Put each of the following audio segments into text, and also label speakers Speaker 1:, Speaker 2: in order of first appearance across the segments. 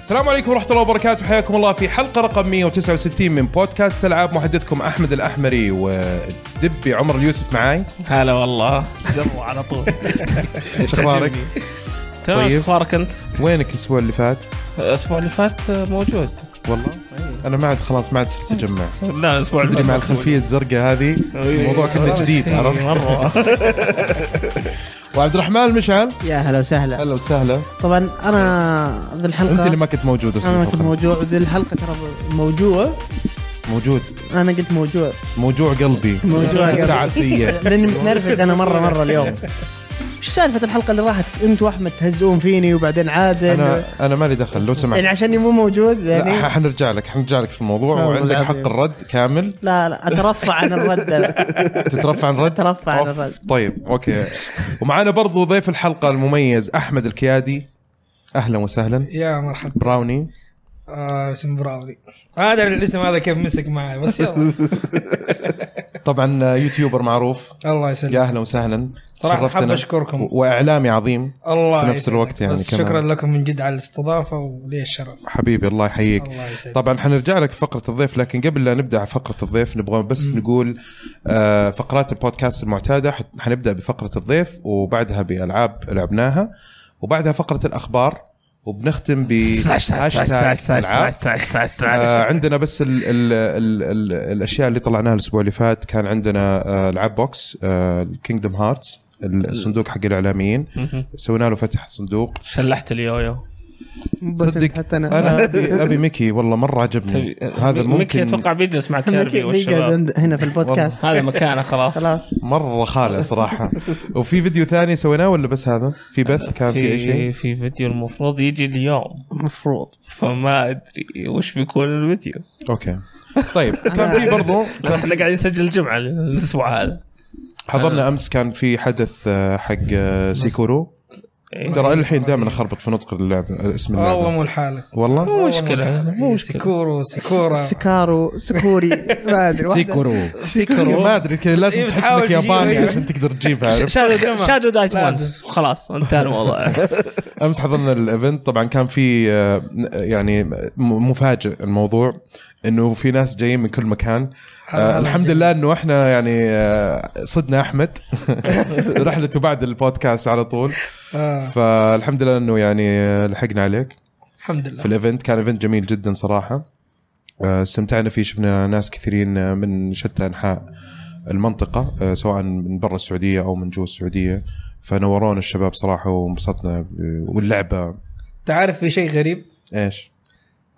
Speaker 1: السلام عليكم ورحمة الله وبركاته حياكم الله في حلقة رقم 169 من بودكاست ألعاب محدثكم أحمد الأحمري ودبي عمر اليوسف معاي
Speaker 2: هلا والله جروا على طول
Speaker 1: إيش أخبارك؟
Speaker 2: تعجبني. تمام
Speaker 1: طيب.
Speaker 2: ايش اخبارك انت؟
Speaker 1: وينك الأسبوع اللي فات؟
Speaker 2: الاسبوع اللي فات موجود
Speaker 1: والله أنا ما عاد خلاص ما عاد صرت أجمع
Speaker 2: لا الاسبوع اللي
Speaker 1: تدري
Speaker 2: فات
Speaker 1: مع
Speaker 2: موجود.
Speaker 1: الخلفية الزرقاء هذه
Speaker 2: إيه.
Speaker 1: الموضوع كله جديد
Speaker 2: إيه،
Speaker 1: عرفت؟
Speaker 2: مره
Speaker 1: وعبد الرحمن المشعل
Speaker 3: يا هلا وسهلا
Speaker 1: أهلا وسهلا
Speaker 3: طبعا انا ذي
Speaker 1: أنت
Speaker 3: الحلقه
Speaker 1: اللي ما كنت موجود أصلاً.
Speaker 3: انا ما كنت موجوع ذي الحلقه ترى موجوع
Speaker 1: موجود
Speaker 3: انا قلت موجوع
Speaker 1: موجوع قلبي
Speaker 3: موجوع قلبي.
Speaker 1: ساعد فيا
Speaker 3: لاني متنرفز انا مره مره اليوم ايش سالفه الحلقه اللي راحت انت واحمد تهزئون فيني وبعدين عادل
Speaker 1: أنا أنا مالي دخل لو سمحت
Speaker 3: يعني عشاني مو موجود يعني
Speaker 1: لا حنرجع لك حنرجع لك في الموضوع
Speaker 3: والله
Speaker 1: وعندك حق
Speaker 3: العظيم.
Speaker 1: الرد كامل
Speaker 3: لا لا اترفع عن الرد أنا.
Speaker 1: تترفع عن رد
Speaker 3: أترفع عن
Speaker 1: أوف،
Speaker 3: الرد.
Speaker 1: طيب اوكي ومعانا برضو ضيف الحلقه المميز احمد الكيادي اهلا وسهلا
Speaker 4: يا مرحبا
Speaker 1: براوني
Speaker 4: آه اسم براولي ما ادري الاسم هذا كيف مسك معي بس يلا
Speaker 1: طبعا آه، يوتيوبر معروف
Speaker 4: الله
Speaker 1: يا
Speaker 4: يسلمك
Speaker 1: اهلا وسهلا
Speaker 4: صراحه
Speaker 1: شرفتنا.
Speaker 4: حاب اشكركم
Speaker 1: واعلامي عظيم
Speaker 4: الله
Speaker 1: في نفس
Speaker 4: يسعدك.
Speaker 1: الوقت يعني
Speaker 4: بس
Speaker 1: كمان.
Speaker 4: شكرا لكم من جد على الاستضافه ولي الشرف
Speaker 1: حبيبي الله يحييك
Speaker 4: الله يسعدك
Speaker 1: طبعا حنرجع لك في فقره الضيف لكن قبل لا نبدا فقره الضيف نبغى بس م. نقول آه، فقرات البودكاست المعتاده حت- حنبدا بفقره الضيف وبعدها بالعاب لعبناها وبعدها فقره الاخبار وبنختم ب هاشتاج ألعاب. آه، عندنا بس ال ال ال ال الاشياء اللي طلعناها الاسبوع اللي فات كان عندنا آه، العاب آه، بوكس كينجدم هارتس الصندوق حق الاعلاميين
Speaker 2: مهم.
Speaker 1: سوينا له فتح صندوق
Speaker 2: شلحت اليويو
Speaker 3: بس
Speaker 1: صدق،
Speaker 3: أنت حتى انا
Speaker 1: انا ابي ابي ميكي والله مره عجبني
Speaker 2: تبي-
Speaker 1: هذا
Speaker 2: ميكي
Speaker 1: ممكن
Speaker 2: اتوقع بيجلس مع
Speaker 3: أنا
Speaker 2: كيربي
Speaker 3: كي- بيقعد
Speaker 2: والشباب
Speaker 3: عند- هنا في البودكاست
Speaker 2: هذا مكانه خلاص
Speaker 3: خلاص
Speaker 1: مره خالع صراحه وفي فيديو ثاني سويناه ولا بس هذا في بث كان في اي شيء
Speaker 2: في في فيديو المفروض يجي اليوم
Speaker 3: مفروض
Speaker 2: فما ادري وش بيكون الفيديو
Speaker 1: اوكي طيب كان في برضو
Speaker 2: لأن احنا قاعدين نسجل الجمعه الاسبوع هذا
Speaker 1: حضرنا امس كان في حدث آه، حق آه، سيكورو
Speaker 2: إيه.
Speaker 1: ترى الحين دائما اخربط في نطق اللعبه اسم
Speaker 4: والله
Speaker 1: اللعبه
Speaker 4: مو لحالك
Speaker 1: والله
Speaker 2: مو مشكله مو مشكله
Speaker 4: سكورو سكورا
Speaker 3: سكارو سكوري ما ادري واحدة-
Speaker 1: سيكورو
Speaker 2: سيكورو.
Speaker 1: ما ادري كذا لازم
Speaker 4: إيه،
Speaker 1: تحس
Speaker 4: بتحاول
Speaker 1: انك
Speaker 4: تجيب
Speaker 1: ياباني
Speaker 4: إيه.
Speaker 1: عشان تقدر تجيبها عرفت؟
Speaker 2: شادو شادو دايت
Speaker 4: لازم.
Speaker 2: وانز خلاص انتهى الموضوع
Speaker 1: امس حضرنا الايفنت طبعا كان في آه، يعني م- مفاجئ الموضوع انه في ناس جايين من كل مكان آه الحمد لله انه احنا يعني آه، صدنا احمد رحلته بعد البودكاست على طول
Speaker 4: آه
Speaker 1: فالحمد لله انه يعني آه، لحقنا عليك
Speaker 4: الحمد
Speaker 1: في
Speaker 4: لله
Speaker 1: الايفنت كان ايفنت جميل جدا صراحه آه، استمتعنا فيه شفنا ناس كثيرين آه، من شتى انحاء المنطقه آه، سواء من برا السعوديه او من جوا السعوديه فنورونا الشباب صراحه وانبسطنا آه، واللعبه
Speaker 4: تعرف في شيء غريب
Speaker 1: ايش؟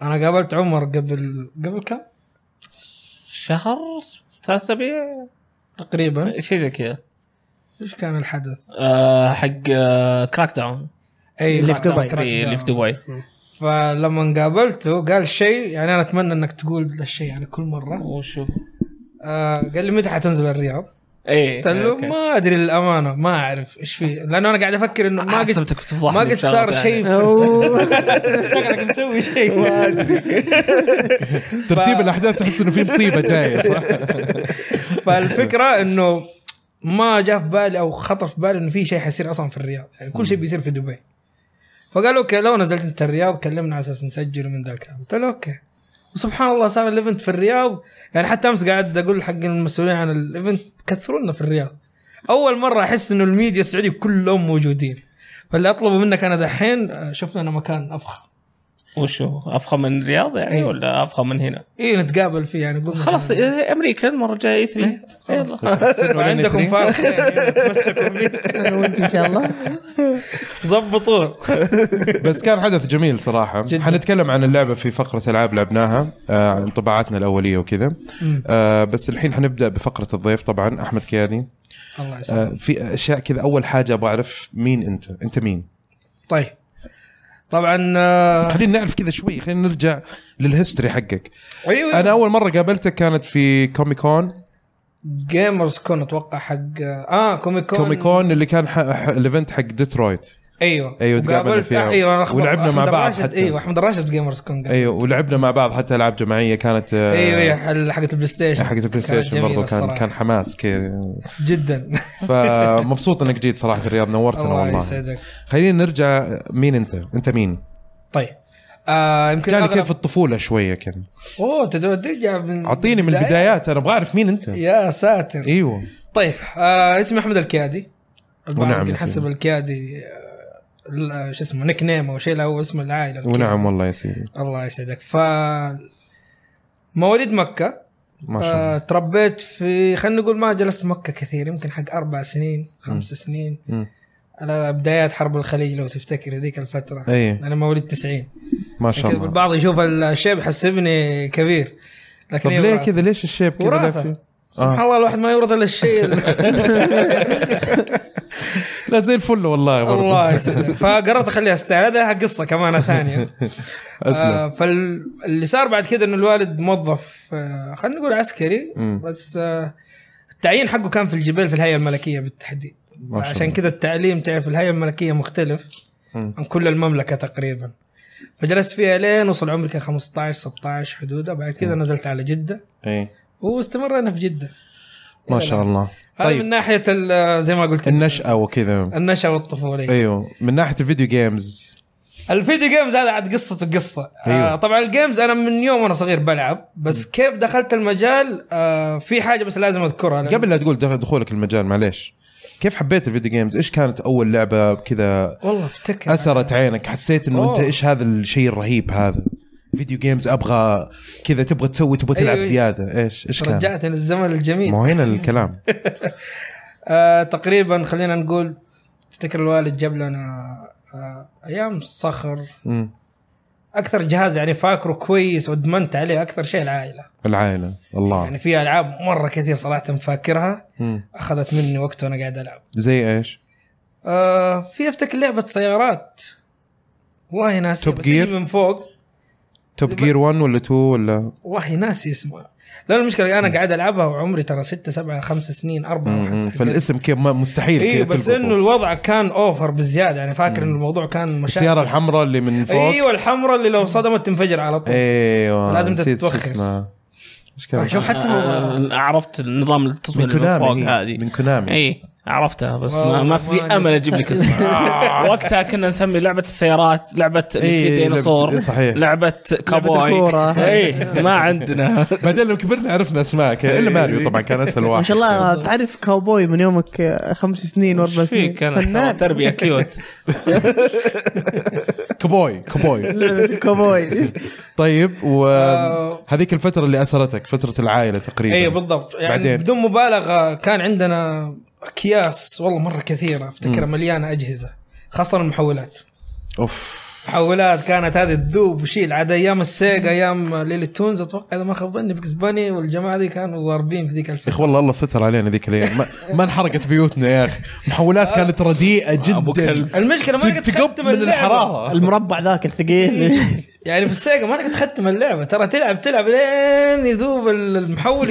Speaker 4: انا قابلت عمر قبل قبل كم
Speaker 2: شهر ثلاث اسابيع
Speaker 4: تقريبا
Speaker 2: شيء زي كذا
Speaker 4: ايش كان الحدث
Speaker 2: آه، حق كراك داون
Speaker 4: اي
Speaker 3: اللي في
Speaker 4: بعد
Speaker 3: دبي.
Speaker 4: كراك
Speaker 2: اللي في
Speaker 4: داون.
Speaker 2: دبي
Speaker 4: فلما قابلته قال شيء يعني انا اتمنى انك تقول ذا الشيء يعني كل مره
Speaker 2: وشو
Speaker 4: آه قال لي متى حتنزل الرياض؟
Speaker 2: ايه
Speaker 4: قلت له
Speaker 2: أوكي.
Speaker 4: إيه، ما ادري للامانه ما اعرف ايش فيه لانه انا قاعد افكر انه ما قد
Speaker 2: حسبتك بتفضحني
Speaker 4: ما قد
Speaker 2: بشغلة
Speaker 4: صار
Speaker 2: ثانية.
Speaker 4: شيء في-
Speaker 3: أوه.
Speaker 4: شكلك مسوي شيء ما ادري
Speaker 1: ترتيب الاحداث تحس انه في مصيبه جايه صح؟
Speaker 4: فالفكره انه ما جاء في بالي او خطر في بالي انه في شيء حيصير اصلا في الرياض يعني كل شيء بيصير في دبي فقال اوكي لو نزلت انت الرياض كلمنا على اساس نسجل من ذا الكلام قلت له اوكي وسبحان الله صار الايفنت في الرياض يعني حتى امس قاعد اقول حق المسؤولين عن الايفنت كثروا لنا في الرياض اول مره احس انه الميديا السعوديه كلهم موجودين فاللي اطلبه منك انا دحين آه، شوف لنا مكان افخم
Speaker 2: وشو افخم من الرياض يعني
Speaker 4: إيه.
Speaker 2: ولا افخم من هنا
Speaker 4: ايه نتقابل فيه يعني قول
Speaker 2: خلاص إيه، امريكا المره الجايه اي 3 يلا
Speaker 4: عندكم فارق يعني تمسكوا فيه.
Speaker 3: انا وانت ان شاء الله
Speaker 4: ظبطوه
Speaker 1: بس كان حدث جميل صراحه
Speaker 4: جداً.
Speaker 1: حنتكلم عن اللعبه في فقره العاب لعبناها آه، عن انطباعاتنا الاوليه وكذا
Speaker 4: مم.
Speaker 1: آه، بس الحين حنبدا بفقره الضيف طبعا احمد كياني
Speaker 4: الله يسلمك
Speaker 1: آه، في اشياء كذا اول حاجه ابغى اعرف مين انت انت مين
Speaker 4: طيب طبعا آه،
Speaker 1: خلينا نعرف كذا شوي خلينا نرجع للهيستوري حقك
Speaker 4: ايوه
Speaker 1: انا اول مره قابلتك كانت في كوميكون
Speaker 4: جيمرز كون اتوقع حق اه كوميك كون
Speaker 1: كوميكون اللي كان ح- ح- الايفنت حق ديترويت
Speaker 4: ايوه
Speaker 1: أيوة، تقابلنا
Speaker 4: وقابلت-
Speaker 1: فيها.
Speaker 4: ايوه أنا أخبر-
Speaker 1: ولعبنا
Speaker 4: أحمد
Speaker 1: مع بعض
Speaker 4: الراشد-
Speaker 1: حتى.
Speaker 4: ايوه احمد الراشد في جيمرز كون
Speaker 1: ايوه ولعبنا مع بعض حتى العاب جماعيه كانت آه،
Speaker 4: ايوه ايوه حل- حقت البلاي ستيشن
Speaker 1: حقت البلاي ستيشن
Speaker 4: جميلة
Speaker 1: برضو كان
Speaker 4: الصراحة.
Speaker 1: كان حماس كذا
Speaker 4: جدا
Speaker 1: فمبسوط انك جيت صراحه الرياض نورتنا
Speaker 4: الله
Speaker 1: والله
Speaker 4: يسعدك
Speaker 1: خلينا نرجع مين انت انت مين
Speaker 4: طيب آه يمكن
Speaker 1: جاني
Speaker 4: أغلب-
Speaker 1: كيف الطفوله شويه كذا
Speaker 4: اوه انت دو- ترجع من
Speaker 1: اعطيني من البدايات انا ابغى اعرف مين انت
Speaker 4: يا ساتر
Speaker 1: ايوه
Speaker 4: طيب آه اسمي احمد الكيادي البعض
Speaker 1: ونعم
Speaker 4: يمكن
Speaker 1: اسمه.
Speaker 4: حسب الكيادي آه، ال- شو اسمه نيك نيم او شيء لا هو اسم العائله الكيادي.
Speaker 1: ونعم والله يا سيدي
Speaker 4: الله يسعدك ف مواليد مكه
Speaker 1: ما شاء الله
Speaker 4: آه تربيت في خلينا نقول ما جلست مكه كثير يمكن حق اربع سنين خمس سنين
Speaker 1: مم.
Speaker 4: على بدايات حرب الخليج لو تفتكر هذيك الفتره
Speaker 1: إيه.
Speaker 4: انا مواليد 90
Speaker 1: ما
Speaker 4: عشان
Speaker 1: شاء
Speaker 4: يعني كذا
Speaker 1: الله
Speaker 4: البعض يشوف الشيب حسبني كبير لكن
Speaker 1: طب
Speaker 4: هي
Speaker 1: ليه
Speaker 4: وراثة.
Speaker 1: كذا ليش الشيب كذا لا
Speaker 4: وراثة.
Speaker 1: في
Speaker 4: سبحان
Speaker 1: آه.
Speaker 4: الله الواحد ما يرضى الا الشيء
Speaker 1: لا زي الفل والله
Speaker 4: الله
Speaker 1: برضه
Speaker 4: يسعدك فقررت اخليها استاهل هذا لها قصه كمان ثانيه
Speaker 1: اسلم
Speaker 4: آه فاللي صار بعد كذا انه الوالد موظف آه خلينا نقول عسكري
Speaker 1: مم.
Speaker 4: بس آه التعيين حقه كان في الجبال في الهيئه الملكيه بالتحديد
Speaker 1: ما شاء
Speaker 4: عشان
Speaker 1: الله.
Speaker 4: كذا التعليم تعرف الهيئه الملكيه مختلف
Speaker 1: مم.
Speaker 4: عن كل المملكه تقريبا فجلست فيها لين وصل عمري كان 15 16 حدودها بعد كذا نزلت على جده
Speaker 1: ايه
Speaker 4: واستمرينا في جده
Speaker 1: ما شاء الله
Speaker 4: هذا طيب. من
Speaker 1: طيب
Speaker 4: ناحيه ال- زي ما قلت
Speaker 1: النشأة وكذا
Speaker 4: النشأة والطفولية أيوه.
Speaker 1: ايوه من ناحيه الفيديو جيمز
Speaker 4: الفيديو جيمز هذا عاد قصته قصة أيوه.
Speaker 1: أيوه.
Speaker 4: آه طبعا الجيمز أنا من يوم وأنا صغير بلعب بس م. كيف دخلت المجال آه في حاجة بس لازم أذكرها لأن-
Speaker 1: قبل لا تقول دخ- دخولك المجال معليش كيف حبيت الفيديو جيمز ايش كانت اول لعبه كذا
Speaker 4: والله افتكر
Speaker 1: اثرت عينك حسيت انه
Speaker 4: أوه.
Speaker 1: انت ايش هذا الشيء الرهيب هذا فيديو جيمز ابغى كذا تبغى تسوي تبغى تلعب
Speaker 4: أيوه.
Speaker 1: زياده ايش ايش كان
Speaker 4: رجعتني الزمن الجميل
Speaker 1: ما هو هنا الكلام
Speaker 4: آه تقريبا خلينا نقول افتكر الوالد جاب لنا آه ايام الصخر
Speaker 1: مم.
Speaker 4: اكثر جهاز يعني فاكره كويس وادمنت عليه اكثر شيء العائله
Speaker 1: العائله الله
Speaker 4: يعني في العاب مره كثير صراحه فاكرها
Speaker 1: مم.
Speaker 4: اخذت مني وقت وانا قاعد العب
Speaker 1: زي ايش
Speaker 4: آه في افتكر لعبه سيارات والله ناسي
Speaker 1: توب
Speaker 4: بس
Speaker 1: جير؟
Speaker 4: تجي من فوق
Speaker 1: توب جير 1 ولا 2 ولا
Speaker 4: والله ناسي اسمها لان المشكله انا قاعد العبها وعمري ترى ستة سبعة خمسة سنين أربعة
Speaker 1: مم.
Speaker 4: آه، حتى.
Speaker 1: فالاسم كيف ما- مستحيل
Speaker 4: ايوه
Speaker 1: كذا
Speaker 4: بس
Speaker 1: تلقطه.
Speaker 4: انه الوضع كان اوفر بالزياده يعني فاكر انه الموضوع كان مشاكل
Speaker 1: السياره الحمراء اللي من فوق
Speaker 4: ايوه الحمراء اللي لو صدمت تنفجر على طول
Speaker 1: ايوه
Speaker 4: لازم
Speaker 1: نسيت شو
Speaker 4: تتوخر.
Speaker 1: اسمه ايش كان
Speaker 4: شوف حتى هو
Speaker 2: آه، عرفت النظام التصوير
Speaker 1: من
Speaker 2: اللي من فوق
Speaker 1: كونامي
Speaker 4: يعني.
Speaker 1: هي.
Speaker 2: هذه
Speaker 1: من كونامي
Speaker 4: إيه.
Speaker 2: اي إيه، عرفتها بس
Speaker 4: والله آه.
Speaker 2: ما, ما في
Speaker 4: ما
Speaker 2: امل اجيب لك اسمها وقتها كنا نسمي لعبه السيارات لعبه اللي
Speaker 1: إيه،
Speaker 2: في
Speaker 1: لعبة-
Speaker 2: ديناصور
Speaker 1: صحيح.
Speaker 2: لعبه كابوي
Speaker 3: الكورة.
Speaker 2: اي ما عندنا
Speaker 1: بعدين لما كبرنا عرفنا اسماء كذا
Speaker 4: إيه.
Speaker 1: الا ماريو طبعا كان اسهل واحد
Speaker 3: ما شاء الله تعرف كاوبوي من يومك آه، خمس سنين
Speaker 2: ايش
Speaker 3: واربع سنين
Speaker 2: فيك انا
Speaker 3: فنان
Speaker 2: تربيه كيوت
Speaker 1: كبوي كبوي
Speaker 3: لعبة الكاوبوي
Speaker 1: طيب
Speaker 4: آه.
Speaker 1: وهذيك الفتره اللي اثرتك فتره العائله تقريبا
Speaker 4: ايوه بالضبط يعني
Speaker 1: بعدين.
Speaker 4: بعدين. بدون مبالغه كان عندنا اكياس والله مره كثيره افتكرها مليانه اجهزه خاصه المحولات
Speaker 1: اوف
Speaker 4: محولات كانت هذه تذوب وشيل عاد ايام السيجا ايام ليلي تونز اتوقع اذا ما خاب ظني بيكس باني والجماعه دي كانوا ضاربين في ذيك
Speaker 1: يا
Speaker 4: الفتره
Speaker 1: اخي والله الله ستر علينا ذيك الايام ما, ما انحرقت بيوتنا يا اخي محولات كانت رديئه جدا
Speaker 2: أبو كلب.
Speaker 4: المشكله آه. ما تقدر
Speaker 1: تقب
Speaker 4: تختم
Speaker 1: من
Speaker 4: اللعبه
Speaker 1: الحراره
Speaker 3: المربع ذاك الثقيل
Speaker 1: إيه.
Speaker 4: يعني في السيجا ما تقدر تختم اللعبه ترى تلعب تلعب لين يذوب المحول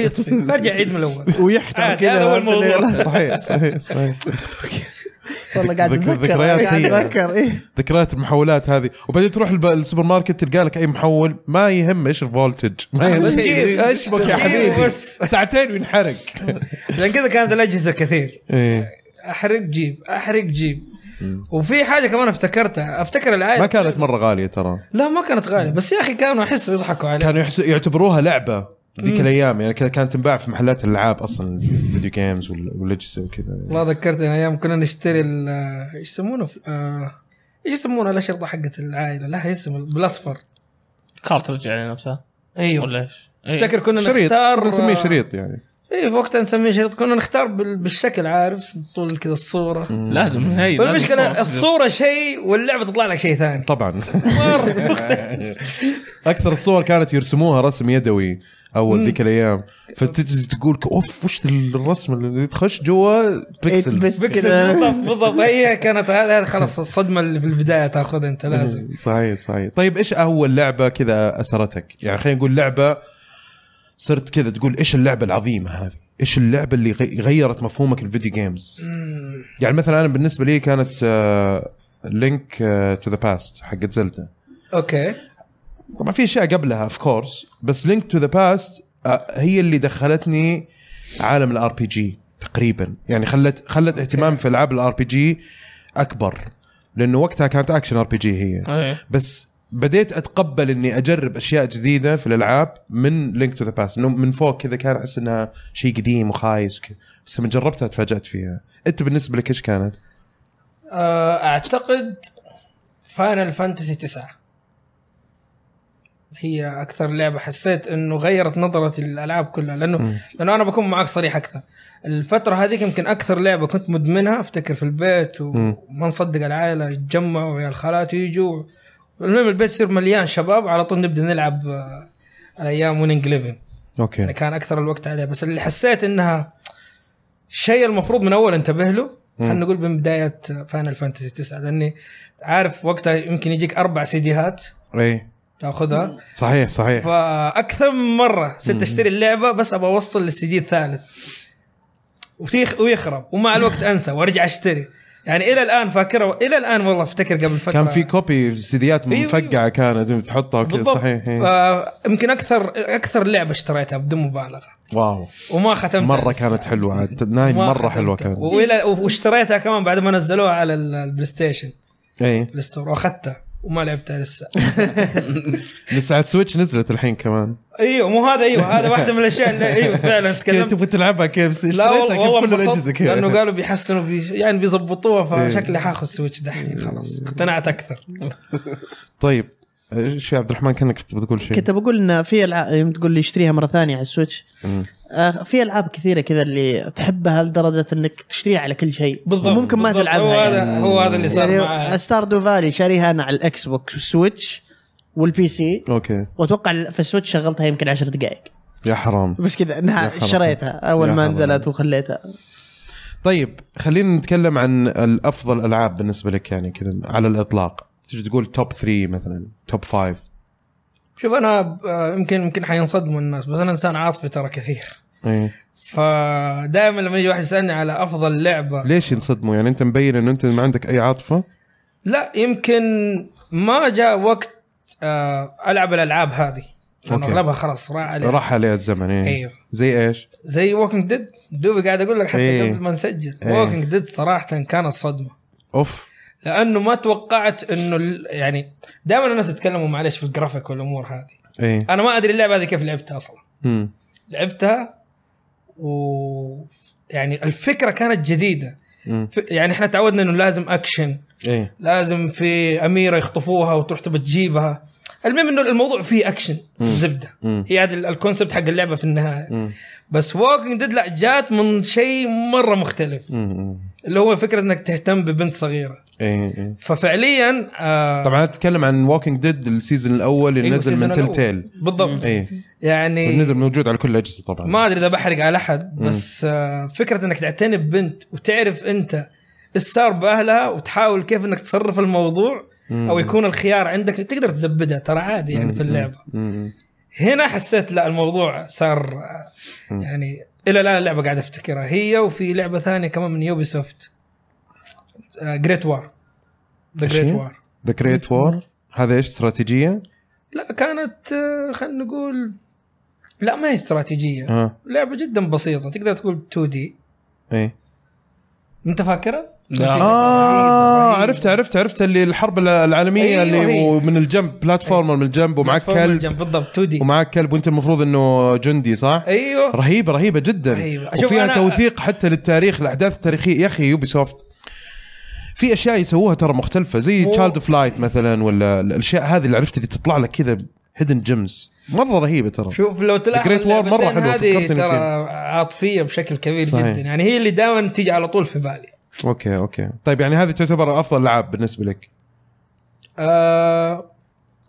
Speaker 4: يطفي ترجع عيد من الاول
Speaker 3: ويحتوى
Speaker 4: عاد، هذا
Speaker 3: كذا
Speaker 4: هو الموضوع.
Speaker 1: صحيح صحيح صحيح
Speaker 3: والله قاعد
Speaker 1: ذك-
Speaker 3: اتذكر
Speaker 1: ذكريات
Speaker 3: قاعد
Speaker 1: سيئة.
Speaker 3: اتذكر إيه.
Speaker 1: ذكريات المحولات هذه وبعدين تروح الب- السوبر ماركت تلقى لك اي محول ما يهم ايش الفولتج ما يهم
Speaker 4: بتجيب.
Speaker 1: اشبك يا
Speaker 4: بتجيب
Speaker 1: حبيبي
Speaker 4: بس.
Speaker 1: ساعتين وينحرق
Speaker 4: عشان كذا كانت الاجهزه كثير
Speaker 1: إيه.
Speaker 4: احرق جيب احرق جيب وفي حاجه كمان افتكرتها افتكر العائله
Speaker 1: ما كانت مره غاليه ترى
Speaker 4: لا ما كانت غاليه بس يا اخي كانوا احس يضحكوا عليها
Speaker 1: كانوا يحس... يعتبروها لعبه ذيك الايام يعني كذا كانت تنباع في محلات الالعاب اصلا الفيديو جيمز وال- والاجهزه وكذا يعني.
Speaker 4: والله ذكرتني ايام كنا نشتري ال- ايش يسمونه في- آه، ايش يسمونه الاشرطه حقت العائله لها اسم بالاصفر
Speaker 2: كارترج يعني نفسها
Speaker 4: أيوه.
Speaker 2: ولا ايش؟ إيه.
Speaker 4: افتكر كنا
Speaker 1: شريط
Speaker 4: نختار
Speaker 1: كنا نسميه شريط يعني
Speaker 4: اي وقتها نسميه شريط كنا نختار بال- بالشكل عارف طول كذا الصوره
Speaker 2: لازم هي لازم
Speaker 4: والمشكله
Speaker 2: صورة.
Speaker 4: الصوره شيء واللعبه تطلع لك شيء ثاني
Speaker 1: طبعا
Speaker 4: مره
Speaker 1: اكثر الصور كانت يرسموها رسم يدوي اول ذيك الايام فتجي تقول اوف وش الرسم اللي تخش جوا بيكسلز
Speaker 3: بس
Speaker 4: بيكسل
Speaker 3: كذا.
Speaker 4: بالضبط بالضبط هي كانت هذه هذه خلاص الصدمه اللي في البدايه تاخذها انت لازم
Speaker 1: إيه، صحيح صحيح طيب ايش اول لعبه كذا اثرتك يعني خلينا نقول لعبه صرت كذا تقول ايش اللعبه العظيمه هذه ايش اللعبه اللي غي- غيرت مفهومك الفيديو جيمز يعني مثلا انا بالنسبه لي كانت آه، لينك تو ذا باست حقت زلدا
Speaker 4: اوكي
Speaker 1: طبعا في اشياء قبلها اوف كورس بس لينك تو ذا باست آه، هي اللي دخلتني عالم الار بي جي تقريبا يعني خلت خلت اهتمام في العاب الار بي جي اكبر لانه وقتها كانت اكشن ار بي جي هي
Speaker 2: إيه.
Speaker 1: بس بديت اتقبل اني اجرب اشياء جديده في الالعاب من لينك تو ذا باست انه من فوق كذا كان احس انها شيء قديم وخايس وكذا بس لما جربتها تفاجات فيها انت بالنسبه لك ايش كانت؟
Speaker 4: آه، اعتقد فاينل فانتسي 9 هي اكثر لعبه حسيت انه غيرت نظرتي للالعاب كلها لانه
Speaker 1: مم.
Speaker 4: لانه انا بكون معك صريح اكثر الفتره هذيك يمكن اكثر لعبه كنت مدمنها افتكر في البيت
Speaker 1: مم.
Speaker 4: وما نصدق العائله يتجمعوا ويا الخالات يجوا المهم البيت يصير مليان شباب على طول نبدا نلعب آه، الايام ونينج 11 يعني
Speaker 1: اوكي
Speaker 4: كان اكثر الوقت عليها بس اللي حسيت انها شيء المفروض من اول انتبه له
Speaker 1: مم.
Speaker 4: خلينا نقول من بدايه فاينل فانتسي 9 لاني عارف وقتها يمكن يجيك اربع سيديهات
Speaker 1: اي
Speaker 4: تاخذها
Speaker 1: إيه. صحيح صحيح
Speaker 4: فاكثر من مره صرت اشتري اللعبه بس ابغى اوصل للسي دي الثالث وتيخ ويخرب ومع الوقت انسى وارجع اشتري يعني الى الان فاكره الى الان والله افتكر قبل فتره
Speaker 1: كان في كوبي سيديات
Speaker 4: أيوة،
Speaker 1: مفقعه كانت تحطها وكذا
Speaker 4: بالضبط
Speaker 1: صحيح إيه. إي.
Speaker 4: آه، يمكن اكثر اكثر لعبه اشتريتها بدون مبالغه
Speaker 1: واو
Speaker 4: وما ختمتها
Speaker 1: مره
Speaker 4: لسه.
Speaker 1: كانت حلوه عاد نايم
Speaker 4: ما
Speaker 1: مره حلوه
Speaker 4: ختمتها.
Speaker 1: كانت
Speaker 4: والى واشتريتها كمان بعد ما نزلوها على ال- البلاي ستيشن
Speaker 1: اي
Speaker 4: بلاي ستور واخذتها وما لعبتها لسه
Speaker 1: بس على السويتش نزلت الحين كمان
Speaker 4: ايوه مو هذا ايوه هذا واحده من الاشياء اللي ايوه فعلا
Speaker 1: كيف
Speaker 4: تكلمت
Speaker 1: تبغى تلعبها كيف بس
Speaker 4: لا
Speaker 1: اشتريتها
Speaker 4: والله
Speaker 1: كيف
Speaker 4: والله
Speaker 1: كل
Speaker 4: انبسطت
Speaker 1: الاجهزه كذا
Speaker 4: لانه قالوا بيحسنوا بي يعني بيظبطوها
Speaker 1: إيه.
Speaker 4: فشكلي حاخذ سويتش دحين خلاص اقتنعت اكثر
Speaker 1: طيب ايش يا عبد الرحمن كانك كنت بتقول شيء
Speaker 3: كنت بقول ان في العاب يوم تقول لي اشتريها مره ثانيه على السويتش
Speaker 1: مم.
Speaker 3: آه، في العاب كثيره كذا اللي تحبها لدرجه انك تشتريها على كل شيء
Speaker 4: بالضبط
Speaker 3: ممكن ما
Speaker 4: بالضبط. هو
Speaker 3: تلعبها يعني.
Speaker 4: هذا هو هذا اللي صار معي
Speaker 3: يعني ستاردو فالي شاريها انا على الاكس بوكس والسويتش والبي سي
Speaker 1: اوكي
Speaker 3: واتوقع في السويتش شغلتها يمكن عشر دقائق
Speaker 1: يا حرام
Speaker 3: بس كذا
Speaker 1: يا
Speaker 3: انها
Speaker 1: خرابي.
Speaker 3: شريتها اول
Speaker 1: يا
Speaker 3: ما
Speaker 1: خرابي.
Speaker 3: نزلت وخليتها
Speaker 1: طيب خلينا نتكلم عن الافضل العاب بالنسبه لك يعني كذا على الاطلاق تجي تقول توب 3 مثلا توب 5
Speaker 4: شوف انا ب- آه، يمكن يمكن حينصدموا الناس بس انا انسان عاطفي ترى كثير
Speaker 1: ايه
Speaker 4: فدائما لما يجي واحد يسالني على افضل لعبه
Speaker 1: ليش ينصدموا يعني انت مبين انه انت ما عندك اي عاطفه
Speaker 4: لا يمكن ما جاء وقت آه العب الالعاب هذه لانه
Speaker 1: أوكي.
Speaker 4: اغلبها خلاص راح عليها
Speaker 1: راح عليها الزمن ايه
Speaker 4: ايوه
Speaker 1: زي ايش؟
Speaker 4: زي ووكينج ديد دوبي قاعد اقول لك حتى
Speaker 1: إيه.
Speaker 4: قبل ما نسجل
Speaker 1: إيه.
Speaker 4: ووكينج ديد صراحه كانت صدمه
Speaker 1: اوف
Speaker 4: لانه ما توقعت انه ال- يعني دائما الناس يتكلموا معلش في الجرافيك والامور هذه
Speaker 1: ايه
Speaker 4: انا ما ادري اللعبه هذه كيف لعبتها اصلا
Speaker 1: مم.
Speaker 4: لعبتها و يعني الفكره كانت جديده
Speaker 1: مم.
Speaker 4: ف- يعني احنا تعودنا انه لازم اكشن
Speaker 1: ايه
Speaker 4: لازم في اميره يخطفوها وتروح تبى تجيبها المهم انه الموضوع فيه اكشن
Speaker 1: مم.
Speaker 4: زبده
Speaker 1: مم.
Speaker 4: هي هذا ال- الكونسبت حق اللعبه في النهايه
Speaker 1: مم.
Speaker 4: بس ووكينج ديد لا جات من شيء مره مختلف
Speaker 1: مم.
Speaker 4: اللي هو فكره انك تهتم ببنت صغيره
Speaker 1: ايه ايه
Speaker 4: ففعليا آه
Speaker 1: طبعا اتكلم عن ووكينج ديد السيزون الاول اللي
Speaker 4: أيوة،
Speaker 1: نزل من
Speaker 4: السيزون
Speaker 1: تل
Speaker 4: الأول.
Speaker 1: تيل
Speaker 4: بالضبط
Speaker 1: ايه
Speaker 4: يعني
Speaker 1: نزل موجود على كل الاجهزه طبعا
Speaker 4: ما ادري اذا بحرق على احد بس آه فكره انك تعتني ببنت وتعرف انت ايش صار باهلها وتحاول كيف انك تصرف الموضوع
Speaker 1: مم.
Speaker 4: او يكون الخيار عندك تقدر تزبدها ترى عادي يعني في اللعبه
Speaker 1: مم.
Speaker 4: هنا حسيت لا الموضوع صار آه،
Speaker 1: مم.
Speaker 4: يعني الى الان اللعبه قاعد افتكرها هي وفي لعبه ثانيه كمان من آه، يوبي سوفت جريت وار ذا
Speaker 1: إيش هي؟
Speaker 4: جريت وار
Speaker 1: ذا كريت
Speaker 4: إيه.
Speaker 1: وور هذا ايش استراتيجيه؟
Speaker 4: لا كانت آه، خلينا نقول لا ما هي استراتيجيه
Speaker 1: ها
Speaker 4: لعبه جدا بسيطه تقدر تقول 2 دي
Speaker 1: ايه
Speaker 4: انت فاكرها؟
Speaker 2: لا.
Speaker 4: بس
Speaker 1: اه
Speaker 4: هي رهيبة.
Speaker 1: عرفت عرفت عرفت اللي الحرب العالميه
Speaker 4: أيوة،
Speaker 1: اللي
Speaker 4: هي.
Speaker 1: ومن الجنب بلاتفورمر من الجنب ومعك
Speaker 4: فوق إيه. من
Speaker 1: كلب
Speaker 4: الجنب، بالضبط 2 دي
Speaker 1: ومعك كلب وانت المفروض انه جندي صح؟
Speaker 4: ايوه
Speaker 1: رهيبه رهيبه جدا
Speaker 4: رهيبة. شوف
Speaker 1: وفيها
Speaker 4: أنا-
Speaker 1: توثيق حتى للتاريخ الاحداث التاريخيه يا اخي يوبي سوفت في اشياء يسووها ترى مختلفه زي
Speaker 4: مو-
Speaker 1: تشايلد اوف لايت مثلا ولا الاشياء هذه اللي عرفت اللي تطلع لك كذا هيدن جيمز مره رهيبه ترى
Speaker 4: شوف لو تلاحظ
Speaker 1: The Great War مرة
Speaker 4: اللعبتين
Speaker 1: حلوة،
Speaker 4: هذه
Speaker 1: فكرتني
Speaker 4: ترى
Speaker 1: فيها.
Speaker 4: عاطفيه بشكل كبير
Speaker 1: صحيح.
Speaker 4: جدا يعني هي اللي دائما تيجي على طول في بالي
Speaker 1: اوكي اوكي طيب يعني هذه تعتبر افضل العاب بالنسبه لك
Speaker 4: آه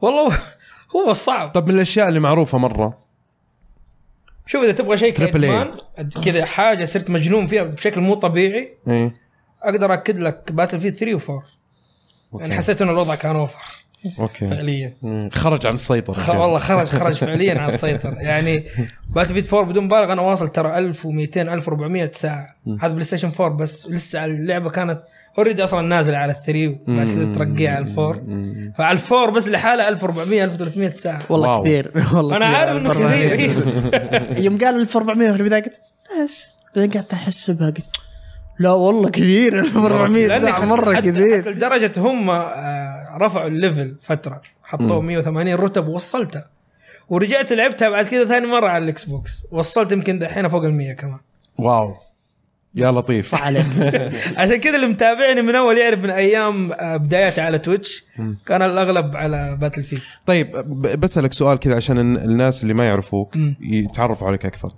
Speaker 4: والله هو صعب
Speaker 1: طب طيب، من الاشياء اللي معروفه مره
Speaker 4: شوف اذا تبغى شيء
Speaker 1: Triple A.
Speaker 4: كادمان كذا حاجه صرت مجنون فيها بشكل مو طبيعي
Speaker 1: ايه
Speaker 4: اقدر اكد لك باتل فيد 3 و4 يعني
Speaker 1: اوكي
Speaker 4: حسيت انه الوضع كان اوفر
Speaker 1: اوكي
Speaker 4: فعليا
Speaker 1: مم. خرج عن السيطره
Speaker 4: خ... والله خرج خرج فعليا على السيطره يعني باتل فيد 4 بدون مبالغه انا واصل ترى 1200 1400 ساعه هذا بلاي ستيشن 4 بس لسه اللعبه كانت اوريدي اصلا نازله على الثري وبعد كذا ترقيها على الفور فعلى الفور بس لحالها 1400 1300 ساعه
Speaker 3: والله
Speaker 1: واو.
Speaker 3: كثير والله
Speaker 4: انا
Speaker 3: كثير.
Speaker 4: عارف انه
Speaker 3: 1400.
Speaker 4: كثير
Speaker 3: يوم قال 1400 في البدايه قلت بس بعدين قعدت احسبها قلت لا والله كثير 400
Speaker 4: لأنك
Speaker 3: ساعه مره
Speaker 4: حتى- حتى
Speaker 3: كثير
Speaker 4: لدرجه هم آه، رفعوا الليفل فتره حطوه 180 رتب ووصلتها ورجعت لعبتها بعد كذا ثاني مره على الاكس بوكس وصلت يمكن دحين فوق ال 100 كمان
Speaker 1: واو يا لطيف
Speaker 3: صح عليك
Speaker 4: عشان كذا اللي متابعني من اول يعرف من ايام آه، بداياتي على تويتش كان الاغلب على باتل فيلد
Speaker 1: طيب ب- بسألك سؤال كذا عشان الن- الناس اللي ما يعرفوك
Speaker 4: مم.
Speaker 1: يتعرفوا عليك أكثر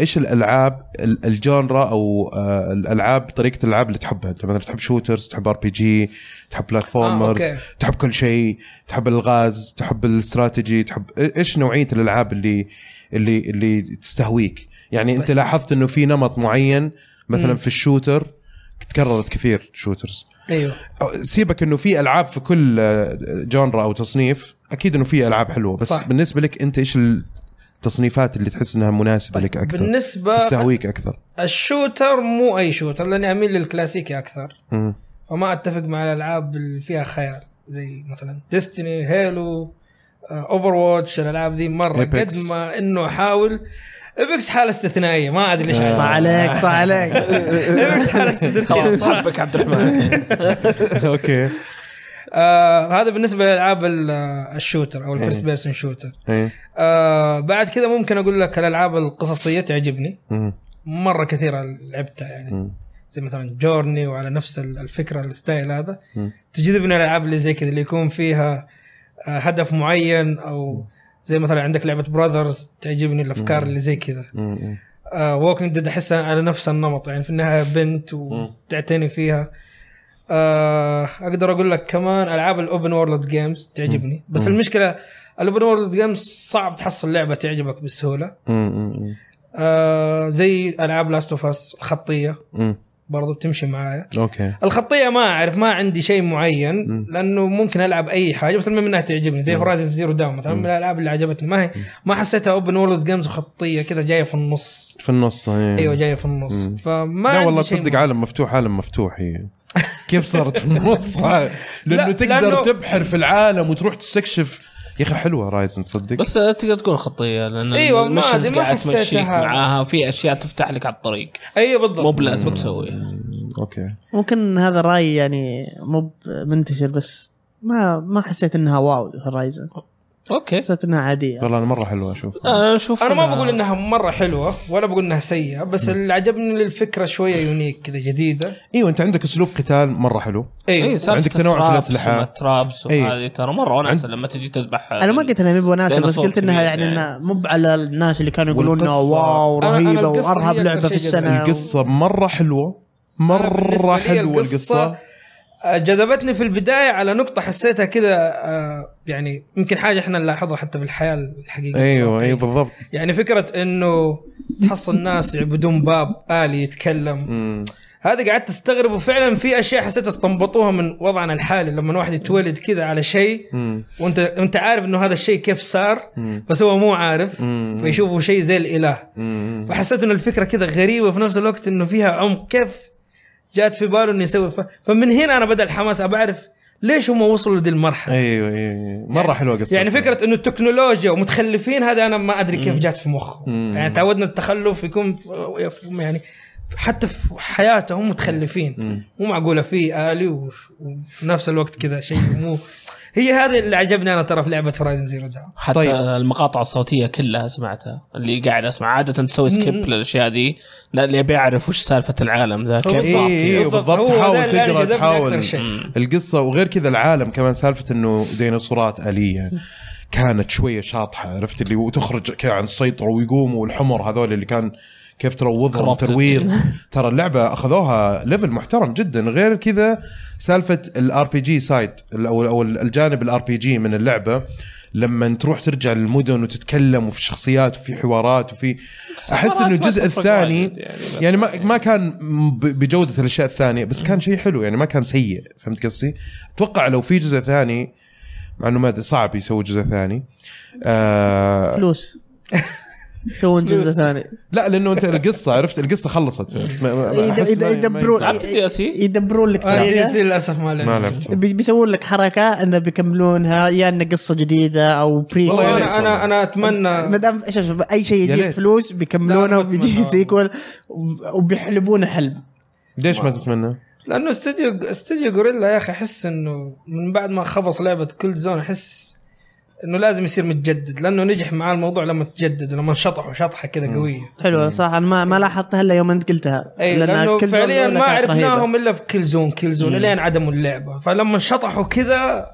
Speaker 1: ايش الالعاب ال- الجانرا او آه، الالعاب طريقه الالعاب اللي تحبها انت مثلا تحب شوترز تحب ار بي جي تحب بلاتفورمرز
Speaker 4: آه، أوكي.
Speaker 1: تحب كل شيء تحب الغاز تحب الاستراتيجي تحب إي- ايش نوعيه الالعاب اللي اللي اللي تستهويك يعني انت لاحظت انه في نمط معين مثلا
Speaker 4: طيب. مم.
Speaker 1: في الشوتر تكررت كثير شوترز
Speaker 4: ايوه
Speaker 1: سيبك انه في العاب في كل آه، جانرا او تصنيف اكيد انه في العاب حلوه بس صح.
Speaker 4: صح.
Speaker 1: بالنسبه لك انت ايش التصنيفات اللي تحس انها مناسبه لك اكثر
Speaker 4: بالنسبه
Speaker 1: تستهويك اكثر
Speaker 4: الشوتر مو اي شوتر لاني اميل للكلاسيكي اكثر
Speaker 1: مم.
Speaker 4: وما اتفق مع الالعاب اللي فيها خيال زي مثلا ديستني هيلو اوفر واتش الالعاب آه، ذي مره
Speaker 1: Apex.
Speaker 4: قد ما انه احاول ابكس حاله استثنائيه ما ادري
Speaker 1: آه.
Speaker 4: ليش
Speaker 3: صح عليك صح عليك
Speaker 4: ابكس حاله استثنائيه
Speaker 2: خلاص
Speaker 4: صراحة.
Speaker 2: حبك عبد الرحمن
Speaker 1: اوكي
Speaker 4: آه هذا بالنسبه للالعاب ال- آه، الشوتر او الفيرست بيرسون شوتر
Speaker 1: إيه.
Speaker 4: آه بعد كذا ممكن اقول لك الالعاب القصصيه تعجبني
Speaker 1: مم.
Speaker 4: مره كثيره لعبتها يعني
Speaker 1: مم.
Speaker 4: زي مثلا جورني وعلى نفس ال- الفكره الستايل هذا
Speaker 1: مم.
Speaker 4: تجذبني الالعاب اللي زي كذا اللي يكون فيها آه، هدف معين او زي مثلا عندك لعبه براذرز تعجبني الافكار اللي زي كذا
Speaker 1: مم.
Speaker 4: ووكينج ديد احسها على نفس النمط يعني في النهايه بنت وتعتني فيها آه، اقدر اقول لك كمان العاب الاوبن وورلد جيمز تعجبني بس المشكله الاوبن وورلد جيمز صعب تحصل لعبه تعجبك بسهوله
Speaker 1: مم.
Speaker 4: آه، زي العاب لاست اوف اس الخطيه
Speaker 1: مم.
Speaker 4: برضو بتمشي معايا
Speaker 1: اوكي
Speaker 4: الخطيه ما اعرف ما عندي شيء معين
Speaker 1: مم.
Speaker 4: لانه ممكن العب اي حاجه بس المهم انها تعجبني زي هورايزن زيرو داون مثلا من الالعاب اللي عجبتني ما هي ما حسيتها اوبن وورلد جيمز وخطيه كذا جايه في النص
Speaker 1: في النص إيه.
Speaker 4: ايوه جايه في النص
Speaker 1: مم.
Speaker 4: فما
Speaker 1: لا
Speaker 4: عندي
Speaker 1: والله
Speaker 4: شيء
Speaker 1: تصدق
Speaker 4: معين.
Speaker 1: عالم مفتوح عالم مفتوح هي كيف صارت في النص لانه
Speaker 4: لا،
Speaker 1: تقدر
Speaker 4: لأنه-
Speaker 1: تبحر في العالم وتروح تستكشف يا اخي حلوه رايزن تصدق
Speaker 2: بس تقدر تقول خطيه لان
Speaker 4: أيوة، ما-
Speaker 2: المشنز
Speaker 4: ما
Speaker 2: قاعد تمشيك
Speaker 4: حسيتها.
Speaker 2: معاها في اشياء تفتح لك على الطريق
Speaker 4: ايوه
Speaker 2: مو
Speaker 4: بالضبط
Speaker 2: بلازم تسويها
Speaker 1: أمم، اوكي
Speaker 3: ممكن هذا راي يعني مو ب- منتشر بس ما ما حسيت انها واو هورايزن
Speaker 4: إيه؟
Speaker 2: اوكي
Speaker 3: حسيت انها عاديه
Speaker 1: والله أنا مره حلوه اشوف
Speaker 2: انا اشوف
Speaker 4: انا ما بقول انها مره حلوه ولا بقول انها سيئه بس اللي عجبني الفكره شويه يونيك كذا جديده
Speaker 1: ايوه انت عندك اسلوب قتال مره حلو
Speaker 2: إيه،
Speaker 4: ايوه
Speaker 1: عندك تنوع في الأسلحة.
Speaker 2: ترابس
Speaker 1: إيه.
Speaker 2: وهذه ترى مره وناسه لما تجي تذبح
Speaker 3: انا ما قلت انها مي بوناسه بس
Speaker 2: ديناصور
Speaker 3: قلت انها
Speaker 2: كبير
Speaker 3: يعني
Speaker 2: يعني.
Speaker 3: انها مو على الناس اللي كانوا يقولون انه
Speaker 1: والقصة-
Speaker 3: واو
Speaker 4: أنا- أنا
Speaker 3: رهيبه
Speaker 4: القصة
Speaker 3: وارهب
Speaker 4: هي
Speaker 3: لعبه
Speaker 4: أكثر
Speaker 3: في
Speaker 4: شيء جذبني.
Speaker 3: السنه
Speaker 1: القصه مره حلوه مره
Speaker 4: بالنسبة لي
Speaker 1: حلوه
Speaker 4: القصة
Speaker 1: القصه
Speaker 4: آه، جذبتني في البدايه على نقطه حسيتها كذا آه، يعني يمكن حاجه احنا نلاحظها حتى في الحياه الحقيقيه
Speaker 1: ايوه ايوه بالضبط
Speaker 4: يعني فكره انه تحصل ناس يعبدون باب الي يتكلم
Speaker 1: مم.
Speaker 4: هذا قعدت استغرب وفعلا في اشياء حسيت استنبطوها من وضعنا الحالي لما واحد يتولد كذا على شيء
Speaker 1: مم.
Speaker 4: وانت انت عارف انه هذا الشيء كيف صار
Speaker 1: مم.
Speaker 4: بس هو مو عارف
Speaker 1: مم.
Speaker 4: فيشوفه شيء زي الاله
Speaker 1: مم.
Speaker 4: فحسيت انه الفكره كذا غريبه وفي نفس الوقت انه فيها عمق كيف جات في باله انه يسوي ف... فمن هنا انا بدا الحماس ابى اعرف ليش هم وصلوا لدي المرحله
Speaker 1: ايوه ايوه مره حلوه القصه
Speaker 4: يعني فكره انه التكنولوجيا ومتخلفين هذا انا ما ادري كيف جات في مخه
Speaker 1: مم.
Speaker 4: يعني تعودنا التخلف يكون في... في- يعني حتى في حياتهم متخلفين
Speaker 1: مم.
Speaker 4: مو معقوله في الي و... وفي نفس الوقت كذا شيء مو هي هذا اللي عجبني انا ترى في لعبه هورايزن زيرو داون
Speaker 2: حتى
Speaker 1: طيب.
Speaker 2: طيب. المقاطع الصوتيه كلها سمعتها اللي قاعد اسمع عاده تسوي سكيب للاشياء ذي لاني ابي اعرف وش سالفه العالم ذا كيف
Speaker 1: ايوه
Speaker 2: صار
Speaker 1: ايوه
Speaker 2: فيه.
Speaker 1: بالضبط
Speaker 4: بالضبط. هو
Speaker 1: تحاول
Speaker 4: ده اللي
Speaker 1: تقرا
Speaker 4: عجبني
Speaker 1: تحاول
Speaker 4: أكثر شيء.
Speaker 1: مم. القصه وغير كذا العالم كمان سالفه انه ديناصورات اليه كانت شويه شاطحه عرفت اللي وتخرج كذا عن السيطره ويقوموا والحمر هذول اللي كان كيف تروضهم
Speaker 2: Corrupted.
Speaker 1: وترويض ترى اللعبه اخذوها ليفل محترم جدا غير كذا سالفه الار بي جي سايد او او الجانب الار بي جي من اللعبه لما تروح ترجع للمدن وتتكلم وفي شخصيات وفي حوارات وفي احس انه
Speaker 2: ما
Speaker 1: الجزء
Speaker 2: تفرق
Speaker 1: الثاني
Speaker 2: وايد يعني.
Speaker 1: يعني ما ما كان ب- بجوده الاشياء الثانيه بس كان شيء حلو يعني ما كان سيء فهمت قصدي؟ اتوقع لو في جزء ثاني مع انه ما أدري، صعب يسوي جزء ثاني آه
Speaker 3: فلوس يسوون جزء
Speaker 4: فلوس.
Speaker 3: ثاني
Speaker 1: لا لانه انت القصه عرفت القصه خلصت عرفت؟ ما- ما- ما-
Speaker 3: يد-
Speaker 1: أحس
Speaker 3: يد-
Speaker 1: ما- ما
Speaker 3: يدبرون
Speaker 1: ينفع.
Speaker 2: لعبت DLC؟
Speaker 3: يدبرون لك
Speaker 4: انا دي
Speaker 3: طريقه
Speaker 4: سي للاسف
Speaker 1: ما
Speaker 4: ما لعبت
Speaker 1: لعبت.
Speaker 3: بي- بيسوون لك حركه انه بيكملونها يا انه قصه جديده او بري
Speaker 1: والله يا
Speaker 4: انا انا انا اتمنى
Speaker 3: ما دام شوف شوف، اي شيء
Speaker 1: يا
Speaker 3: يجيب
Speaker 1: ليت.
Speaker 3: فلوس
Speaker 4: لا،
Speaker 3: بيكملونه
Speaker 4: ما
Speaker 3: وبيجي
Speaker 4: أتمنى.
Speaker 3: سيكول وب- وبيحلبونه حلب
Speaker 1: ليش ما تتمنى؟
Speaker 4: لانه استوديو استوديو غوريلا يا اخي احس انه من بعد ما خبص لعبه كل زون احس انه لازم يصير متجدد لانه نجح معاه الموضوع لما تجدد لما شطحه شطحه كذا قويه
Speaker 3: حلوه صح انا ما, ما لاحظتها الا يوم انت قلتها
Speaker 4: اي
Speaker 3: لأن
Speaker 4: لانه
Speaker 3: كل زون
Speaker 4: فعليا
Speaker 3: الأولى
Speaker 4: ما
Speaker 3: كانت رهيبة.
Speaker 4: عرفناهم الا في كل زون كل زون الين عدموا اللعبه فلما شطحوا كذا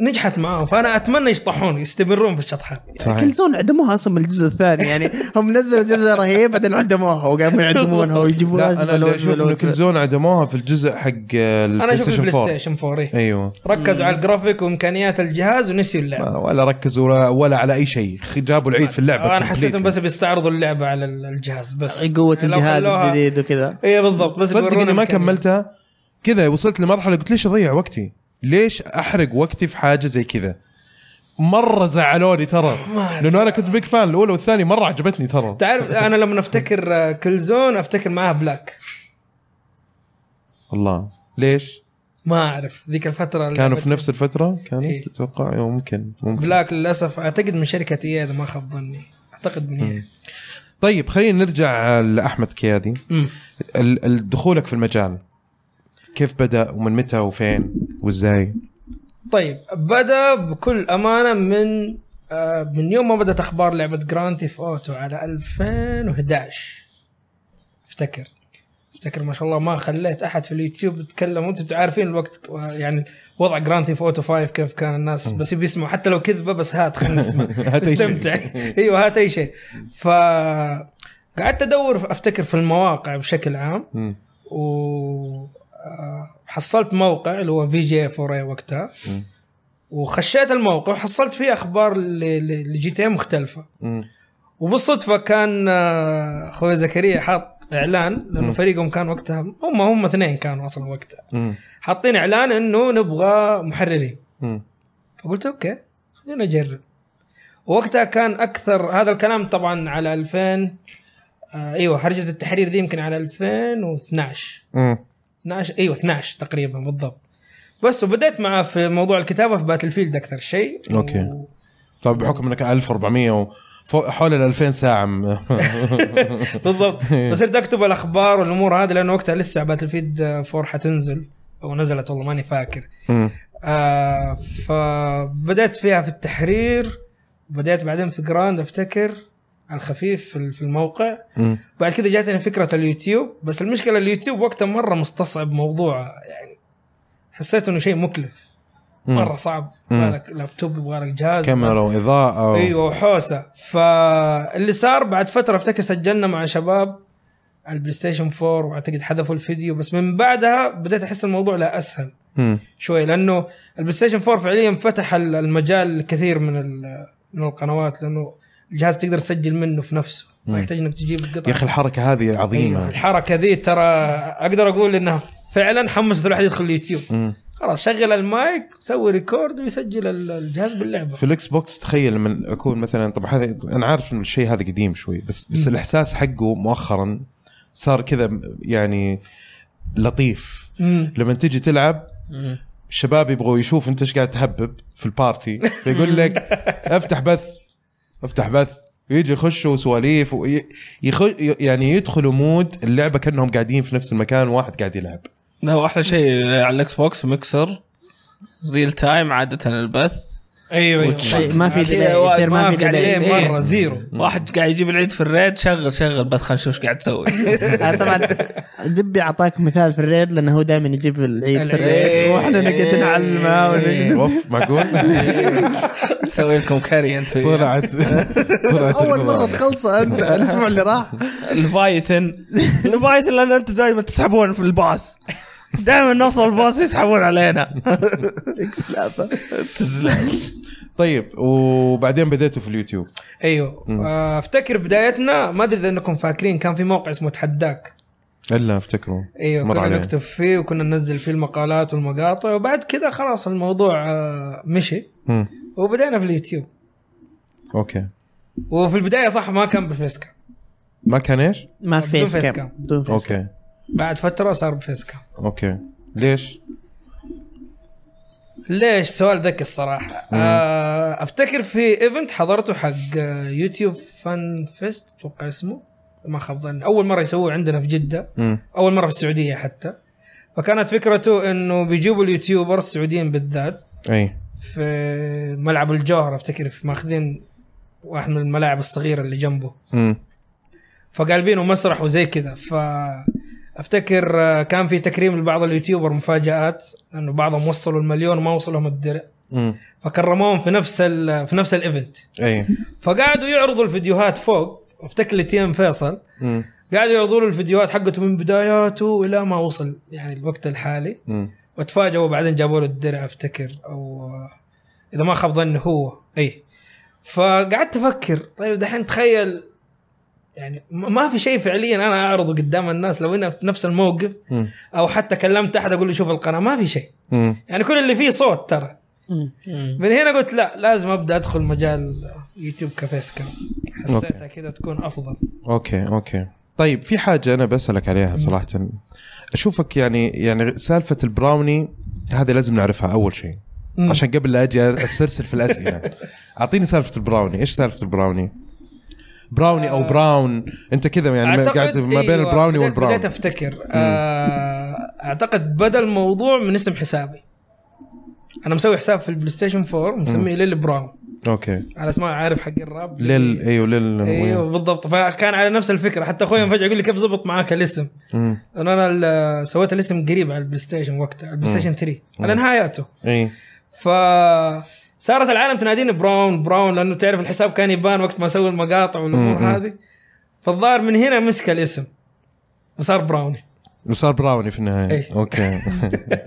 Speaker 4: نجحت معاهم فانا اتمنى يشطحون يستمرون في الشطحات
Speaker 3: كل زون عدموها اصلا من الجزء الثاني يعني هم نزلوا جزء رهيب بعدين عدموها وقاموا يعدمونها ويجيبوا
Speaker 1: لا انا
Speaker 3: أزمة
Speaker 1: اللي
Speaker 3: وأزمة
Speaker 1: اشوف انه
Speaker 3: وأزمة.
Speaker 1: كل زون عدموها في الجزء حق آه،
Speaker 4: انا
Speaker 1: البلاي
Speaker 4: اشوف
Speaker 1: ستيشن
Speaker 4: البلاي
Speaker 1: 4
Speaker 4: ستيشن 4 إيه.
Speaker 1: ايوه
Speaker 4: ركزوا على الجرافيك وامكانيات الجهاز ونسيوا اللعبه
Speaker 1: ما- ولا ركزوا ولا, ولا على اي شيء خ- جابوا العيد في اللعبه
Speaker 4: انا حسيت
Speaker 1: completely.
Speaker 4: انهم بس بيستعرضوا اللعبه على ال- الجهاز بس يعني
Speaker 3: قوة
Speaker 4: لو
Speaker 3: الجهاز
Speaker 4: خلوها-
Speaker 3: الجديد وكذا
Speaker 4: اي بالضبط بس
Speaker 1: تصدق
Speaker 4: بيورونا
Speaker 1: اني ما
Speaker 4: إمكانيات.
Speaker 1: كملتها كذا وصلت لمرحله قلت ليش اضيع وقتي؟ ليش احرق وقتي في حاجه زي كذا؟ مره زعلوني ترى لانه انا كنت بيك فان الاولى والثانيه مره عجبتني ترى
Speaker 4: تعرف انا لما افتكر آه، كل زون افتكر معاها بلاك
Speaker 1: الله ليش؟
Speaker 4: ما اعرف ذيك الفتره
Speaker 1: كانوا في نفس الفتره؟ كانت
Speaker 4: إيه.
Speaker 1: تتوقع أيوة، ممكن ممكن
Speaker 4: بلاك للاسف اعتقد من شركه اي اذا ما خاب ظني اعتقد من إيه.
Speaker 1: طيب خلينا نرجع لاحمد كيادي
Speaker 4: مم.
Speaker 1: ال- ال- دخولك في المجال كيف بدا ومن متى وفين وازاي؟
Speaker 4: طيب بدا بكل امانه من آه، من يوم ما بدات اخبار لعبه جراند ثيف اوتو على 2011 افتكر افتكر ما شاء الله ما خليت احد في اليوتيوب يتكلم وانتم عارفين الوقت آه، يعني وضع جراند ثيف اوتو 5 كيف كان الناس بس بيسمعوا حتى لو كذبه بس هات خلينا نسمع
Speaker 1: هات أي شيء.
Speaker 4: استمتع ايوه هات اي شيء ف قعدت ادور افتكر في المواقع بشكل عام
Speaker 1: مم.
Speaker 4: وحصلت موقع اللي هو في جي فوري وقتها
Speaker 1: مم.
Speaker 4: وخشيت الموقع وحصلت فيه اخبار ل- ل- لجي تي مختلفه
Speaker 1: مم.
Speaker 4: وبالصدفه كان آه، اخوي زكريا حاط اعلان لانه فريقهم كان وقتها هم هم اثنين كانوا اصلا وقتها
Speaker 1: مم.
Speaker 4: حاطين اعلان انه نبغى محررين
Speaker 1: مم.
Speaker 4: فقلت اوكي خلينا نجرب وقتها كان اكثر هذا الكلام طبعا على 2000 آه ايوه حرجه التحرير دي يمكن على 2012
Speaker 1: مم.
Speaker 4: 12 ايوه 12 تقريبا بالضبط بس وبدأت معه في موضوع الكتابه في باتل فيلد اكثر شيء
Speaker 1: أوكي.
Speaker 4: و...
Speaker 1: طيب بحكم انك 1400 و فوق- حول ال 2000 ساعه م-
Speaker 4: بالضبط
Speaker 1: إيه.
Speaker 4: فصرت اكتب الاخبار والامور هذه لانه وقتها لسه باتل فيلد 4 حتنزل او نزلت والله ماني فاكر
Speaker 1: مم.
Speaker 4: آه فبدأت فيها في التحرير بدأت بعدين في جراند افتكر على الخفيف في ال- في الموقع
Speaker 1: مم.
Speaker 4: بعد كده جاتني فكره اليوتيوب بس المشكله اليوتيوب وقتها مره مستصعب موضوعه يعني حسيت انه شيء مكلف
Speaker 1: مم.
Speaker 4: مره صعب
Speaker 1: مم.
Speaker 4: يبغالك لابتوب يبغالك جهاز
Speaker 1: كاميرا واضاءه و...
Speaker 4: ايوه وحوسه فاللي صار بعد فتره افتكر سجلنا مع شباب على البلاي ستيشن 4 واعتقد حذفوا الفيديو بس من بعدها بديت احس الموضوع لا اسهل
Speaker 1: مم.
Speaker 4: شوي لانه البلاي ستيشن 4 فعليا فتح ال- المجال لكثير من ال- من القنوات لانه الجهاز تقدر تسجل منه في نفسه ما يحتاج انك تجيب القطع
Speaker 1: يا اخي الحركه هذه
Speaker 4: أيوة
Speaker 1: عظيمه
Speaker 4: الحركه ذي ترى اقدر اقول انها فعلا حمست الواحد يدخل اليوتيوب
Speaker 1: مم.
Speaker 4: خلاص شغل المايك سوي ريكورد ويسجل ال- الجهاز باللعبه
Speaker 1: في الاكس بوكس تخيل من اكون مثلا طبعا هذا انا عارف ان الشيء هذا قديم شوي بس بس
Speaker 4: مم.
Speaker 1: الاحساس حقه مؤخرا صار كذا م- يعني لطيف
Speaker 4: مم.
Speaker 1: لما تيجي تلعب
Speaker 2: مم.
Speaker 1: الشباب يبغوا يشوف انت ايش قاعد تهبب في البارتي فيقول لك افتح بث افتح بث يجي يخشوا سواليف وي- يخ- يعني يدخلوا مود اللعبه كانهم قاعدين في نفس المكان واحد قاعد يلعب
Speaker 2: لا واحلى شيء على الاكس بوكس ميكسر ريل تايم عاده البث
Speaker 4: ايوه ايوه
Speaker 2: وتشيل.
Speaker 3: ما في ديلي إيه، يصير ما في
Speaker 4: عليه
Speaker 3: ديلي
Speaker 2: إيه.
Speaker 4: مره زيرو
Speaker 2: واحد قاعد يجيب العيد في الريد شغل شغل بث خلينا نشوف ايش قاعد تسوي
Speaker 3: آه، طبعا دبي اعطاك مثال في الريد لانه هو دائما يجيب العيد في الريد
Speaker 2: العيد.
Speaker 3: واحنا نقعد نعلمه ونقعد-
Speaker 1: اوف معقول
Speaker 2: سوي لكم كاري انت وياه.
Speaker 1: طلعت طلعت
Speaker 3: اول مره تخلصه انت الاسبوع اللي راح
Speaker 2: الفايثن الفايثن لان انتم دائما تسحبون في الباص دائما نوصل الباص يسحبون علينا
Speaker 3: اكس لافا
Speaker 1: طيب وبعدين بديتوا في اليوتيوب
Speaker 4: ايوه آه، افتكر بدايتنا ما ادري اذا انكم فاكرين كان في موقع اسمه تحداك
Speaker 1: الا افتكروا
Speaker 4: ايوه
Speaker 1: مر
Speaker 4: كنا
Speaker 1: علي.
Speaker 4: نكتب فيه وكنا ننزل فيه المقالات والمقاطع وبعد كذا خلاص الموضوع آه، مشي
Speaker 1: مم.
Speaker 4: وبدأنا في اليوتيوب
Speaker 1: اوكي
Speaker 4: وفي البدايه صح ما كان بفيس كام
Speaker 1: ما كان ايش؟
Speaker 3: ما في
Speaker 4: بدون
Speaker 3: فيس
Speaker 4: فيس
Speaker 3: كام
Speaker 4: كام.
Speaker 3: بدون فيس
Speaker 1: اوكي
Speaker 4: بعد فتره صار بفيس كام
Speaker 1: اوكي ليش؟
Speaker 4: ليش سؤال ذكي الصراحه آه، افتكر في ايفنت حضرته حق آه، يوتيوب فان فيست اتوقع اسمه ما خاب ظني اول مره يسووه عندنا في جده
Speaker 1: مم.
Speaker 4: اول مره في السعوديه حتى فكانت فكرته انه بيجيبوا اليوتيوبرز السعوديين بالذات
Speaker 1: اي
Speaker 4: في ملعب الجوهره افتكر في ماخذين واحد من الملاعب الصغيره اللي جنبه
Speaker 1: مم.
Speaker 4: فقالبينه مسرح وزي كذا ف افتكر آه، كان في تكريم لبعض اليوتيوبر مفاجات انه بعضهم وصلوا المليون وما وصلهم الدرع
Speaker 1: مم.
Speaker 4: فكرموهم في نفس ال- في نفس الايفنت
Speaker 1: اي
Speaker 4: فقعدوا يعرضوا الفيديوهات فوق افتكر لي تيم فيصل
Speaker 1: مم.
Speaker 4: قعدوا يعرضوا له الفيديوهات حقته من بداياته الى ما وصل يعني الوقت الحالي
Speaker 1: مم.
Speaker 4: وتفاجئوا بعدين جابوا له الدرع افتكر او اذا ما خاب ظني هو اي فقعدت افكر طيب دحين تخيل يعني م- ما في شيء فعليا انا اعرضه قدام الناس لو انا في نفس الموقف
Speaker 1: مم.
Speaker 4: او حتى كلمت احد اقول له شوف القناه ما في شيء
Speaker 1: مم.
Speaker 4: يعني كل اللي فيه صوت ترى من هنا قلت لا لازم ابدا ادخل مجال يوتيوب كفيس كام حسيتها كذا تكون افضل
Speaker 1: اوكي اوكي طيب في حاجه انا بسالك عليها صراحه اشوفك يعني يعني سالفه البراوني هذه لازم نعرفها اول شيء
Speaker 4: مم.
Speaker 1: عشان قبل لا اجي اسرسل في الاسئله اعطيني سالفه البراوني ايش سالفه البراوني براوني او براون انت كذا يعني
Speaker 4: أعتقد
Speaker 1: قاعد ما بين
Speaker 4: أيوة،
Speaker 1: البراوني
Speaker 4: بدأت-
Speaker 1: والبراون
Speaker 4: بدأت افتكر آه، اعتقد بدا الموضوع من اسم حسابي انا مسوي حساب في البلاي ستيشن 4 مسميه ليل براون
Speaker 1: اوكي
Speaker 4: على اسماء عارف حق الراب
Speaker 1: لل ايوه لل
Speaker 4: ايوه بالضبط فكان على نفس الفكره حتى اخوي فجاه يقول لي كيف زبط معاك الاسم
Speaker 1: مم.
Speaker 4: انا ال- سويت الاسم قريب على البلاي ستيشن وقتها البلاي ستيشن 3 على نهاياته
Speaker 1: اي
Speaker 4: ف صارت العالم تناديني براون براون لانه تعرف الحساب كان يبان وقت ما اسوي المقاطع والامور
Speaker 1: مم.
Speaker 4: هذه فالظاهر من هنا مسك الاسم وصار براوني
Speaker 1: وصار براوني في النهايه
Speaker 4: إيه.
Speaker 1: اوكي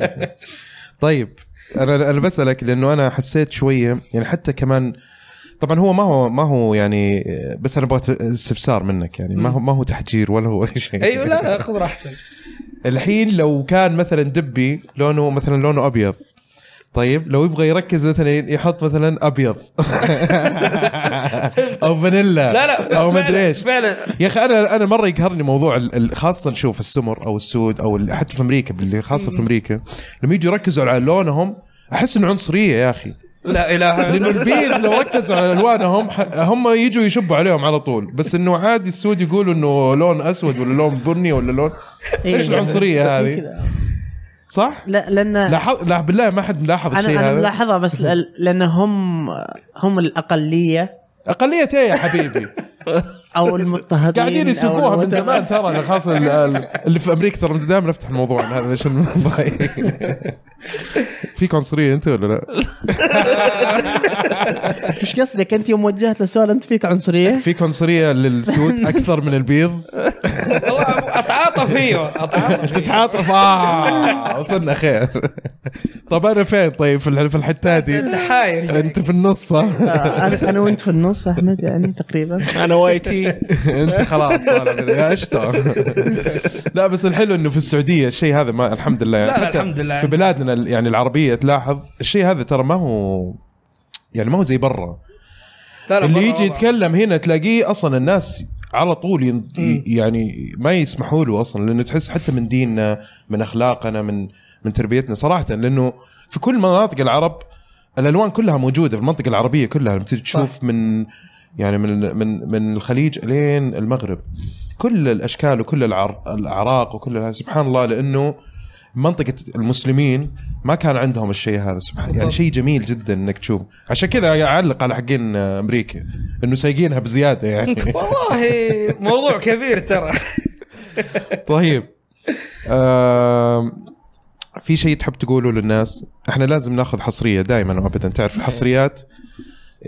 Speaker 1: طيب انا انا بسالك لانه انا حسيت شويه يعني حتى كمان طبعا هو ما هو ما هو يعني بس انا ابغى استفسار منك يعني ما هو ما هو تحجير ولا هو اي شيء
Speaker 4: ايوه لا لا، خذ راحتك
Speaker 1: الحين لو كان مثلا دبي لونه مثلا لونه ابيض طيب لو يبغى يركز مثلا يحط مثلا ابيض او فانيلا
Speaker 4: لا لا
Speaker 1: او
Speaker 4: فعلاً-
Speaker 1: مدري ايش
Speaker 4: فعلا
Speaker 1: يا اخي انا انا مره يقهرني موضوع ال- ال- خاصه نشوف السمر او السود او ال- حتى في امريكا اللي خاصه في امريكا لما يجوا يركزوا على لونهم احس انه عنصريه يا اخي
Speaker 4: لا اله
Speaker 1: لانه
Speaker 4: الا الله
Speaker 1: البيض لو ركزوا على الوانهم ح- هم يجوا يشبوا عليهم على طول بس انه عادي السود يقولوا انه لون اسود ولا لون بني ولا لون
Speaker 3: إيه.
Speaker 1: ايش العنصريه هذه صح؟
Speaker 3: لا لان
Speaker 1: لاحظ لا بالله ما حد ملاحظ
Speaker 3: انا
Speaker 1: الشيء
Speaker 3: انا
Speaker 1: هذا
Speaker 3: ملاحظها بس لأ- لان هم هم الاقليه
Speaker 1: اقليه ايه يا حبيبي
Speaker 3: او المضطهدين
Speaker 1: قاعدين
Speaker 3: أو
Speaker 1: يسوقوها من
Speaker 3: المتبع-
Speaker 1: زمان ترى خاصه ال- ال- اللي في امريكا ترى دائما نفتح الموضوع عن هذا ايش الموضوع في عنصريه انت ولا لا؟
Speaker 3: ايش قصدك انت يوم وجهت له سؤال انت فيك عنصريه؟
Speaker 1: في عنصريه للسود اكثر من البيض
Speaker 4: والله اتعاطف فيه اتعاطف فيه.
Speaker 1: تتعاطف اه وصلنا خير طب انا فين طيب في الح- في الحته
Speaker 4: انت
Speaker 1: دي
Speaker 4: حاير
Speaker 1: انت في النص صح؟
Speaker 3: آه، انا انا وانت في النص احمد يعني تقريبا
Speaker 2: انا واي تي
Speaker 1: انت خلاص طالع من- يا اشتر لا بس الحلو انه في السعوديه الشيء هذا ما الحمد لله يعني
Speaker 4: لا، لا،
Speaker 1: حتى
Speaker 4: الحمد لله.
Speaker 1: في بلادنا ال- يعني العربيه تلاحظ الشيء هذا ترى ما هو يعني ما هو زي برا
Speaker 4: لا لا
Speaker 1: اللي
Speaker 4: مرة
Speaker 1: يجي
Speaker 4: والله.
Speaker 1: يتكلم هنا تلاقيه اصلا الناس على طول ين...
Speaker 4: مم.
Speaker 1: يعني ما يسمحوا له اصلا لانه تحس حتى من ديننا من اخلاقنا من من تربيتنا صراحه لانه في كل مناطق العرب الالوان كلها موجوده في المنطقه العربيه كلها لما تجي تشوف من يعني من من من الخليج لين المغرب كل الاشكال وكل العر... الاعراق وكل هذا سبحان الله لانه منطقه المسلمين ما كان عندهم الشيء هذا سبحان يعني
Speaker 4: بالضبط.
Speaker 1: شيء جميل جدا انك تشوف عشان كذا اعلق على حقين امريكا انه سايقينها بزياده يعني
Speaker 4: والله موضوع كبير ترى
Speaker 1: طيب آم، في شيء تحب تقوله للناس احنا لازم ناخذ حصريه دائما وابدا تعرف الحصريات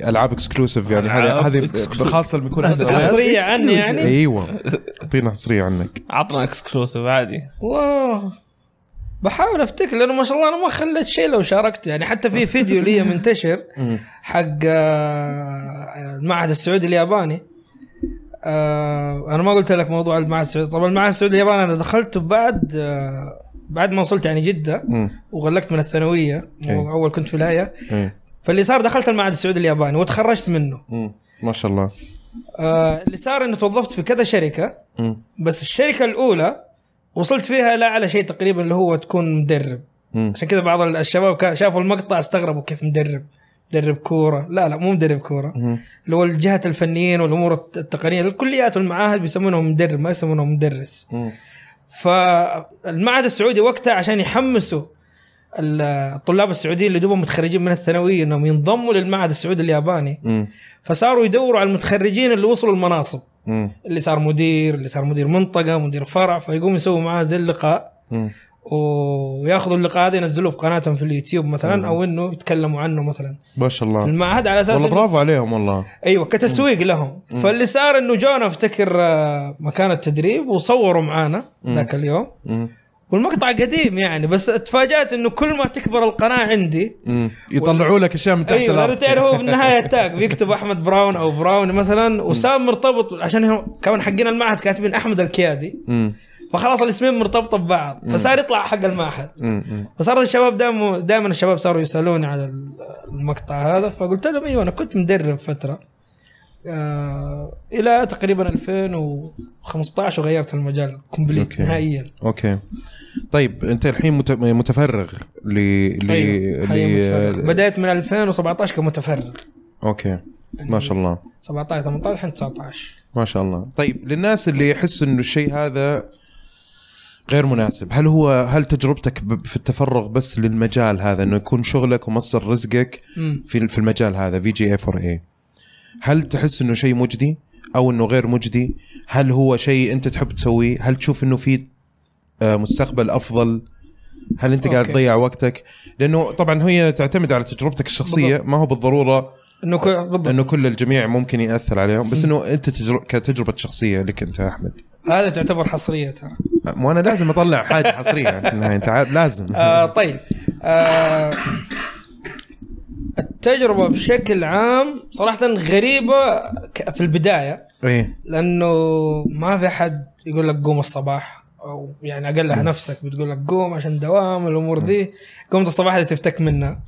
Speaker 1: العاب اكسكلوسيف يعني هذه هذه خاصه لما يكون عندنا أولاد.
Speaker 4: حصريه عني يعني
Speaker 1: ايوه اعطينا حصريه عنك
Speaker 2: عطنا اكسكلوسيف عادي
Speaker 4: الله بحاول افتكر لانه ما شاء الله انا ما خليت شيء لو شاركت يعني حتى في فيديو لي منتشر حق آه، المعهد السعودي الياباني آه، انا ما قلت لك موضوع المعهد السعودي طبعا المعهد السعودي الياباني انا دخلته بعد آه، بعد ما وصلت يعني جده
Speaker 1: مم.
Speaker 4: وغلقت من الثانويه
Speaker 1: أي.
Speaker 4: اول كنت في الهيئه
Speaker 1: إيه.
Speaker 4: فاللي صار دخلت المعهد السعودي الياباني وتخرجت منه
Speaker 1: مم. ما شاء الله
Speaker 4: آه، اللي صار انه توظفت في كذا شركه
Speaker 1: مم.
Speaker 4: بس الشركه الاولى وصلت فيها لا على شيء تقريبا اللي هو تكون مدرب
Speaker 1: مم.
Speaker 4: عشان كذا بعض الشباب كا- شافوا المقطع استغربوا كيف مدرب مدرب كوره لا لا مو مدرب كوره
Speaker 1: مم.
Speaker 4: اللي هو الجهه الفنيين والامور الت- التقنيه الكليات والمعاهد بيسمونهم مدرب ما يسمونهم مدرس
Speaker 1: مم.
Speaker 4: فالمعهد السعودي وقتها عشان يحمسوا ال- الطلاب السعوديين اللي دوبهم متخرجين من الثانويه انهم ينضموا للمعهد السعودي الياباني
Speaker 1: مم.
Speaker 4: فصاروا يدوروا على المتخرجين اللي وصلوا المناصب
Speaker 1: مم.
Speaker 4: اللي صار مدير اللي صار مدير منطقه مدير فرع فيقوم يسووا معاه زي اللقاء
Speaker 1: مم.
Speaker 4: وياخذوا اللقاء هذا ينزلوه في قناتهم في اليوتيوب مثلا او انه يتكلموا عنه مثلا
Speaker 1: ما شاء
Speaker 4: في
Speaker 1: الله
Speaker 4: المعهد على اساس
Speaker 1: والله
Speaker 4: إنه-
Speaker 1: برافو عليهم والله
Speaker 4: ايوه كتسويق لهم فاللي صار انه جونا افتكر آه، مكان التدريب وصوروا معانا ذاك اليوم
Speaker 1: مم.
Speaker 4: والمقطع قديم يعني بس تفاجات انه كل ما تكبر القناه عندي
Speaker 1: مم. يطلعوا لك اشياء من تحت
Speaker 4: ايوه لانه
Speaker 1: الارض
Speaker 4: تعرف هو بالنهايه تاج بيكتب احمد براون او براون مثلا وسام مرتبط عشان هم كمان حقين المعهد كاتبين احمد الكيادي
Speaker 1: مم.
Speaker 4: فخلاص الاسمين مرتبطه ببعض فصار يطلع حق المعهد
Speaker 1: مم. مم.
Speaker 4: فصار الشباب دائما دائما الشباب صاروا يسالوني على المقطع هذا فقلت لهم ايوه انا كنت مدرب فتره آه الى تقريبا 2015 وغيرت المجال كومبليت
Speaker 1: أوكي.
Speaker 4: نهائيا
Speaker 1: اوكي طيب انت الحين مت- متفرغ ل ل
Speaker 4: أيوة، حالياً متفرغ.
Speaker 1: ل
Speaker 4: بدأت من 2017 كمتفرغ
Speaker 1: اوكي ما شاء الله
Speaker 4: 17 18 الحين 19
Speaker 1: ما شاء الله طيب للناس اللي يحس انه الشيء هذا غير مناسب هل هو هل تجربتك ب- في التفرغ بس للمجال هذا انه يكون شغلك ومصدر رزقك
Speaker 4: مم.
Speaker 1: في في المجال هذا في جي اي 4 اي هل تحس انه شيء مجدي او انه غير مجدي هل هو شيء انت تحب تسويه هل تشوف انه في آه، مستقبل افضل هل انت قاعد
Speaker 4: أوكي.
Speaker 1: تضيع وقتك لانه طبعا هي تعتمد على تجربتك الشخصيه ما هو بالضروره
Speaker 4: انه ك- بالضبط
Speaker 1: انه كل الجميع ممكن ياثر عليهم بس انه انت تجر... كتجربه شخصيه لك انت يا احمد
Speaker 4: هذا تعتبر حصريه ترى
Speaker 1: مو انا لازم اطلع حاجه حصريه في النهايه انت عارف لازم
Speaker 4: آه طيب آه التجربه بشكل عام صراحه غريبه ك- في البدايه
Speaker 1: ايه
Speaker 4: لانه ما في حد يقول لك قوم الصباح او يعني اقلها نفسك بتقول لك قوم عشان دوام الامور ذي قمت الصباح اللي تفتك منها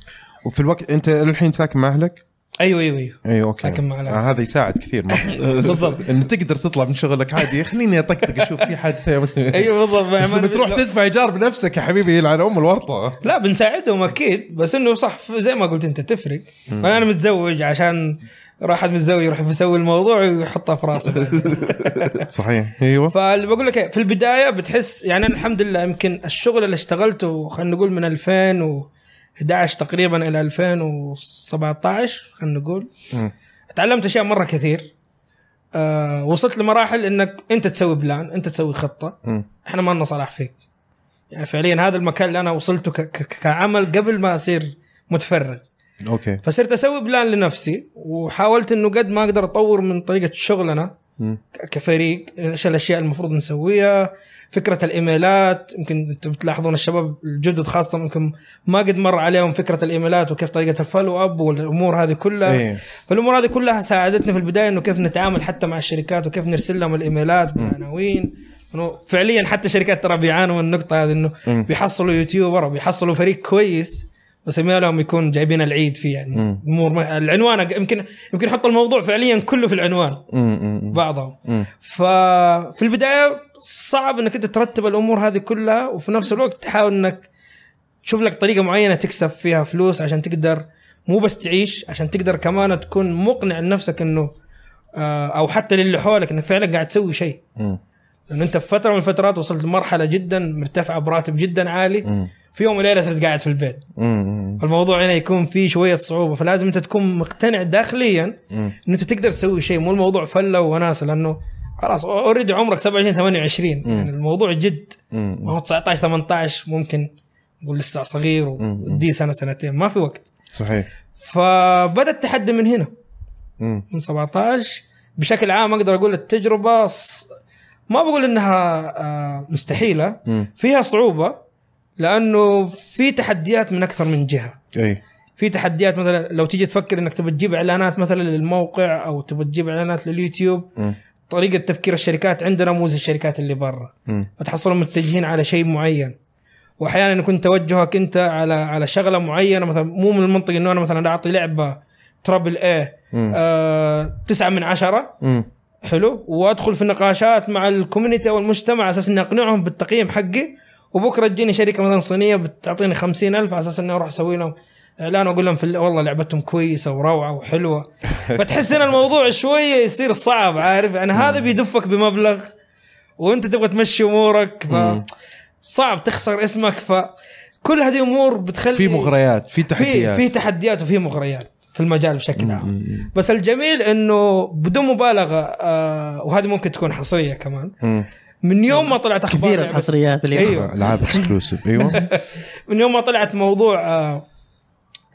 Speaker 1: وفي الوقت انت الحين ساكن مع اهلك؟
Speaker 4: ايوه ايوه ايوه
Speaker 1: ايوه اوكي
Speaker 4: ساكن مع أهلي.
Speaker 1: آه هذا يساعد كثير مره
Speaker 4: بالضبط
Speaker 1: انه تقدر تطلع من شغلك عادي خليني اطقطق اشوف في حادثه بس
Speaker 4: ايوه بالضبط
Speaker 1: بس
Speaker 4: يعني ما-
Speaker 1: بتروح تدفع ايجار بنفسك يا حبيبي يلعن ام الورطه
Speaker 4: لا بنساعدهم اكيد بس انه صح ف- زي ما قلت انت تفرق انا متزوج عشان راح متزوج يروح يسوي الموضوع ويحطها في راسه
Speaker 1: صحيح ايوه
Speaker 4: فاللي بقول لك إيه، في البدايه بتحس يعني أنا الحمد لله يمكن الشغل اللي اشتغلته خلينا نقول من 2011 تقريبا الى 2017 خلينا نقول
Speaker 1: مم.
Speaker 4: تعلمت اشياء مره كثير آه وصلت لمراحل انك انت تسوي بلان انت تسوي خطه
Speaker 1: مم.
Speaker 4: احنا ما لنا صلاح فيك يعني فعليا هذا المكان اللي انا وصلته ك- ك- كعمل قبل ما اصير متفرغ
Speaker 1: اوكي
Speaker 4: فصرت اسوي بلان لنفسي وحاولت انه قد ما اقدر اطور من طريقه شغلنا
Speaker 1: مم.
Speaker 4: ك- كفريق ايش الاشياء المفروض نسويها فكره الايميلات يمكن انتم بتلاحظون الشباب الجدد خاصه ممكن ما قد مر عليهم فكره الايميلات وكيف طريقه الفولو اب والامور هذه كلها
Speaker 1: إيه.
Speaker 4: فالامور هذه كلها ساعدتني في البدايه انه كيف نتعامل حتى مع الشركات وكيف نرسل لهم الايميلات بعناوين إنه فعليا حتى الشركات ترى بيعانوا من النقطه هذه انه
Speaker 1: مم.
Speaker 4: بيحصلوا يوتيوبر او بيحصلوا فريق كويس بس ايميلهم يكون جايبين العيد فيه يعني
Speaker 1: مم.
Speaker 4: امور ما- العنوان أق- يمكن يمكن يحط الموضوع فعليا كله في العنوان
Speaker 1: مم، مم،
Speaker 4: بعضهم
Speaker 1: مم.
Speaker 4: ففي البدايه صعب انك انت ترتب الامور هذه كلها وفي نفس الوقت تحاول انك تشوف لك طريقه معينه تكسب فيها فلوس عشان تقدر مو بس تعيش عشان تقدر كمان تكون مقنع لنفسك انه آه، او حتى للي حولك انك فعلا قاعد تسوي شيء
Speaker 1: مم،
Speaker 4: لانه انت في فتره من الفترات وصلت لمرحله جدا مرتفعه براتب جدا عالي
Speaker 1: مم،
Speaker 4: في يوم وليله صرت قاعد في البيت
Speaker 1: مم،
Speaker 4: الموضوع هنا يكون فيه شويه صعوبه فلازم انت تكون مقتنع داخليا
Speaker 1: مم.
Speaker 4: ان انت تقدر تسوي شيء مو الموضوع فله وناس لانه خلاص اوريدي عمرك 27 28 يعني الموضوع جد
Speaker 1: مم.
Speaker 4: ما هو 19 18 ممكن نقول لسه صغير ودي سنه سنتين ما في وقت
Speaker 1: صحيح
Speaker 4: فبدا التحدي من هنا
Speaker 1: مم.
Speaker 4: من 17 بشكل عام اقدر اقول التجربه ص... ما بقول انها آه، مستحيله
Speaker 1: مم.
Speaker 4: فيها صعوبه لانه في تحديات من اكثر من جهه
Speaker 1: اي
Speaker 4: في تحديات مثلا لو تيجي تفكر انك تبى تجيب اعلانات مثلا للموقع او تبى تجيب اعلانات لليوتيوب
Speaker 1: مم.
Speaker 4: طريقه تفكير الشركات عندنا مو زي الشركات اللي برا
Speaker 1: مم.
Speaker 4: فتحصلهم متجهين على شيء معين واحيانا يكون توجهك انت على على شغله معينه مثلا مو من المنطق انه انا مثلا اعطي لعبه ترابل ايه
Speaker 1: مم.
Speaker 4: آه، تسعة من عشرة
Speaker 1: مم.
Speaker 4: حلو وادخل في نقاشات مع الكوميونتي او المجتمع على اساس اني اقنعهم بالتقييم حقي وبكره تجيني شركه مثلا صينيه بتعطيني خمسين ألف على اساس اني اروح اسوي لهم اعلان واقول لهم في ال- والله لعبتهم كويسه وروعه وحلوه فتحس ان الموضوع شويه يصير صعب عارف يعني هذا بيدفك بمبلغ وانت تبغى تمشي امورك ف صعب تخسر اسمك فكل هذه امور بتخلي
Speaker 1: في مغريات في
Speaker 4: في
Speaker 1: تحديات
Speaker 4: في تحديات وفي مغريات في المجال بشكل عام بس الجميل انه بدون مبالغه آه وهذه ممكن تكون حصريه كمان
Speaker 1: مم.
Speaker 4: من يوم ما طلعت اخبار
Speaker 3: كثير
Speaker 4: لعبة-
Speaker 3: الحصريات اليوم
Speaker 4: أيوة.
Speaker 1: العاب اكسكلوسيف ايوه
Speaker 4: من يوم ما طلعت موضوع آه،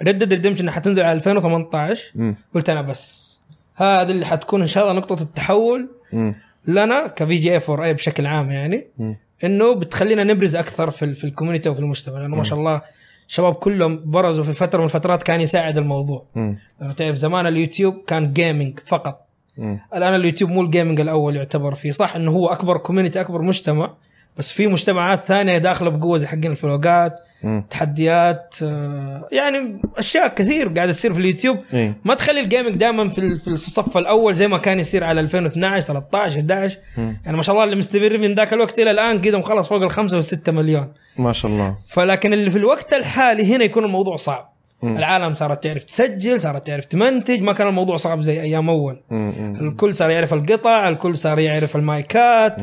Speaker 4: ريد ديد ريدمشن حتنزل على 2018
Speaker 1: مم.
Speaker 4: قلت انا بس هذا اللي حتكون ان شاء الله نقطه التحول
Speaker 1: مم.
Speaker 4: لنا كفي جي اي 4 اي بشكل عام يعني
Speaker 1: مم.
Speaker 4: انه بتخلينا نبرز اكثر في ال- في الكوميونتي وفي المجتمع لانه ما شاء الله الشباب كلهم برزوا في فتره من الفترات كان يساعد الموضوع
Speaker 1: مم.
Speaker 4: لانه تعرف زمان اليوتيوب كان جيمنج فقط
Speaker 1: مم.
Speaker 4: الان اليوتيوب مو الجيمنج الاول يعتبر فيه صح انه هو اكبر كوميونتي اكبر مجتمع بس في مجتمعات ثانيه داخله بقوه زي حقين الفلوقات
Speaker 1: مم.
Speaker 4: تحديات آه، يعني اشياء كثير قاعده تصير في اليوتيوب
Speaker 1: إيه.
Speaker 4: ما تخلي الجيمنج دائما في ال- في الصف الاول زي ما كان يصير على 2012 13 11 يعني ما شاء الله اللي مستمر من ذاك الوقت الى الان قيدهم خلاص فوق الخمسة والستة مليون
Speaker 1: ما شاء الله
Speaker 4: فلكن اللي في الوقت الحالي هنا يكون الموضوع صعب
Speaker 1: مم.
Speaker 4: العالم صارت تعرف تسجل صارت تعرف تمنتج ما كان الموضوع صعب زي ايام اول
Speaker 1: مم. مم.
Speaker 4: الكل صار يعرف القطع الكل صار يعرف المايكات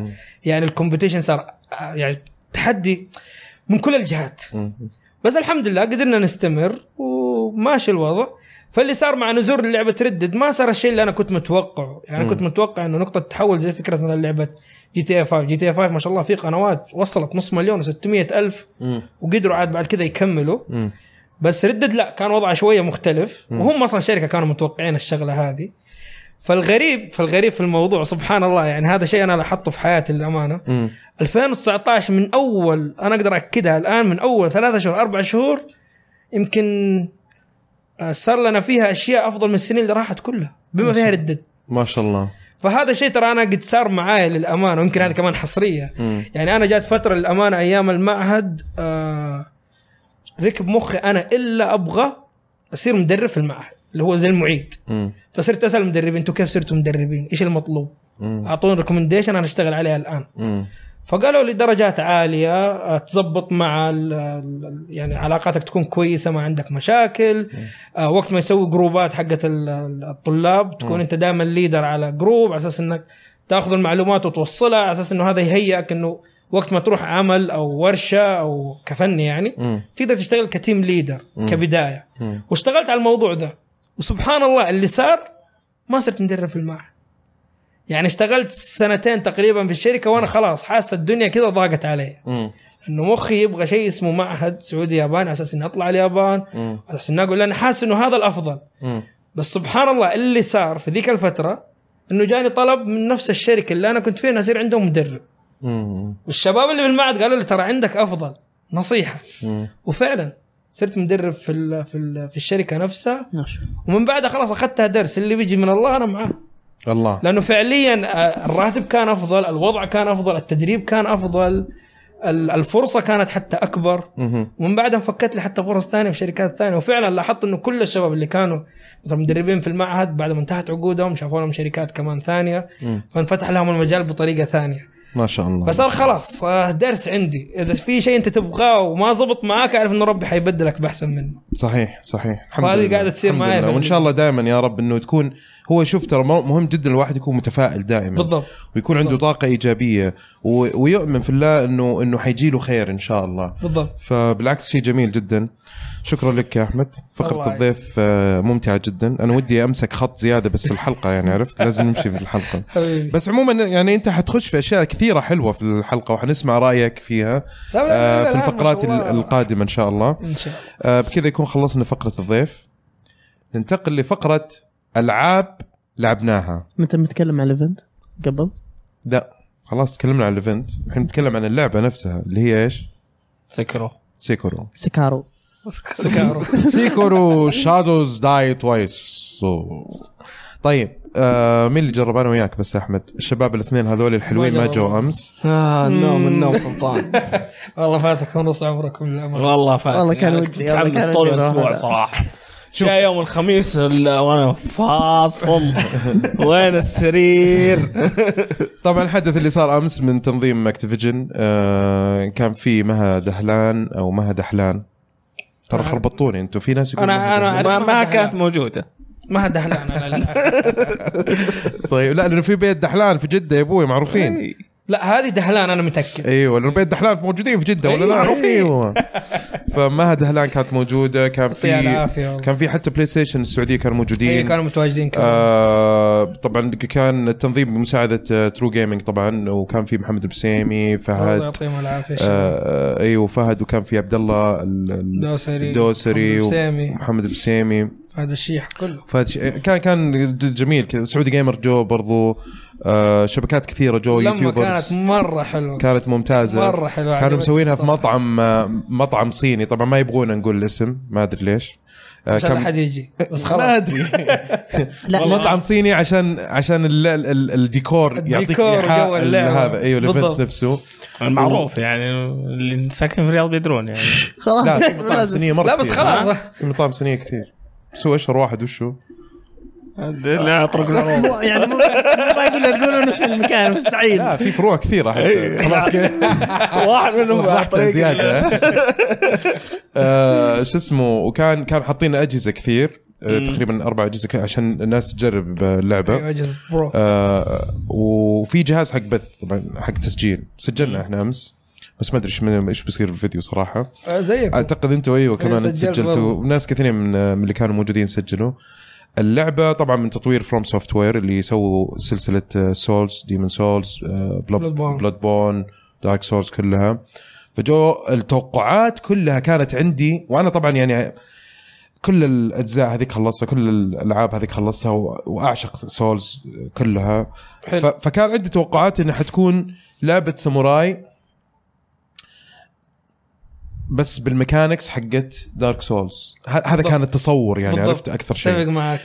Speaker 4: يعني الكومبيتيشن صار آه، يعني تحدي من كل الجهات
Speaker 1: مم.
Speaker 4: بس الحمد لله قدرنا نستمر وماشي الوضع فاللي صار مع نزول لعبه ردد ما صار الشيء اللي انا كنت متوقعه يعني كنت متوقع انه نقطه تحول زي فكره مثلا لعبه جي تي اي 5 جي تي اي 5 ما شاء الله في قنوات وصلت نص مليون و600 الف
Speaker 1: مم.
Speaker 4: وقدروا عاد بعد كذا يكملوا
Speaker 1: مم.
Speaker 4: بس ردد لا كان وضعه شويه مختلف وهم اصلا شركه كانوا متوقعين الشغله هذه فالغريب فالغريب في الموضوع سبحان الله يعني هذا شيء انا لاحظته في حياتي للامانه
Speaker 1: مم.
Speaker 4: 2019 من اول انا اقدر اكدها الان من اول ثلاثة شهور اربع شهور يمكن آه، صار لنا فيها اشياء افضل من السنين اللي راحت كلها بما فيها ردد
Speaker 1: ما شاء الله
Speaker 4: فهذا شيء ترى انا قد صار معايا للامانه ويمكن هذا كمان حصريه
Speaker 1: مم.
Speaker 4: يعني انا جات فتره للامانه ايام المعهد آه ركب مخي انا الا ابغى اصير مدرب في المعهد اللي هو زي المعيد
Speaker 1: مم.
Speaker 4: فصرت اسال المدربين انتم كيف صرتوا مدربين؟ ايش المطلوب؟ اعطوني ريكومنديشن انا اشتغل عليها الان
Speaker 1: مم.
Speaker 4: فقالوا لي درجات عاليه آه، تزبط مع ال- ال- يعني علاقاتك تكون كويسه ما عندك مشاكل آه، وقت ما يسوي جروبات حقت ال- ال- الطلاب تكون انت دائما ليدر على جروب على اساس انك تاخذ المعلومات وتوصلها على اساس انه هذا يهيئك انه وقت ما تروح عمل او ورشه او كفن يعني
Speaker 1: مم.
Speaker 4: تقدر تشتغل كتيم ليدر كبدايه
Speaker 1: مم.
Speaker 4: واشتغلت على الموضوع ده وسبحان الله اللي صار ما صرت مدرب في المعهد يعني اشتغلت سنتين تقريبا في الشركه وانا خلاص حاسس الدنيا كذا ضاقت علي
Speaker 1: مم.
Speaker 4: انه مخي يبغى شيء اسمه معهد سعودي ياباني على اساس اني اطلع اليابان
Speaker 1: مم.
Speaker 4: على اساس اني اقول انا حاسس انه هذا الافضل
Speaker 1: مم.
Speaker 4: بس سبحان الله اللي صار في ذيك الفتره انه جاني طلب من نفس الشركه اللي انا كنت فيها اني اصير عندهم مدرب
Speaker 1: مم.
Speaker 4: والشباب اللي بالمعهد قالوا لي ترى عندك افضل نصيحه
Speaker 1: مم.
Speaker 4: وفعلا صرت مدرب في ال في ال في الشركه نفسها
Speaker 3: ما شاء الله.
Speaker 4: ومن بعدها خلاص اخذتها درس اللي بيجي من الله انا معاه
Speaker 1: الله
Speaker 4: لانه فعليا آه، الراتب كان افضل الوضع كان افضل التدريب كان افضل ال- الفرصه كانت حتى اكبر
Speaker 1: مم.
Speaker 4: ومن بعدها فكت لي حتى فرص ثانيه في شركات ثانيه وفعلا لاحظت انه كل الشباب اللي كانوا مثلا مدربين في المعهد بعد ما انتهت عقودهم شافوا لهم شركات كمان ثانيه
Speaker 1: مم.
Speaker 4: فانفتح لهم المجال بطريقه ثانيه
Speaker 1: ما شاء الله
Speaker 4: فصار خلاص آه، درس عندي اذا في شيء انت تبغاه وما زبط معاك اعرف انه ربي حيبدلك باحسن منه
Speaker 1: صحيح صحيح
Speaker 4: وهذه قاعدة تصير
Speaker 1: الحمد
Speaker 4: معايا
Speaker 1: لله.
Speaker 4: في
Speaker 1: وان
Speaker 4: ال-
Speaker 1: شاء الله دائما يا رب انه تكون هو شوف ترى مو- مهم جدا الواحد يكون متفائل دائما
Speaker 4: بالضبط
Speaker 1: ويكون عنده طاقه ايجابيه و... ويؤمن في الله انه انه حيجي له خير ان شاء الله
Speaker 4: بالضبط
Speaker 1: فبالعكس شيء جميل جدا شكرا لك يا احمد
Speaker 4: الله
Speaker 1: فقره الضيف آه، ممتعه جدا انا ودي امسك خط زياده بس الحلقه يعني عرفت لازم نمشي في الحلقه
Speaker 4: حبيبي
Speaker 1: بس عموما يعني انت حتخش في اشياء كثيره حلوه في الحلقه وحنسمع رايك فيها
Speaker 4: لا، لا، لا،
Speaker 1: آه،
Speaker 4: لا،
Speaker 1: في
Speaker 4: لا،
Speaker 1: الفقرات
Speaker 4: ما شاء الله.
Speaker 1: القادمه ان شاء الله
Speaker 4: ان شاء الله
Speaker 1: آه، بكذا يكون خلصنا فقرة الضيف ننتقل لفقرة ألعاب لعبناها
Speaker 3: متى بنتكلم عن الايفنت؟ قبل؟
Speaker 1: لا خلاص تكلمنا عن الايفنت الحين نتكلم عن اللعبة نفسها اللي هي ايش؟
Speaker 2: سكروا
Speaker 1: سيكورو
Speaker 3: سكارو
Speaker 4: سكارو
Speaker 1: سيكورو شادوز داي توايس طيب آه مين اللي جرب انا وياك بس يا احمد الشباب الاثنين هذول الحلوين ما
Speaker 4: ما جربوا.
Speaker 1: جو امس
Speaker 2: آه النوم النوم سلطان
Speaker 4: والله فاتكم نص عمركم للامانه
Speaker 2: والله فاتني
Speaker 3: والله كان
Speaker 2: أنا
Speaker 3: ودي-
Speaker 2: كنت
Speaker 3: والله كان
Speaker 2: متحمس
Speaker 3: ودي
Speaker 2: طول
Speaker 3: أروح
Speaker 2: الاسبوع
Speaker 3: هذا.
Speaker 2: صراحه جاء يوم الخميس ال- وانا فاصل وين السرير
Speaker 1: طبعا الحدث اللي صار امس من تنظيم اكتيفيجن آه كان في مها دهلان او مها دحلان ترى خربطوني انتم في ناس يقولون
Speaker 4: أنا- أنا
Speaker 1: مهدي.
Speaker 2: ما, ما
Speaker 4: ما حد
Speaker 2: كانت
Speaker 4: لا.
Speaker 2: موجوده
Speaker 4: ما دهلان انا
Speaker 1: طيب لا لانه في بيت دحلان في جده يا ابوي معروفين
Speaker 2: إي.
Speaker 4: لا هذه دهلان انا متاكد
Speaker 1: ايوه لانه بيت دحلان موجودين في جده ولا لا؟ ايوه فمها دهلان كانت موجوده كان في
Speaker 4: يعطيها العافية والله.
Speaker 1: كان في حتى بلاي ستيشن السعوديه كانوا
Speaker 4: اي
Speaker 1: موجودين
Speaker 4: كانوا متواجدين كانوا
Speaker 1: آه طبعا كان آه، التنظيم بمساعده ترو جيمنج طبعا وكان في محمد البسيمي
Speaker 4: الله
Speaker 1: فهد
Speaker 4: يعطيهم العافيه الشباب.
Speaker 1: آه آه، ايوه فهد وكان في عبد الله ال- ال-
Speaker 4: الدوسري
Speaker 1: الدوسري
Speaker 4: محمد البسيمي.
Speaker 1: ومحمد البسيمي
Speaker 4: هذا الشيح كله
Speaker 1: فهد ش- كان كان ج- جميل كذا سعودي جيمر جو برضو آه شبكات كثيره جو
Speaker 4: لما
Speaker 1: يوتيوبرز
Speaker 4: كانت مره حلوه
Speaker 1: كانت ممتازه
Speaker 4: مره حلوه
Speaker 1: كانوا
Speaker 4: عجبتني
Speaker 1: مسوينها في
Speaker 4: الصراحة.
Speaker 1: مطعم آه، مطعم صيني طبعا ما يبغون نقول الاسم ما ادري ليش آه،
Speaker 4: عشان
Speaker 1: كان-
Speaker 4: لا حد يجي بس
Speaker 1: ما
Speaker 4: خلاص
Speaker 1: ادري
Speaker 3: لا
Speaker 1: مطعم صيني عشان عشان ال ال ال الديكور يعطيك
Speaker 4: الديكور وجو
Speaker 1: إيحاء ال-
Speaker 4: اللعبة.
Speaker 1: هذا ايوه الايفنت
Speaker 4: بالضبط.
Speaker 1: نفسه
Speaker 2: المعروف يعني اللي ساكن في الرياض بيدرون يعني
Speaker 1: لا
Speaker 3: خلاص
Speaker 1: في مطاعم صينيه مره
Speaker 4: لا بس
Speaker 1: كثير.
Speaker 4: خلاص
Speaker 1: في مطاعم صينيه كثير بس هو اشهر واحد وشو؟
Speaker 2: لا اطرق العروض
Speaker 3: مو- يعني مو مو باقي الا تقولوا نفس المكان مستحيل
Speaker 1: لا في فروع كثيره حتى خلاص كده
Speaker 2: واحد منهم على
Speaker 1: واحدة
Speaker 2: طريق
Speaker 1: زياده آه، شو اسمه وكان كان حاطين اجهزه كثير آه، تقريبا اربع اجهزه ك- عشان الناس تجرب آه، اللعبه
Speaker 4: أيوة، أجهزة برو
Speaker 1: آه وفي جهاز حق بث طبعا حق تسجيل سجلنا احنا امس بس ما ادري ايش من- ايش بيصير في الفيديو صراحه
Speaker 4: آه، زيك
Speaker 1: اعتقد انتوا ايوه
Speaker 4: أيوة،
Speaker 1: كمان
Speaker 4: سجلت
Speaker 1: سجلتوا
Speaker 4: برضو.
Speaker 1: وناس كثيرين من من اللي كانوا موجودين سجلوا اللعبه طبعا من تطوير فروم سوفت وير اللي سووا آه، سلسله سولز ديمون سولز
Speaker 4: Bloodborne.
Speaker 1: بلاد بون دارك سولز كلها فجو التوقعات كلها كانت عندي وانا طبعا يعني كل الاجزاء هذيك خلصتها كل الالعاب هذيك خلصتها و- واعشق سولز كلها
Speaker 4: حلو.
Speaker 1: ف... فكان عندي توقعات انها حتكون لعبه ساموراي بس بالميكانكس حقت دارك سولز ه... هذا
Speaker 4: بالضبط.
Speaker 1: كان التصور يعني
Speaker 4: بالضبط. إيه،
Speaker 1: عرفت اكثر شيء
Speaker 4: اتفق معك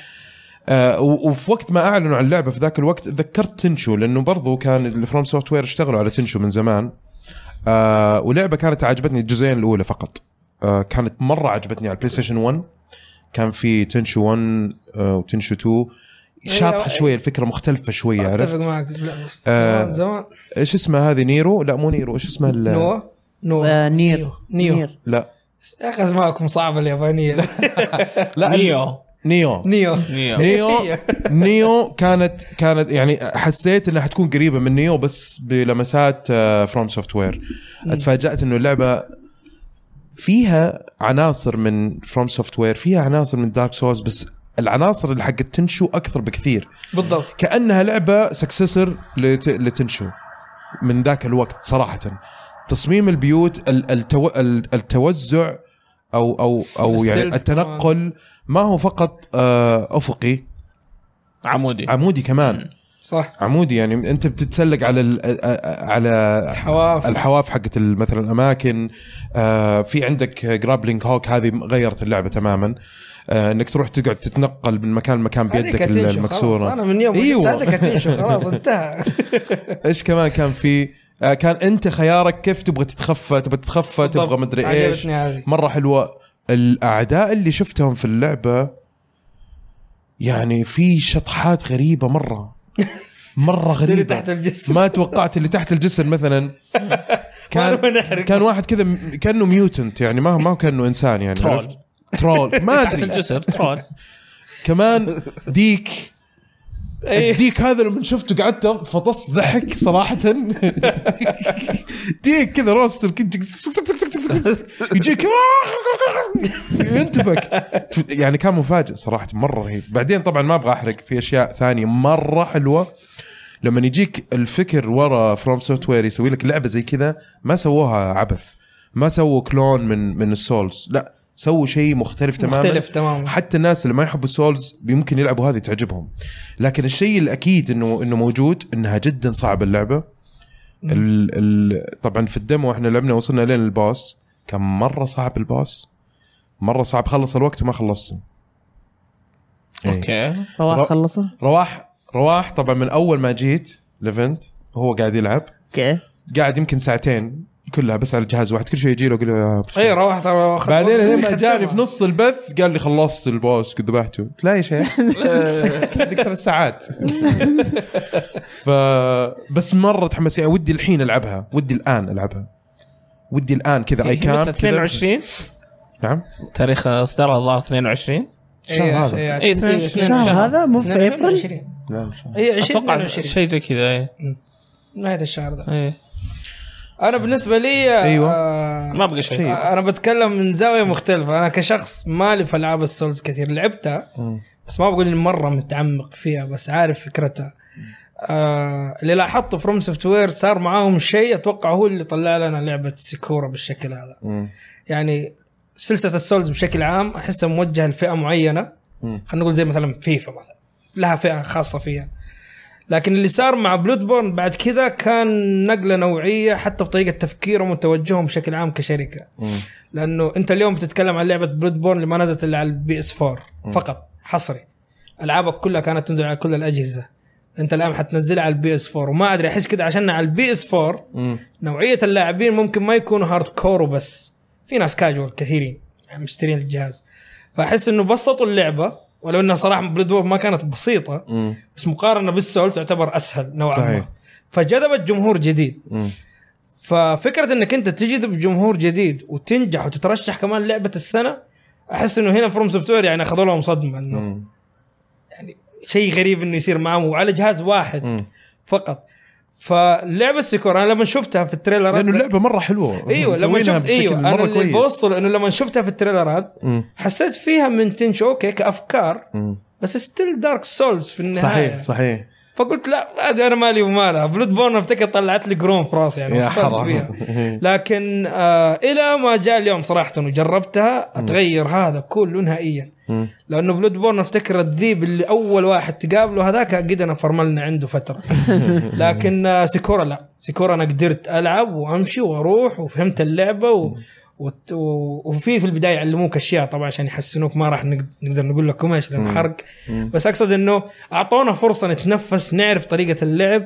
Speaker 1: آه و- وفي وقت ما اعلنوا عن اللعبه في ذاك الوقت تذكرت تنشو لانه برضو كان الفروم سوفت وير اشتغلوا على تنشو من زمان آه ولعبه كانت عجبتني الجزئين الاولى فقط آه كانت مره عجبتني على البلاي ستيشن 1 كان في تنشو 1 آه وتنشو 2 شاطحه شويه الفكره مختلفه شويه
Speaker 4: اتفق
Speaker 1: عرفت
Speaker 4: معك لا بس
Speaker 1: آه،
Speaker 4: زمان زمان
Speaker 1: ايش اسمها هذه نيرو لا مو نيرو ايش اسمها ال-
Speaker 4: نوا نوا
Speaker 3: آه، نير
Speaker 4: نيو.
Speaker 1: لا
Speaker 4: يا اخي اسماءكم صعبه اليابانيه
Speaker 1: لا
Speaker 2: نيو
Speaker 1: نيو
Speaker 4: نيو
Speaker 2: نيو
Speaker 1: نيو نيو كانت كانت يعني حسيت انها حتكون قريبه من نيو بس بلمسات آه، فروم سوفت وير اتفاجات انه اللعبه فيها عناصر من فروم سوفت وير فيها عناصر من دارك سولز بس العناصر اللي حقت تنشو اكثر بكثير
Speaker 4: بالضبط
Speaker 1: كانها لعبه سكسسر لتنشو من ذاك الوقت صراحه تصميم البيوت ال- التو... ال- التوزع او او او يعني
Speaker 4: الستيلث
Speaker 1: التنقل ما هو فقط آه، افقي
Speaker 2: عمودي
Speaker 1: عمودي كمان
Speaker 4: صح
Speaker 1: عمودي يعني انت بتتسلق على ال- آه، آه، على
Speaker 4: حواف
Speaker 1: الحواف حقت ال- مثلا الاماكن آه، في عندك جرابلينج هوك هذه غيرت اللعبه تماما آه، انك تروح تقعد تتنقل من مكان لمكان بيدك
Speaker 4: هذه كاتنشو، خلاص.
Speaker 1: المكسوره
Speaker 4: انا من يوم
Speaker 1: أيوة.
Speaker 4: ايوه هذا كاتنشو خلاص انتهى
Speaker 1: ايش كمان كان في آه، كان انت خيارك كيف تبغى تتخفى تبغى تتخفى تبغى
Speaker 4: بالضبط.
Speaker 1: مدري ايش
Speaker 4: عجبتني هذه
Speaker 1: مره حلوه الاعداء اللي شفتهم في اللعبه يعني في شطحات غريبه مره مره غريبه
Speaker 4: اللي تحت الجسر.
Speaker 1: ما توقعت اللي تحت الجسر مثلا كان
Speaker 4: ما نحرق.
Speaker 1: كان واحد كذا م- كانه ميوتنت يعني ما ما كانه انسان يعني
Speaker 2: ترول.
Speaker 1: عرفت؟ ترول ما
Speaker 2: تحت
Speaker 1: ادري
Speaker 2: الجسر ترول
Speaker 1: إيه. كمان ديك
Speaker 4: إيه.
Speaker 1: الديك هذا لما شفته قعدت فطس ضحك صراحة ديك كذا روستر كنت يجيك ينتفك يعني كان مفاجئ صراحة مرة رهيب بعدين طبعا ما ابغى احرق في اشياء ثانية مرة حلوة لما يجيك الفكر ورا فروم سوفت وير يسوي لك لعبة زي كذا ما سووها عبث ما سووا كلون من من السولز لا سووا شيء مختلف تماما
Speaker 4: مختلف تماما
Speaker 1: حتى الناس اللي ما يحبوا السولز يمكن يلعبوا هذه تعجبهم لكن الشيء الاكيد انه انه موجود انها جدا صعبه اللعبه ال ال طبعا في الدمو احنا لعبنا وصلنا لين الباص كان مره صعب الباص مره صعب خلص الوقت وما خلصته إيه.
Speaker 2: اوكي
Speaker 1: رو-
Speaker 3: رواح خلصه
Speaker 1: رواح رواح طبعا من اول ما جيت ليفنت هو قاعد يلعب
Speaker 3: اوكي
Speaker 1: قاعد يمكن ساعتين كلها بس على الجهاز واحد كل شوي يجي له "آه، يقول له يا
Speaker 4: اي روحت روحت
Speaker 1: بعدين لما جاني في نص البث قال لي خلصت البوس قد ذبحته قلت لا يا شيخ عندك ثلاث ساعات ف بس مره تحمس يعني ودي
Speaker 2: يعني
Speaker 1: الحين العبها ودي الان العبها ودي الان كذا اي
Speaker 2: هي متى؟
Speaker 1: كام
Speaker 2: 22
Speaker 1: نعم
Speaker 2: تاريخ اصدارها الظاهر 22
Speaker 1: الشهر هذا.
Speaker 2: إيه، 22
Speaker 3: الشهر هذا مو في ابريل
Speaker 4: 22
Speaker 1: لا إن شاء الله.
Speaker 4: اي 20
Speaker 2: اتوقع
Speaker 4: 22
Speaker 2: شيء زي كذا ايه
Speaker 4: نهايه الشهر ده
Speaker 2: ايه
Speaker 4: انا بالنسبه لي
Speaker 1: أيوة.
Speaker 4: آه،
Speaker 2: ما بقى شيء
Speaker 1: شيء.
Speaker 4: انا بتكلم من زاويه مختلفه انا كشخص مالي في العاب السولز كثير لعبتها
Speaker 1: مم.
Speaker 4: بس ما بقول اني مره متعمق فيها بس عارف فكرتها آه اللي لاحظته فروم سوفت وير صار معاهم شيء اتوقع هو اللي طلع لنا لعبه سيكورا بالشكل هذا
Speaker 1: مم.
Speaker 4: يعني سلسله السولز بشكل عام احسها موجهه لفئه معينه
Speaker 1: مم.
Speaker 4: خلينا نقول زي مثلا فيفا مثلا لها فئه خاصه فيها لكن اللي صار مع بلود بورن بعد كذا كان نقله نوعيه حتى في طريقه تفكيرهم وتوجههم بشكل عام كشركه
Speaker 1: مم.
Speaker 4: لانه انت اليوم بتتكلم عن لعبه بلود بورن اللي ما نزلت الا على البي اس 4 فقط حصري العابك كلها كانت تنزل على كل الاجهزه انت الان حتنزلها على البي اس 4 وما ادري احس كده عشان على البي اس 4
Speaker 1: مم.
Speaker 4: نوعيه اللاعبين ممكن ما يكونوا هارد كور وبس في ناس كاجوال كثيرين يعني مشترين الجهاز فاحس انه بسطوا اللعبه ولو انها صراحه بلود بورن ما كانت بسيطه
Speaker 1: مم.
Speaker 4: بس مقارنه بالسول تعتبر اسهل نوعا
Speaker 1: صحيح.
Speaker 4: ما فجذبت جمهور جديد
Speaker 1: مم.
Speaker 4: ففكره انك انت تجذب جمهور جديد وتنجح وتترشح كمان لعبه السنه احس انه هنا فروم سوفت وير يعني اخذوا لهم صدمه انه
Speaker 1: مم.
Speaker 4: شيء غريب انه يصير معهم وعلى جهاز واحد
Speaker 1: مم.
Speaker 4: فقط فاللعبه السيكور انا لما شفتها في التريلر
Speaker 1: لانه اللعبه مره حلوه
Speaker 4: ايوه لما
Speaker 1: مسوينها
Speaker 4: شفت
Speaker 1: بشكل
Speaker 4: ايوه
Speaker 1: مرة
Speaker 4: انا اللي
Speaker 1: كويس.
Speaker 4: بوصل انه لما شفتها في التريلرات
Speaker 1: مم.
Speaker 4: حسيت فيها من تنشو اوكي كافكار
Speaker 1: مم.
Speaker 4: بس ستيل دارك سولز في النهايه
Speaker 1: صحيح صحيح
Speaker 4: فقلت لا هذه انا مالي ومالها بلود بورن افتكر طلعت لي جروم في راسي يعني
Speaker 1: يا
Speaker 4: وصلت
Speaker 1: حرام.
Speaker 4: بيها لكن آه الى ما جاء اليوم صراحه وجربتها اتغير هذا كله نهائيا
Speaker 1: مم.
Speaker 4: لانه بلود بورن افتكر الذيب اللي اول واحد تقابله هذاك قد انا فرملنا عنده فتره لكن آه سيكورا لا سيكورا انا قدرت العب وامشي واروح وفهمت اللعبه و... وت- و- وفي في البدايه يعلموك اشياء طبعا عشان يحسنوك ما راح نق- نقدر نقول لكم ايش لانه حرق بس اقصد انه اعطونا فرصه نتنفس نعرف طريقه اللعب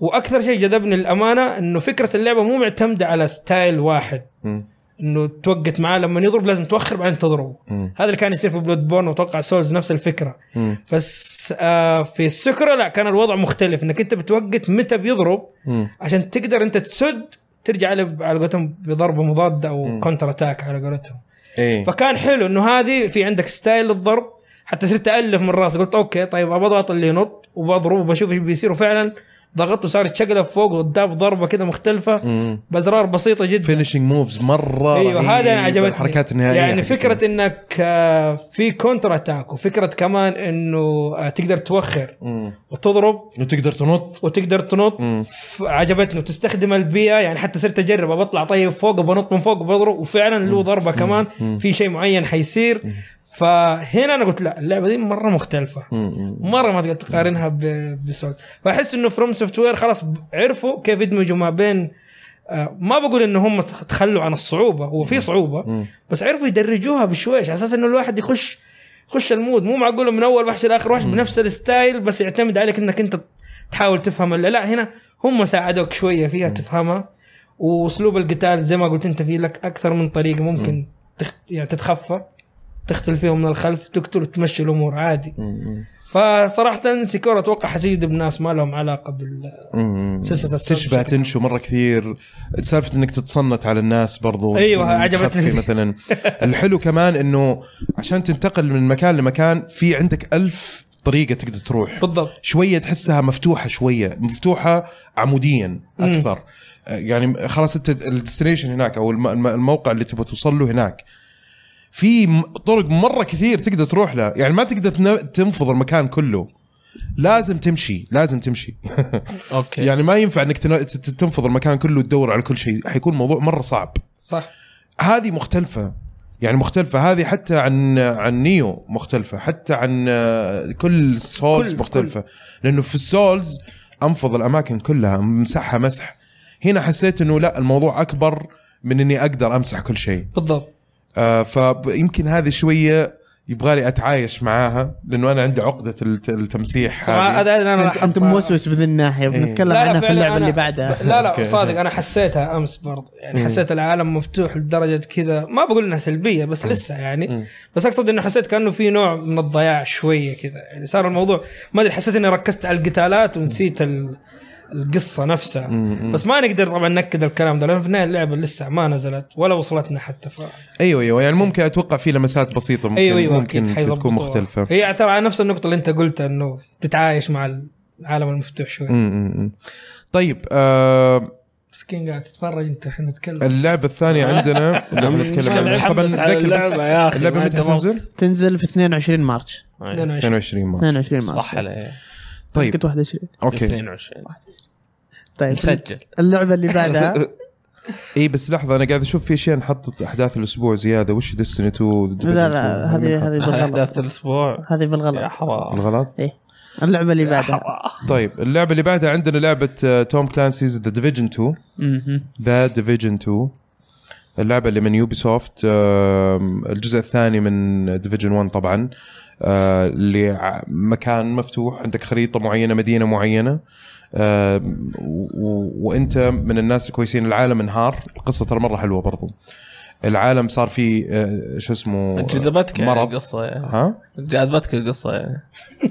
Speaker 4: واكثر شيء جذبني للامانه انه فكره اللعبه مو معتمده على ستايل واحد
Speaker 1: مم.
Speaker 4: انه توقت معاه لما يضرب لازم توخر بعدين تضربه
Speaker 1: مم.
Speaker 4: هذا اللي كان يصير في بلود بورن وتوقع سولز نفس الفكره
Speaker 1: مم.
Speaker 4: بس آه في السكرة لا كان الوضع مختلف انك انت بتوقت متى بيضرب
Speaker 1: مم.
Speaker 4: عشان تقدر انت تسد ترجع على على قولتهم بضربه مضاده او كونتر اتاك على قولتهم
Speaker 1: ايه
Speaker 4: فكان حلو انه هذه في عندك ستايل للضرب حتى صرت الف من راسي قلت اوكي طيب ابى اضغط اللي ينط وبضربه وبشوف ايش بيصير وفعلا ضغطته صار يتشقلب فوق وقدام ضربه كده مختلفه
Speaker 1: مم. إيه،
Speaker 4: بازرار بسيطه جدا
Speaker 1: فينشنج موفز مره
Speaker 4: ايوه
Speaker 1: رهيبة.
Speaker 4: هذا انا عجبتني
Speaker 1: الحركات النهائيه
Speaker 4: يعني فكره انك آه، في كونتر اتاك وفكره كمان انه آه، تقدر توخر
Speaker 1: مم.
Speaker 4: وتضرب
Speaker 1: انه تقدر تنط
Speaker 4: وتقدر تنط ف- عجبتني وتستخدم البيئه يعني حتى صرت اجرب بطلع طيب فوق وبنط من فوق وبضرب وفعلا له ضربه كمان في شيء معين حيصير فهنا انا قلت لا اللعبه دي مره مختلفه
Speaker 1: مم.
Speaker 4: مره ما تقدر تقارنها ب- بسولز فاحس انه فروم سوفت وير خلاص ب- عرفوا كيف يدمجوا ما بين آه، ما بقول ان هم تخ- تخلوا عن الصعوبه هو في صعوبه بس عرفوا يدرجوها بشويش على اساس انه الواحد يخش يخش المود مو معقول من اول وحش لاخر وحش بنفس الستايل بس يعتمد عليك انك انت تحاول تفهم لا, لا هنا هم ساعدوك شويه فيها تفهمها واسلوب القتال زي ما قلت انت في لك اكثر من طريقه ممكن تخت يعني تتخفى تختل فيهم من الخلف تقتل وتمشي الامور عادي
Speaker 1: مم.
Speaker 4: فصراحة سيكور اتوقع حتجذب ناس ما لهم علاقة بال
Speaker 1: مم.
Speaker 4: سلسلة السولز
Speaker 1: تشبع
Speaker 4: بشكل عام.
Speaker 1: تنشو مره كثير سالفه انك تتصنت على الناس برضو
Speaker 4: أيوة،
Speaker 1: تخفي
Speaker 4: عجبتني.
Speaker 1: مثلا الحلو كمان انه عشان تنتقل من مكان لمكان في عندك ألف طريقه تقدر تروح
Speaker 4: بالضبط
Speaker 1: شويه تحسها مفتوحه شويه مفتوحه عموديا اكثر آه، يعني خلاص انت الديستنيشن هناك او الم- الم- الموقع اللي تبغى توصل له هناك في م- طرق مره كثير تقدر تروح لها يعني ما تقدر تن- تنفض المكان كله لازم تمشي لازم تمشي
Speaker 4: إيه.
Speaker 2: اوكي
Speaker 1: يعني ما ينفع انك تن- ت- تنفض المكان كله وتدور على كل شيء حيكون الموضوع مره صعب
Speaker 4: صح
Speaker 1: هذه مختلفة يعني مختلفة هذه حتى عن عن نيو مختلفة حتى عن آه، كل سولز
Speaker 4: كل-
Speaker 1: مختلفة لأنه في السولز أنفض الأماكن كلها مسحها مسح هنا حسيت إنه لا الموضوع أكبر من إني أقدر أمسح كل شيء
Speaker 4: بالضبط
Speaker 1: آه فيمكن هذه شوية يبغالي أتعايش معاها لأنه أنا عندي عقدة الت- التمسيح
Speaker 4: صراحة
Speaker 1: هذه
Speaker 4: هذا اللي انا
Speaker 3: انت,
Speaker 4: لاحظته.
Speaker 3: انت موسوس بذي الناحيه
Speaker 1: إيه.
Speaker 3: بنتكلم
Speaker 4: لا، لا،
Speaker 3: عنها في
Speaker 4: فعلاً
Speaker 3: اللعبه
Speaker 4: أنا-
Speaker 3: اللي بعدها
Speaker 4: لا لا
Speaker 1: أوكي.
Speaker 4: صادق انا حسيتها امس برضه يعني حسيت العالم مفتوح لدرجه كذا ما بقول انها سلبيه بس لسه يعني بس اقصد انه حسيت كانه في نوع من الضياع شويه كذا يعني صار الموضوع ما ادري حسيت اني ركزت على القتالات ونسيت ال القصه نفسها
Speaker 1: مم.
Speaker 4: بس ما نقدر طبعا ناكد الكلام ده لان في النهايه اللعبه لسه ما نزلت ولا وصلتنا حتى ف...
Speaker 1: ايوه ايوه يعني ممكن اتوقع في لمسات بسيطه ممكن
Speaker 3: أيوة،
Speaker 4: ايوه ايوه اكيد
Speaker 1: ممكن
Speaker 4: حيظبطوها
Speaker 1: تكون مختلفه
Speaker 4: هي ترى على نفس النقطه اللي انت قلتها انه تتعايش مع العالم المفتوح شوي
Speaker 1: مم، مم، مم. طيب آه
Speaker 4: مسكين قاعد تتفرج انت احنا نتكلم
Speaker 1: اللعبة الثانية عندنا اللي احنا نتكلم عنها طبعا نذكر بس
Speaker 2: يا اخي
Speaker 1: اللعبة
Speaker 2: ما
Speaker 1: متى
Speaker 2: انت
Speaker 1: تنزل؟
Speaker 3: تنزل في 22 مارتش
Speaker 2: أيوه.
Speaker 4: 22
Speaker 1: 22 مارس
Speaker 3: 22 مارتش
Speaker 2: صح عليه
Speaker 1: طيب
Speaker 3: كنت 21
Speaker 1: اوكي
Speaker 2: 22
Speaker 3: طيب
Speaker 2: مسجل
Speaker 3: اللعبه اللي بعدها
Speaker 1: اي إيه، بس لحظة انا قاعد اشوف في اشياء نحط احداث الاسبوع زيادة وش ديستني 2
Speaker 3: لا لا هذه هذه
Speaker 2: احداث
Speaker 3: بالغلط
Speaker 2: الاسبوع
Speaker 3: هذه
Speaker 2: يا
Speaker 3: بالغلط
Speaker 2: حرام
Speaker 1: الغلط
Speaker 3: ايه اللعبه اللي بعدها
Speaker 1: طيب اللعبة اللي بعدها عندنا لعبة آه، توم كلانسيز ذا ديفيجن 2
Speaker 3: مهم.
Speaker 1: ذا ديفيجن 2 اللعبة اللي من يوبي سوفت الجزء الثاني من ديفيجن 1 طبعا آه، اللي ع- مكان مفتوح عندك خريطة معينة مدينة معينة آم، و- و- وانت من الناس الكويسين العالم انهار القصة ترى مرة حلوة برضو العالم صار فيه آه، شو اسمه
Speaker 2: جذبتك يعني
Speaker 1: مرض
Speaker 2: القصه يعني
Speaker 1: ها؟
Speaker 2: جذبتك القصه يعني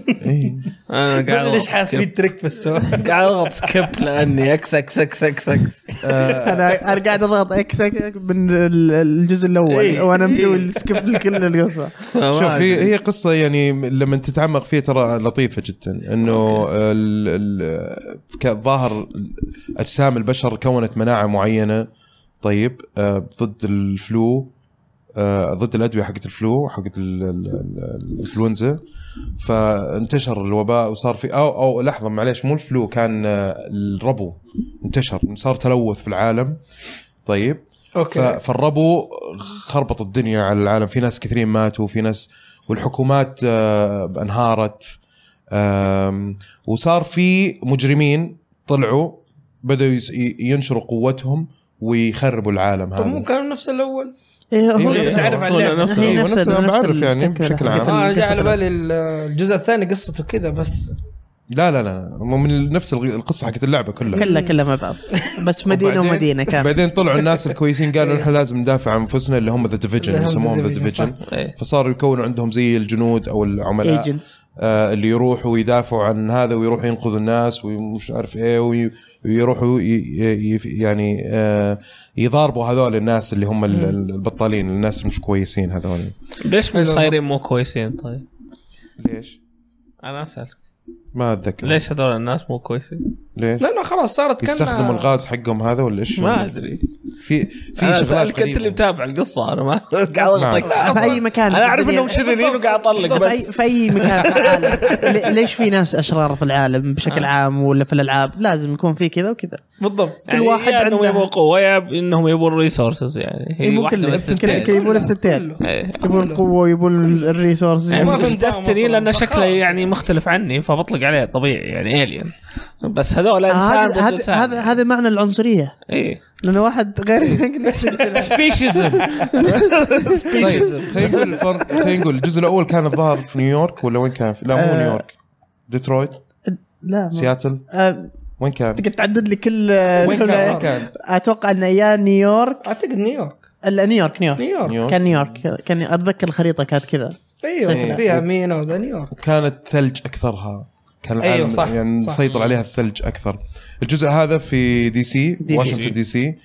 Speaker 1: إيه.
Speaker 2: انا قاعد
Speaker 4: قاعد
Speaker 2: أضغط
Speaker 4: ليش حاسس
Speaker 2: skip.
Speaker 4: تركت بس
Speaker 2: قاعد اضغط سكيب لاني اكس اكس اكس اكس اكس
Speaker 3: آه، انا انا قاعد اضغط اكس أكس من ال- الجزء الاول
Speaker 4: إيه.
Speaker 3: وانا مسوي السكيب لكل القصه
Speaker 1: شوف هي هي قصه يعني لما تتعمق فيها ترى لطيفه جدا انه ال- ال- كظاهر اجسام البشر كونت مناعه معينه طيب آه، ضد الفلو آه، ضد الادويه حقت الفلو حقت ال- ال- ال- الانفلونزا فانتشر الوباء وصار في او او لحظه معليش مو الفلو كان آه، الربو انتشر صار تلوث في العالم طيب ف-
Speaker 4: اوكي
Speaker 1: فالربو خربط الدنيا على العالم في ناس كثيرين ماتوا في ناس والحكومات آه، انهارت آم، وصار في مجرمين طلعوا بدأوا يس- ي- ينشروا قوتهم ويخربوا العالم
Speaker 4: طب
Speaker 1: هذا
Speaker 4: مو كانوا نفس الاول
Speaker 3: إيه، هو-
Speaker 1: إيه،
Speaker 4: تعرف على اللعبة.
Speaker 2: نفس-
Speaker 3: هي
Speaker 1: أيوة،
Speaker 3: نفس آه،
Speaker 1: نفس أنا
Speaker 3: نفس
Speaker 1: بعرف يعني
Speaker 3: التكملة
Speaker 1: بشكل
Speaker 3: حقت
Speaker 1: عام.
Speaker 4: اه جاء على
Speaker 3: القصة.
Speaker 4: بالي الجزء الثاني قصته كذا بس
Speaker 1: لا لا لا مو من نفس الغ- القصه حقت اللعبه كلها
Speaker 3: كلها كلها مع بعض بس في مدينه
Speaker 1: وبعدين-
Speaker 3: ومدينه كامله
Speaker 1: بعدين طلعوا الناس الكويسين قالوا نحن لازم ندافع عن انفسنا اللي هم ذا ديفيجن
Speaker 4: إيه. اللي هم The
Speaker 1: يسموهم ذا
Speaker 4: Division، صح. إيه،
Speaker 1: ديفيجن فصاروا يكونوا عندهم زي الجنود او العملاء
Speaker 3: ايجنتس
Speaker 1: آه، اللي يروحوا ويدافعوا عن هذا ويروحوا ينقذوا الناس ومش عارف ايه وي- ويروحوا ي- ي- ي- يعني آه، يضاربوا هذول الناس اللي هم ال- ال- البطالين الناس اللي مش كويسين هذول
Speaker 2: ليش مو
Speaker 4: حلو.
Speaker 2: صايرين مو كويسين طيب؟
Speaker 1: ليش؟
Speaker 2: انا اسالك
Speaker 1: ما اتذكر
Speaker 2: ليش هذول الناس مو كويسين؟
Speaker 1: ليش؟
Speaker 4: لانه خلاص صارت كان
Speaker 1: يستخدموا الغاز حقهم هذا ولا ايش؟
Speaker 2: ما ادري
Speaker 1: في
Speaker 2: في
Speaker 1: في شغلات
Speaker 2: اسالك انت اللي
Speaker 1: غريبة.
Speaker 2: متابع القصه انا ما قاعد اضغطك
Speaker 3: في اي مكان في
Speaker 2: انا اعرف
Speaker 3: الدنيا.
Speaker 2: انهم شريرين وقاعد اطلق
Speaker 3: في أي-
Speaker 2: بس
Speaker 3: في اي مكان في العالم لي- ليش في ناس اشرار في العالم بشكل عام ولا في الالعاب لازم يكون في كذا وكذا
Speaker 4: بالضبط
Speaker 3: كل واحد
Speaker 2: يعني يا انهم
Speaker 3: عنده-
Speaker 2: يبغوا قوه يا انهم يبغوا الريسورسز يعني هي
Speaker 3: يبون
Speaker 2: واحدة من
Speaker 3: كله
Speaker 2: الثنتين.
Speaker 3: كل- يبون الثنتين
Speaker 4: كله.
Speaker 2: إيه.
Speaker 3: يبون القوه ويبون الريسورس
Speaker 2: يعني
Speaker 4: ما
Speaker 2: ما
Speaker 4: في
Speaker 2: في
Speaker 4: نظام
Speaker 2: دستني
Speaker 4: أصلاً.
Speaker 2: لانه
Speaker 4: فخلاص
Speaker 2: شكله يعني
Speaker 4: يعني.
Speaker 2: مختلف عني فبطلق عليه طبيعي يعني الين بس هذول انسان
Speaker 3: هذا
Speaker 2: ضد
Speaker 3: هذا-
Speaker 2: انسان
Speaker 3: آه، هذا هذا معنى العنصريه
Speaker 2: ايه
Speaker 3: لان واحد غير
Speaker 2: سبيشيزم
Speaker 1: طيب
Speaker 2: سبيشيزم
Speaker 1: خلينا نقول الفرق- خلينا نقول الجزء الاول كان الظاهر في نيويورك ولا وين كان؟ في- لا مو
Speaker 3: آه.
Speaker 1: نيويورك ديترويت
Speaker 3: لا ما-
Speaker 1: سياتل
Speaker 3: آه،
Speaker 1: وين كان؟
Speaker 3: تقدر تعدد لي كل آه،
Speaker 1: وين كان؟ وين
Speaker 3: كل-
Speaker 1: كان؟
Speaker 3: اتوقع انه يا نيويورك
Speaker 4: اعتقد نيويورك
Speaker 3: لا نيويورك نيويورك
Speaker 4: نيويورك
Speaker 1: نيويورك.
Speaker 3: كان نيويورك كان اتذكر الخريطه كانت كذا
Speaker 4: ايوه
Speaker 1: إيه.
Speaker 4: فيها مينا وذا نيويورك
Speaker 1: وكانت ثلج اكثرها كان العالم
Speaker 4: أيوة، صح،
Speaker 1: يعني
Speaker 4: صح.
Speaker 1: مسيطر عليها الثلج اكثر الجزء هذا في دي سي
Speaker 3: دي سي.
Speaker 1: واشنطن دي سي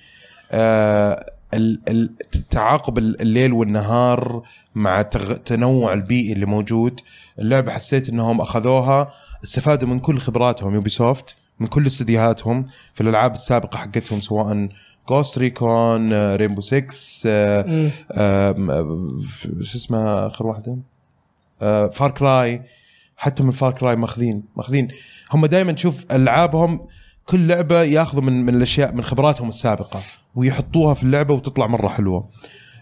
Speaker 1: آه ال- ال- تعاقب ال- الليل والنهار مع تغ- تنوع البيئي اللي موجود اللعبه حسيت انهم اخذوها استفادوا من كل خبراتهم يوبي سوفت من كل استديوهاتهم في الالعاب السابقه حقتهم سواء آه، جوست ريكون ريمبو 6
Speaker 4: مم.
Speaker 1: آم، آم، ف- شو اسمها اخر واحده فار كراي آه، حتى من فار كراي ماخذين ماخذين هم دائما تشوف العابهم كل لعبه ياخذوا من من الاشياء من خبراتهم السابقه ويحطوها في اللعبه وتطلع مره حلوه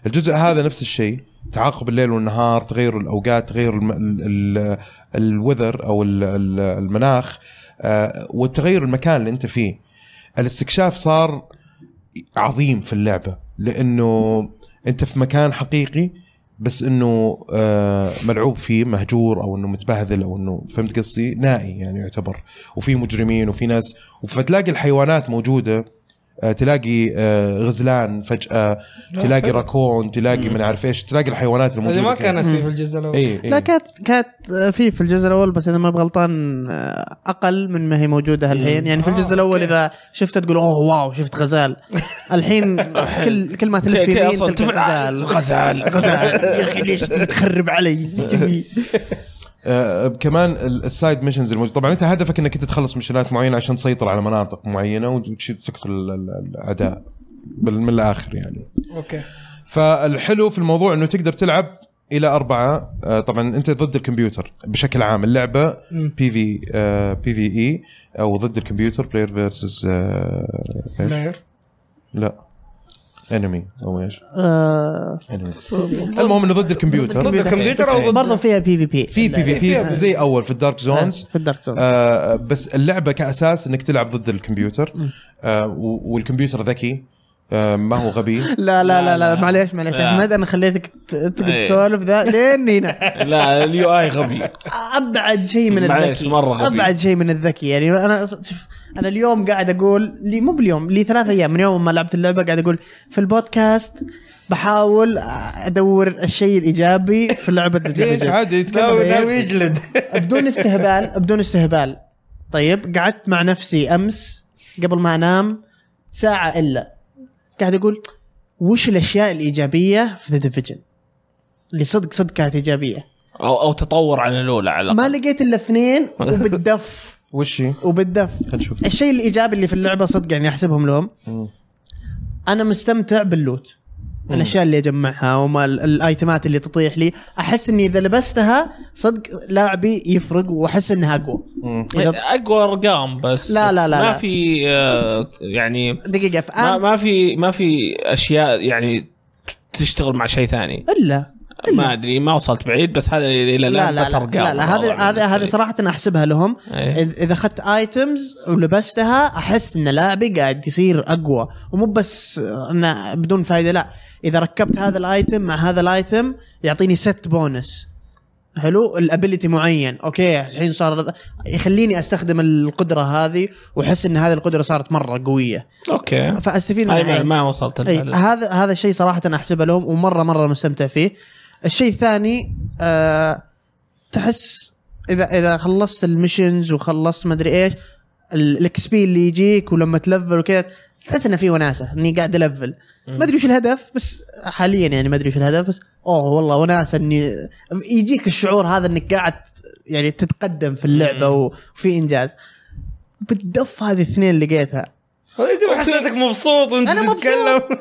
Speaker 1: الجزء هذا نفس الشيء تعاقب الليل والنهار تغير الاوقات تغير الم... ال... ال... الوذر او ال... ال- المناخ آه، وتغير المكان اللي انت فيه الاستكشاف صار عظيم في اللعبه لانه انت في مكان حقيقي بس انه آه، ملعوب فيه مهجور او انه متبهذل او انه فهمت قصدي نائي يعني يعتبر وفي مجرمين وفي ناس فتلاقي الحيوانات موجوده آه، تلاقي آه، غزلان فجاه
Speaker 4: لا،
Speaker 1: تلاقي
Speaker 4: حلو.
Speaker 1: راكون تلاقي من عارف ايش تلاقي الحيوانات الموجوده
Speaker 4: هذه ما
Speaker 1: كده.
Speaker 4: كانت في الجزء الاول
Speaker 1: اي
Speaker 3: لا
Speaker 1: اي
Speaker 3: كانت كانت آه، في في الجزء الاول بس اذا ما بغلطان اقل من ما هي موجوده الحين يعني في
Speaker 4: آه،
Speaker 3: الجزء الاول
Speaker 4: أوكي.
Speaker 3: اذا شفتها تقول اوه واو شفت غزال الحين كل كل ما تلف
Speaker 2: كي- كي
Speaker 3: يمين
Speaker 2: أصلاً
Speaker 3: تلقى
Speaker 2: تفعل-
Speaker 3: غزال غزال غزال يا اخي ليش تبي تخرب علي؟ ايش تبي؟
Speaker 1: آه، كمان ال- السايد ميشنز الموجوده طبعا انت هدفك انك انت تخلص ميشنات معينه عشان تسيطر على مناطق معينه وتقتل ال- ال- الاعداء بال- من الاخر يعني
Speaker 4: اوكي
Speaker 1: فالحلو في الموضوع انه تقدر تلعب الى اربعه آه، طبعا انت ضد الكمبيوتر بشكل عام اللعبه
Speaker 4: مم.
Speaker 1: بي في بي في اي او E ضد الكمبيوتر بلاير فيرسز
Speaker 4: لا
Speaker 1: لا انمي او ايش؟
Speaker 3: آه،
Speaker 1: انمي المهم انه ضد الكمبيوتر
Speaker 4: ضد الكمبيوتر او ضد
Speaker 3: برضو فيها بي في بي
Speaker 1: في بي في
Speaker 4: فيها
Speaker 1: بي زي اول في الدارك زونز
Speaker 3: في الدارك زون
Speaker 1: آه بس اللعبه كاساس انك تلعب ضد الكمبيوتر آه و- والكمبيوتر ذكي آه ما هو غبي
Speaker 3: لا لا لا لا
Speaker 2: لا.
Speaker 3: معليش معليش
Speaker 2: لا.
Speaker 3: احمد انا خليتك ت- تقعد
Speaker 2: إيه.
Speaker 3: تسولف ذا لين هنا
Speaker 2: لا اليو اي غبي
Speaker 3: ابعد شيء من
Speaker 2: معليش،
Speaker 3: الذكي
Speaker 2: مرة غبي.
Speaker 3: ابعد شيء من الذكي يعني انا أص- شوف انا اليوم قاعد اقول لي مو باليوم لي ثلاث ايام من يوم ما لعبت اللعبه قاعد اقول في البودكاست بحاول ادور الشيء الايجابي في لعبه
Speaker 1: ليش
Speaker 3: ديفيجن
Speaker 1: عادي
Speaker 4: ناوي
Speaker 3: إيه.
Speaker 1: يتكلم
Speaker 4: ناوي يجلد
Speaker 3: بدون استهبال بدون استهبال طيب قعدت مع نفسي امس قبل ما انام ساعه الا قاعد اقول وش الاشياء الايجابيه في ذا ديفيجن اللي صدق صدق كانت ايجابيه
Speaker 2: او او تطور عن الاولى على
Speaker 3: ما
Speaker 2: الاقل
Speaker 3: لقيت الا اثنين وبالدف
Speaker 1: وش هي؟
Speaker 3: وبالدف
Speaker 1: خلينا نشوف
Speaker 3: الشيء الايجابي اللي في اللعبه صدق يعني احسبهم لهم
Speaker 1: مم.
Speaker 3: انا مستمتع باللوت الاشياء اللي اجمعها وما ال- الايتمات اللي تطيح لي احس اني اذا لبستها صدق لاعبي يفرق واحس انها اقوى
Speaker 1: مم.
Speaker 3: إذا-
Speaker 2: اقوى ارقام بس
Speaker 3: إيه. لا،
Speaker 2: بس
Speaker 3: لا، لا،
Speaker 2: ما
Speaker 3: لا.
Speaker 2: في آه، يعني
Speaker 3: دقيقه
Speaker 2: ما,
Speaker 3: فان
Speaker 2: ما في ما في اشياء يعني تشتغل مع شيء ثاني
Speaker 3: الا
Speaker 2: ما ادري ما وصلت بعيد بس هذا الى
Speaker 3: لا لا
Speaker 2: الان
Speaker 3: لا
Speaker 2: بس ارقام
Speaker 3: لا, لا هذه
Speaker 2: الوضع
Speaker 3: هذه هذه
Speaker 2: بالنسبة
Speaker 3: صراحه احسبها لهم
Speaker 2: إيه.
Speaker 3: إذ- اذا اخذت ايتمز ولبستها احس ان لاعبي قاعد يصير اقوى ومو بس آه، انه بدون فائده لا اذا ركبت هذا الايتم مع هذا الايتم يعطيني ست بونس حلو الابيلتي معين اوكي الحين صار يخليني استخدم القدره هذه واحس ان هذه القدره صارت مره قويه
Speaker 2: لي. اوكي
Speaker 3: فاستفيد
Speaker 2: هاي أيوة،
Speaker 3: منها
Speaker 2: ما,
Speaker 3: يعني.
Speaker 2: ما وصلت
Speaker 3: اي
Speaker 2: لها.
Speaker 3: هذا هذا الشيء صراحه انا احسبه لهم ومره مره مستمتع فيه الشيء الثاني أه تحس اذا اذا خلصت المشنز وخلصت ما ادري ايش الاكس بي اللي يجيك ولما تلفل وكذا تحس انه في وناسه اني قاعد الفل ما ادري وش الهدف بس حاليا يعني ما ادري وش الهدف بس اوه والله وناسه اني يجيك الشعور هذا انك قاعد يعني تتقدم في اللعبه وفي انجاز بالدف هذه الاثنين لقيتها
Speaker 4: انت حسيتك مبسوط وانت
Speaker 3: أنا مبسوط.
Speaker 4: تتكلم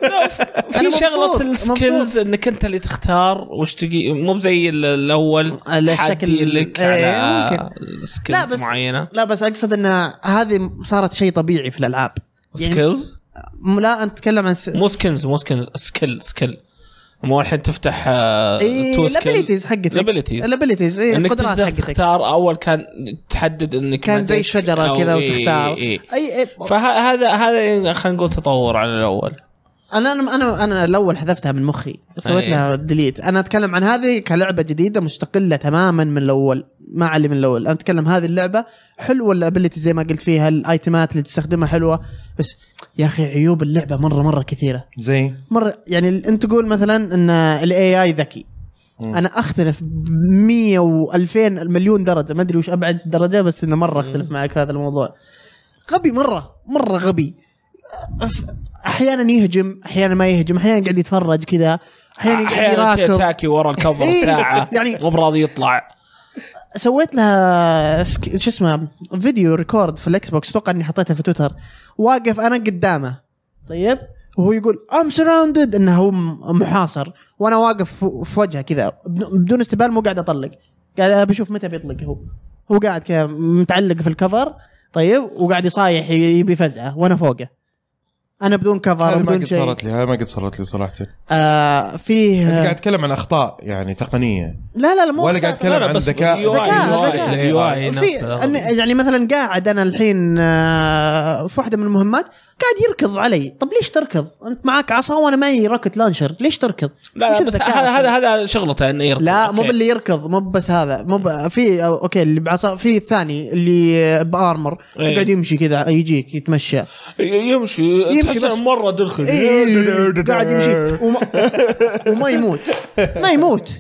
Speaker 2: في
Speaker 3: أنا مبسوط،
Speaker 2: شغله السكيلز
Speaker 3: مبسوط.
Speaker 2: انك انت اللي تختار وش تجي مو زي ال- الاول
Speaker 3: على
Speaker 2: حد
Speaker 3: شكل-
Speaker 2: لك
Speaker 3: إيه،
Speaker 2: على
Speaker 3: لا
Speaker 2: سكيلز
Speaker 3: بس
Speaker 2: معينه
Speaker 3: لا بس اقصد ان هذه صارت شيء طبيعي في الالعاب يعني-
Speaker 2: سكيلز
Speaker 3: م- لا انت تتكلم عن س...
Speaker 2: مو سكيلز مو سكيلز سكيل سكيل مو الحين تفتح آه، تو
Speaker 3: إيه
Speaker 2: سكيل.
Speaker 3: الابيلتيز حقتك
Speaker 2: الابيليتيز.
Speaker 3: الابيلتيز اي
Speaker 2: انك
Speaker 3: القدرات
Speaker 2: تقدر
Speaker 3: حقتك
Speaker 2: تختار اول كان تحدد انك
Speaker 3: كان
Speaker 2: ما
Speaker 3: زي
Speaker 2: أدري-
Speaker 3: شجره
Speaker 2: أو
Speaker 3: كذا
Speaker 2: إيه،
Speaker 3: وتختار
Speaker 2: إيه،
Speaker 3: اي
Speaker 2: إيه.
Speaker 3: اي
Speaker 2: فهذا هذا خلينا نقول تطور على الاول
Speaker 3: انا انا انا, أنا الاول حذفتها من مخي سويت
Speaker 2: إيه.
Speaker 3: لها ديليت انا اتكلم عن هذه كلعبه جديده مستقله تماما من الاول ما علي من الاول انا اتكلم هذه اللعبه حلوه الابيلتي زي ما قلت فيها الايتمات اللي تستخدمها حلوه بس يا اخي عيوب اللعبه مره مره كثيره
Speaker 1: زي
Speaker 3: مره يعني ال- انت تقول مثلا ان الاي اي ذكي
Speaker 1: مم.
Speaker 3: انا اختلف ب 100 و2000 مليون درجه ما ادري وش ابعد درجه بس انه مره اختلف معك في هذا الموضوع غبي مره مره غبي أف- احيانا يهجم احيانا ما يهجم احيانا قاعد يتفرج كذا احيانا يعني قاعد
Speaker 2: احيانا
Speaker 3: يراكض
Speaker 2: تاكي ورا الكفر
Speaker 3: إيه،
Speaker 2: ساعه
Speaker 3: يعني-
Speaker 2: مو براضي يطلع
Speaker 3: سويت لها سك... شو اسمه فيديو ريكورد في الاكس بوكس اتوقع اني حطيتها في تويتر واقف انا قدامه طيب وهو يقول ام سراوندد انه هو م- محاصر وانا واقف ف- في وجهه كذا بدون- بدون استبال مو قاعد اطلق قاعد بشوف متى بيطلق هو هو قاعد كذا متعلق في الكفر طيب وقاعد يصايح ي- يبي فزعه وانا فوقه انا بدون كفر
Speaker 1: هذه ما
Speaker 3: بدون
Speaker 1: قد
Speaker 3: شيء
Speaker 1: صارت لي هذه ما قد صارت لي صراحه
Speaker 3: آه فيه
Speaker 1: انت قاعد تتكلم عن اخطاء يعني تقنيه
Speaker 3: لا لا لا مو
Speaker 1: ولا قاعد
Speaker 3: أخطاء.
Speaker 1: تتكلم
Speaker 2: لا،
Speaker 1: عن
Speaker 2: بس
Speaker 1: ذكاء
Speaker 2: باليو
Speaker 3: آي، ذكاء،
Speaker 1: ال AI.
Speaker 2: باليو آي. أي نفس
Speaker 3: في
Speaker 2: الغرض.
Speaker 3: أن- يعني مثلا قاعد انا الحين آه، في واحده من المهمات قاعد يركض علي طب ليش تركض انت معاك عصا وانا معي روكت لانشر ليش تركض
Speaker 2: لا
Speaker 3: وش
Speaker 2: بس
Speaker 3: الذكاء
Speaker 2: هذا
Speaker 3: هذا؟
Speaker 2: هذا هذا شغلته انه يركض
Speaker 3: لا مو
Speaker 2: أوكي.
Speaker 3: باللي يركض مو بس هذا مو ب... في أو- اوكي اللي بعصا في الثاني اللي بارمر
Speaker 2: إيه.
Speaker 3: قاعد يمشي كذا يجيك يتمشى
Speaker 2: ي- يمشي
Speaker 3: يمشي
Speaker 2: يمشي
Speaker 3: بس.
Speaker 2: بس مره دلخل
Speaker 3: إيه، قاعد يمشي وما, وما يموت ما يموت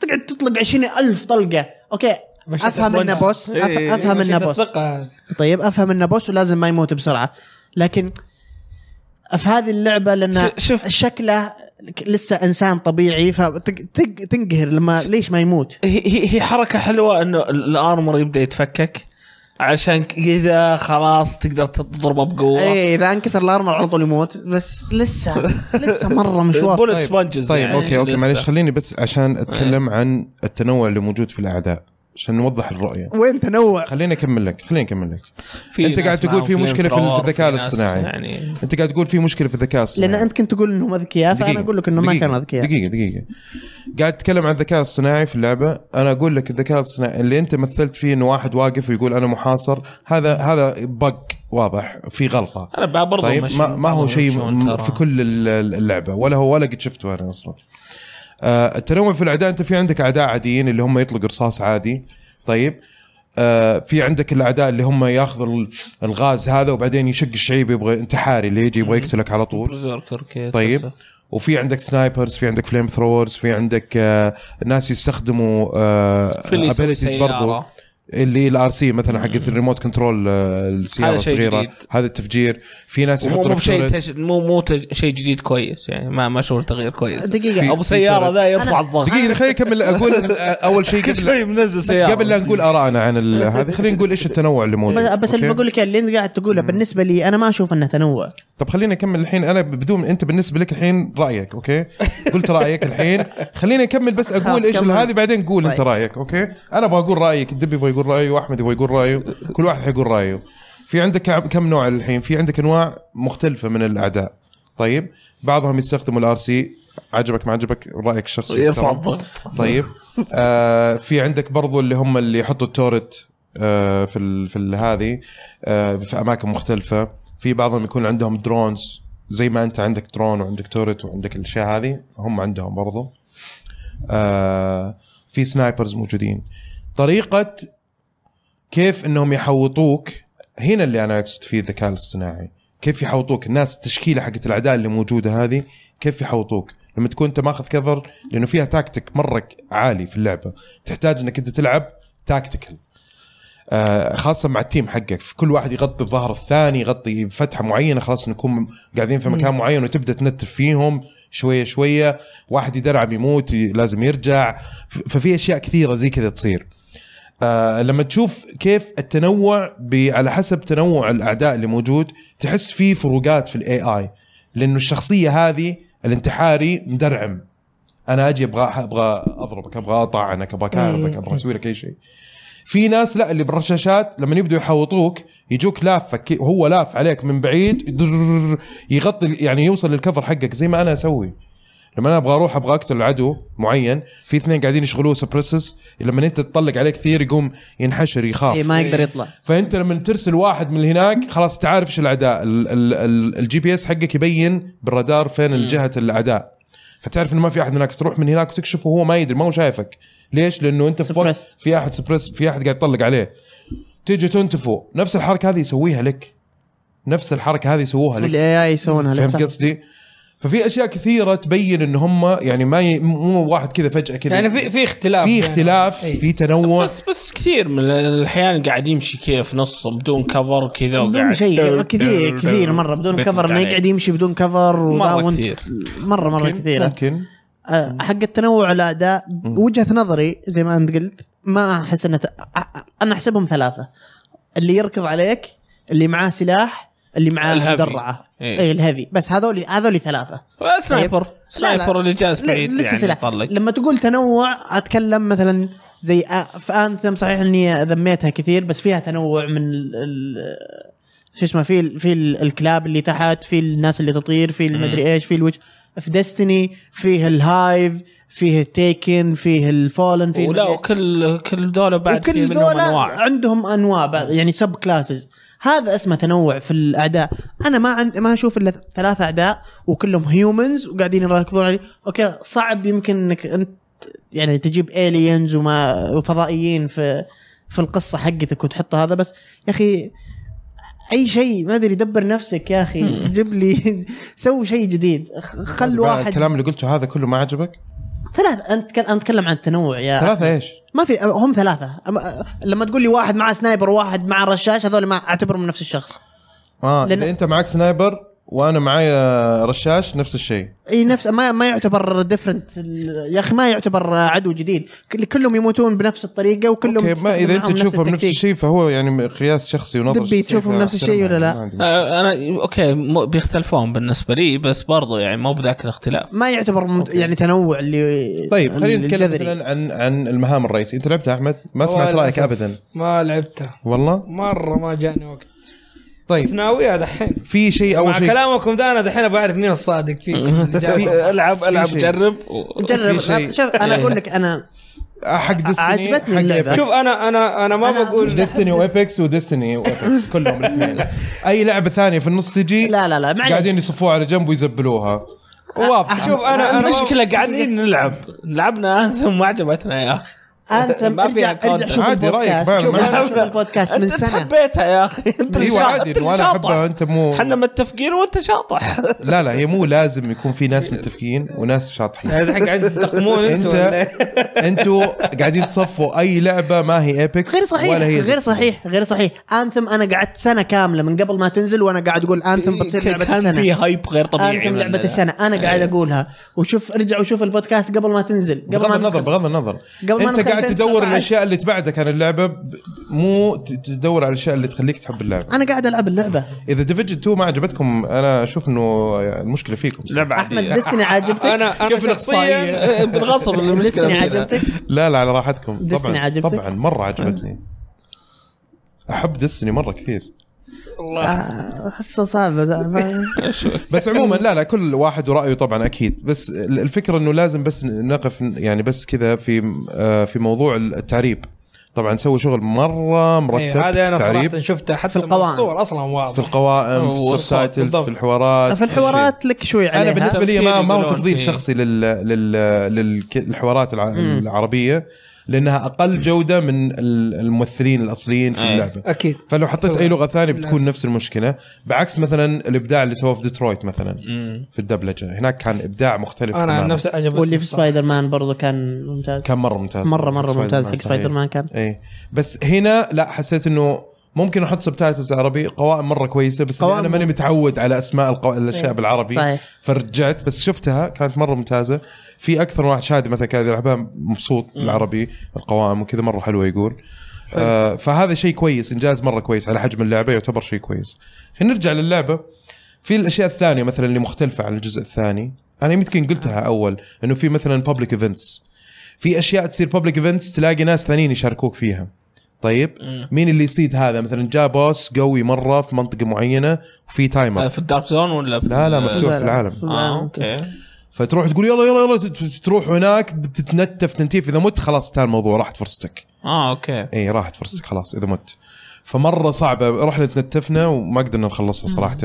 Speaker 3: تقعد تطلق عشرين ألف طلقة أوكي
Speaker 4: مشيت
Speaker 3: أفهم
Speaker 4: أسبوعين.
Speaker 3: إنه بوس أف-
Speaker 2: إيه،
Speaker 3: أفهم إنه بوس طيب أفهم إنه بوس ولازم ما يموت بسرعة لكن في هذه اللعبة لأن
Speaker 2: ش- شوف.
Speaker 3: شكله لسه إنسان طبيعي فتنقهر لما ليش ما يموت
Speaker 2: هي هي- هي حركه حلوه انه ال- الارمر يبدا يتفكك عشان كذا خلاص تقدر تضربه بقوه
Speaker 1: إيه،
Speaker 3: اي اذا إيه، انكسر الارمر على طول يموت بس لسه لسه مره مشوار
Speaker 2: بولت سبونجز
Speaker 1: طيب اوكي اوكي معليش خليني بس عشان اتكلم عن التنوع اللي موجود في الاعداء عشان نوضح الرؤيه
Speaker 3: وين تنوع
Speaker 1: خليني اكمل لك خليني اكمل لك أنت قاعد تقول في مشكلة في الذكاء الاصطناعي.
Speaker 2: يعني
Speaker 1: انت قاعد تقول في مشكله في الذكاء الصناعي
Speaker 3: لان انت كنت تقول انهم اذكياء فانا
Speaker 1: دقيقة،
Speaker 3: اقول لك انه ما
Speaker 1: دقيقة،
Speaker 3: كانوا اذكياء
Speaker 1: دقيقه دقيقه قاعد تتكلم عن الذكاء الصناعي في اللعبه انا اقول لك الذكاء الصناعي اللي انت مثلت فيه انه واحد واقف ويقول انا محاصر هذا هذا بق واضح في غلطه
Speaker 2: انا بقى برضو
Speaker 1: طيب
Speaker 2: مش-
Speaker 1: ما, ما هو شيء
Speaker 2: مشون
Speaker 1: م-
Speaker 2: ترى.
Speaker 1: في كل ال- ال- اللعبه ولا هو ولا قد شفته انا اصلا آه، التنوع في الاعداء انت في عندك اعداء عاديين اللي هم يطلقوا رصاص عادي طيب آه، في عندك الاعداء اللي هم ياخذوا ال- الغاز هذا وبعدين يشق الشعيب يبغى انتحاري اللي يجي يبغى يقتلك على طول
Speaker 2: برزيركر كذا
Speaker 1: طيب وفي عندك سنايبرز في عندك فليم ثرورز في عندك آه، ناس يستخدموا
Speaker 2: في اللي يسوي
Speaker 1: ابيلتيز آه، برضو
Speaker 2: سيارة.
Speaker 1: اللي الار سي مثلا حق الريموت كنترول آه، السياره
Speaker 2: هذا شيء
Speaker 1: الصغيره
Speaker 2: جديد.
Speaker 1: هذا التفجير في ناس
Speaker 2: مو
Speaker 1: يحطوا
Speaker 2: مو
Speaker 1: لك
Speaker 2: بشيء
Speaker 1: turret.
Speaker 2: تش... مو مو تج... شيء جديد كويس يعني ما ما شغل تغيير كويس
Speaker 3: دقيقة.
Speaker 2: ابو سياره ذا يرفع
Speaker 3: أنا-
Speaker 2: الضغط
Speaker 1: دقيقه خليني اكمل اقول اول شيء
Speaker 2: كل
Speaker 1: قبل
Speaker 2: شوي منزل سياره
Speaker 1: قبل لا نقول ارائنا عن ال- هذه خلينا نقول ايش التنوع اللي موجود
Speaker 3: بس, بس اللي
Speaker 1: أوكي؟
Speaker 3: بقول لك اللي انت قاعد تقوله بالنسبه لي انا ما اشوف انه تنوع
Speaker 1: طب خليني اكمل الحين انا بدون انت بالنسبه لك الحين رايك اوكي قلت رايك الحين خليني اكمل بس
Speaker 3: خلاص،
Speaker 1: اقول ايش
Speaker 3: كمل.
Speaker 1: هذه بعدين قول انت
Speaker 3: طيب.
Speaker 1: رايك اوكي انا بقول رايك الدب يبغى يقول رايه واحمد يبغى يقول رايه كل واحد حيقول رايه في عندك كع- كم نوع الحين في عندك انواع مختلفه من الاعداء طيب بعضهم يستخدموا الار سي عجبك ما عجبك رايك الشخصي
Speaker 2: يرفع
Speaker 1: تمام.
Speaker 2: الضغط
Speaker 1: طيب آه في عندك برضو اللي هم اللي يحطوا التورت آه في ال في ال- هذه آه في اماكن مختلفه في بعضهم يكون عندهم درونز زي ما انت عندك درون وعندك تورت وعندك الاشياء هذه هم عندهم برضو آه في سنايبرز موجودين طريقه كيف انهم يحوطوك هنا اللي انا اقصد فيه الذكاء الاصطناعي كيف يحوطوك الناس التشكيله حقت الاعداء اللي موجوده هذه كيف يحوطوك لما تكون انت ماخذ كفر لانه فيها تاكتيك مره عالي في اللعبه تحتاج انك انت تلعب تاكتيكال آه خاصه مع التيم حقك في كل واحد يغطي الظهر الثاني يغطي فتحه معينه خلاص نكون قاعدين في مكان معين وتبدا تنتف فيهم شويه شويه واحد يدرعم يموت ي- لازم يرجع ف- ففي اشياء كثيره زي كذا تصير آه لما تشوف كيف التنوع ب- على حسب تنوع الاعداء اللي موجود تحس في فروقات في الاي اي لانه الشخصيه هذه الانتحاري مدرعم انا اجي ابغى ابغى اضربك ابغى اطعنك ابغى اكهربك ابغى اسوي لك اي شيء في ناس لا اللي بالرشاشات لما يبدوا يحوطوك يجوك لافك كي- هو لاف عليك من بعيد درررر، يغطي يعني يوصل للكفر حقك زي ما انا اسوي لما انا ابغى اروح ابغى اقتل عدو معين في اثنين قاعدين يشغلوه سبريسس لما انت تطلق عليه كثير يقوم ينحشر يخاف
Speaker 3: اي إيه، ما يقدر يطلع
Speaker 1: فانت لما ترسل واحد من هناك خلاص تعرف ايش الاعداء ال- ال- ال- الجي بي اس حقك يبين بالرادار فين الجهه الاعداء فتعرف انه ما في احد هناك تروح من هناك وتكشفه وهو ما يدري ما هو شايفك ليش؟ لانه انت في وقت
Speaker 3: Suppressed.
Speaker 1: في احد سبريس في احد قاعد يطلق عليه تيجي تنتفه نفس الحركه هذه يسويها لك نفس الحركه هذه يسووها لك
Speaker 3: والاي اي يسوونها لك
Speaker 1: فهمت
Speaker 3: صح.
Speaker 1: قصدي؟ ففي اشياء كثيره تبين ان هم يعني ما ي... مو واحد كذا فجاه كذا
Speaker 4: يعني في في اختلاف
Speaker 1: في
Speaker 4: يعني.
Speaker 1: اختلاف
Speaker 4: إيه.
Speaker 1: في تنوع
Speaker 2: بس بس كثير من الاحيان قاعد يمشي كذا في نص بدون كفر كذا
Speaker 3: بدون
Speaker 2: وقاعد
Speaker 3: شيء كثير كثير مره بدون
Speaker 2: بيطلق
Speaker 3: كفر انه
Speaker 2: عليك.
Speaker 3: يقعد يمشي بدون كفر وذا
Speaker 2: مرة
Speaker 3: وانت-
Speaker 2: كثير.
Speaker 3: مره مره كثيره
Speaker 1: ممكن
Speaker 3: آه، حق التنوع الاعداء وجهه نظري زي ما انت قلت ما احس انه ت... أ- انا احسبهم ثلاثه اللي يركض عليك اللي معاه سلاح اللي معاه
Speaker 2: الهيفي.
Speaker 3: مدرعه
Speaker 2: إيه.
Speaker 3: اي الهيفي بس هذول هذول ثلاثه
Speaker 2: سنايبر سنايبر آه، اللي جالس
Speaker 3: لا،
Speaker 2: بعيد
Speaker 3: لسه
Speaker 2: يعني
Speaker 3: سلاح
Speaker 2: يطلق.
Speaker 3: لما تقول تنوع اتكلم مثلا زي آ- في انثم صحيح اني ذميتها كثير بس فيها تنوع من ال... ال... شو اسمه في ال... في ال... الكلاب اللي تحت في الناس اللي تطير في المدري ايش في الوجه في ديستني فيه الهايف فيه التيكن فيه الفولن فيه
Speaker 2: ولا
Speaker 3: المدري إيش.
Speaker 2: وكل كل دوله بعد
Speaker 3: وكل
Speaker 2: في منهم
Speaker 3: دول
Speaker 2: انواع
Speaker 3: عندهم انواع بعد- يعني سب كلاسز هذا اسمه تنوع في الاعداء انا ما عند ما اشوف الا ثلاث اعداء وكلهم هيومنز وقاعدين يركضون علي اوكي صعب يمكن انك انت يعني تجيب الينز وما وفضائيين في في القصه حقتك وتحط هذا بس يا اخي اي شيء ما ادري دبر نفسك يا اخي جيب لي سوي شيء جديد خ- خل واحد
Speaker 1: الكلام اللي قلته هذا كله ما عجبك؟
Speaker 3: ثلاث انت كان- انا اتكلم عن التنوع يا
Speaker 1: ثلاثه ايش؟
Speaker 3: ما في هم ثلاثة أما لما تقول لي واحد معه سنايبر وواحد معه رشاش هذول ما اعتبرهم نفس الشخص
Speaker 1: اه
Speaker 3: لأن-
Speaker 1: اذا انت معك سنايبر وانا معايا رشاش نفس الشيء
Speaker 3: اي نفس ما ما يعتبر ديفرنت يا اخي ما يعتبر عدو جديد كل- كلهم يموتون بنفس الطريقة وكلهم
Speaker 1: اوكي ما اذا
Speaker 3: تستخدم معهم
Speaker 1: انت تشوفه بنفس
Speaker 3: التكتيك.
Speaker 1: الشيء فهو يعني قياس شخصي ونظر
Speaker 3: دبي، تشوفه
Speaker 1: فأنا
Speaker 3: بنفس الشيء ولا لا؟
Speaker 1: ما عندي مشكلة.
Speaker 2: آه، انا اوكي مو- بيختلفون بالنسبه لي بس برضو يعني مو بذاك الاختلاف
Speaker 3: ما يعتبر مت-
Speaker 1: أوكي.
Speaker 3: يعني تنوع اللي
Speaker 1: طيب خلينا نتكلم
Speaker 3: الجذري.
Speaker 1: مثلا عن عن المهام الرئيسيه انت لعبتها احمد ما
Speaker 4: هو
Speaker 1: سمعت رايك
Speaker 4: للأسف
Speaker 1: ابدا
Speaker 4: ما لعبته
Speaker 1: والله
Speaker 4: مره ما جاني وقت
Speaker 1: إيه.
Speaker 4: بس
Speaker 1: طيب
Speaker 4: ناويها دحين
Speaker 1: في شيء
Speaker 4: مع
Speaker 1: اول شيء
Speaker 4: كلامكم ده انا دحين ابغى اعرف مين الصادق فيكم اللي جاوب
Speaker 2: في-
Speaker 4: صح.
Speaker 2: العب العب
Speaker 1: شيء.
Speaker 2: جرب و-
Speaker 3: جرب
Speaker 1: في شيء. إيه.
Speaker 3: شوف انا اقول لك انا
Speaker 1: حق ديستني
Speaker 3: عجبتني
Speaker 1: حق
Speaker 3: اللعبة.
Speaker 1: Apex.
Speaker 4: شوف انا انا انا ما
Speaker 3: أنا-
Speaker 4: بقول
Speaker 1: ديستني وابيكس وديستني وابيكس كلهم الاثنين اي لعبه ثانيه في النص تجي
Speaker 3: لا لا لا
Speaker 1: قاعدين
Speaker 3: معليش
Speaker 1: يصفوها على جنب ويزبلوها واضح
Speaker 4: شوف انا انا
Speaker 2: المشكله قاعدين نلعب لعبنا انثم ما عجبتنا يا اخي
Speaker 3: انثم
Speaker 2: ما فيها
Speaker 3: ارجع ارجع
Speaker 2: content.
Speaker 3: شوف
Speaker 1: عادي رأيك، ما-
Speaker 3: البودكاست شوف-
Speaker 1: ما-
Speaker 3: شوف البودكاست من
Speaker 2: انت
Speaker 3: سنة
Speaker 2: حبيتها يا اخي انت
Speaker 1: ايوه
Speaker 2: شاطح.
Speaker 1: عادي
Speaker 2: أنت اللي
Speaker 1: وانا
Speaker 2: شاطح.
Speaker 1: احبها انت مو
Speaker 2: احنا متفقين وانت شاطح
Speaker 1: لا لا هي مو لازم يكون في ناس متفقين وناس شاطحين
Speaker 4: يعني دحين قاعدين تنتقمون انتوا
Speaker 1: انت
Speaker 4: ولا إيه؟
Speaker 1: انتوا قاعدين تصفوا اي لعبه ما هي ايبكس
Speaker 3: غير صحيح
Speaker 1: ولا هي
Speaker 3: غير
Speaker 1: ديستني.
Speaker 3: صحيح غير صحيح انثم انا قعدت سنه كامله من قبل ما تنزل وانا قاعد اقول انثم بتصير لعبه
Speaker 2: كان في
Speaker 3: السنه
Speaker 2: هايب غير طبيعي
Speaker 3: انثم
Speaker 2: من-
Speaker 3: لعبه السنه انا قاعد اقولها وشوف ارجع وشوف البودكاست قبل ما تنزل قبل
Speaker 1: إيه. بغض
Speaker 3: ما
Speaker 1: النظر
Speaker 3: ندخل.
Speaker 1: بغض النظر
Speaker 3: قبل ما
Speaker 1: انت
Speaker 3: ندخل
Speaker 1: قاعد
Speaker 3: 2019.
Speaker 1: تدور الاشياء اللي تبعدك عن اللعبه ب- مو ت- تدور على الاشياء اللي تخليك تحب اللعبه
Speaker 3: انا قاعد العب اللعبه
Speaker 1: اذا ديفيجن 2 ما عجبتكم انا اشوف انه المشكله فيكم صراحة.
Speaker 2: لعبه
Speaker 3: احمد
Speaker 2: عاديه
Speaker 3: ديستني عجبتك
Speaker 4: انا انا
Speaker 1: كيف الإحصائية؟
Speaker 4: شخصيا
Speaker 2: إيه، بالغصب المشكله
Speaker 3: ديستني
Speaker 2: فينا.
Speaker 3: عجبتك
Speaker 1: لا لا على راحتكم
Speaker 3: ديستني
Speaker 1: طبعا
Speaker 3: عجبتك؟
Speaker 1: طبعا مره عجبتني احب ديستني مره كثير
Speaker 3: احسه صعبه ده. ما-
Speaker 1: بس عموما لا لا كل واحد ورايه طبعا اكيد بس ال- الفكره انه لازم بس نقف يعني بس كذا في آه، في موضوع التعريب طبعا سووا شغل مره مرتب
Speaker 4: إيه، هذا انا
Speaker 1: تعريب
Speaker 4: صراحه شفته حتى
Speaker 3: في القوائم.
Speaker 4: من الصور اصلا
Speaker 1: في
Speaker 4: واضح
Speaker 1: القوائم في
Speaker 2: والصوت،
Speaker 1: السبتايتلز
Speaker 2: بالضبط.
Speaker 1: في الحوارات
Speaker 3: في الحوارات لك شوي
Speaker 1: انا
Speaker 3: عليها
Speaker 1: بالنسبه لي ما
Speaker 2: تفكير
Speaker 1: ما هو
Speaker 2: يقولون
Speaker 1: تفضيل
Speaker 2: فيه.
Speaker 1: شخصي لل لل للك- الحوارات الع-
Speaker 3: مم.
Speaker 1: العربيه لانها اقل جوده من ال- الممثلين الاصليين في
Speaker 2: أي.
Speaker 1: اللعبه
Speaker 4: اكيد
Speaker 1: فلو حطيت اي لغه ثانيه بتكون
Speaker 4: لازم.
Speaker 1: نفس المشكله بعكس مثلا الابداع اللي سووه في ديترويت مثلا
Speaker 2: مم.
Speaker 1: في الدبلجه هناك كان ابداع مختلف
Speaker 4: انا عن
Speaker 1: تماماً.
Speaker 4: نفسي عجبتني
Speaker 3: واللي في
Speaker 4: الصراحة.
Speaker 3: سبايدر مان برضو كان ممتاز
Speaker 1: كان مره ممتاز
Speaker 3: مره مره ممتاز حق
Speaker 1: صحيح.
Speaker 3: سبايدر مان كان
Speaker 1: اي إيه. بس هنا لا حسيت انه ممكن احط سبتايتلز عربي قوائم مره كويسه بس إني
Speaker 3: قوائم
Speaker 1: انا ماني متعود على اسماء القو... الاشياء
Speaker 3: إيه.
Speaker 1: بالعربي
Speaker 3: صحيح
Speaker 1: فرجعت بس شفتها كانت مره ممتازه في اكثر من واحد شادي مثلا كان يلعبها مبسوط بالعربي القوائم وكذا مره حلوه يقول آه فهذا شيء كويس انجاز مره كويس على حجم اللعبه يعتبر شيء كويس نرجع للعبه في الاشياء الثانيه مثلا اللي مختلفه عن الجزء الثاني انا يمكن قلتها اول انه في مثلا بابليك ايفنتس في اشياء تصير بابليك ايفنتس تلاقي ناس ثانيين يشاركوك فيها طيب
Speaker 2: مم.
Speaker 1: مين اللي يصيد هذا مثلا جاء بوس قوي مره في منطقه معينه وفي
Speaker 2: هذا
Speaker 1: تايمر
Speaker 2: آه، في الدارك زون ولا في
Speaker 1: لا لا مفتوح
Speaker 3: لا،
Speaker 1: في
Speaker 3: لا.
Speaker 1: العالم آه،
Speaker 2: اه اوكي
Speaker 1: فتروح تقول يلا يلا يلا تت- تروح هناك تتنتف تنتيف اذا مت خلاص انتهى الموضوع راحت فرصتك
Speaker 2: اه اوكي
Speaker 1: اي راحت فرصتك خلاص اذا مت فمره صعبه رحنا تنتفنا وما قدرنا نخلصها صراحه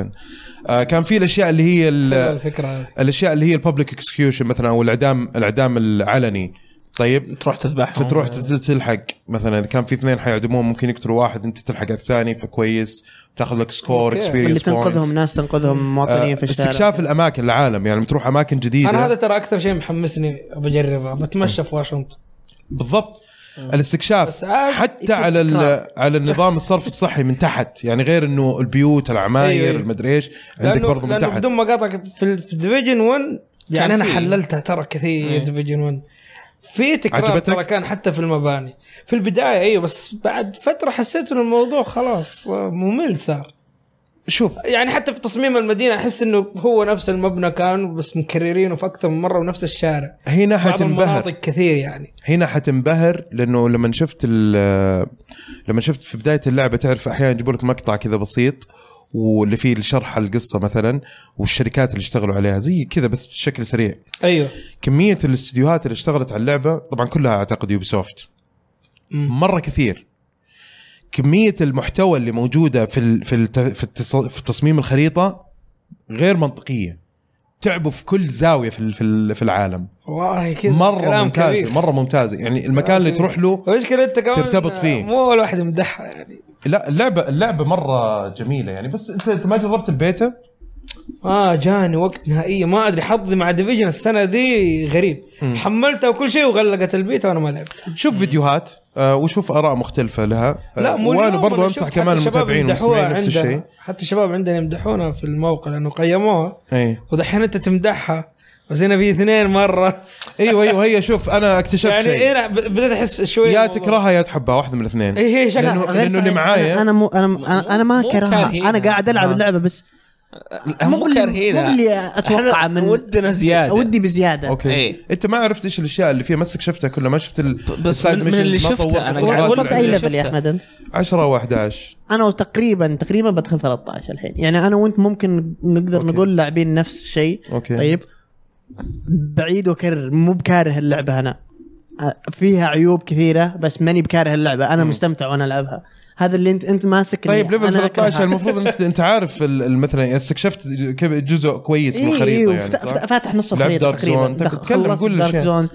Speaker 1: آه كان في الاشياء اللي هي
Speaker 4: حلوة
Speaker 1: ال-
Speaker 4: الفكره هذه.
Speaker 1: الاشياء اللي هي الببليك اكسكيوشن مثلا او الاعدام الاعدام العلني طيب
Speaker 2: تروح تذبحهم
Speaker 1: فتروح
Speaker 4: آه.
Speaker 1: تت- تلحق مثلا اذا كان في اثنين حيعدمون ممكن يقتلوا واحد انت تلحق على الثاني فكويس تاخذ لك سكور
Speaker 4: أوكي.
Speaker 3: اللي
Speaker 1: اكسبيرينس
Speaker 3: تنقذهم ناس تنقذهم مواطنين في الشارع
Speaker 1: آه، استكشاف الاماكن العالم يعني بتروح اماكن جديده
Speaker 4: انا هذا ترى اكثر شيء محمسني بجربها بتمشى في واشنطن
Speaker 1: بالضبط
Speaker 4: آه. بس
Speaker 1: الاستكشاف
Speaker 4: عاد
Speaker 1: حتى
Speaker 3: يصير
Speaker 1: على ال-
Speaker 3: تكرار.
Speaker 1: على النظام الصرف الصحي من تحت يعني غير انه البيوت العماير
Speaker 4: أيوة.
Speaker 1: المدري ايش عندك برضه من
Speaker 4: لأنه
Speaker 1: تحت
Speaker 4: بدون مقاطع في في ديفيجن 1
Speaker 2: كان
Speaker 4: يعني انا
Speaker 2: في.
Speaker 4: حللتها ترى كثير
Speaker 2: إيه.
Speaker 4: ديفيجن 1 في تكرار
Speaker 1: عجبتك؟
Speaker 4: ترى كان حتى في المباني في البدايه ايوه بس بعد فتره حسيت انه الموضوع خلاص آه، ممل صار
Speaker 1: شوف
Speaker 4: يعني حتى في تصميم المدينه احس انه هو نفس المبنى كان بس مكررينه في اكثر من مره ونفس الشارع
Speaker 1: هنا
Speaker 4: بعض المناطق
Speaker 1: حتنبهر
Speaker 4: كثير يعني
Speaker 1: هنا حتنبهر لانه لما شفت ال- لما شفت في بدايه اللعبه تعرف احيانا يجيبوا لك مقطع كذا بسيط واللي فيه الشرح على القصه مثلا والشركات اللي اشتغلوا عليها زي كذا بس بشكل سريع
Speaker 4: ايوه
Speaker 1: كميه الاستديوهات اللي اشتغلت على اللعبه طبعا كلها اعتقد يوبي سوفت
Speaker 4: مم.
Speaker 1: مره كثير كميه المحتوى اللي موجوده في ال- في الت- في, التص- في تصميم الخريطه غير منطقيه تعبوا في كل زاويه في ال- في ال- في العالم
Speaker 4: والله كذا
Speaker 1: مره
Speaker 4: كلام
Speaker 1: ممتازه
Speaker 4: كبير.
Speaker 1: مره ممتازه يعني المكان
Speaker 4: كلام
Speaker 1: اللي
Speaker 4: كبير.
Speaker 1: تروح له
Speaker 4: المشكله انت كمان
Speaker 1: ترتبط فيه.
Speaker 4: مو اول واحد مدحها يعني
Speaker 1: لا اللعبه اللعبه مره جميله يعني بس انت انت ما جربت البيتا
Speaker 4: اه جاني وقت نهائيا ما ادري حظي مع ديفيجن السنه دي غريب حملتها وكل شيء وغلقت البيت وانا ما لعبت
Speaker 1: شوف فيديوهات آه، وشوف اراء مختلفه لها آه،
Speaker 4: لا مو
Speaker 1: وانا
Speaker 4: اليوم،
Speaker 1: برضو
Speaker 4: أنا
Speaker 1: انصح
Speaker 4: شفت حتى
Speaker 1: كمان
Speaker 4: الشباب
Speaker 1: المتابعين
Speaker 4: يمدحوها
Speaker 1: والمستمعين نفس
Speaker 4: عندنا.
Speaker 1: الشيء
Speaker 4: حتى الشباب عندنا يمدحونها في الموقع لانه قيموها
Speaker 1: اي
Speaker 4: ودحين انت تمدحها بس هنا في اثنين مره
Speaker 1: ايوه ايوه هي شوف انا اكتشفت
Speaker 4: يعني
Speaker 1: شيء
Speaker 4: هنا ب- بدأت احس شوي
Speaker 1: يا
Speaker 4: الموضوع. إيه،
Speaker 1: تكرهها يا تحبها واحده من الاثنين
Speaker 4: اي هي
Speaker 1: لأنه-
Speaker 4: شكلها
Speaker 1: لأنه اللي
Speaker 3: صحيح.
Speaker 1: معايا-
Speaker 3: انا انا مو انا انا, أنا ما
Speaker 2: مو
Speaker 3: كرهها
Speaker 2: كارهينها.
Speaker 3: انا قاعد العب اللعبه بس مو
Speaker 2: مو
Speaker 3: باللي-
Speaker 2: كارهينها.
Speaker 3: مو باللي أتوقع
Speaker 2: إحنا
Speaker 3: من-
Speaker 2: ودنا زياده
Speaker 3: ودي بزياده
Speaker 1: اوكي
Speaker 2: إيه.
Speaker 1: انت ما عرفت ايش الاشياء اللي فيها ما استكشفتها كلها ما شفت ال...
Speaker 2: بس من- من اللي شفته أنا قاعد أقول
Speaker 3: وصلت
Speaker 2: لك
Speaker 3: اي
Speaker 2: اللي
Speaker 3: ليفل يا
Speaker 2: شفته.
Speaker 3: احمد انت؟
Speaker 1: 10 و11
Speaker 3: انا تقريبا تقريبا بدخل 13 الحين يعني انا وانت ممكن نقدر
Speaker 1: أوكي.
Speaker 3: نقول لاعبين نفس الشيء
Speaker 1: اوكي
Speaker 3: طيب بعيد واكرر مو بكاره اللعبه انا أ- فيها عيوب كثيره بس ماني بكاره اللعبه انا مستمتع وانا العبها هذا اللي انت انت ماسك إني
Speaker 1: طيب ليفل
Speaker 3: أنا
Speaker 1: 13
Speaker 3: أكرهها.
Speaker 1: المفروض انك انت عارف ال- ال- مثلا استكشفت كيف- جزء كويس من
Speaker 3: إيه،
Speaker 1: الخريطه
Speaker 3: إيه،
Speaker 1: يعني
Speaker 3: وفت-
Speaker 1: صح؟
Speaker 3: فاتح نص
Speaker 1: لعب
Speaker 3: الخريطه
Speaker 1: Dark
Speaker 3: تقريبا
Speaker 1: Zone. تك- تكلم،
Speaker 3: خلصت
Speaker 1: قول
Speaker 3: Dark
Speaker 1: الأشياء.
Speaker 3: Zone.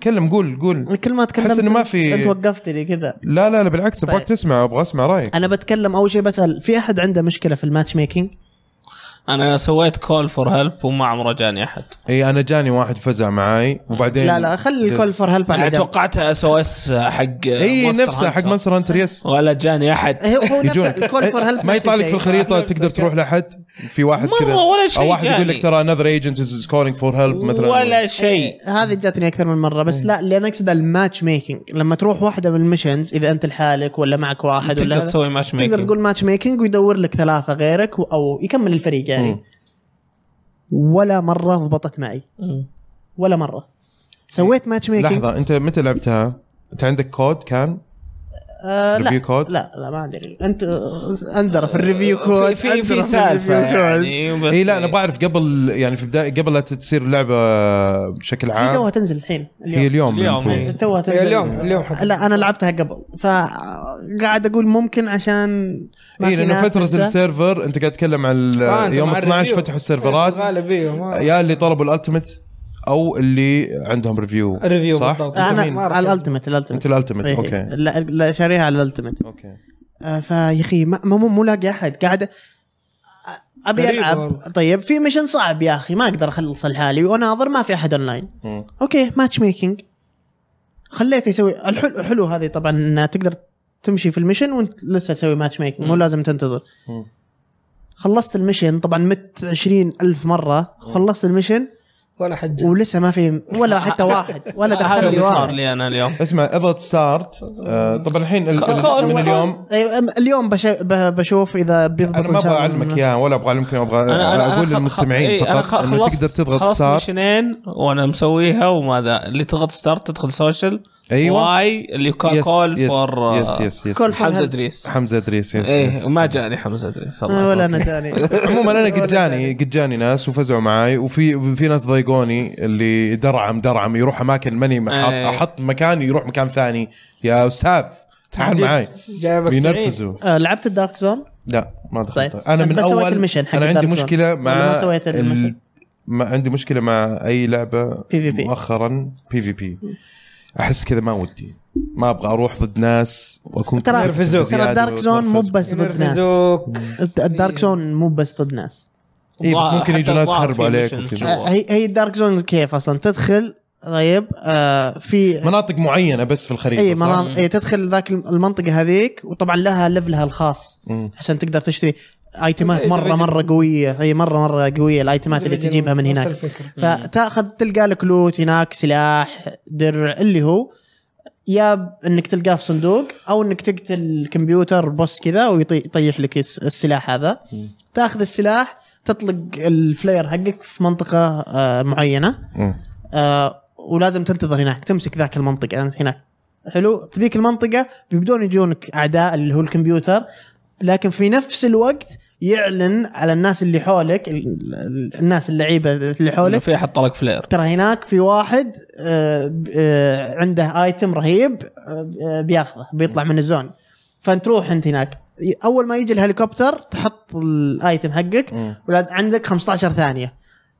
Speaker 1: تكلم قول قول
Speaker 3: كل ما اتكلم
Speaker 1: أحس إنه ما في-
Speaker 3: انت وقفت لي كذا
Speaker 1: لا لا لا بالعكس ابغاك
Speaker 3: طيب.
Speaker 1: تسمع ابغى اسمع رايك
Speaker 3: انا بتكلم اول شيء بسال في احد عنده مشكله في الماتش ميكينج
Speaker 2: انا سويت كول فور هيلب وما عمره جاني احد
Speaker 1: اي انا جاني واحد فزع معاي وبعدين
Speaker 3: لا لا خلي الكول فور هيلب على
Speaker 2: انا
Speaker 3: جنب
Speaker 2: توقعتها اس او اس يعني حق
Speaker 1: اي
Speaker 2: مونستر
Speaker 1: نفسها حق
Speaker 2: هانتر.
Speaker 1: مونستر هانتر يس
Speaker 2: ولا جاني
Speaker 1: إيه،
Speaker 2: احد
Speaker 3: هي- هو نفس
Speaker 1: يجونك
Speaker 3: الكول فور هيلب
Speaker 1: إيه، ما
Speaker 3: نفس
Speaker 1: يطلع لك في
Speaker 3: الشيء.
Speaker 1: الخريطه تقدر تروح لحد في واحد
Speaker 2: مرة
Speaker 1: كذا
Speaker 2: ولا شيء
Speaker 1: او واحد يقول
Speaker 2: جاني.
Speaker 1: لك ترى إيه، another agent is calling for help مثلا
Speaker 2: ولا شيء
Speaker 3: إيه، هذه جاتني اكثر من مره
Speaker 1: إيه.
Speaker 3: بس لا اللي انا اقصد الماتش ميكينج لما تروح واحده من المشنز اذا انت لحالك ولا معك واحد ولا
Speaker 2: تقدر
Speaker 3: هذا،
Speaker 2: تسوي ماتش
Speaker 3: تقدر تقول ماتش ميكينج ويدور لك ثلاثه غيرك و- او يكمل الفريق يعني
Speaker 1: مم.
Speaker 3: ولا مره ضبطت معي ولا مره سويت ماتش ميكينج
Speaker 1: لحظه انت متى لعبتها؟ انت عندك كود كان؟
Speaker 3: آه لا
Speaker 1: ريفيو كود؟
Speaker 3: لا لا ما ادري انت آه، انزل في الريفيو كود
Speaker 2: في
Speaker 3: انزل
Speaker 2: في
Speaker 3: في
Speaker 2: سالفه
Speaker 3: الريفيو كود.
Speaker 2: يعني بس
Speaker 1: اي إيه، لا انا بعرف قبل يعني في بدايه قبل لا تصير اللعبه بشكل
Speaker 3: هي توها
Speaker 1: عام
Speaker 3: تنزل الحين
Speaker 1: هي اليوم
Speaker 2: اليوم،
Speaker 1: المفروض.
Speaker 2: إيه.
Speaker 3: اليوم توها تنزل
Speaker 4: هي اليوم اليوم حتى
Speaker 3: لا انا لعبتها قبل فقاعد اقول ممكن عشان ما
Speaker 1: اي
Speaker 3: في
Speaker 1: لانه
Speaker 3: ناس
Speaker 1: فتره
Speaker 3: لسه.
Speaker 1: إيه، السيرفر انت قاعد تتكلم عن
Speaker 4: آه، أنت
Speaker 1: يوم
Speaker 4: مع
Speaker 1: 12
Speaker 4: الريفيو.
Speaker 1: فتحوا السيرفرات
Speaker 4: غالب ايوه
Speaker 2: آه،
Speaker 4: ما-
Speaker 1: يا اللي طلبوا الالتيميت او اللي عندهم ريفيو
Speaker 4: الريفيو
Speaker 1: صح؟
Speaker 4: بالضبط.
Speaker 3: انا
Speaker 4: ما ركزت.
Speaker 3: على الالتيميت الالتيميت
Speaker 1: انت
Speaker 3: إيه.
Speaker 1: الالتيميت اوكي
Speaker 3: لا لا شاريها على الالتيميت
Speaker 1: اوكي
Speaker 3: آه، فيا اخي ما- مو مو- مو لاقي احد قاعد أ- ابي
Speaker 4: غريب
Speaker 3: العب
Speaker 4: والله.
Speaker 3: طيب في ميشن صعب يا اخي ما اقدر اخلص لحالي واناظر ما في احد اونلاين
Speaker 1: مم.
Speaker 3: اوكي ماتش ميكينج خليته يسوي الحلو حلو هذه طبعا انها تقدر تمشي في الميشن وانت لسه تسوي ماتش ميكينج مو لازم تنتظر
Speaker 1: مم.
Speaker 3: خلصت الميشن طبعا مت عشرين ألف مرة خلصت الميشن
Speaker 4: ولا حد
Speaker 3: ولسه ما في ولا حتى واحد ولا
Speaker 2: هذا
Speaker 3: دخل لي
Speaker 2: اللي صار
Speaker 3: واحد
Speaker 2: لي انا اليوم
Speaker 1: اسمع اضغط ستارت آه طبعا الحين ال-
Speaker 2: كول-
Speaker 1: ال- من
Speaker 2: كول.
Speaker 1: اليوم
Speaker 3: أيوة، أم- اليوم بش- ب- بشوف اذا بيضبط
Speaker 1: انا
Speaker 3: إن
Speaker 1: ما
Speaker 3: شاء
Speaker 1: ابغى
Speaker 3: الله.
Speaker 1: اعلمك اياها ولا ابغى اعلمك اياها ابغى
Speaker 2: خ-
Speaker 1: اقول
Speaker 2: خ-
Speaker 1: للمستمعين
Speaker 2: إيه، أنا
Speaker 1: فقط انه
Speaker 2: خلصت-
Speaker 1: تقدر تضغط
Speaker 2: خلصت
Speaker 1: ستارت
Speaker 2: مشينين وانا مسويها وماذا اللي تضغط ستارت تدخل سوشيال
Speaker 1: أيوة.
Speaker 2: واي اللي كا- كول فور
Speaker 1: يس يس يس
Speaker 3: كول
Speaker 2: حمزه
Speaker 3: حمزة
Speaker 2: ادريس
Speaker 1: حمزه ادريس يس,
Speaker 3: إيه.
Speaker 2: ايه
Speaker 1: يس.
Speaker 2: ما جاني حمزه ادريس
Speaker 1: آه،
Speaker 2: الله
Speaker 3: آه، ولا
Speaker 2: يبارك.
Speaker 3: انا جاني
Speaker 1: عموما انا
Speaker 3: ولا
Speaker 1: قد جاني قد جاني ناس وفزعوا معي وفي في ناس ضايقوني اللي درعم درعم يروح اماكن ماني احط
Speaker 2: إيه.
Speaker 1: احط مكاني يروح مكان ثاني يا استاذ تعال معي
Speaker 4: جايبك
Speaker 1: بينرفزوا
Speaker 3: آه، لعبت الدارك زون
Speaker 1: لا ما دخلت
Speaker 3: طيب.
Speaker 1: انا من
Speaker 3: بس سويت
Speaker 1: اول
Speaker 3: المشن حق
Speaker 1: انا عندي
Speaker 3: الدارك
Speaker 1: مشكله مع
Speaker 3: ولا ما سويت المشن؟
Speaker 1: ما عندي مشكله مع اي لعبه
Speaker 3: PvP.
Speaker 1: مؤخرا بي في بي احس كذا ما ودي ما ابغى اروح ضد ناس واكون
Speaker 3: ترى
Speaker 4: ينرفزوك.
Speaker 3: ترى الدارك زون مو بس ضد ناس
Speaker 4: ينرفزوك
Speaker 3: الدارك زون مو بس ضد ناس
Speaker 1: اي إيه، بس
Speaker 2: ضاع-
Speaker 1: ممكن
Speaker 2: حتى
Speaker 1: يجوا ناس
Speaker 2: ضاع في
Speaker 1: يخربوا عليك
Speaker 2: missions
Speaker 1: وكذا.
Speaker 2: جوا.
Speaker 3: آه، هي هي الدارك زون كيف اصلا تدخل طيب آه في
Speaker 1: مناطق معينه بس في الخريطه
Speaker 3: اي
Speaker 1: صح؟
Speaker 3: مرام اي تدخل ذاك الم- المنطقه هذيك وطبعا لها ليفلها الخاص
Speaker 1: مم.
Speaker 3: عشان تقدر تشتري ايتمات
Speaker 4: زي
Speaker 3: مره
Speaker 4: Division.
Speaker 3: مره قويه هي مره مره قويه الايتمات اللي تجيبها من هناك
Speaker 4: نفس الفكرة.
Speaker 3: فتاخذ تلقى لك لوت هناك سلاح درع اللي هو يا ب- انك تلقاه في صندوق او انك تقتل الكمبيوتر بوس كذا ويطيح لك الس- السلاح هذا
Speaker 1: مم.
Speaker 3: تاخذ السلاح تطلق الفلاير حقك في منطقه آه، معينه
Speaker 1: مم.
Speaker 3: آه، ولازم تنتظر هناك تمسك ذاك المنطقه انت هناك حلو في ذيك المنطقه بيبدون يجونك اعداء اللي هو الكمبيوتر لكن في نفس الوقت يعلن على الناس اللي حولك ال- ال- الناس اللعيبه اللي
Speaker 2: إنه
Speaker 3: حولك
Speaker 2: في حط لك فلير
Speaker 3: ترى هناك في واحد آه، ب- آه، عنده ايتم رهيب آه، ب- آه، بياخذه بيطلع من الزون فانت تروح انت هناك اول ما يجي الهليكوبتر تحط الايتم حقك
Speaker 1: مم.
Speaker 3: ولازم عندك 15 ثانيه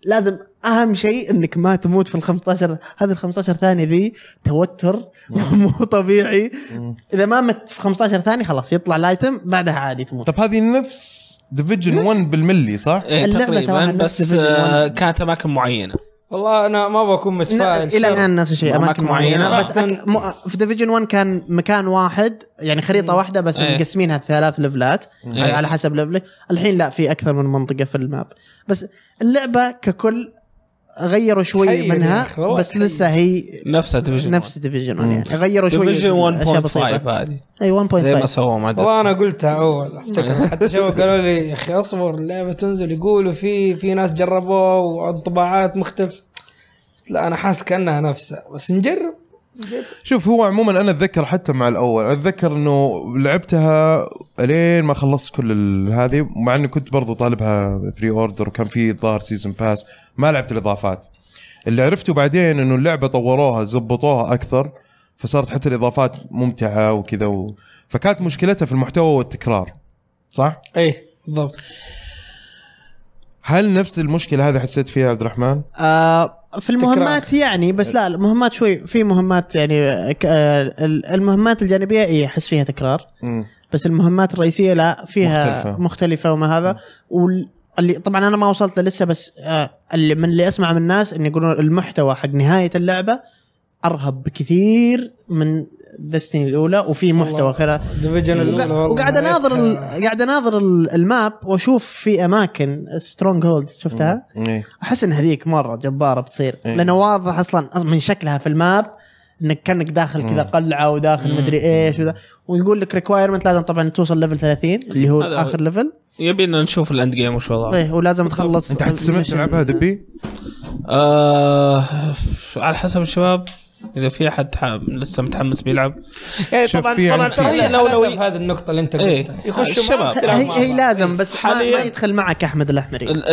Speaker 3: لازم اهم شيء انك ما تموت في ال 15 هذه ال 15 ثانيه ذي توتر مو طبيعي
Speaker 1: مم.
Speaker 3: اذا ما مت في 15 ثانيه خلاص يطلع الايتم بعدها عادي تموت
Speaker 1: طب هذه نفس ديفيجن 1 بالملي صح؟
Speaker 2: إيه
Speaker 3: اللعبة تراها
Speaker 2: تقريبا
Speaker 3: نفس
Speaker 2: بس
Speaker 3: Division
Speaker 2: آه،
Speaker 3: One.
Speaker 2: كانت اماكن معينه
Speaker 4: والله انا ما بكون متفائل
Speaker 3: الى
Speaker 4: شر.
Speaker 3: الان نفس الشيء
Speaker 2: أماكن
Speaker 3: اماكن معينه
Speaker 2: معينة.
Speaker 3: بس أك... م... في ديفيجن 1 كان مكان واحد يعني خريطه واحده بس
Speaker 2: إيه.
Speaker 3: مقسمينها ثلاث ليفلات
Speaker 2: إيه.
Speaker 3: على حسب ليفلك الحين لا في اكثر من منطقه في الماب بس اللعبه ككل غيروا شوي
Speaker 4: تخيل
Speaker 2: يعني،
Speaker 4: يا
Speaker 3: منها
Speaker 4: أخي، والله
Speaker 3: بس
Speaker 4: تخيل.
Speaker 3: لسه هي
Speaker 2: نفسها ديفيجن
Speaker 3: نفس ديفيجن 1
Speaker 1: مم.
Speaker 3: يعني غيروا شوي
Speaker 2: ديفيجن
Speaker 3: أشياء
Speaker 2: 1.5
Speaker 3: بسيطة. إيه،
Speaker 2: هذه
Speaker 3: اي 1.5
Speaker 2: زي ما سووا مع
Speaker 4: والله انا قلتها اول افتكر حتى شباب قالوا لي يا اخي اصبر اللعبه تنزل يقولوا في في ناس جربوها وانطباعات مختلفه لا انا حاسس كانها نفسها بس نجرب
Speaker 1: شوف هو عموما انا اتذكر حتى مع الاول اتذكر انه لعبتها لين ما خلصت كل ال- هذه مع اني كنت برضو طالبها بري اوردر وكان في الظاهر سيزون باس ما لعبت الاضافات اللي عرفته بعدين انه اللعبه طوروها زبطوها اكثر فصارت حتى الاضافات ممتعه وكذا و... فكانت مشكلتها في المحتوى والتكرار صح؟
Speaker 4: اي إيه، بالضبط
Speaker 1: هل نفس المشكله هذه حسيت فيها يا عبد الرحمن؟
Speaker 3: آه في المهمات يعني بس لا المهمات شوي في مهمات يعني آه، ك- آه، ال- المهمات الجانبيه اي احس فيها تكرار
Speaker 1: مم.
Speaker 3: بس المهمات الرئيسيه لا فيها
Speaker 1: مختلفة.
Speaker 3: مختلفه, مختلفة وما هذا واللي طبعا انا ما وصلت لسه بس آه، اللي من اللي اسمع من الناس ان يقولون المحتوى حق نهايه اللعبه ارهب بكثير من دستني الاولى وفي محتوى
Speaker 4: والله.
Speaker 3: خير
Speaker 4: ديفيجن
Speaker 3: وقا-
Speaker 4: الاولى والله
Speaker 3: وقاعد اناظر ال-
Speaker 4: نهايتها-
Speaker 3: قاعد اناظر ال- الماب واشوف في اماكن سترونج هولد شفتها؟
Speaker 1: مم. إيه.
Speaker 3: احس ان هذيك مره جباره بتصير
Speaker 1: إيه.
Speaker 3: لانه واضح اصلا من شكلها في الماب انك كانك داخل كذا
Speaker 1: مم.
Speaker 3: قلعه وداخل
Speaker 2: مم.
Speaker 3: مدري ايش وذا ويقول لك ريكوايرمنت لازم طبعا توصل ليفل 30 اللي هو
Speaker 2: هذا هو.
Speaker 3: اخر ليفل
Speaker 2: يبي لنا نشوف الاند جيم وش وضعه
Speaker 3: ايه ولازم تخلص
Speaker 1: انت حتستمر
Speaker 3: المشن.
Speaker 1: تلعبها دبي؟
Speaker 3: إيه،
Speaker 2: آه على حسب الشباب اذا في احد ح- لسه متحمس بيلعب إيه
Speaker 1: شوف
Speaker 2: طبعا
Speaker 1: في
Speaker 2: طبعا
Speaker 1: عندي-
Speaker 2: طبعا
Speaker 4: لو لو في
Speaker 2: الاولويه
Speaker 4: هذه النقطة اللي انت
Speaker 2: إيه.
Speaker 4: قلتها يخشوا
Speaker 2: الشباب.
Speaker 4: معاك، تلعب
Speaker 3: هي,
Speaker 4: مع
Speaker 3: هي
Speaker 4: بعض.
Speaker 3: لازم بس ما,
Speaker 2: حالياً.
Speaker 3: ما يدخل معك احمد الاحمري
Speaker 2: ال-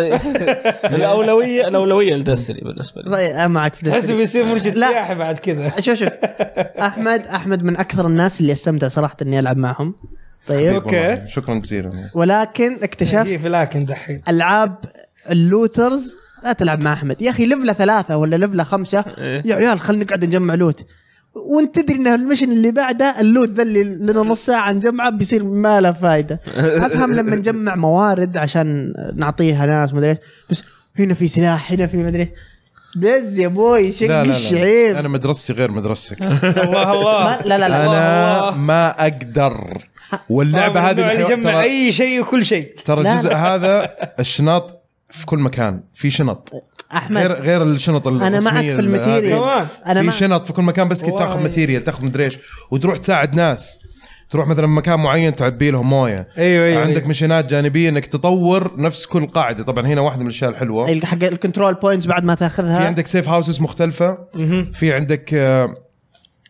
Speaker 2: الاولويه الاولويه لدستني بالنسبه لي
Speaker 3: طيب، معك في
Speaker 4: تحسه
Speaker 3: دستني.
Speaker 4: بيصير مرشد
Speaker 3: لا.
Speaker 4: سياحي بعد كذا
Speaker 3: شوف شوف احمد احمد من اكثر الناس اللي استمتع صراحه اني العب معهم طيب
Speaker 4: أوكي.
Speaker 1: إيه، والله، شكرا جزيلا
Speaker 3: ولكن اكتشفت
Speaker 4: في لكن دحين
Speaker 3: العاب اللوترز لا تلعب مع احمد يا اخي لفله ثلاثه ولا لفله خمسه
Speaker 1: إيه.
Speaker 3: يا عيال خلينا نقعد نجمع لوت وانت تدري ان المشن اللي بعده اللوت ذا اللي لنا نص ساعه نجمعه بيصير ما له فائده افهم لما نجمع موارد عشان نعطيها ناس مدري إيش، بس هنا في سلاح هنا في مدري إيش. دز يا بوي شق
Speaker 1: لا لا
Speaker 3: الشعير
Speaker 1: لا. انا مدرستي غير مدرستك
Speaker 4: الله
Speaker 3: ما-
Speaker 4: الله
Speaker 3: لا لا لا
Speaker 1: انا
Speaker 4: الله.
Speaker 1: ما اقدر واللعبه
Speaker 4: آه، من
Speaker 1: هذه
Speaker 4: النوع اللي
Speaker 1: الحيوان-
Speaker 4: يجمع
Speaker 1: ترى,
Speaker 4: اي شيء وكل شيء
Speaker 1: ترى
Speaker 3: لا.
Speaker 1: الجزء هذا الشنط في كل مكان في شنط غير
Speaker 3: احمد
Speaker 1: غير الشنط ال-
Speaker 3: أنا معك
Speaker 1: الرسمية
Speaker 3: في
Speaker 1: ال-
Speaker 3: الماتيريال.
Speaker 1: هذه.
Speaker 4: كمان
Speaker 3: انا
Speaker 1: في
Speaker 3: ما
Speaker 1: شنط في كل مكان بس كنت تاخذ
Speaker 4: والله.
Speaker 1: ماتيريال تاخذ مدري ايش وتروح تساعد ناس تروح مثلا مكان معين تعبي لهم مويه
Speaker 4: ايوه ايوه
Speaker 1: عندك
Speaker 4: أيوة.
Speaker 1: مشينات جانبيه انك تطور نفس كل قاعده طبعا هنا واحده من الاشياء الحلوه في
Speaker 3: ال- حق الكنترول بوينتس بعد ما تاخذها
Speaker 1: عندك سيف هاوسز مختلفه
Speaker 4: مهم.
Speaker 1: في عندك آه،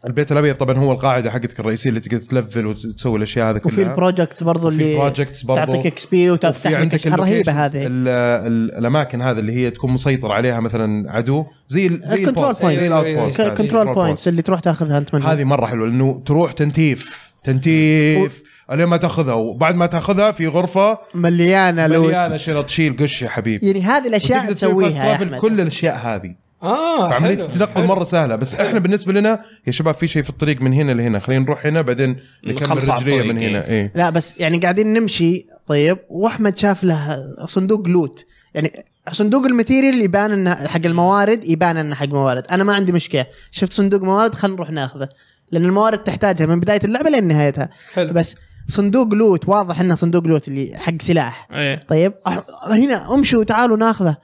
Speaker 1: البيت الابيض طبعا هو القاعده حقتك الرئيسيه اللي تقدر تلفل وتسوي الاشياء هذه كلها
Speaker 3: وفي البروجكتس برضو
Speaker 1: نعم. وفي
Speaker 3: اللي
Speaker 1: projects برضو.
Speaker 3: تعطيك اكس بي
Speaker 1: وفي
Speaker 3: وتفتح
Speaker 1: عندك
Speaker 3: لك رهيبه
Speaker 1: اللوكيشنز،
Speaker 3: هذه
Speaker 1: ال- ال- الاماكن هذه اللي هي تكون مسيطر عليها مثلا عدو زي ال زي
Speaker 3: الكنترول
Speaker 1: البوست،
Speaker 3: بوينتس.
Speaker 1: زي الاوتبوست هذه،
Speaker 3: كنترول
Speaker 1: الكنترول
Speaker 3: بوينتس اللي تروح تاخذها انت
Speaker 1: بوينتس.
Speaker 3: منها
Speaker 1: هذه مره حلوه لانه تروح تنتيف تنتيف الين ما تاخذها وبعد ما تاخذها في غرفه
Speaker 3: مليانه لوت
Speaker 1: مليانه شنط تشيل قش يا حبيبي
Speaker 3: يعني هذه الاشياء
Speaker 1: وتقدر تسوي
Speaker 3: تسويها يا
Speaker 1: فاست
Speaker 3: احمد
Speaker 1: travel كل الاشياء هذه
Speaker 4: اه
Speaker 1: فعمليه
Speaker 4: حلو.
Speaker 1: التنقل مره سهله بس احنا بالنسبه لنا يا شباب في شيء في الطريق من هنا لهنا خلينا نروح هنا بعدين نكمل
Speaker 2: نخلص على
Speaker 1: رجليه
Speaker 2: الطريق،
Speaker 1: من هنا ايه
Speaker 3: لا بس يعني قاعدين نمشي طيب واحمد شاف له صندوق لوت يعني صندوق الماتيريال يبان انه حق الموارد يبان انه حق موارد انا ما عندي مشكله شفت صندوق موارد خلينا نروح ناخذه لان الموارد تحتاجها من بدايه اللعبه لين نهايتها
Speaker 4: حلو.
Speaker 3: بس صندوق لوت واضح انه صندوق لوت اللي حق سلاح
Speaker 2: ايه
Speaker 3: طيب أح- هنا امشوا تعالوا ناخذه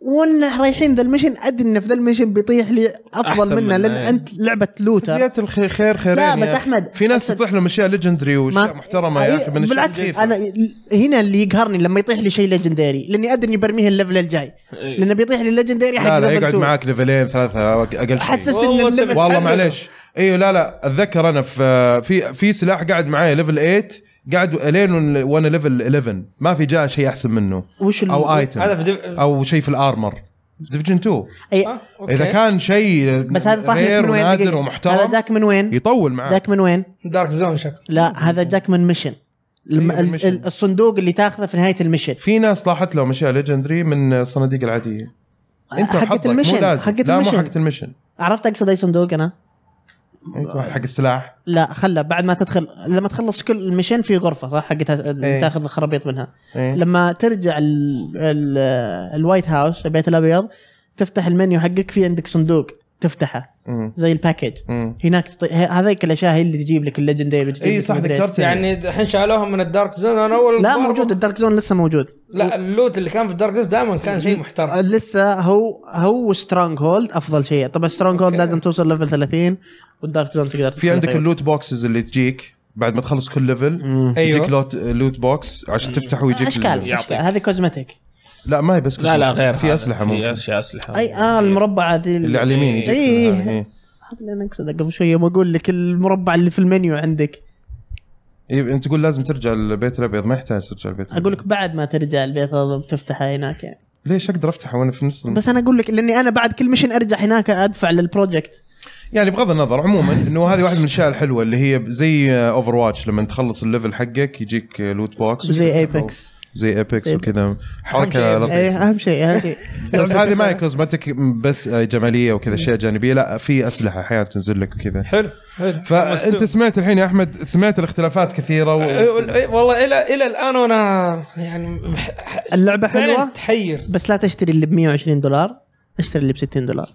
Speaker 3: وانا رايحين ذا المشن ادري انه في ذا المشن بيطيح لي
Speaker 2: أحسن
Speaker 3: افضل منه
Speaker 2: منه،
Speaker 3: لان
Speaker 2: إيه.
Speaker 3: انت لعبه لوتر
Speaker 1: زياده الخير خير خيرين
Speaker 3: لا
Speaker 1: يا
Speaker 3: بس احمد
Speaker 1: في ناس تطيح لهم اشياء ليجندري واشياء محترمه يا
Speaker 3: أي-
Speaker 1: اخي من الأشياء
Speaker 3: بالعكس
Speaker 1: النظيفة.
Speaker 3: انا هنا اللي يقهرني لما يطيح لي شيء ليجندري لاني ادري اني برميه الليفل الجاي
Speaker 2: إيه.
Speaker 3: لانه بيطيح لي ليجندري حق
Speaker 1: إيه. لا لا
Speaker 3: level
Speaker 1: يقعد
Speaker 3: two.
Speaker 1: معاك ليفلين ثلاثه اقل شيء
Speaker 3: حسست ان
Speaker 4: والله
Speaker 3: الليفل
Speaker 4: تبي-
Speaker 1: والله
Speaker 4: تحلل.
Speaker 1: معليش ايوه لا لا اتذكر انا في في في سلاح قاعد معايا ليفل 8 قاعد الين وانا ليفل 11 ما في جاء شيء احسن منه
Speaker 3: وش ال-
Speaker 1: او ايتم
Speaker 4: هذا في دب-
Speaker 1: او شيء في الارمر ديفجن 2
Speaker 3: اي
Speaker 4: آه، أوكي.
Speaker 1: اذا كان شيء
Speaker 3: بس هذا طاح لك
Speaker 1: رير
Speaker 3: من وين
Speaker 1: ونادر
Speaker 3: دقيقة. هذا
Speaker 1: ومحترم
Speaker 3: جاك من وين؟
Speaker 1: يطول معاه
Speaker 3: جاك من وين؟
Speaker 4: دارك زون شكله
Speaker 3: لا هذا جاك من ميشن الم-
Speaker 1: أيوة،
Speaker 3: ال-
Speaker 1: الميشن.
Speaker 3: ال- الصندوق اللي تاخذه في نهايه الميشن
Speaker 1: في ناس طاحت لهم اشياء ليجندري من الصناديق العاديه انت
Speaker 3: حقة
Speaker 1: حقت
Speaker 3: المشن،
Speaker 1: المشن مو لازم.
Speaker 3: حقة
Speaker 1: لا مو
Speaker 3: المشن.
Speaker 1: حقت المشن
Speaker 3: عرفت اقصد اي صندوق انا؟
Speaker 1: أنت واحد حق السلاح
Speaker 3: لا خله بعد ما تدخل لما تخلص كل المشن في غرفه صح حقت
Speaker 1: إيه.
Speaker 3: تاخذ خرابيط منها
Speaker 1: إيه.
Speaker 3: لما ترجع ال ال الوايت هاوس البيت الابيض تفتح المنيو حقك في عندك صندوق تفتحه
Speaker 1: مم.
Speaker 3: زي الباكج
Speaker 1: مم.
Speaker 3: هناك تط... ه- هذيك الاشياء هي اللي تجيب لك الليجندري وتجيب
Speaker 1: اي
Speaker 3: لك
Speaker 1: إيه، صح
Speaker 3: المدري إيش.
Speaker 1: ذكرتني
Speaker 4: يعني الحين شالوها من الدارك زون انا اول
Speaker 3: لا
Speaker 4: مرة-
Speaker 3: موجود الدارك زون لسه موجود آه،
Speaker 4: لا اللوت اللي كان في الدارك زون دائما كان شيء محترم
Speaker 3: لسه هو هو سترونج هولد افضل شيء طبعا سترونج هولد
Speaker 4: أوكي.
Speaker 3: لازم توصل ليفل 30 والدارك زون تقدر
Speaker 1: في
Speaker 3: تدخل
Speaker 1: عندك
Speaker 3: فيه.
Speaker 1: اللوت بوكسز اللي تجيك بعد ما تخلص كل ليفل
Speaker 3: مم.
Speaker 2: أيوه.
Speaker 1: يجيك
Speaker 4: ايوه
Speaker 1: لوت لوت بوكس عشان تفتحه ويجيك
Speaker 3: اشكال
Speaker 1: الليفل.
Speaker 2: يعطيك.
Speaker 3: اشكال هذه كوزمتيك
Speaker 1: لا ما هي بس
Speaker 2: لا لا غير
Speaker 1: في
Speaker 2: هذا.
Speaker 1: اسلحه
Speaker 2: في
Speaker 1: ممكن
Speaker 2: اشياء اسلحه
Speaker 3: اي اه المربعه دي
Speaker 1: إيه. اللي على اليمين يجيك
Speaker 3: إيه.
Speaker 1: منها، إيه.
Speaker 3: اللي انا اقصده قبل شويه ما اقول لك المربع اللي في المنيو عندك
Speaker 1: إيه، انت تقول لازم ترجع البيت الابيض ما يحتاج ترجع البيت الابيض
Speaker 3: اقول لك بعد ما ترجع البيت هذا بتفتحها هناك يعني
Speaker 1: ليش اقدر افتحه وانا في نص الم-
Speaker 3: بس انا اقول لك لاني انا بعد كل مشن ارجع هناك ادفع للبروجكت
Speaker 1: يعني بغض النظر عموما انه هذه واحده من الاشياء الحلوه اللي هي زي اوفر واتش لما تخلص الليفل حقك يجيك لوت بوكس
Speaker 3: زي ايبكس
Speaker 1: زي ايبكس وكذا حركه
Speaker 4: أهم شيء
Speaker 1: لطيفه
Speaker 3: ايه اهم شيء اهم شيء
Speaker 1: بس هذه ما هي كوزمتك بس جماليه وكذا اشياء جانبيه لا في اسلحه احيانا تنزل لك وكذا
Speaker 4: حلو حلو
Speaker 1: فانت سمعت الحين يا احمد سمعت الاختلافات كثيره و...
Speaker 4: إيه، والله الى الى الان وانا يعني مح-
Speaker 3: اللعبه
Speaker 4: فعلا
Speaker 3: حلوه
Speaker 4: تحير
Speaker 3: بس لا تشتري اللي ب 120 دولار اشتري اللي ب 60 دولار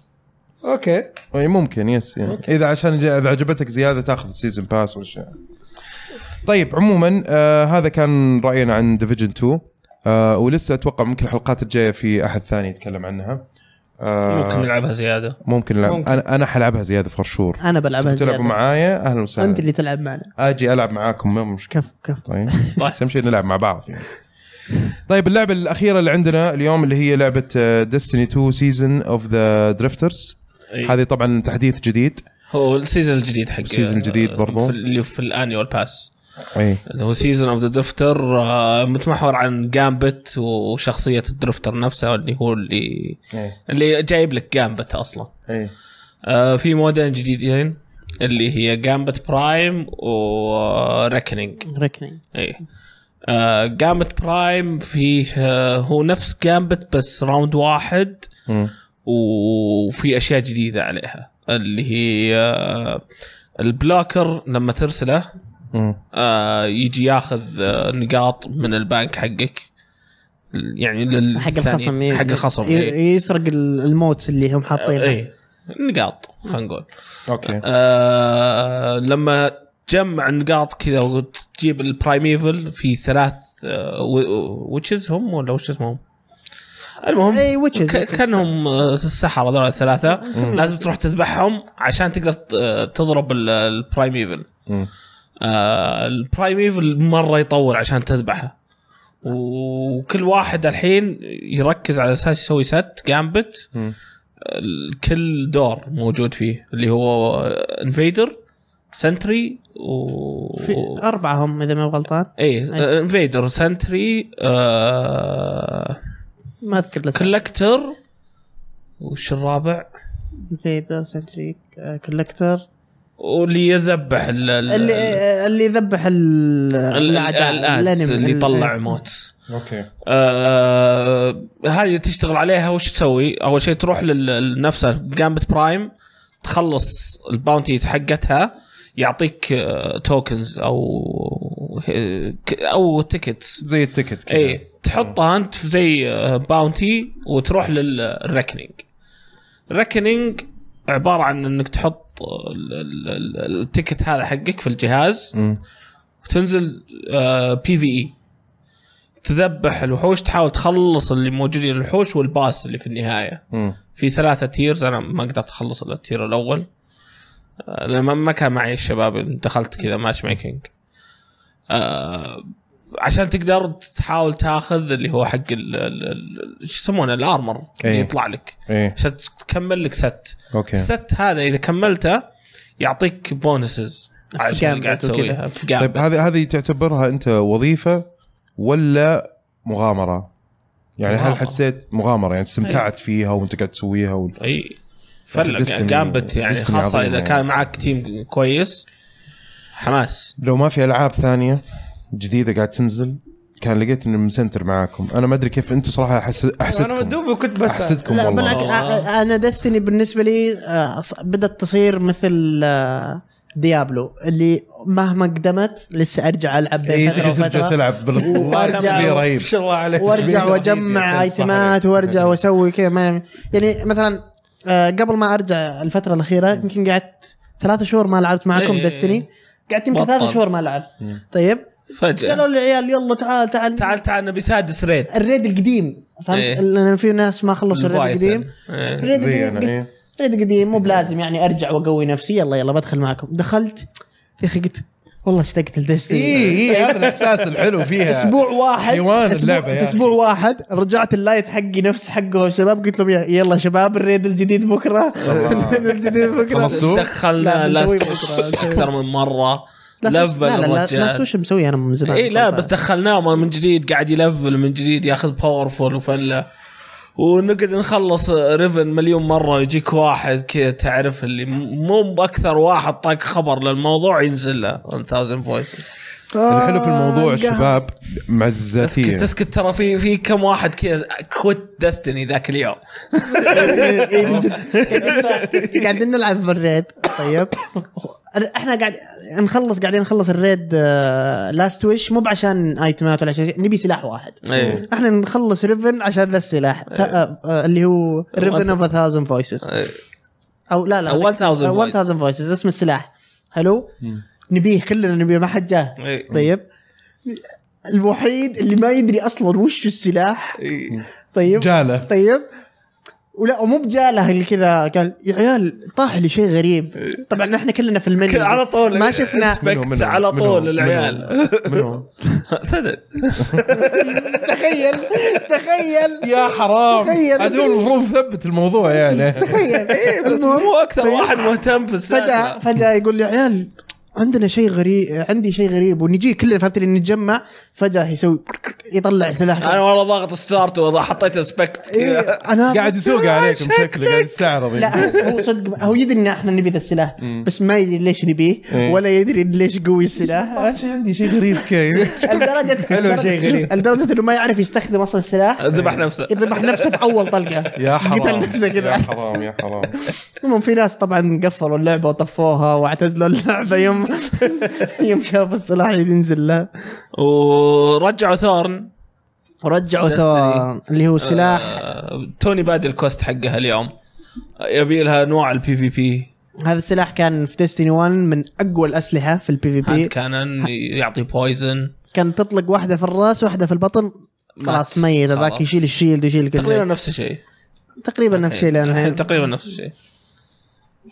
Speaker 4: اوكي
Speaker 1: أي ممكن يس يعني اذا عشان ج- اذا عجبتك زياده تاخذ سيزون باس والاشياء طيب عموما آه هذا كان راينا عن ديفيجن 2 آه ولسه اتوقع ممكن الحلقات الجايه في احد ثاني يتكلم عنها آه
Speaker 2: ممكن نلعبها زياده
Speaker 1: ممكن, نلعب.
Speaker 4: ممكن.
Speaker 1: انا انا حلعبها زياده فور شور
Speaker 3: انا بلعبها
Speaker 1: تلعبوا
Speaker 3: زياده
Speaker 1: معايا اهلا
Speaker 3: انت
Speaker 1: وسهلا
Speaker 3: اللي تلعب معنا
Speaker 1: اجي العب معاكم ما مشكله
Speaker 3: كفو كفو
Speaker 1: طيب بس اهم شيء نلعب مع بعض يعني طيب اللعبه الاخيره اللي عندنا اليوم اللي هي آه، لعبه ديستني 2 سيزون اوف ذا درفترز
Speaker 2: أي.
Speaker 1: هذه طبعا تحديث جديد
Speaker 2: هو السيزون الجديد حق
Speaker 1: السيزون الجديد برضو.
Speaker 2: في- اللي في الانيوال باس
Speaker 1: اي
Speaker 2: اللي هو سيزون اوف ذا درفتر آه، متمحور عن جامبت وشخصيه الدرفتر نفسها اللي هو اللي
Speaker 1: اي
Speaker 2: اللي جايب لك جامبت اصلا
Speaker 1: اي
Speaker 2: آه، في مودين جديدين اللي هي جامبت برايم آه، وريكنينج
Speaker 3: ركني
Speaker 2: ايه آه، جامبت برايم فيه آه، هو نفس جامبت بس راوند واحد
Speaker 1: مم.
Speaker 2: وفي اشياء جديده عليها اللي هي آه، البلوكر لما ترسله
Speaker 1: مم.
Speaker 2: آه، يجي ياخذ آه، نقاط من البنك حقك يعني لل-
Speaker 3: حق الخصم إيه، ي-
Speaker 2: حق الخصم إيه.
Speaker 3: ي- يسرق ال- الموت اللي هم حاطينه
Speaker 2: اي نقاط خلينا نقول
Speaker 1: اوكي
Speaker 2: آه لما تجمع نقاط كذا وتجيب البرايميفل في ثلاث آه ويتشز هم ولا وش اسمهم؟ المهم
Speaker 3: اي ويتشز
Speaker 2: ك- كانهم آه، السحرة هذول الثلاثة لازم تروح تذبحهم عشان تقدر ت- آه، تضرب ال- البرايميفل
Speaker 1: مم.
Speaker 2: آه البرايميفل مرة يطول عشان تذبحه وكل واحد الحين يركز على اساس يسوي ست جامبت
Speaker 1: مم.
Speaker 2: كل دور موجود فيه اللي هو انفيدر سنتري و
Speaker 3: في اربعه هم اذا ما غلطان
Speaker 2: ايه انفيدر سنتري آه...
Speaker 3: ما اذكر لسه
Speaker 2: كولكتر وش الرابع
Speaker 3: انفيدر سنتريك كولكتر
Speaker 2: واللي يذبح ال- ال-
Speaker 3: آه، اللي آه، اللي ذبح ال-
Speaker 2: ال-
Speaker 3: الاعداء
Speaker 2: الآلات
Speaker 3: الأنمي-
Speaker 2: اللي
Speaker 3: ال-
Speaker 2: يطلع موت
Speaker 1: اوكي
Speaker 2: آه، هذه تشتغل عليها وش تسوي؟ اول شيء تروح لنفسها جامبت برايم تخلص الباونتي حقتها يعطيك آه، توكنز او او تيكت
Speaker 1: زي التيكت كذا
Speaker 3: إيه.
Speaker 2: اي تحطها انت إيه، في زي باونتي وتروح للركنينج الركنينج عباره عن انك تحط ال- ال- ال- التيكت هذا حقك في الجهاز
Speaker 1: مم.
Speaker 2: وتنزل آه، بي في اي E. تذبح الوحوش تحاول تخلص اللي موجودين الوحوش والباس اللي في النهايه
Speaker 1: مم.
Speaker 2: في ثلاثة تيرز انا ما قدرت اخلص الا التير الاول آه، لما ما كان معي الشباب دخلت كذا ماتش ميكينج آه، عشان تقدر تحاول تاخذ اللي هو حق ال- ال- ال- شو يسمونه الارمر اللي
Speaker 1: إيه.
Speaker 2: يطلع لك
Speaker 1: اي
Speaker 2: عشان تكمل لك ست
Speaker 1: اوكي
Speaker 2: الست هذا اذا كملته يعطيك بونسز
Speaker 3: في
Speaker 2: عشان اللي قاعد
Speaker 3: جامبت وكذا. طيب،
Speaker 2: تسويها في جامبت.
Speaker 1: طيب هذه هذه تعتبرها انت وظيفه ولا مغامره؟ يعني هل
Speaker 2: مغامرة.
Speaker 1: حسيت مغامره يعني استمتعت فيها وانت قاعد تسويها و...
Speaker 2: اي فلق
Speaker 1: دسم-
Speaker 2: جامبت يعني
Speaker 1: دسم
Speaker 2: خاصه
Speaker 1: عظيم
Speaker 2: اذا
Speaker 1: يعني.
Speaker 2: كان معك تيم كويس حماس
Speaker 1: لو ما في العاب ثانيه جديده قاعد تنزل كان لقيت اني مسنتر معاكم انا ما ادري كيف انتم صراحه أحس...
Speaker 4: انا
Speaker 1: احسدكم
Speaker 4: دوبي كنت بس
Speaker 1: احسدكم
Speaker 3: لا
Speaker 1: والله
Speaker 3: بالعكس آه، انا دستني بالنسبه لي آه، ص- بدات تصير مثل آه، ديابلو اللي مهما قدمت لسه ارجع العب
Speaker 1: اي
Speaker 3: بين فتره
Speaker 1: إيه، تقدر ترجع
Speaker 3: وفتره
Speaker 1: تلعب بال- والله
Speaker 3: وأرجع
Speaker 1: تشبيه
Speaker 3: و-
Speaker 1: رهيب
Speaker 4: ما شاء الله عليك
Speaker 3: وارجع
Speaker 1: تشبيه
Speaker 3: واجمع
Speaker 1: رهيب. صح
Speaker 3: ايتمات
Speaker 1: عليك.
Speaker 3: وارجع واسوي كذا ما يعني مثلا آه، قبل ما ارجع الفتره الاخيره يمكن قعدت ثلاثة شهور ما لعبت معكم
Speaker 2: إيه.
Speaker 3: دستني قعدت يمكن
Speaker 2: بطل.
Speaker 3: ثلاثة شهور ما لعبت
Speaker 1: مم.
Speaker 3: طيب قالوا
Speaker 2: فجاه
Speaker 3: للعيال يلا تعال تعال
Speaker 2: تعال تعال نبي سادس ريد
Speaker 3: الريد القديم فهمت
Speaker 2: إيه.
Speaker 3: لان في ناس ما خلصوا الريد القديم
Speaker 2: الفايثن. إيه.
Speaker 3: ريد
Speaker 1: زي
Speaker 3: قديم
Speaker 1: انا إيه.
Speaker 3: ريد قديم مو بلازم يعني ارجع واقوي نفسي يلا يلا بدخل معكم دخلت يا اخي قلت والله اشتقت لدستني
Speaker 1: اي اي هذا الاحساس الحلو فيها
Speaker 3: اسبوع واحد
Speaker 1: إيه. حيوان
Speaker 3: أسبوع-
Speaker 1: اللعبة يا
Speaker 3: في اسبوع واحد رجعت اللايف حقي نفس حقه الشباب قلت لهم يا- يلا شباب الريد الجديد بكره الريد الجديد بكره
Speaker 1: خلصتوا؟
Speaker 2: دخلنا
Speaker 3: لا، بنسوي
Speaker 2: لاست
Speaker 3: بكرة.
Speaker 2: اكثر من مره
Speaker 3: لا، سوش-
Speaker 2: لفل
Speaker 3: لا لا طيب. لا لا
Speaker 2: الرجال
Speaker 3: سوش مسوي انا من زمان
Speaker 2: اي لا بس دخلناه مرة من جديد قاعد يلفل من جديد ياخذ باورفول وفله ونقعد نخلص ريفن مليون مره يجيك واحد كذا تعرف اللي م- مو باكثر واحد طاق خبر للموضوع ينزل له 1000 فويس
Speaker 1: الحلو في الموضوع
Speaker 3: آه، القهوة.
Speaker 1: الشباب مع الذاتيه
Speaker 2: اسكت اسكت ترى في في كم واحد كذا كوت دستني ذاك اليوم
Speaker 3: اي من جد قاعدين نلعب في الريد طيب احنا قاعد نخلص قاعدين نخلص الريد لاست ويش مو بعشان ايتمات ولا عشان شيء نبي سلاح واحد
Speaker 2: إيه.
Speaker 3: احنا نخلص ريفن عشان ذا السلاح تا- آه، اللي هو ريفن اوف 1000 فويسز
Speaker 2: إيه.
Speaker 3: او لا لا
Speaker 2: أو 1000
Speaker 3: آه،
Speaker 2: voices.
Speaker 3: 1000 فويسز اسم السلاح حلو نبيه كلنا نبيه ما حد جاه
Speaker 2: إيه.
Speaker 3: طيب الوحيد اللي ما يدري اصلا وش السلاح
Speaker 2: إيه.
Speaker 3: طيب
Speaker 1: جاله
Speaker 3: طيب ولا ومو بجاله اللي كذا قال يا عيال طاح لي شيء غريب طبعا احنا كلنا في المنيو
Speaker 2: كذا على طول
Speaker 3: ما شفنا
Speaker 2: اسمه. Respect على طول العيال.
Speaker 1: منو
Speaker 2: صدق
Speaker 3: تخيل تخيل
Speaker 1: يا حرام
Speaker 3: تخيل.
Speaker 1: هذول المفروض مثبت الموضوع يعني
Speaker 3: تخيل إيه،
Speaker 2: بس
Speaker 3: المهم.
Speaker 2: مو اكثر
Speaker 3: طيب.
Speaker 2: واحد مهتم في
Speaker 3: فجاه
Speaker 2: السالفه
Speaker 3: فجاه يقول لي يا عيال عندنا شيء غريب عندي شيء غريب ونجي كلنا فهمت اللي نتجمع فجاه يسوي يطلع سلاح
Speaker 2: انا والله ضاغط ستارت وحطيت اسبكت
Speaker 3: إيه،
Speaker 2: كذا
Speaker 3: انا
Speaker 1: قاعد يسوق عليكم شكله قاعد يستعرض يعني.
Speaker 3: لا هو صدق هو يدري ان احنا نبي ذا السلاح بس ما يدري ليش نبيه
Speaker 1: إيه.
Speaker 3: ولا يدري ليش قوي السلاح
Speaker 1: شيء عندي شيء غريب كيف
Speaker 3: لدرجه
Speaker 1: حلو، شيء غريب.
Speaker 3: لدرجه انه ما يعرف يستخدم اصلا السلاح
Speaker 2: ذبح نفسه
Speaker 3: يذبح نفسه في اول طلقه
Speaker 1: يا حرام
Speaker 3: قتل نفسه
Speaker 1: يا
Speaker 3: كذا
Speaker 1: حرام يا حرام
Speaker 3: المهم في ناس طبعا قفلوا اللعبه وطفوها واعتزلوا اللعبه يوم يوم شافوا السلاح ينزل له
Speaker 2: ورجعوا ثورن
Speaker 3: ورجعوا
Speaker 2: Destiny.
Speaker 3: ثوان اللي هو سلاح
Speaker 2: آه، توني بادي الكوست حقها اليوم يبي لها نوع البي في بي
Speaker 3: هذا السلاح كان في ديستني 1 من اقوى الاسلحه في البي في
Speaker 2: هاند
Speaker 3: بي
Speaker 2: كانن يعطي بويزن
Speaker 3: كان تطلق واحده في الراس واحده في البطن خلاص ميت ذاك
Speaker 2: خلاص.
Speaker 3: يشيل الشيلد ويشيل كل
Speaker 2: تقريبا
Speaker 3: شيء
Speaker 2: نفس الشيء
Speaker 3: تقريبا نفس الشيء إيه. لان
Speaker 2: الحين
Speaker 3: الحين
Speaker 2: تقريبا نفس الشيء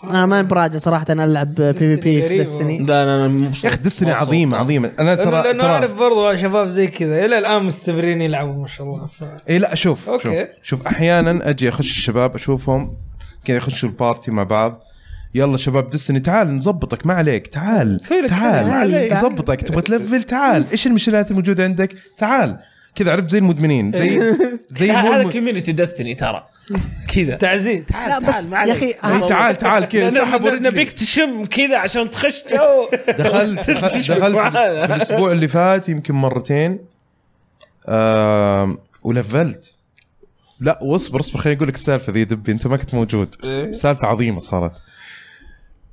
Speaker 3: انا ما براجع صراحه أنا العب بي في بي في
Speaker 4: غريبة.
Speaker 3: ديستني
Speaker 2: لا انا مو
Speaker 1: يا اخي دسني عظيمه عظيمه انا
Speaker 4: لانه
Speaker 1: ترى
Speaker 4: لأنه اعرف
Speaker 1: ترى
Speaker 4: برضو شباب زي كذا الى الان مستمرين يلعبوا ما شاء الله ف...
Speaker 1: اي إيه، لا شوف شوف
Speaker 4: أوكي.
Speaker 1: شوف احيانا اجي اخش الشباب اشوفهم كذا يخشوا البارتي مع بعض يلا شباب دسني تعال نظبطك ما عليك تعال
Speaker 2: نسوي لك كذا، ما
Speaker 1: تعال
Speaker 2: عليك.
Speaker 1: نظبطك تبغى تلفل تعال ايش المشكلات الموجوده عندك تعال كذا عرفت زي المدمنين زي زي مو
Speaker 2: هذا
Speaker 1: الم-
Speaker 2: كوميونتي ديستني ترى كذا
Speaker 4: تعزيز
Speaker 3: لا
Speaker 2: تعال
Speaker 3: بس
Speaker 2: تعال ما
Speaker 3: يا اخي
Speaker 2: عليك
Speaker 1: إيه، تعال تعال كذا سحب
Speaker 2: نبي-
Speaker 1: ورجلي.
Speaker 2: نبيك تشم كذا عشان تخش جو
Speaker 1: دخلت دخلت في الأس- في الاسبوع اللي فات يمكن مرتين آم، ولفلت لا واصبر اصبر خليني اقول لك السالفه ذي دبي انت ما كنت موجود سالفه عظيمه صارت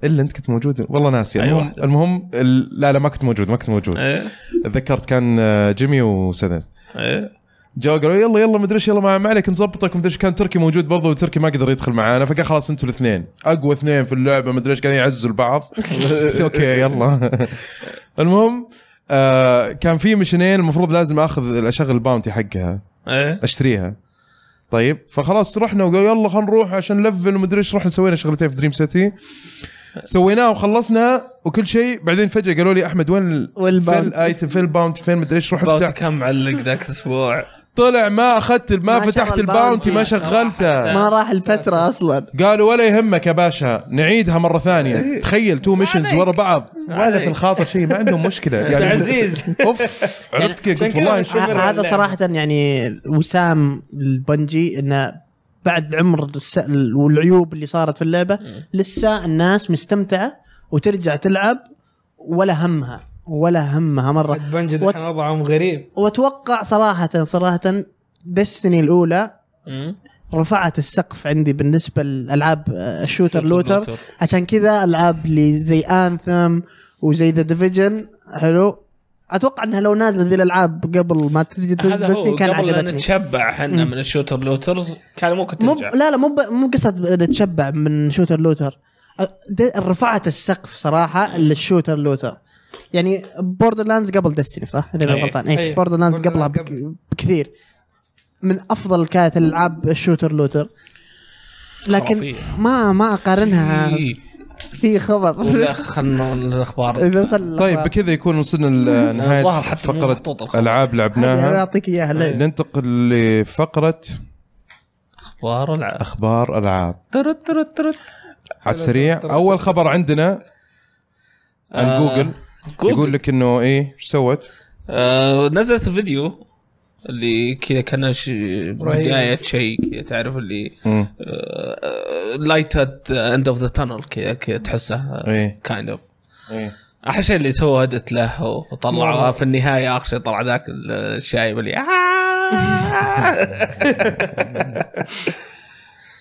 Speaker 1: الا انت كنت موجود والله ناسي
Speaker 2: أي
Speaker 1: المهم,
Speaker 2: واحدة.
Speaker 1: المهم ال- لا لا ما كنت موجود ما كنت موجود
Speaker 2: إيه،
Speaker 1: تذكرت كان آه، جيمي وسدن
Speaker 2: إيه.
Speaker 1: جو قالوا يلا يلا مدري ايش يلا ما ما عليك نظبطك مدري ايش كان تركي موجود برضه وتركي ما قدر يدخل معانا فقال خلاص انتوا الاثنين اقوى اثنين في اللعبه مدري ايش قاعدين يعزوا البعض قلت اوكي يلا المهم آه كان في مشنين المفروض لازم اخذ اشغل الباونتي حقها
Speaker 2: إيه.
Speaker 1: اشتريها طيب فخلاص رحنا وقالوا يلا خلينا نروح عشان لفل ومدري ايش رحنا سوينا شغلتين في دريم سيتي سويناها وخلصنا وكل شيء بعدين فجاه قالوا لي احمد وين ال-
Speaker 3: والباونتي.
Speaker 1: آه. فين الايتم فين الباونتي فين مدري ايش روح
Speaker 2: باوتي
Speaker 1: افتح
Speaker 2: كان معلق ذاك الاسبوع
Speaker 1: طلع ما اخذت ما
Speaker 3: ما
Speaker 1: فتحت
Speaker 3: شغل
Speaker 1: الباونتي ما
Speaker 3: باونتي.
Speaker 1: شغلتها
Speaker 3: ما راح الفتره اصلا
Speaker 1: قالوا ولا يهمك يا باشا نعيدها مره ثانيه تخيل تو ميشنز ورا بعض ولا في الخاطر شيء ما عندهم مشكله
Speaker 4: تعزيز
Speaker 1: اوف عرفت كيف
Speaker 4: عشان
Speaker 1: قلت
Speaker 4: كذا
Speaker 1: والله
Speaker 4: مستمر
Speaker 3: ه- هذا
Speaker 4: اللعب.
Speaker 3: صراحه يعني وسام البنجي انه بعد عمر الس- والعيوب اللي صارت في اللعبه لسه الناس مستمتعه وترجع تلعب ولا همها ولا همها مره
Speaker 4: بنجي
Speaker 3: وات-
Speaker 4: الحين وضعهم غريب
Speaker 3: واتوقع صراحه صراحه ديستني الاولى
Speaker 2: مم.
Speaker 3: رفعت السقف عندي بالنسبه لالعاب آه، الشوتر
Speaker 2: شوتر
Speaker 3: لوتر
Speaker 2: لوتر.
Speaker 3: عشان كذا العاب اللي زي انثم وزي ذا ديفيجن حلو اتوقع انها لو نازله ذي الالعاب قبل ما تجي
Speaker 2: هذا هو
Speaker 3: تنزل كان
Speaker 2: قبل لا
Speaker 3: عجبتني
Speaker 2: نتشبع احنا من الشوتر لوترز كان ممكن
Speaker 3: مو
Speaker 2: ترجع
Speaker 3: لا لا مو ب- مو قصه نتشبع من شوتر لوتر أ- د- رفعت السقف صراحه للشوتر لوتر يعني بوردر لاندز قبل ديستني صح؟ اذا ما
Speaker 2: أي.
Speaker 3: غلطان اي
Speaker 4: أي.
Speaker 3: بوردر لاندز
Speaker 4: Borderlands
Speaker 3: قبلها
Speaker 4: قبل.
Speaker 3: بك- بكثير من افضل كانت الالعاب الشوتر لوتر لكن
Speaker 2: خرافية.
Speaker 3: ما ما اقارنها
Speaker 2: إيه.
Speaker 3: في خبر
Speaker 2: ولا خلنا الاخبار
Speaker 3: اذا وصل
Speaker 1: طيب
Speaker 3: الأخبار.
Speaker 1: بكذا يكون وصلنا لنهاية
Speaker 2: الظاهر حتى مو محطوط
Speaker 1: فقرة
Speaker 2: الخبر.
Speaker 1: ألعاب
Speaker 3: هذه أنا
Speaker 1: لعبناها
Speaker 3: اعطيك اياها لا.
Speaker 1: ننتقل لفقرة
Speaker 2: اخبار العاب
Speaker 1: أخبار ألعاب
Speaker 2: ترت ترت ترت
Speaker 1: على السريع أول خبر عندنا عن
Speaker 2: آه،
Speaker 1: جوجل
Speaker 2: جوجل.
Speaker 1: يقول لك إنه إيه إيش سوت؟
Speaker 2: آه نزلت الفيديو اللي كذا كان ش... بدايه شيء كذا تعرف اللي آه،
Speaker 1: مم.
Speaker 2: لايت ات اند اوف ذا تانل كذا كذا تحسه
Speaker 1: إيه.
Speaker 2: كايند اوف
Speaker 1: إيه.
Speaker 2: احلى شيء اللي سووا هدت له وطلعوها في النهايه اخر شيء طلع ذاك الشايب اللي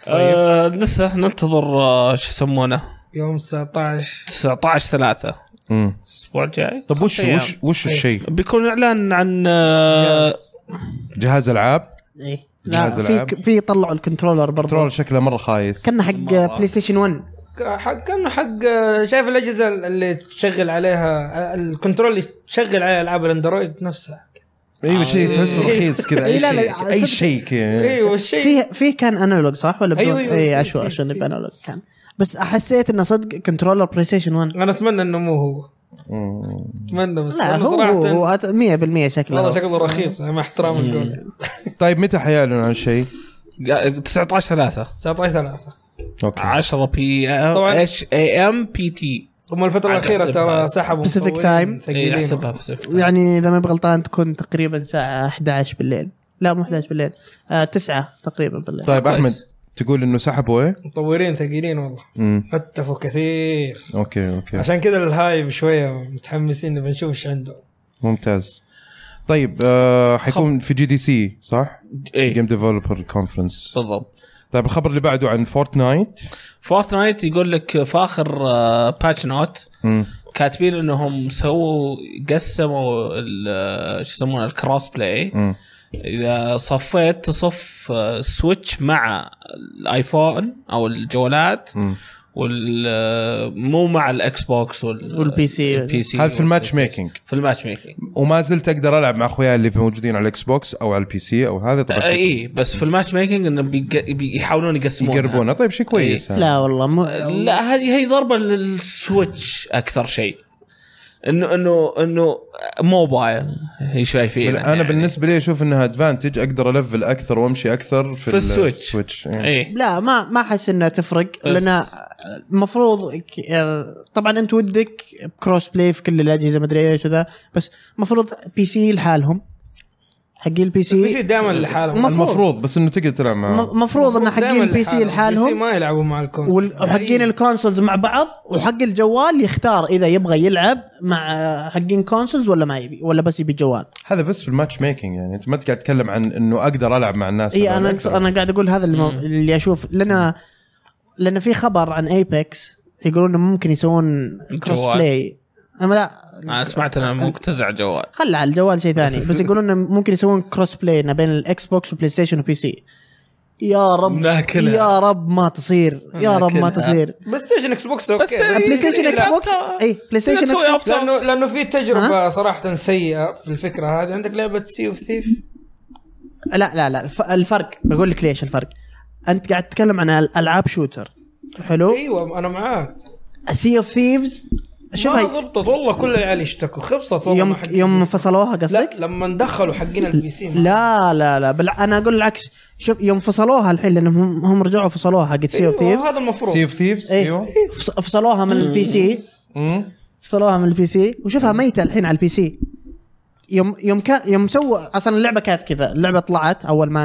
Speaker 2: آه، لسه ننتظر آه، شو يسمونه
Speaker 4: يوم 19
Speaker 2: 19 3
Speaker 1: مم.
Speaker 2: الاسبوع الجاي
Speaker 1: طب وش
Speaker 2: خمس أيام.
Speaker 1: وش وش الشيء؟
Speaker 2: بيكون اعلان عن آه،
Speaker 4: جاز.
Speaker 1: جهاز ألعاب
Speaker 3: إيه.
Speaker 1: جهاز
Speaker 3: لا
Speaker 1: ألعاب.
Speaker 3: في في طلعوا الكنترولر برضه
Speaker 1: كنترول شكله مرة خايس
Speaker 3: كنا حق
Speaker 2: مرة.
Speaker 3: بلاي ستيشن 1
Speaker 4: حق كانه حق آه، شايف الاجهزه اللي تشغل عليها آه، الكنترول اللي تشغل عليها العاب الاندرويد نفسها
Speaker 1: ايوه شيء تحسه رخيص كذا
Speaker 3: إيه،
Speaker 1: أي
Speaker 3: لا، لا،
Speaker 1: شيء- أي
Speaker 3: صدق.
Speaker 1: شيء كذا
Speaker 4: ايوه الشيء
Speaker 3: فيه فيه كان انالوج صح ولا إيه،
Speaker 4: أيوة،
Speaker 3: بدون
Speaker 4: أيوة،
Speaker 3: اي
Speaker 4: فيه-
Speaker 3: اشو
Speaker 4: فيه-
Speaker 3: اشو انه
Speaker 4: فيه.
Speaker 3: بانالوج كان بس حسيت انه صدق كنترولر بلاي ستيشن 1
Speaker 4: انا اتمنى انه مو هو
Speaker 1: مم.
Speaker 4: اتمنى بس
Speaker 3: لا
Speaker 4: لأنه
Speaker 3: هو
Speaker 4: صراحه
Speaker 3: هو أت- 100% شكله
Speaker 4: والله
Speaker 3: هو.
Speaker 4: شكله رخيص
Speaker 2: آه.
Speaker 4: مع احترام القول
Speaker 1: طيب متى حيعلن عن شيء؟
Speaker 2: 19 3
Speaker 4: 19 3
Speaker 1: اوكي
Speaker 2: 10 بي
Speaker 4: طبعاً.
Speaker 2: اتش اي ام بي تي
Speaker 4: هم الفتره
Speaker 2: عاد
Speaker 4: الاخيره
Speaker 2: أحسبها.
Speaker 4: ترى سحبوا
Speaker 3: Pacific
Speaker 4: مطورين
Speaker 3: Time.
Speaker 2: إيه،
Speaker 4: ثقيلين
Speaker 2: احسبها بسيطة.
Speaker 3: يعني اذا ما بغلطان تكون تقريبا الساعه 11 بالليل لا مو 11 بالليل آه 9 تقريبا بالليل
Speaker 1: طيب
Speaker 2: كويس.
Speaker 1: أحمد تقول إنه سحبوا إيه؟
Speaker 4: مطورين ثقيلين والله
Speaker 1: مم.
Speaker 4: هتفوا كثير
Speaker 1: اوكي اوكي
Speaker 4: عشان كذا الهايب شويه متحمسين نبي نشوف ايش عنده
Speaker 1: ممتاز طيب آه حيكون في جي دي سي صح؟
Speaker 2: ايه
Speaker 1: جيم ديفلوبر كونفرنس
Speaker 2: بالضبط
Speaker 1: طيب الخبر اللي بعده عن فورتنايت
Speaker 2: فورتنايت يقول لك آه، فاخر باتش نوت
Speaker 1: مم.
Speaker 2: كاتبين انهم سووا قسموا ال- شو يسمونه الكروس بلاي
Speaker 1: مم.
Speaker 2: اذا صفيت تصف آه، سويتش مع الايفون او الجوالات
Speaker 1: مم.
Speaker 2: وال آه، مو مع الاكس بوكس وال
Speaker 3: والبي سي.
Speaker 2: البي سي
Speaker 1: هذا إيه، في الماتش
Speaker 2: والبلاي ستيشن.
Speaker 1: ميكنج
Speaker 2: في الماتش ميكنج
Speaker 1: وما زلت اقدر العب مع اخوياي اللي موجودين على الاكس بوكس او على البي سي او هذا طبعا
Speaker 2: اي إيه، بس في الماتش ميكنج انه بيق- بيحاولون يقسمون
Speaker 1: يقربونه طيب شيء كويس هذا.
Speaker 3: لا والله مو
Speaker 2: لا هذه هي ضربه للسويتش اكثر شيء انه انه انه موبايل هي شايفين
Speaker 1: انا بالنسبه لي اشوف انها ادفانتج اقدر الفل اكثر وامشي اكثر في,
Speaker 2: في السويتش.
Speaker 1: السويتش إيه.
Speaker 2: اي
Speaker 3: لا ما ما احس انها تفرق لان المفروض ك- آه، طبعا انت ودك كروس بلاي في كل الاجهزه مدري ايش وذا بس المفروض بي سي لحالهم حقين البي سي
Speaker 4: البي سي دائما لحالهم
Speaker 3: مفروض.
Speaker 1: المفروض بس انه تقدر تلعب
Speaker 2: آه.
Speaker 1: معه
Speaker 3: المفروض ان حقين
Speaker 4: دايماً
Speaker 3: البي سي
Speaker 4: البي سي
Speaker 3: لحالهم
Speaker 4: ما يلعبوا مع الكونسول
Speaker 3: وال- وحقين الكونسولز مع بعض وحق الجوال يختار اذا يبغى يلعب مع آه، حقين كونسولز ولا ما يبي ولا بس يبي جوال
Speaker 1: هذا بس في الماتش ميكنج يعني انت ما قاعد تتكلم عن انه اقدر العب مع الناس
Speaker 3: اي
Speaker 1: هذول
Speaker 3: انا
Speaker 1: أكثر.
Speaker 3: انا قاعد اقول هذا اللي,
Speaker 2: مم.
Speaker 3: اللي اشوف لنا لان في خبر عن ايبكس يقولون إنهم ممكن يسوون كروس
Speaker 2: جوال.
Speaker 3: بلاي اما لا
Speaker 2: انا سمعت انه مقتزع جوال
Speaker 3: خلى على الجوال شيء ثاني بس يقولون إنه ممكن يسوون كروس بلاي ما بين الاكس بوكس وبلاي ستيشن وبي سي يا رب
Speaker 2: ناكلها.
Speaker 3: يا رب ما تصير يا رب ما
Speaker 2: ناكلها.
Speaker 3: تصير
Speaker 4: بلاي ستيشن اكس بوكس اوكي
Speaker 2: بس- يعني
Speaker 3: بلاي ستيشن
Speaker 2: لا.
Speaker 3: اكس بوكس اي بلاي ستيشن
Speaker 2: تسوي
Speaker 3: اكس بوكس
Speaker 2: أب-
Speaker 4: لانه لانه في تجربه صراحه سيئه في الفكره هذه عندك لعبه سي اوف ثيف
Speaker 3: لا لا لا الف- الفرق بقول لك ليش الفرق انت قاعد
Speaker 4: إيه.
Speaker 3: تتكلم عن العاب شوتر حلو
Speaker 4: ايوه انا أيوة، معاك
Speaker 3: سي اوف ثيفز شوف
Speaker 4: ما
Speaker 3: هي-
Speaker 4: ضبطت والله كل العيال يشتكوا خبصت والله
Speaker 3: يوم
Speaker 4: مع حق
Speaker 3: يوم
Speaker 4: البيس.
Speaker 3: فصلوها
Speaker 4: لا
Speaker 3: قصدك؟
Speaker 4: لما دخلوا حقين البي سي ما-
Speaker 3: لا لا لا بل انا اقول العكس شوف يوم فصلوها الحين لانهم هم- هم رجعوا فصلوها حقت سي اوف
Speaker 4: أيوة،
Speaker 3: ثيفز
Speaker 4: هذا إيوه. المفروض
Speaker 1: سي اوف ثيفز
Speaker 3: إيه.
Speaker 1: ايوه
Speaker 3: فصلوها من البي سي
Speaker 1: مم.
Speaker 3: فصلوها من البي سي وشوفها ميته الحين على البي سي يوم يوم كان يوم سووا اصلا اللعبه كانت كذا اللعبه طلعت اول ما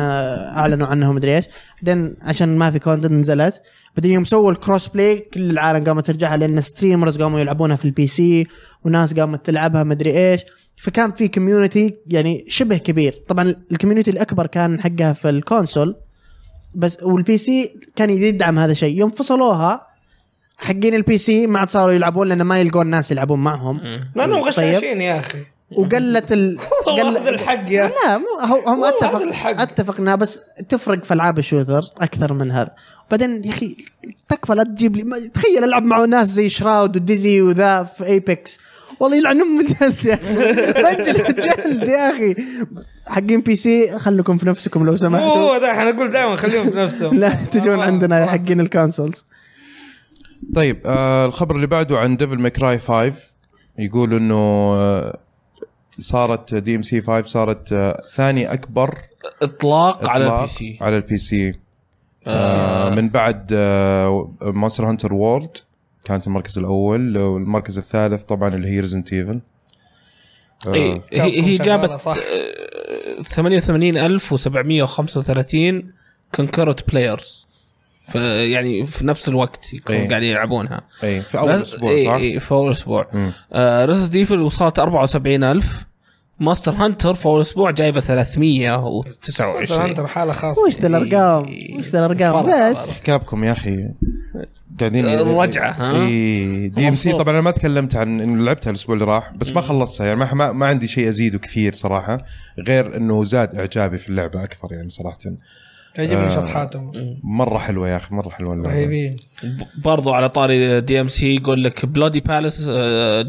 Speaker 3: اعلنوا عنها مدري ايش بعدين عشان ما في كونتنت نزلت بعدين يوم سووا الكروس بلاي كل العالم قامت ترجعها لان ستريمرز قاموا يلعبونها في البي سي وناس قامت تلعبها مدري ايش فكان في كوميونتي يعني شبه كبير طبعا الكوميونتي الاكبر كان حقها في الكونسول بس والبي سي كان يدعم هذا الشيء يوم فصلوها حقين البي سي ما عاد صاروا يلعبون لان ما يلقون ناس يلعبون معهم
Speaker 2: مم.
Speaker 4: لانهم
Speaker 3: طيب.
Speaker 4: غشاشين يا اخي
Speaker 3: وقلت ال...
Speaker 4: والله هذا الحق يا
Speaker 3: لا مو هو هم
Speaker 4: والله هذا
Speaker 3: اتفق
Speaker 4: الحق.
Speaker 3: اتفقنا بس تفرق في العاب الشوتر اكثر من هذا بعدين يا اخي تكفى لا تجيب لي ما- تخيل العب مع ناس زي شراود وديزي وذا في ايبكس والله يلعن ام الجلد يا اخي بنجلد جلد يا اخي حقين بي سي خلكم في نفسكم لو
Speaker 4: مو
Speaker 3: سمحتوا
Speaker 4: هو ده احنا نقول دائما خليهم في نفسهم
Speaker 3: لا تجون عندنا يا حقين الكونسولز
Speaker 1: طيب آه الخبر اللي بعده عن ديفل ماكراي 5 يقول انه آه صارت دي ام سي 5 صارت آه ثاني اكبر
Speaker 2: اطلاق على
Speaker 1: إطلاق
Speaker 2: البي سي
Speaker 1: على البي سي آه
Speaker 2: آه.
Speaker 1: من بعد آه، مونستر هانتر وورلد كانت المركز الاول والمركز الثالث طبعا اللي هي ريزنت ايفل آه.
Speaker 2: إيه، هي هي جابت آه، 88735 كونكرنت بلايرز يعني في نفس الوقت
Speaker 1: إيه.
Speaker 2: يكونوا قاعدين يلعبونها
Speaker 1: اي إيه، في اول
Speaker 2: بس-
Speaker 1: اسبوع صح؟
Speaker 2: إيه، إيه، في اول اسبوع
Speaker 1: مم.
Speaker 2: ريزس ديفل وصلت 74000 ماستر هانتر في اول اسبوع جايبه 329
Speaker 4: هانتر حاله خاصه
Speaker 3: وش ذا الارقام وش ذا الارقام
Speaker 2: إيه. فرق،
Speaker 3: بس
Speaker 1: كابكم يا اخي قاعدين إيه،
Speaker 2: الرجعة، ها؟
Speaker 1: اي دي ام سي
Speaker 2: مبسوط.
Speaker 1: طبعا انا ما تكلمت عن انه لعبتها الاسبوع اللي راح بس ما خلصتها يعني ما ما, ما عندي شيء ازيده كثير صراحه غير انه زاد اعجابي في اللعبه اكثر يعني صراحه
Speaker 4: تعجبني
Speaker 1: آه.
Speaker 4: شطحاتهم
Speaker 1: مره حلوه يا اخي مره حلوه اللعبه
Speaker 4: رهيبين
Speaker 2: ب- برضو على طاري دي ام سي يقول لك بلودي بالاس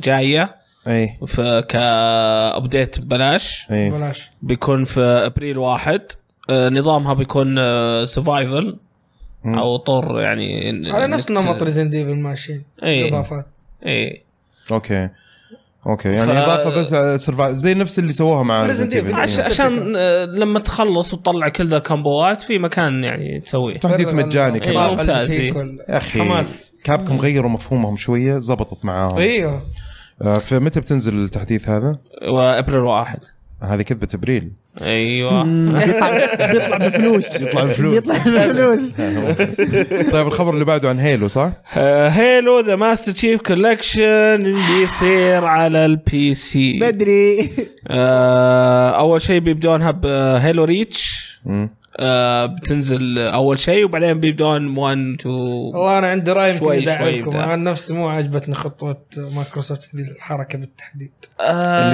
Speaker 2: جايه
Speaker 1: اي
Speaker 2: ف- كابديت ببلاش
Speaker 1: اي
Speaker 4: بلاش
Speaker 2: بيكون في ابريل واحد آه، نظامها بيكون آه، سرفايفل
Speaker 1: مم.
Speaker 2: او طور يعني إن-
Speaker 4: على نفس
Speaker 2: إنك-
Speaker 4: نمط ريزن ديفل ماشيين
Speaker 2: إيه.
Speaker 4: اضافات
Speaker 2: اي
Speaker 1: اوكي اوكي يعني
Speaker 2: ف-
Speaker 1: اضافه بس آه، survival- زي نفس اللي سووها مع
Speaker 4: Resident
Speaker 1: Resident Evil.
Speaker 4: Evil.
Speaker 2: عش...
Speaker 4: نفس
Speaker 2: عشان
Speaker 4: الفكرة.
Speaker 2: آه، لما تخلص وتطلع كل ذا الكمبوات في مكان يعني تسويه
Speaker 1: تحديث مجاني
Speaker 2: إيه،
Speaker 1: كمان
Speaker 4: الإضافة اللي
Speaker 2: ممتاز،
Speaker 4: فيه
Speaker 2: إيه.
Speaker 4: كل-
Speaker 1: يا اخي
Speaker 4: حماس
Speaker 1: كابكم غيروا مفهومهم شويه زبطت معاهم
Speaker 4: ايوه
Speaker 1: آه، فمتى بتنزل التحديث هذا؟
Speaker 2: وابريل واحد
Speaker 1: هذه كذبه ابريل
Speaker 2: ايوه
Speaker 3: بيطلع بيطلع بفلوس
Speaker 1: يطلع بفلوس.
Speaker 3: بيطلع بفلوس
Speaker 1: طيب الخبر اللي بعده عن هيلو صح؟
Speaker 2: آه، هيلو ذا ماستر تشيف كولكشن بيصير على البي سي
Speaker 3: بدري
Speaker 2: آه، اول شيء بيبدونها بهيلو ريتش
Speaker 1: مم.
Speaker 2: آه، بتنزل اول شيء وبعدين بيبدون 1 2
Speaker 4: والله انا عندي راي يمكن
Speaker 2: شوي- شوي
Speaker 4: يزعلكم
Speaker 2: بتاع.
Speaker 4: انا عن نفسي مو عجبتني خطوه مايكروسوفت ذي الحركه بالتحديد
Speaker 2: آه.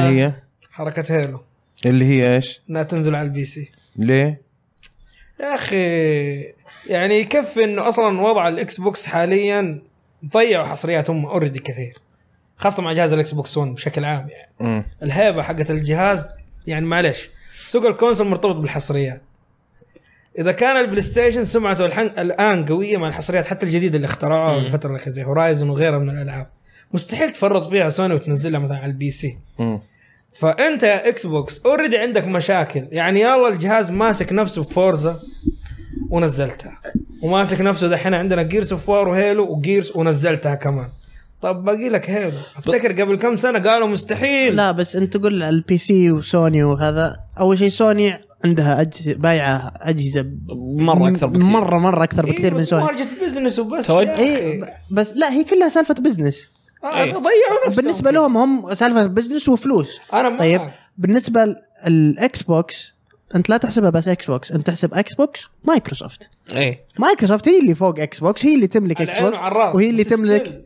Speaker 1: اللي هي
Speaker 4: حركه هيلو
Speaker 1: اللي هي ايش؟
Speaker 4: انها تنزل على البي سي
Speaker 1: ليه؟
Speaker 4: يا اخي يعني يكفي انه اصلا وضع الاكس بوكس حاليا ضيعوا حصرياتهم اوريدي كثير خاصه مع جهاز الاكس بوكس 1 بشكل عام يعني
Speaker 1: مم.
Speaker 4: الهيبه حقت الجهاز يعني معلش سوق الكونسول مرتبط بالحصريات اذا كان البلاي ستيشن سمعته الحن... الان قويه مع الحصريات حتى الجديده اللي اخترعوها
Speaker 2: مم.
Speaker 4: الفتره الاخيره زي هورايزن وغيرها من الالعاب مستحيل تفرط فيها سوني وتنزلها مثلا على البي سي
Speaker 1: مم.
Speaker 4: فانت يا اكس بوكس اوريدي عندك مشاكل يعني يلا الجهاز ماسك نفسه بفورزا ونزلتها وماسك نفسه دحين عندنا جيرس اوف وار وهيلو وجيرس ونزلتها كمان طب باقي لك هيلو افتكر قبل كم سنه قالوا مستحيل
Speaker 3: لا بس انت تقول البي سي وسوني وهذا اول شيء سوني عندها أجهزة بايعه اجهزه
Speaker 2: مره اكثر بكثير
Speaker 3: مره مره اكثر
Speaker 4: إيه،
Speaker 3: بكثير من سوني
Speaker 4: مارجة بزنس وبس
Speaker 1: طيب.
Speaker 2: توجه-
Speaker 4: يا
Speaker 3: اي
Speaker 4: أخي.
Speaker 3: ب- بس لا هي كلها سالفه بزنس
Speaker 4: آه،
Speaker 2: إيه.
Speaker 4: ضيعوا نفسهم
Speaker 3: بالنسبه لهم هم سالفه بزنس وفلوس
Speaker 4: انا معك.
Speaker 3: طيب بالنسبه للاكس بوكس انت لا تحسبها بس اكس بوكس انت تحسب اكس بوكس مايكروسوفت
Speaker 2: اي
Speaker 3: مايكروسوفت هي اللي فوق اكس بوكس هي اللي تملك
Speaker 4: على
Speaker 3: اكس
Speaker 4: عينه وعلى
Speaker 3: بوكس
Speaker 4: الراس.
Speaker 3: وهي اللي
Speaker 4: بس still.
Speaker 3: تملك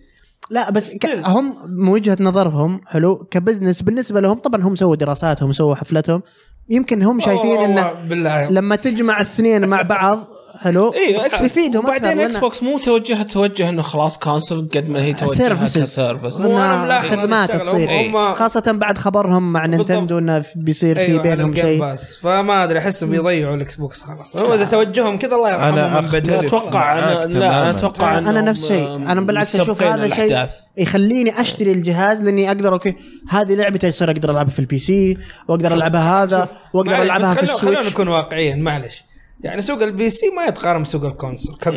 Speaker 3: لا بس ك...
Speaker 4: Still.
Speaker 3: هم من وجهه نظرهم حلو كبزنس بالنسبه لهم طبعا هم سووا دراساتهم سووا حفلتهم يمكن هم شايفين
Speaker 4: والله
Speaker 3: انه
Speaker 4: بالله
Speaker 3: لما تجمع الاثنين مع بعض حلو
Speaker 4: إيه،
Speaker 2: ايوه إكس-
Speaker 3: يفيدهم اكثر
Speaker 2: وبعدين
Speaker 3: لأن-
Speaker 2: اكس بوكس مو توجه توجه انه خلاص كانسل قد ما هي توجه
Speaker 3: Services.
Speaker 2: كسيرفس
Speaker 4: مو أنا
Speaker 3: انها
Speaker 4: ملاحظ
Speaker 3: خدمات
Speaker 4: هذه الشغلة،
Speaker 3: تصير
Speaker 4: هم- هم-
Speaker 3: خاصه بعد خبرهم مع
Speaker 4: بالضبط.
Speaker 3: نينتندو انه بيصير في
Speaker 4: أيوة، على
Speaker 3: بينهم
Speaker 4: الجيم
Speaker 3: شيء آه.
Speaker 4: باس فما ادري احسهم بيضيعوا الاكس بوكس خلاص هو اذا توجههم كذا الله يرحمهم
Speaker 1: أنا
Speaker 4: من
Speaker 1: أختلف
Speaker 4: بدري.
Speaker 2: اتوقع
Speaker 1: معاك
Speaker 2: انا لا
Speaker 1: تماماً.
Speaker 2: انا اتوقع
Speaker 3: انا
Speaker 2: إنهم،
Speaker 3: نفس الشيء
Speaker 2: آم،
Speaker 3: انا بالعكس اشوف
Speaker 2: مستبقين
Speaker 3: هذا الشيء
Speaker 2: الأحداث.
Speaker 3: يخليني اشتري الجهاز لاني اقدر اوكي هذه لعبتي يصير اقدر العبها في البي سي واقدر العبها هذا واقدر
Speaker 4: معلش، إيه، بس
Speaker 3: العبها في
Speaker 4: خلو- خلونا
Speaker 3: السويتش
Speaker 4: نكون واقعيين معلش يعني سوق البي سي ما يتقارن بسوق الكونسول كقوه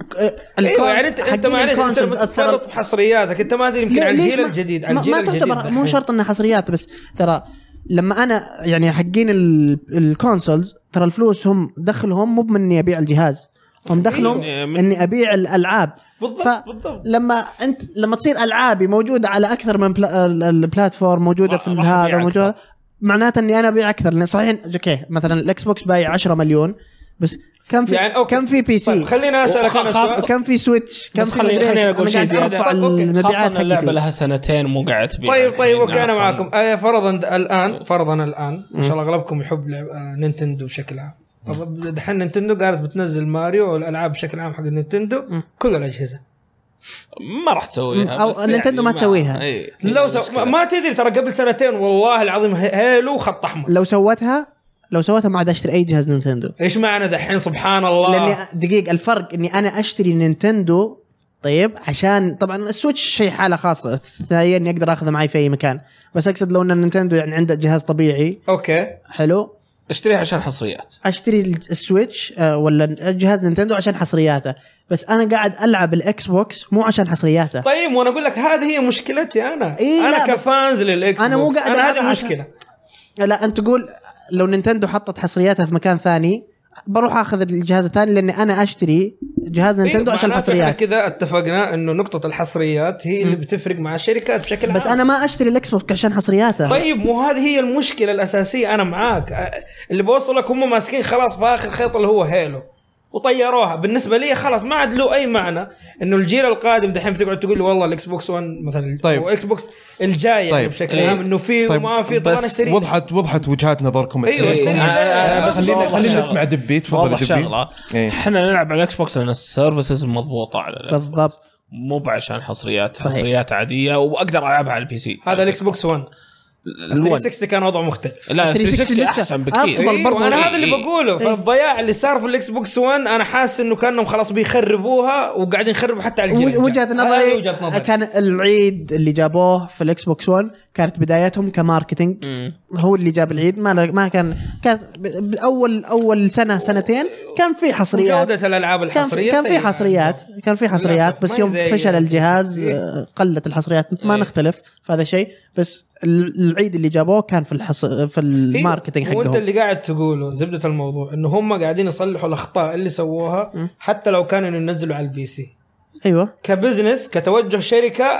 Speaker 3: الكونس-
Speaker 4: ايوه يعني انت انت
Speaker 3: حقين
Speaker 4: معلش انت
Speaker 3: الكونسولز
Speaker 4: متفرط بحصرياتك انت ما ادري يمكن
Speaker 3: ليه-
Speaker 4: على
Speaker 3: ليش
Speaker 4: الجيل
Speaker 3: ما-
Speaker 4: الجديد على
Speaker 3: ما-
Speaker 4: الجيل
Speaker 3: ما
Speaker 4: الجديد
Speaker 3: تعتبر مو
Speaker 4: دحين.
Speaker 3: شرط انها حصريات بس ترى لما انا يعني حقين ال- الكونسولز ترى الفلوس هم دخلهم مو من اني ابيع الجهاز هم دخلهم
Speaker 2: إيه، من-
Speaker 3: اني ابيع الالعاب
Speaker 4: أيوه. بالضبط بالضبط
Speaker 3: لما انت لما تصير العابي موجوده على اكثر من بلا ال- البلاتفورم موجوده في
Speaker 2: راح أبيع
Speaker 3: هذا
Speaker 2: أكثر.
Speaker 3: موجوده معناته اني انا ابيع اكثر لأن صحيح اوكي مثلا الاكس بوكس بايع 10 مليون بس كم في
Speaker 4: يعني
Speaker 3: يعني
Speaker 4: أوكي.
Speaker 3: كم في بي
Speaker 4: طيب
Speaker 3: سي
Speaker 4: خليني اسالك انا
Speaker 2: وخاصة-
Speaker 4: سؤال.
Speaker 3: كم في سويتش كم
Speaker 2: بس
Speaker 3: في
Speaker 2: خلي-
Speaker 3: مدري إيش؟
Speaker 2: خليني أقول
Speaker 3: أنا
Speaker 2: شيء
Speaker 3: قاعد
Speaker 2: زيادة.
Speaker 3: ارفع
Speaker 4: أوكي.
Speaker 2: خاصة
Speaker 3: المبيعات
Speaker 2: إن اللعبه
Speaker 3: حقتي
Speaker 2: لها سنتين مو قاعد تبيع
Speaker 4: طيب طيب
Speaker 2: يعني
Speaker 4: اوكي انا
Speaker 2: عفواً.
Speaker 4: معاكم آه، فرضا د- الان فرضا الان ما شاء الله اغلبكم يحب لعب آه، نينتندو بشكل عام طب دحين نينتندو قالت بتنزل ماريو والالعاب بشكل عام حق نينتندو كل الاجهزه
Speaker 2: ما راح تسويها
Speaker 3: أو
Speaker 2: بس
Speaker 3: نينتندو
Speaker 2: يعني
Speaker 3: ما تسويها.
Speaker 2: إيه.
Speaker 4: لو سو... ما- ما تدري ترى قبل سنتين والله العظيم هي- هيلو خط احمر
Speaker 3: لو سوتها لو سوتها ما عاد اشتري اي جهاز نينتندو
Speaker 4: ايش معنى دحين سبحان الله
Speaker 3: لاني دقيق الفرق اني انا اشتري نينتندو طيب عشان طبعا السويتش شيء حاله خاصه استثنائيه اني اقدر اخذه معي في اي مكان بس اقصد لو ان نينتندو يعني عنده جهاز طبيعي
Speaker 4: اوكي
Speaker 3: حلو
Speaker 2: اشتريها عشان حصريات
Speaker 3: اشتري السويتش آه، ولا جهاز نينتندو عشان حصرياته بس انا قاعد العب الاكس بوكس مو عشان حصرياته
Speaker 4: طيب وانا اقول لك هذه هي مشكلتي انا
Speaker 3: إيه،
Speaker 4: انا
Speaker 3: لا، بس-
Speaker 4: كفانز للاكس
Speaker 3: أنا مو
Speaker 4: بوكس.
Speaker 3: قاعد
Speaker 4: انا
Speaker 3: ألعبها
Speaker 4: هذه
Speaker 3: عشان-
Speaker 4: المشكله
Speaker 3: لا انت تقول لو نينتندو حطت حصرياتها في مكان ثاني بروح اخذ الجهاز الثاني لاني انا اشتري جهاز نينتندو
Speaker 4: إيه،
Speaker 3: عشان
Speaker 4: معناته إحنا
Speaker 3: حصريات
Speaker 4: كذا اتفقنا انه نقطه الحصريات هي اللي بتفرق مع الشركات بشكل عام
Speaker 3: بس انا ما اشتري الاكس بوكس عشان حصرياته
Speaker 4: طيب مو هذه هي المشكله الاساسيه انا معاك أ- اللي بوصلك هم ماسكين خلاص في اخر خيط اللي هو هيلو وطيروها بالنسبه لي خلاص ما عاد له اي معنى انه الجيل القادم دحين بتقعد تقول لي والله الاكس بوكس 1 مثلا
Speaker 1: طيب.
Speaker 4: واكس بوكس الجاي يعني
Speaker 1: طيب.
Speaker 4: بشكل
Speaker 1: إيه.
Speaker 4: عام انه في
Speaker 1: طيب،
Speaker 4: وما في طب
Speaker 2: بس
Speaker 4: انا اشتري
Speaker 1: وضحت وضحت وجهات نظركم
Speaker 4: أيوة،
Speaker 1: الثنين.
Speaker 4: اشتري.
Speaker 2: إيه. آه، آه، بس
Speaker 1: خلينا
Speaker 2: بوضح
Speaker 1: خلينا
Speaker 2: شغلة.
Speaker 1: نسمع دبي تفضل
Speaker 2: واضح
Speaker 1: دبي
Speaker 2: شغله
Speaker 1: إيه.
Speaker 2: احنا نلعب على الاكس بوكس لان السيرفسز مضبوطه على الأكس بوكس.
Speaker 3: بالضبط
Speaker 2: مو عشان حصريات
Speaker 3: صحيح.
Speaker 2: حصريات عاديه واقدر العبها على البي سي
Speaker 4: هذا الاكس بوكس 1
Speaker 2: الون
Speaker 4: 360 كان وضعه مختلف
Speaker 2: لا
Speaker 3: 360
Speaker 2: 360
Speaker 3: لسه
Speaker 2: احسن بكثير
Speaker 3: أفضل
Speaker 4: إيه،
Speaker 3: برضو.
Speaker 4: انا هذا
Speaker 2: إيه.
Speaker 4: اللي بقوله فالضياع اللي صار في الاكس بوكس 1 انا حاسس انه كانهم خلاص بيخربوها وقاعدين يخربوا حتى على الجيل الجاي.
Speaker 3: وجهه
Speaker 4: هذه
Speaker 3: نظري
Speaker 4: وجهه نظري
Speaker 3: كان العيد اللي جابوه في الاكس بوكس 1 كانت بدايتهم كماركتينج
Speaker 2: مم.
Speaker 3: هو اللي جاب العيد ما له- ما كان كانت ب- ب- اول اول سنه سنتين كان في حصريات
Speaker 4: جودة الالعاب
Speaker 3: كان
Speaker 4: الحصريه
Speaker 3: في, كان في
Speaker 4: سيئة.
Speaker 3: حصريات كان في
Speaker 4: للأسف،
Speaker 3: حصريات
Speaker 4: ما
Speaker 3: بس
Speaker 4: هي
Speaker 3: يوم
Speaker 4: زي
Speaker 3: فشل الجهاز
Speaker 4: 360.
Speaker 3: آه، قلت الحصريات ما
Speaker 2: إيه.
Speaker 3: نختلف في هذا الشيء بس ال- العيد اللي جابوه كان في الحص... في
Speaker 4: إيه،
Speaker 3: الماركتينج
Speaker 4: وانت
Speaker 3: حقهم
Speaker 4: اللي قاعد تقوله زبده الموضوع انه هم قاعدين يصلحوا الاخطاء اللي سووها
Speaker 3: مم.
Speaker 4: حتى لو كانوا ينزلوا على البي سي
Speaker 3: ايوه
Speaker 4: كبزنس كتوجه شركه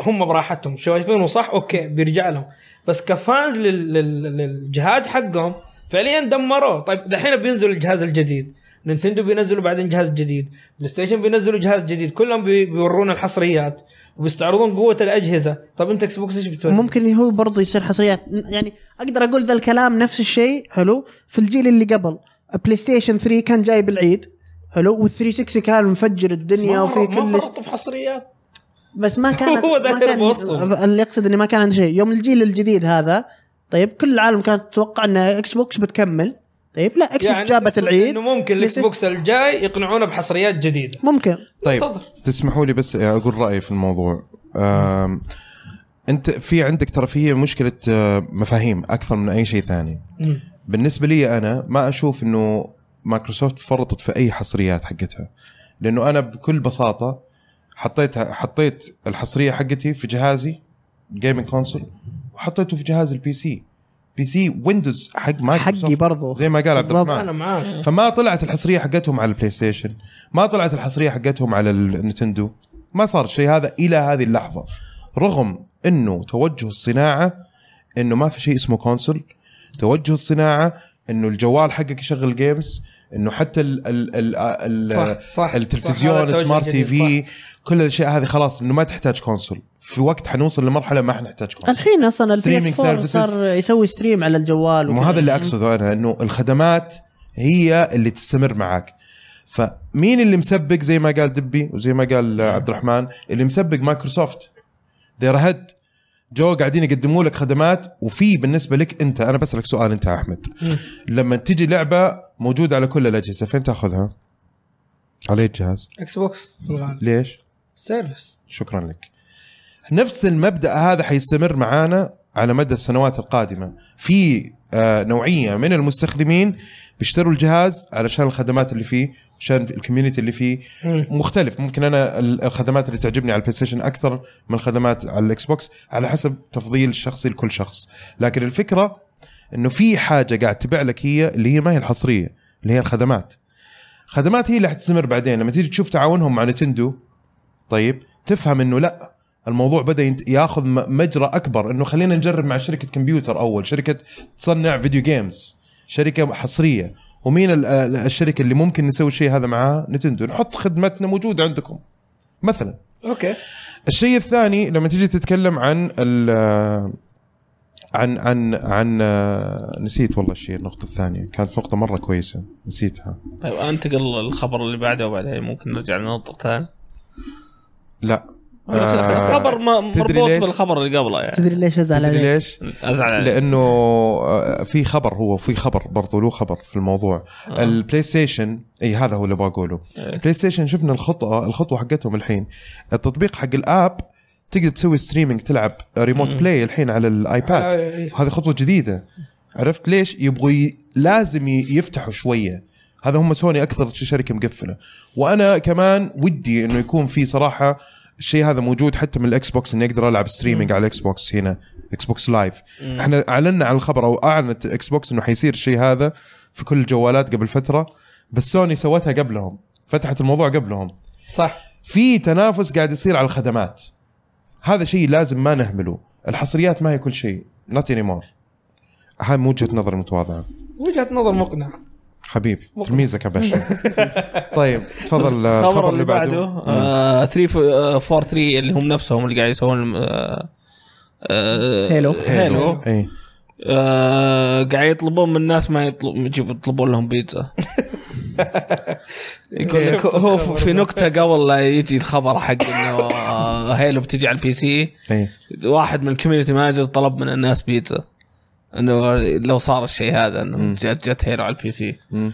Speaker 4: هم براحتهم شايفينه صح اوكي بيرجع لهم بس كفانز لل- لل- للجهاز حقهم فعليا دمروه طيب دحين بينزل الجهاز الجديد نينتندو بينزلوا بعدين جهاز جديد بلاي ستيشن بينزلوا جهاز جديد كلهم بي- بيورونا الحصريات وبيستعرضون طيب، قوه الاجهزه طب انت اكس بوكس ايش بتوري
Speaker 3: ممكن هو برضه يصير حصريات يعني اقدر اقول ذا الكلام نفس الشيء حلو في الجيل اللي قبل بلاي ستيشن 3 كان جاي بالعيد حلو وال 360 كان مفجر الدنيا
Speaker 4: ما
Speaker 3: وفي
Speaker 4: فر- ما
Speaker 3: كل
Speaker 4: فرطوا في حصريات
Speaker 3: بس ما كانت
Speaker 4: هو ده
Speaker 3: ما كان
Speaker 4: الموصل.
Speaker 3: اللي يقصد انه ما كان عنده شيء يوم الجيل الجديد هذا طيب كل العالم كانت تتوقع ان اكس بوكس بتكمل طيب لا اكس بوكس جابت
Speaker 4: يعني تقصد
Speaker 3: العيد
Speaker 4: انه ممكن الاكس بوكس الجاي يقنعونا بحصريات جديده
Speaker 3: ممكن
Speaker 1: طيب
Speaker 4: تفضل.
Speaker 1: تسمحوا لي بس اقول رايي في الموضوع أم، انت في عندك ترى في مشكله أه، مفاهيم اكثر من اي شيء ثاني بالنسبه لي انا ما اشوف انه مايكروسوفت فرطت في اي حصريات حقتها لانه انا بكل بساطه حطيت حطيت الحصريه حقتي في جهازي جيمنج كونسول وحطيته في جهاز البي سي بي سي ويندوز حق مايكروسوفت
Speaker 3: حقي برضو
Speaker 1: زي ما قال عبد
Speaker 3: بالضبط.
Speaker 1: الرحمن
Speaker 2: طيب.
Speaker 4: انا معاك
Speaker 1: فما طلعت الحصريه حقتهم على البلاي ستيشن ما طلعت الحصريه حقتهم على النتندو ما صار شيء هذا الى هذه اللحظه رغم انه توجه الصناعه انه ما في شيء اسمه كونسول توجه الصناعه انه الجوال حقك يشغل جيمز انه حتى ال ال ال ال
Speaker 4: صح صح صح،
Speaker 1: التلفزيون
Speaker 4: هذا التوجه
Speaker 1: سمارت تي
Speaker 4: الجديد،
Speaker 1: في كل الاشياء هذه خلاص انه ما تحتاج كونسول في وقت حنوصل لمرحله ما حنحتاج كونسول
Speaker 3: الحين اصلا
Speaker 1: Streaming
Speaker 3: البي
Speaker 1: services.
Speaker 3: صار يسوي ستريم على الجوال
Speaker 1: مو
Speaker 3: وكذا.
Speaker 1: هذا اللي اقصده انا انه الخدمات هي اللي تستمر معاك فمين اللي مسبق زي ما قال دبي وزي ما قال عبد الرحمن اللي مسبق مايكروسوفت ذير هيد جو قاعدين يقدموا لك خدمات وفي بالنسبه لك انت انا بسالك سؤال انت يا احمد
Speaker 4: مم.
Speaker 1: لما تجي لعبه موجوده على كل الاجهزه فين تاخذها؟ على اي جهاز؟
Speaker 4: اكس بوكس في الغالب
Speaker 1: ليش؟
Speaker 4: سيرفس
Speaker 1: شكرا لك نفس المبدا هذا حيستمر معانا على مدى السنوات القادمه في آه، نوعيه من المستخدمين بيشتروا الجهاز علشان الخدمات اللي فيه عشان الكوميونتي اللي فيه
Speaker 4: مم.
Speaker 1: مختلف ممكن انا ال- الخدمات اللي تعجبني على البلاي ستيشن اكثر من الخدمات على الاكس بوكس على حسب تفضيل شخصي لكل شخص لكن الفكره انه في حاجه قاعد تبيع لك هي اللي هي ما هي الحصريه اللي هي الخدمات خدمات هي اللي حتستمر بعدين لما تيجي تشوف تعاونهم مع نتندو طيب تفهم انه لا الموضوع بدا ينت- ياخذ م- مجرى اكبر انه خلينا نجرب مع شركه كمبيوتر اول شركه تصنع فيديو جيمز شركه حصريه ومين ال- ال- الشركه اللي ممكن نسوي الشيء هذا معاها نتندو نحط خدمتنا موجوده عندكم مثلا
Speaker 4: اوكي
Speaker 1: الشيء الثاني لما تيجي تتكلم عن ال عن عن عن آه، نسيت والله الشيء النقطه الثانيه كانت نقطه مره كويسه نسيتها
Speaker 2: طيب انتقل الخبر اللي بعده وبعدين ممكن نرجع لنقطه ثانيه
Speaker 1: لا آه،
Speaker 2: الخبر ما-
Speaker 1: تدري
Speaker 2: مربوط
Speaker 1: ليش؟
Speaker 2: بالخبر اللي قبله يعني
Speaker 3: تدري ليش ازعل
Speaker 1: تدري
Speaker 3: عليك؟
Speaker 1: ليش؟
Speaker 2: ازعل عليك.
Speaker 1: لانه آه، في خبر هو في خبر برضو له خبر في الموضوع
Speaker 2: آه.
Speaker 1: البلاي ستيشن اي هذا هو اللي بقوله
Speaker 2: إيه.
Speaker 1: بلاي ستيشن شفنا الخطوه الخطوه حقتهم الحين التطبيق حق الاب تقدر تسوي ستريمينج تلعب ريموت
Speaker 2: مم.
Speaker 1: بلاي الحين على الايباد
Speaker 4: آه، إيه.
Speaker 1: هذه خطوه جديده عرفت ليش يبغوا ي... لازم ي- يفتحوا شويه هذا هم سوني اكثر شركه مقفله وانا كمان ودي انه يكون في صراحه الشيء هذا موجود حتى من الاكس بوكس اني اقدر العب ستريمينج على الاكس بوكس هنا اكس بوكس لايف
Speaker 2: مم.
Speaker 1: احنا اعلنا عن الخبر او اعلنت اكس بوكس انه حيصير الشيء هذا في كل الجوالات قبل فتره بس سوني سوتها قبلهم فتحت الموضوع قبلهم
Speaker 4: صح
Speaker 1: في تنافس قاعد يصير على الخدمات هذا شيء لازم ما نهمله الحصريات ما هي كل شيء نوت مور هاي مو وجهه نظر متواضعه
Speaker 4: وجهه نظر مقنعه
Speaker 1: حبيبي
Speaker 4: مقنع.
Speaker 1: تلميذك يا باشا طيب تفضل
Speaker 2: الخبر
Speaker 1: الخبر
Speaker 2: اللي بعده
Speaker 1: مم.
Speaker 2: آه، 343 اللي هم نفسهم اللي قاعد يسوون آه، آه،
Speaker 3: هيلو.
Speaker 1: إيه.
Speaker 2: هيلو
Speaker 1: اي
Speaker 2: آه، قاعد يطلبون من الناس ما يطلب يجيب- يطلبون لهم بيتزا يقول لك
Speaker 4: شفت
Speaker 2: هو
Speaker 4: الخبر
Speaker 2: في
Speaker 4: ده.
Speaker 2: نكته قبل لا يجي الخبر حق انه آه، هيلو بتجي على البي سي
Speaker 1: اي
Speaker 2: واحد من الكوميونتي مانجر طلب من الناس بيتزا انه لو صار الشيء هذا انه
Speaker 1: مم.
Speaker 2: جت جت هيلو على البي سي
Speaker 1: مم.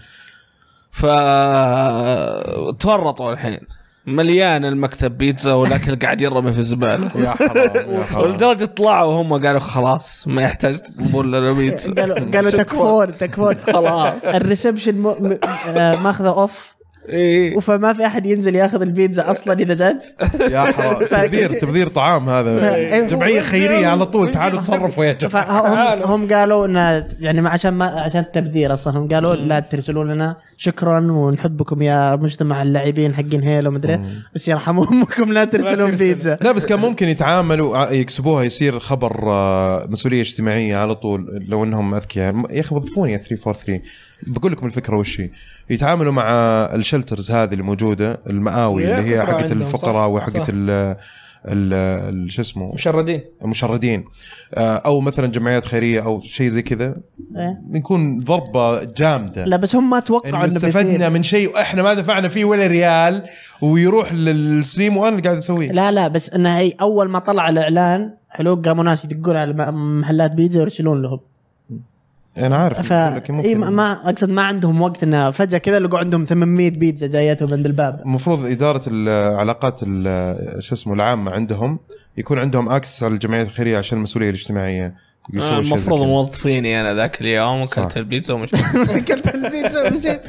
Speaker 2: فتورطوا الحين مليان المكتب بيتزا والاكل قاعد ينرمي في الزباله
Speaker 1: يا حرام يا حرام
Speaker 2: ولدرجه طلعوا هم قالوا خلاص ما يحتاج تطلبون لنا بيتزا
Speaker 3: قالوا قالوا
Speaker 2: شكراً.
Speaker 3: تكفون تكفون
Speaker 2: خلاص.
Speaker 3: الريسبشن م... م... آه، ماخذه اوف
Speaker 2: ايه
Speaker 3: فما في احد ينزل ياخذ البيتزا اصلا اذا جات
Speaker 1: يا حرام تبذير تبذير طعام هذا
Speaker 3: إيه.
Speaker 1: جمعيه خيريه على طول تعالوا تصرفوا يا جماعه
Speaker 3: فهم هم قالوا انها يعني ما عشان ما عشان التبذير اصلا هم قالوا لا ترسلوا لنا شكرا ونحبكم يا مجتمع اللاعبين حقين هيلو مدري بس يرحم امكم لا ترسلون
Speaker 4: ترسل.
Speaker 3: بيتزا
Speaker 1: لا بس كان ممكن يتعاملوا ع- يكسبوها يصير خبر آه، مسؤوليه اجتماعيه على طول لو انهم اذكياء م- يا اخي وظفوني يا 343 بقول لكم الفكره وش هي يتعاملوا مع الشلترز هذه اللي موجوده المآوي
Speaker 4: يا
Speaker 1: اللي هي
Speaker 4: كثرة
Speaker 1: حقت
Speaker 4: عندهم،
Speaker 1: الفقراء
Speaker 4: صح،
Speaker 1: وحقت
Speaker 4: صح.
Speaker 1: ال ال- ال- شو اسمه
Speaker 4: مشردين
Speaker 1: المشردين آه، او مثلا جمعيات خيريه او شيء زي كذا
Speaker 3: إيه.
Speaker 1: بيكون ضربه جامده
Speaker 3: لا بس هم ما توقعوا
Speaker 1: انه
Speaker 3: انه
Speaker 1: يعني استفدنا
Speaker 3: بيصير
Speaker 1: من شيء واحنا ما دفعنا فيه ولا ريال ويروح للستريم وانا اللي قاعد اسويه
Speaker 3: لا لا بس انها هي اول ما طلع الاعلان حلو قاموا ناس يدقون على الم- محلات بيتزا ويرسلون لهم
Speaker 1: انا عارف
Speaker 3: ف
Speaker 1: بقول لك
Speaker 3: إيه ما- ما اقصد ما عندهم وقت انه فجاه كذا لقوا عندهم 800 بيتزا جايتهم عند الباب
Speaker 1: المفروض اداره العلاقات ال- شو اسمه العامه عندهم يكون عندهم اكسس على الجمعيات الخيريه عشان المسؤوليه الاجتماعيه يسوي شيء
Speaker 2: آه،
Speaker 1: زي
Speaker 2: المفروض
Speaker 1: كذا.
Speaker 2: موظفيني انا ذاك اليوم
Speaker 1: صح.
Speaker 2: وكلت البيتزا ومش
Speaker 3: اكلت البيتزا ومشيت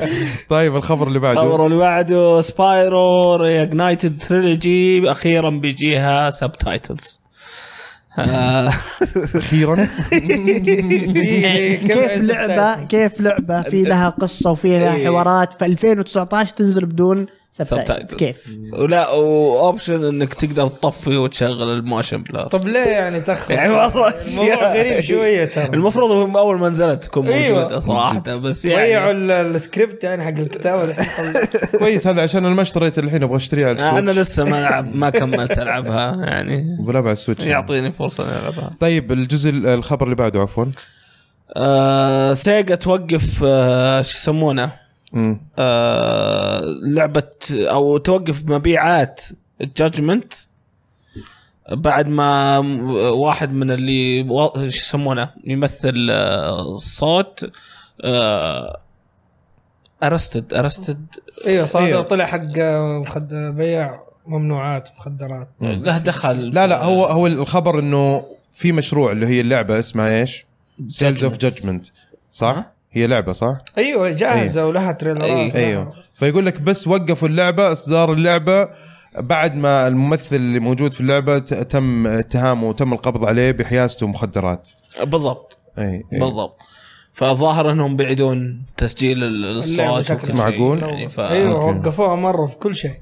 Speaker 1: طيب الخبر اللي
Speaker 2: الخبر
Speaker 1: بعده
Speaker 2: اللي بعده سبايرو ريجنايتد تريلوجي اخيرا بيجيها سب تايتلز
Speaker 1: اخيرا
Speaker 4: إيه،
Speaker 3: كيف لعبه كيف لعبه في لها قصه وفي لها
Speaker 2: إيه.
Speaker 3: حوارات في 2019 تنزل بدون
Speaker 2: Subtitles.
Speaker 3: سبتايتلز كيف؟
Speaker 2: ولا واوبشن انك تقدر تطفي وتشغل الموشن بلر
Speaker 4: طب ليه يعني تاخر
Speaker 2: يعني والله
Speaker 4: الموضوع
Speaker 2: أشياء.
Speaker 4: غريب شويه ترى
Speaker 2: المفروض هم اول ما نزلت تكون
Speaker 4: أيوة.
Speaker 2: موجوده صراحه بس
Speaker 4: ضيعوا
Speaker 2: يعني
Speaker 4: ال- السكريبت يعني حق الكتابه الحين.
Speaker 1: كويس هذا عشان انا ما اشتريت الحين ابغى اشتريها على
Speaker 2: انا
Speaker 1: السويتش
Speaker 2: آه، لسه ما لعب ما كملت العبها يعني
Speaker 1: بلعب على السويتش
Speaker 2: يعطيني فرصه اني العبها
Speaker 1: طيب الجزء الخبر اللي بعده عفوا
Speaker 2: آه سيجا توقف آه شو يسمونه
Speaker 1: مم.
Speaker 2: آه لعبه او توقف مبيعات جادجمنت بعد ما واحد من اللي وا- شو يسمونه يمثل آه، صوت آه، ارستد ارستد
Speaker 4: ايوه صادق
Speaker 1: أيوة.
Speaker 4: طلع حق آه، مخد... بيع ممنوعات مخدرات
Speaker 2: له دخل
Speaker 1: لا لا هو هو الخبر انه في مشروع اللي هي اللعبه اسمها ايش؟ سيلز اوف جادجمنت صح؟ هي لعبه صح؟
Speaker 4: ايوه جاهزه ولها تريلرات
Speaker 2: أيوة.
Speaker 4: لها-
Speaker 1: ايوه فيقول لك بس وقفوا اللعبه اصدار اللعبه بعد ما الممثل اللي موجود في اللعبه ت- تم اتهامه وتم القبض عليه بحيازته مخدرات
Speaker 2: بالضبط
Speaker 1: اي اي
Speaker 2: بالضبط فظاهر انهم بعدون تسجيل ال-
Speaker 4: اللعبة
Speaker 2: الصوت
Speaker 4: شكلها
Speaker 2: وكل شيء.
Speaker 1: معقول؟
Speaker 2: يعني ف...
Speaker 4: ايوه
Speaker 1: أوكي.
Speaker 4: وقفوها مره في كل شيء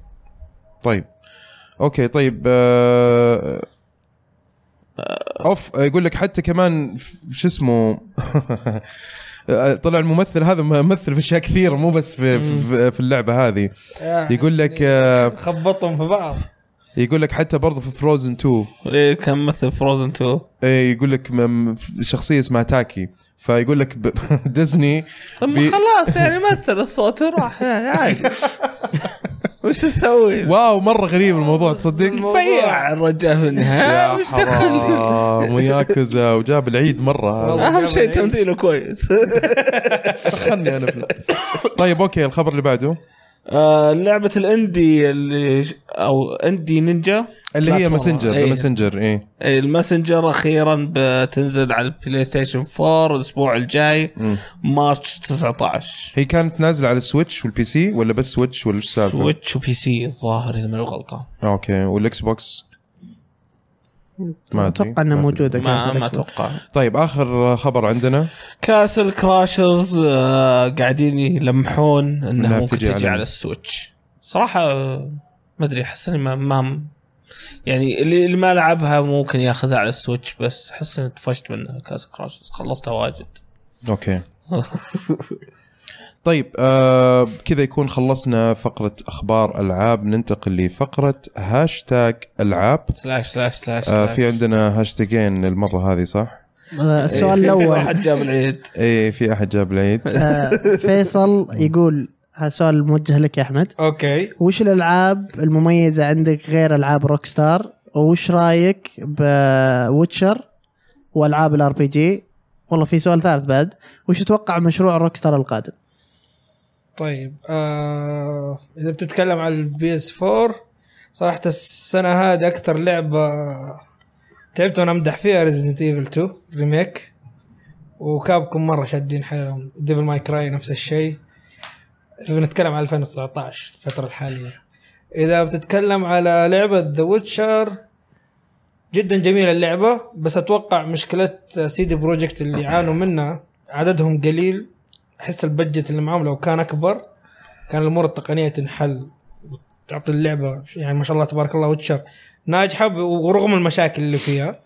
Speaker 1: طيب اوكي طيب آه... اوف يقول لك حتى كمان ف- شو اسمه طلع الممثل هذا ممثل في اشياء كثيره مو بس في في, في اللعبه هذه
Speaker 4: يعني
Speaker 1: يقول لك آه،
Speaker 4: خبطهم في بعض
Speaker 1: يقول لك حتى برضه في فروزن 2
Speaker 2: إيه كان مثل فروزن 2
Speaker 1: إيه، يقول لك م- م- شخصيه اسمها تاكي فيقول لك ب- ديزني
Speaker 2: طب ما
Speaker 1: بي-
Speaker 2: خلاص يعني مثل الصوت وراح يعني عادي وش اسوي؟
Speaker 1: واو مره غريب الموضوع تصدق
Speaker 2: بيع الرجال في النهايه
Speaker 1: يا
Speaker 2: وش دخل؟
Speaker 1: حرام وياكوزا وجاب العيد مره
Speaker 4: والله.
Speaker 1: هذا.
Speaker 2: اهم شيء تمثيله كويس
Speaker 1: دخلني انا في- طيب اوكي الخبر اللي بعده
Speaker 2: آه، لعبه الاندي اللي او اندي نينجا
Speaker 1: اللي هي
Speaker 2: بلاتفورم.
Speaker 1: ماسنجر
Speaker 2: إيه.
Speaker 1: ذا ماسنجر ايه
Speaker 2: إيه، الماسنجر اخيرا بتنزل على البلاي ستيشن 4 الاسبوع الجاي
Speaker 1: مم.
Speaker 2: مارتش 19
Speaker 1: هي كانت نازله على السويتش والبي سي ولا بس سويتش ولا إيش السالفه؟
Speaker 2: سويتش وبي سي الظاهر اذا ماني غلطان
Speaker 1: اوكي والاكس بوكس ما أدري.
Speaker 3: اتوقع انها
Speaker 1: ما أدري.
Speaker 3: موجوده
Speaker 2: ما
Speaker 3: كانت
Speaker 2: ما
Speaker 3: أكثر.
Speaker 2: اتوقع
Speaker 1: طيب اخر خبر عندنا
Speaker 2: كاسل كراشرز آه، قاعدين يلمحون
Speaker 1: إنها
Speaker 2: انها ممكن
Speaker 1: بتجي
Speaker 2: تجي
Speaker 1: على-
Speaker 2: على السويتش صراحه آه، ما ادري احس إني ما, ما يعني اللي اللي ما لعبها ممكن ياخذها على السويتش بس احس اني طفشت من كاسل كراشرز خلصتها واجد
Speaker 1: اوكي طيب آه كذا يكون خلصنا فقره اخبار العاب ننتقل لفقره هاشتاج العاب
Speaker 2: سلاش سلاش سلاش,
Speaker 1: آه
Speaker 2: سلاش.
Speaker 1: في عندنا هاشتاجين المره هذه صح؟
Speaker 3: آه، السؤال
Speaker 1: إيه.
Speaker 2: في
Speaker 3: الاول
Speaker 2: واحد جاب العيد
Speaker 1: ايه في احد جاب العيد
Speaker 3: آه، فيصل يقول هذا سؤال موجه لك يا احمد
Speaker 4: اوكي
Speaker 3: وش الالعاب المميزه عندك غير العاب روك ستار وش رايك بوتشر والعاب الار بي جي والله في سؤال ثالث بعد وش تتوقع مشروع روك ستار القادم
Speaker 4: طيب آه اذا بتتكلم عن البي اس 4 صراحه السنه هذه اكثر لعبه تعبت وانا امدح فيها ريزدنت ايفل 2 ريميك وكابكم مره شادين حيلهم ديفل ماي كراي نفس الشيء اذا بنتكلم عن 2019 الفتره الحاليه اذا بتتكلم على لعبه ذا ويتشر جدا جميله اللعبه بس اتوقع مشكله سيدي بروجكت اللي يعانوا منها عددهم قليل احس البجت اللي معاهم لو كان اكبر كان الامور التقنيه تنحل وتعطي اللعبه يعني ما شاء الله تبارك الله ويتشر ناجحه ب- ورغم المشاكل اللي فيها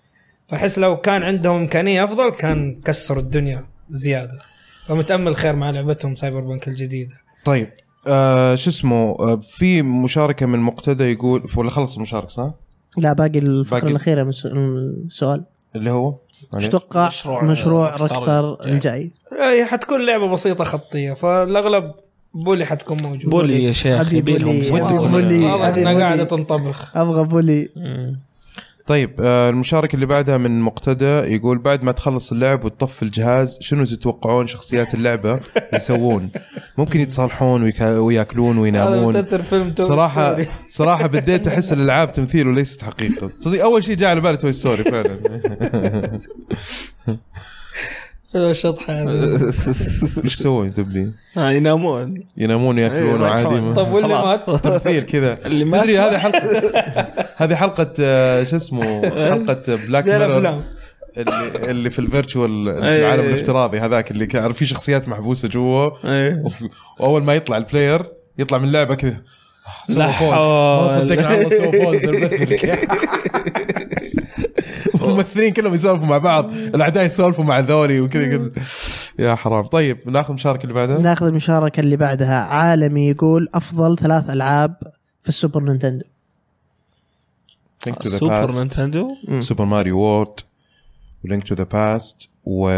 Speaker 4: فاحس لو كان عندهم امكانيه افضل كان كسروا الدنيا زياده فمتامل خير مع لعبتهم سايبر بنك الجديده
Speaker 1: طيب آه شو اسمه آه في مشاركه من مقتدى يقول ولا خلص المشاركه صح؟
Speaker 3: لا باقي الفقره
Speaker 1: باقي-
Speaker 3: الاخيره من الس- من السؤال
Speaker 1: اللي هو
Speaker 3: وش
Speaker 1: معليش.
Speaker 3: تتوقع
Speaker 2: مشروع
Speaker 3: مشروع,
Speaker 2: Rockstar
Speaker 3: روك ستار
Speaker 2: الجاي.
Speaker 3: الجاي
Speaker 4: هي حتكون لعبه بسيطه خطيه فالاغلب بولي حتكون موجوده
Speaker 2: بولي يا شيخ
Speaker 3: أبي
Speaker 2: يبي لهم
Speaker 3: بولي،
Speaker 2: صدق.
Speaker 3: أبي بولي.
Speaker 4: واضح
Speaker 3: هذه
Speaker 4: انها
Speaker 3: بولي.
Speaker 4: قاعده تنطبخ
Speaker 3: ابغى بولي
Speaker 2: مم.
Speaker 1: طيب آه المشاركه اللي بعدها من مقتدى يقول بعد ما تخلص اللعب وتطفي الجهاز شنو تتوقعون شخصيات اللعبه يسوون؟ ممكن يتصالحون ويكا- وياكلون
Speaker 4: هذا
Speaker 1: وينامون
Speaker 4: متأثر فيلم توي
Speaker 1: صراحه
Speaker 4: ستوري.
Speaker 1: صراحه بديت احس الالعاب تمثيل وليست حقيقه صدق اول شيء جاء على بالي توي ستوري فعلا
Speaker 4: الشطحه هذه
Speaker 1: ايش سووا تبلي؟
Speaker 2: آه، ينامون
Speaker 1: ينامون وياكلون
Speaker 2: أيوة،
Speaker 1: عادي ما-
Speaker 4: طب واللي
Speaker 2: خلاص.
Speaker 4: مات
Speaker 1: تمثيل كذا
Speaker 2: اللي ما
Speaker 1: تدري هذه حلقه هذه حلقه آه، شو اسمه
Speaker 2: إيه.
Speaker 1: حلقه بلاك
Speaker 4: زي
Speaker 1: ميرور
Speaker 4: الافلام
Speaker 1: اللي, اللي في الفيرتشوال اللي في
Speaker 2: أي.
Speaker 1: العالم الافتراضي هذاك اللي كان في شخصيات محبوسه جوا
Speaker 2: إيه.
Speaker 1: واول ما يطلع البلاير يطلع من اللعبه كذا آه، سوى
Speaker 2: لا
Speaker 1: فوز ما
Speaker 2: حول.
Speaker 1: صدقنا على الله سوى فوز بنمثلك. الممثلين كلهم يسولفوا مع بعض الاعداء يسولفوا مع ذولي وكذا كذا. يا حرام طيب ناخذ المشاركه اللي بعدها
Speaker 3: ناخذ المشاركه اللي بعدها عالمي يقول افضل ثلاث العاب في السوبر نينتندو
Speaker 1: Think to the
Speaker 2: سوبر
Speaker 1: past.
Speaker 2: نينتندو
Speaker 1: سوبر ماريو وورد ولينك تو ذا باست و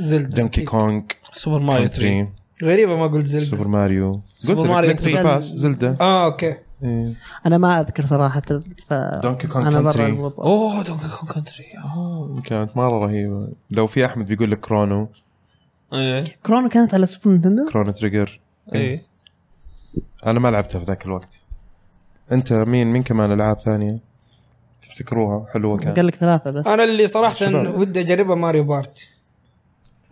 Speaker 4: زلدا
Speaker 1: دنكي كونج
Speaker 2: سوبر ماريو 3
Speaker 4: غريبه ما قلت زلدا
Speaker 1: سوبر ماريو
Speaker 2: سوبر ماريو آه.
Speaker 1: لينك تو ذا
Speaker 3: 3.
Speaker 1: باست زلدة إيه.
Speaker 4: اه اوكي
Speaker 3: انا ما اذكر صراحه ف
Speaker 1: دونكي كونج
Speaker 3: انا برا
Speaker 1: كونتري
Speaker 3: الموضوع.
Speaker 2: اوه دونكي كونج كونتري اوه
Speaker 1: كانت مره رهيبه لو في احمد بيقول لك كرونو إيه.
Speaker 2: ايه
Speaker 3: كرونو كانت على سوبر نينتندو
Speaker 1: كرونو تريجر
Speaker 2: ايه
Speaker 1: انا ما لعبتها في ذاك الوقت انت مين مين كمان العاب ثانيه تفتكروها حلوه كانت
Speaker 3: قال لك ثلاثه بس
Speaker 4: انا اللي صراحه
Speaker 1: شباب.
Speaker 4: ودي اجربها ماريو بارت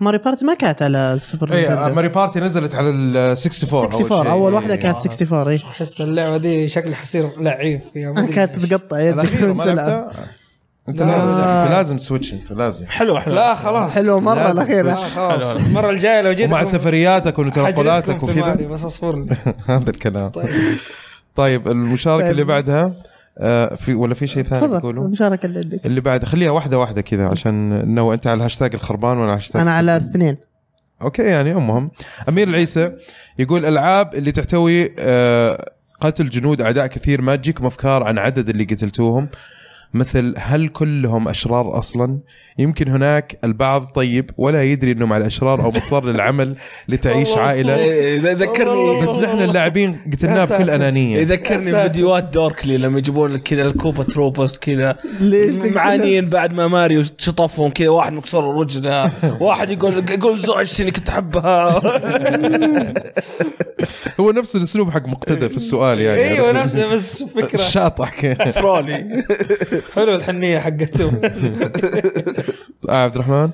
Speaker 3: ماري بارتي ما كانت على السوبر
Speaker 1: اي
Speaker 3: نينتندو
Speaker 1: إيه، ماري بارتي نزلت على ال 64 أول
Speaker 3: 64
Speaker 1: شيء.
Speaker 3: اول واحده
Speaker 1: إيه.
Speaker 3: كانت 64 اي
Speaker 4: احس اللعبه دي شكلي حصير لعيب فيها ما أدري.
Speaker 3: كانت تقطع يدك
Speaker 1: الأخيرة ما
Speaker 3: وانت تلعب
Speaker 1: لعبتها؟ انت
Speaker 4: لا.
Speaker 1: لازم انت لازم سويتش انت لازم
Speaker 2: حلوه حلوه
Speaker 4: لا خلاص
Speaker 3: حلو مره
Speaker 1: لازم
Speaker 4: لا
Speaker 3: الاخيره
Speaker 4: خلاص المره الجايه لو جيت
Speaker 1: ومع سفرياتك ونتنقلاتك وكذا
Speaker 4: بس اصبر لي
Speaker 1: هذا الكلام
Speaker 4: طيب
Speaker 1: طيب المشاركه
Speaker 3: طيب.
Speaker 1: اللي بعدها آه، في ولا في شيء ثاني
Speaker 3: تفضل
Speaker 1: تقوله؟
Speaker 3: المشاركه اللي عندك
Speaker 1: اللي بعد خليها واحده واحده كذا عشان انه انت على الهاشتاج الخربان وانا على الهاشتاج
Speaker 3: انا على اثنين
Speaker 1: اوكي يعني المهم امير العيسى يقول العاب اللي تحتوي آه، قتل جنود اعداء كثير ما تجيكم افكار عن عدد اللي قتلتوهم مثل هل كلهم اشرار اصلا؟ يمكن هناك البعض طيب ولا يدري انه مع الاشرار او مضطر للعمل لتعيش عائله
Speaker 2: إيه، إيه، ذكرني
Speaker 1: بس نحن اللاعبين قتلناه
Speaker 4: يا ساتر.
Speaker 1: بكل انانيه
Speaker 2: يذكرني
Speaker 4: يا ساتر.
Speaker 2: بفيديوهات دوركلي لما يجيبون لك كذا الكوبا تروبرز كذا
Speaker 3: ليش تقول؟
Speaker 2: معانين بعد ما ماريو شطفهم كذا واحد مكسر له رجله واحد يقول يقول زوجتي انك تحبها
Speaker 1: هو نفس الاسلوب حق مقتدى في السؤال يعني
Speaker 2: إيه،
Speaker 4: ايوه
Speaker 1: عرفت؟
Speaker 4: نفسه بس فكره
Speaker 1: الشاطح كذا.
Speaker 2: ترولي
Speaker 4: حلو الحنيه حقته
Speaker 1: آه، عبد الرحمن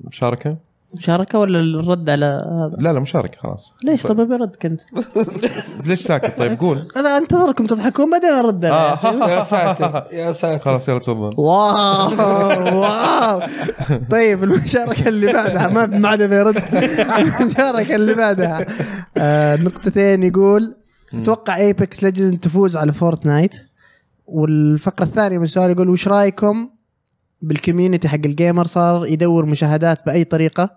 Speaker 1: مشاركه؟
Speaker 3: مشاركه ولا الرد على هذا
Speaker 1: لا لا مشاركه خلاص
Speaker 3: ليش طب ابي ردك انت
Speaker 1: ليش ساكت طيب قول
Speaker 3: انا انتظركم تضحكون بعدين ارد انا
Speaker 1: آه.
Speaker 3: يا أخي.
Speaker 4: يا ساتر يا ساتر
Speaker 1: خلاص يلا تفضل
Speaker 3: واو واو طيب المشاركه اللي بعدها ما ما عاد بيرد المشاركه اللي بعدها آه نقطتين يقول اتوقع ايبكس ليجند تفوز على فورتنايت والفقره الثانيه من السؤال يقول وش رايكم بالكوميونتي حق الجيمر صار يدور مشاهدات باي طريقه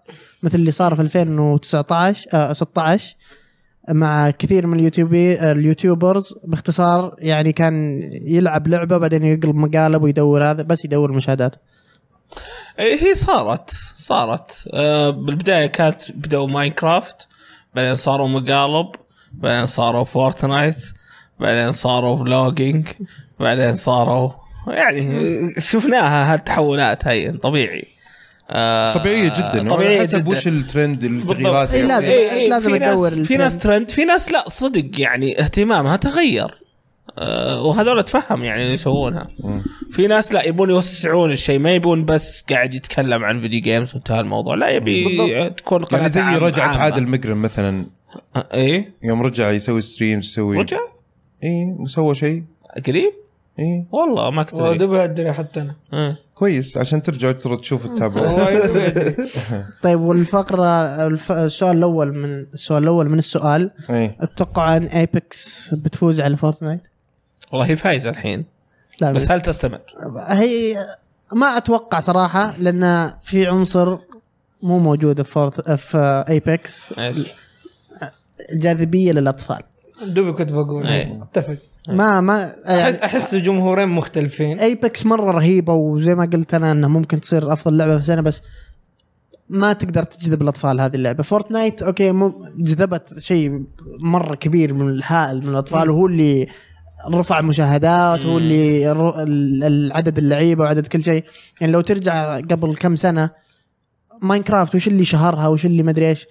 Speaker 3: مثل اللي صار في 2019 آه 16 مع كثير من اليوتيوبي اليوتيوبرز باختصار يعني كان يلعب لعبه بعدين يقلب مقالب ويدور هذا بس يدور المشاهدات
Speaker 2: إيه، هي صارت صارت آه، بالبدايه كانت بدأوا ماينكرافت بعدين صاروا مقالب بعدين صاروا فورتنايت بعدين صاروا فلوجينج بعدين صاروا يعني شفناها هالتحولات هي طبيعي آه،
Speaker 1: طبيعيه جدا طبيعيه
Speaker 2: طبيعيه
Speaker 1: حسب
Speaker 2: جدا.
Speaker 1: وش الترند التغييرات
Speaker 3: إيه، لازم.
Speaker 1: يعني.
Speaker 3: أنت لازم
Speaker 2: في
Speaker 3: تدور
Speaker 2: ناس في ناس
Speaker 3: الترند.
Speaker 2: ترند في ناس لا صدق يعني اهتمامها تغير آه، وهذول اتفهم يعني اللي يسوونها
Speaker 1: مم.
Speaker 2: في ناس لا يبون يوسعون الشيء ما يبون بس قاعد يتكلم عن فيديو جيمز وانتهى الموضوع لا يبي تكون قناة
Speaker 1: يعني زي
Speaker 2: عام-
Speaker 1: رجعت
Speaker 2: عامة.
Speaker 1: عادل مقرم مثلا
Speaker 2: آه، ايه
Speaker 1: يوم رجع يسوي ستريم يسوي
Speaker 2: رجع
Speaker 1: اي وسوى شيء
Speaker 2: قريب
Speaker 1: اي
Speaker 2: والله ما كنت أدري.
Speaker 4: ودبها الدنيا حتى انا
Speaker 2: آه.
Speaker 1: كويس عشان ترجع ترى تشوف تتابع
Speaker 4: والله يدبها الدنيا.
Speaker 3: طيب والفقره الف... السؤال الاول من السؤال الاول من السؤال
Speaker 1: اي
Speaker 3: اتوقع ان ايبكس بتفوز على فورتنايت
Speaker 2: والله هي فايزه الحين
Speaker 3: لا
Speaker 2: بس هل تستمر؟
Speaker 3: هي ما اتوقع صراحه لان في عنصر مو موجود في فورت... في ايبكس
Speaker 2: ايش؟
Speaker 3: جاذبيه للاطفال
Speaker 4: دوبي كنت بقول
Speaker 2: إيه.
Speaker 4: اتفق
Speaker 3: ما ما يعني
Speaker 4: احس احس جمهورين مختلفين
Speaker 3: ايبكس مره رهيبه وزي ما قلت انا انها ممكن تصير افضل لعبه في السنه بس ما تقدر تجذب الاطفال هذه اللعبه فورتنايت اوكي مو جذبت شيء مره كبير من الهائل من الاطفال وهو اللي رفع مشاهدات هو اللي الر- ال- العدد اللعيبه وعدد كل شيء يعني لو ترجع قبل كم سنه ماينكرافت وش اللي شهرها وش اللي مدري ايش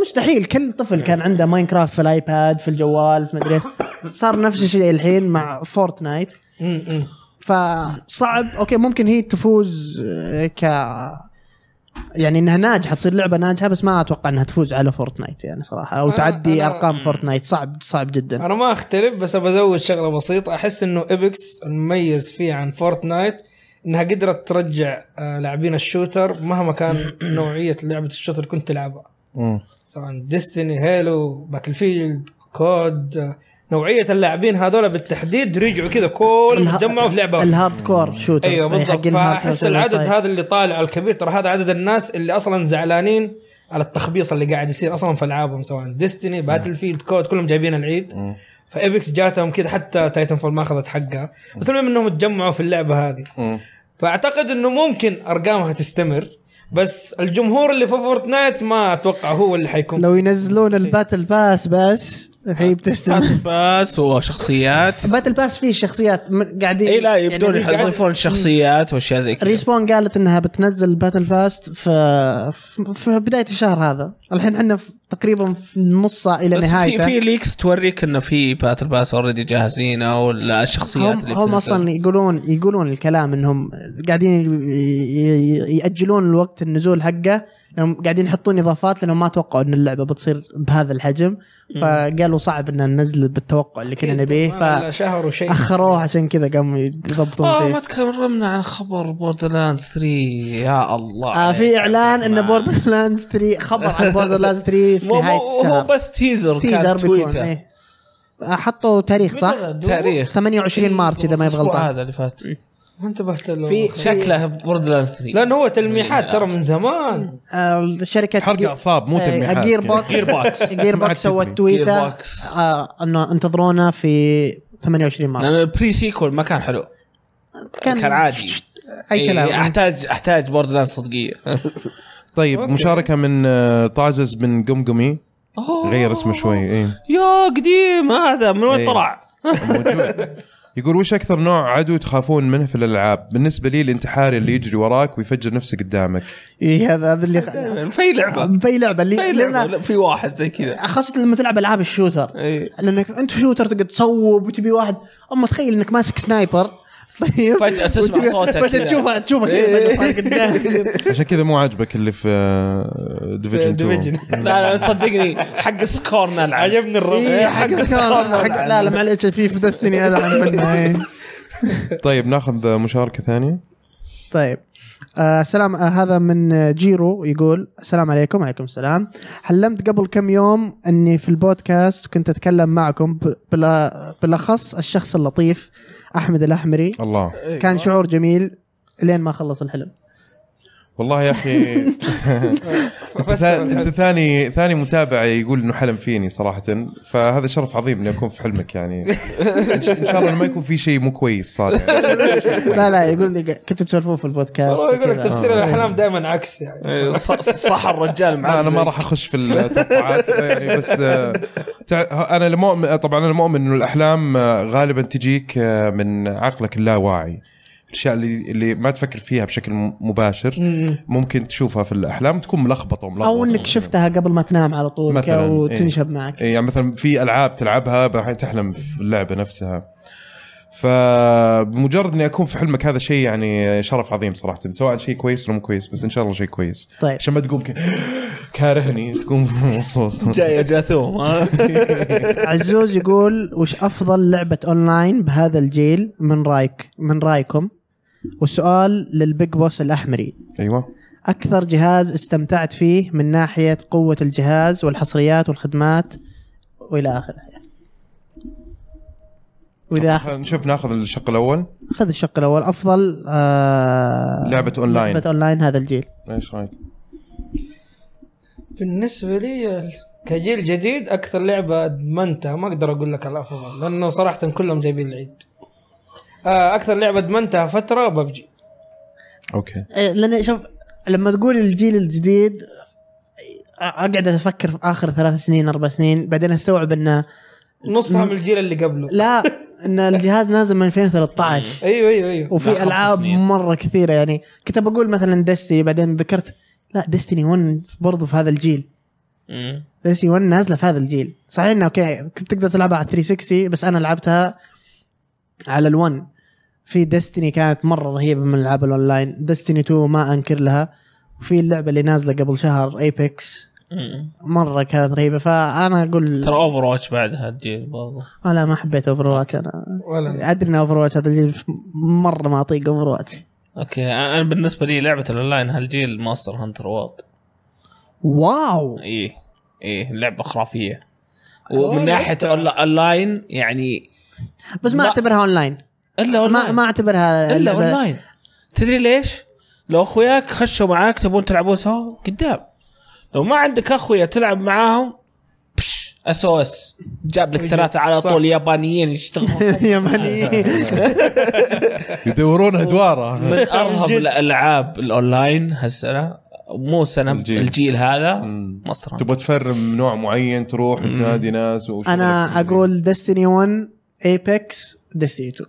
Speaker 3: مستحيل كل طفل كان عنده ماينكرافت في الايباد في الجوال في مدري ايش صار نفس الشيء الحين مع فورتنايت
Speaker 4: مم، مم.
Speaker 3: فصعب اوكي ممكن هي تفوز آه، ك يعني انها ناجحه تصير لعبه ناجحه بس ما اتوقع انها تفوز على فورتنايت يعني صراحه او
Speaker 4: أنا-
Speaker 3: تعدي
Speaker 4: أنا-
Speaker 3: ارقام فورتنايت صعب صعب جدا
Speaker 4: انا ما اختلف بس بزود شغله بسيطه احس انه ايبكس المميز فيه عن فورتنايت انها قدرت ترجع آه، لاعبين الشوتر مهما كان نوعيه لعبه الشوتر كنت تلعبها
Speaker 1: مم.
Speaker 4: سواء ديستني هيلو باتل فيلد كود آه، نوعيه اللاعبين هذول بالتحديد رجعوا كذا كلهم
Speaker 3: اله-
Speaker 4: تجمعوا في لعبه واحدة.
Speaker 3: الهارد كور شوتر
Speaker 4: ايوه بالضبط فاحس العدد
Speaker 3: طيب.
Speaker 4: هذا اللي طالع الكبير ترى هذا عدد الناس اللي اصلا زعلانين على التخبيص اللي قاعد يصير اصلا في العابهم سواء ديستني باتل فيلد كود كلهم جايبين العيد
Speaker 1: مم.
Speaker 4: فايبكس جاتهم كذا حتى تايتن فول ما اخذت حقها بس المهم انهم تجمعوا في اللعبه هذه
Speaker 1: مم.
Speaker 4: فاعتقد انه ممكن ارقامها تستمر بس الجمهور اللي في فورتنايت ما اتوقع هو اللي حيكون
Speaker 3: لو ينزلون الباتل باس بس
Speaker 4: آه.
Speaker 3: الحين بتستمر
Speaker 2: بس وشخصيات
Speaker 3: باتل باس فيه شخصيات م- قاعدين
Speaker 2: اي لا يبدون
Speaker 3: يعني
Speaker 2: يضيفون شخصيات واشياء زي كذا
Speaker 3: ريسبون قالت انها بتنزل باتل فاست في في- في بدايه الشهر هذا الحين احنا في- تقريبا في نصه الى
Speaker 2: بس في في
Speaker 3: نهايته
Speaker 2: ليكس توريك انه في باتل باس اوريدي جاهزين او لا الشخصيات
Speaker 3: هم
Speaker 2: اللي
Speaker 3: هم
Speaker 2: بتنزل.
Speaker 3: اصلا يقولون يقولون الكلام انهم قاعدين ي- ي- ياجلون الوقت النزول حقه لانهم قاعدين يحطون اضافات لانهم ما توقعوا ان اللعبه بتصير بهذا الحجم فقالوا صعب ان ننزل بالتوقع اللي كنا نبيه
Speaker 4: ما لا شهر وشيء
Speaker 3: فاخروه عشان كذا قاموا يضبطون
Speaker 2: اه ما
Speaker 3: فيه
Speaker 2: تكلمنا عن خبر بوردرلاند 3 يا الله
Speaker 3: آه في اعلان ان بوردر لاندز 3 خبر عن بوردر لاندز 3 في
Speaker 2: مو
Speaker 3: نهايه
Speaker 2: مو
Speaker 3: الشهر
Speaker 2: هو بس تيزر
Speaker 3: تيزر
Speaker 2: كان
Speaker 3: بيكون
Speaker 2: تويتر
Speaker 3: إيه. حطوا تاريخ صح؟
Speaker 2: تاريخ إيه،
Speaker 3: 28 مارس اذا ما يبغى إيه.
Speaker 2: الأسبوع
Speaker 3: غلطان
Speaker 2: هذا اللي فات
Speaker 4: ما انتبهت له
Speaker 3: في-
Speaker 2: شكله بوردرلاند 3
Speaker 4: لانه هو تلميحات ترى من زمان
Speaker 3: آه، الشركه
Speaker 1: حرق اعصاب مو تلميحات
Speaker 3: جير
Speaker 1: كذا.
Speaker 3: بوكس جير
Speaker 2: بوكس.
Speaker 1: ما عاد
Speaker 3: بوكس سوت
Speaker 1: تدري.
Speaker 3: تويتر
Speaker 2: Gearbox.
Speaker 3: آه، انه انتظرونا في 28
Speaker 2: لان
Speaker 3: مارس
Speaker 2: البري سيكول ما كان حلو كان عادي
Speaker 3: اي
Speaker 2: إيه،
Speaker 3: كلام
Speaker 2: احتاج احتاج بوردرلاند صدقيه
Speaker 1: طيب مشاركه من آه، طازز بن قمقمي غير اسمه شوي ايه
Speaker 2: يا قديم هذا من وين
Speaker 1: إيه.
Speaker 2: طلع؟
Speaker 1: موجود يقول وش اكثر نوع عدو تخافون منه في الالعاب؟ بالنسبه لي الانتحاري اللي يجري وراك ويفجر نفسه قدامك.
Speaker 3: إيه، هذا هذا اللي
Speaker 2: في أي لعبه
Speaker 3: في لعبه
Speaker 2: في أي
Speaker 3: اللي
Speaker 2: لعبه
Speaker 3: لأن-
Speaker 2: لا، في واحد زي كذا
Speaker 3: خاصه لما تلعب العاب الشوتر
Speaker 2: إيه.
Speaker 3: لانك انت شوتر تقعد تصوب وتبي واحد اما تخيل انك ماسك سنايبر طيب
Speaker 2: فجأة تسمع
Speaker 3: وتبي-
Speaker 2: صوته
Speaker 3: فجأة
Speaker 2: كذا. إيه.
Speaker 3: تشوفه تشوفه كذا فجأة صار قدامك
Speaker 1: عشان كذا مو عاجبك اللي في آه، ديفيجن 2
Speaker 4: Division.
Speaker 2: لا لا، صدقني حق سكور نلعب
Speaker 4: عجبني الربع
Speaker 3: اي إيه، حق سكار حق لا لا معلش في في دستني انا عم منها إيه.
Speaker 1: طيب ناخذ مشاركه ثانيه.
Speaker 3: طيب آه سلام آه هذا من آه، جيرو يقول السلام عليكم وعليكم السلام حلمت قبل كم يوم اني في البودكاست وكنت اتكلم معكم ب- بلا بالاخص الشخص اللطيف احمد الاحمري
Speaker 1: الله
Speaker 3: كان شعور جميل لين ما خلص الحلم
Speaker 1: والله يا اخي انت ثا- انت ثاني ثاني متابع يقول انه حلم فيني صراحه فهذا شرف عظيم اني اكون في حلمك يعني ان شاء- إن شاء الله إنه ما يكون في شيء مو كويس صار يعني.
Speaker 3: لا لا يقول لي كنتوا تسولفون في البودكاست
Speaker 4: والله يقول لك
Speaker 3: كذا.
Speaker 4: تفسير الاحلام دائما عكس يعني
Speaker 2: إيه، ص- صح الرجال معاه
Speaker 1: لا انا ما راح اخش في التوقعات يعني بس آه، تع- انا المؤمن طبعا انا مؤمن انه الاحلام آه، غالبا تجيك آه، من عقلك اللاواعي الاشياء اللي اللي ما تفكر فيها بشكل م- مباشر
Speaker 4: مم.
Speaker 1: ممكن تشوفها في الاحلام تكون ملخبطه وملخبطه
Speaker 3: او انك شفتها قبل ما تنام على طول
Speaker 1: مثلاً،
Speaker 3: كذا
Speaker 1: إيه.
Speaker 3: وتنشب معك
Speaker 1: إيه، يعني مثلا في العاب تلعبها بعدين تحلم في اللعبه نفسها فبمجرد اني اكون في حلمك هذا شيء يعني شرف عظيم صراحه سواء شيء كويس ولا مو كويس بس ان شاء الله شيء كويس
Speaker 3: طيب
Speaker 1: عشان ما تقوم ك- كارهني تقوم مبسوط
Speaker 2: جاي جاثوم ها؟
Speaker 3: عزوز يقول وش افضل لعبه اونلاين بهذا الجيل من رايك من رايكم والسؤال للبيج بوس الاحمري
Speaker 1: ايوه
Speaker 3: اكثر جهاز استمتعت فيه من ناحيه قوه الجهاز والحصريات والخدمات والى اخره واذا
Speaker 1: خلينا نشوف ناخذ الشق الاول
Speaker 3: خذ الشق الاول افضل آه
Speaker 1: لعبة أونلاين.
Speaker 3: لعبه اونلاين هذا الجيل
Speaker 1: ايش رايك؟
Speaker 4: بالنسبه لي ال- كجيل جديد اكثر لعبه ادمنتها ما اقدر اقول لك الافضل لانه صراحه كلهم جايبين العيد آه، اكثر لعبه ادمنتها فتره ببجي
Speaker 1: اوكي
Speaker 3: إيه، لان شوف لما تقول الجيل الجديد أ- اقعد افكر في اخر ثلاث سنين اربع سنين بعدين استوعب انه
Speaker 4: نصها من الجيل اللي قبله
Speaker 3: لا ان الجهاز نازل من 2013
Speaker 4: ايوه ايوه ايوه
Speaker 2: لا،
Speaker 3: وفي
Speaker 2: خمس
Speaker 3: العاب
Speaker 2: سنين.
Speaker 3: مره كثيره يعني كنت بقول مثلا ديستني بعدين ذكرت لا ديستني 1 برضو في هذا الجيل
Speaker 2: مم.
Speaker 3: ديستني 1 نازله في هذا الجيل صحيح انه اوكي كنت تقدر تلعبها على 360 بس انا لعبتها على ال1 في ديستني كانت مره رهيبه من العاب الاونلاين ديستني 2 ما انكر لها وفي اللعبه اللي نازله قبل شهر ايبكس
Speaker 2: مم.
Speaker 3: مره كانت رهيبه فانا اقول
Speaker 2: ترى اوفر واتش بعدها تجي برضه
Speaker 3: آه لا ما حبيت اوفر واتش انا
Speaker 4: ولا
Speaker 3: ادري ان اوفر واتش هذا الجيل مره ما اطيق اوفر واتش
Speaker 2: اوكي انا بالنسبه لي لعبه الاونلاين هالجيل ماستر هانتر وورد
Speaker 3: واو
Speaker 2: ايه ايه لعبه خرافيه
Speaker 4: والله
Speaker 2: ومن ناحيه أونلا- اونلاين يعني
Speaker 3: بس ما
Speaker 2: لا.
Speaker 3: اعتبرها اونلاين
Speaker 2: الا
Speaker 3: ما
Speaker 2: اونلاين
Speaker 3: ما اعتبرها
Speaker 2: الا
Speaker 3: لعبة-
Speaker 2: اونلاين تدري ليش؟ لو اخوياك خشوا معاك تبون تلعبون سوا قدام لو ما عندك اخويا تلعب معاهم بش اس او اس جاب لك ثلاثه على
Speaker 4: صح.
Speaker 2: طول يابانيين يشتغلون
Speaker 3: يمني
Speaker 1: يدورون ادواره
Speaker 2: من ارهب الالعاب الاونلاين هالسنه مو سنه
Speaker 1: الجيل.
Speaker 2: الجيل, الجيل هذا
Speaker 1: مم.
Speaker 2: مصر
Speaker 1: تبغى تفرم نوع معين تروح
Speaker 2: مم.
Speaker 1: تنادي ناس وشغلك
Speaker 3: انا
Speaker 1: تصير.
Speaker 3: اقول ديستني 1 ايبكس ديستني 2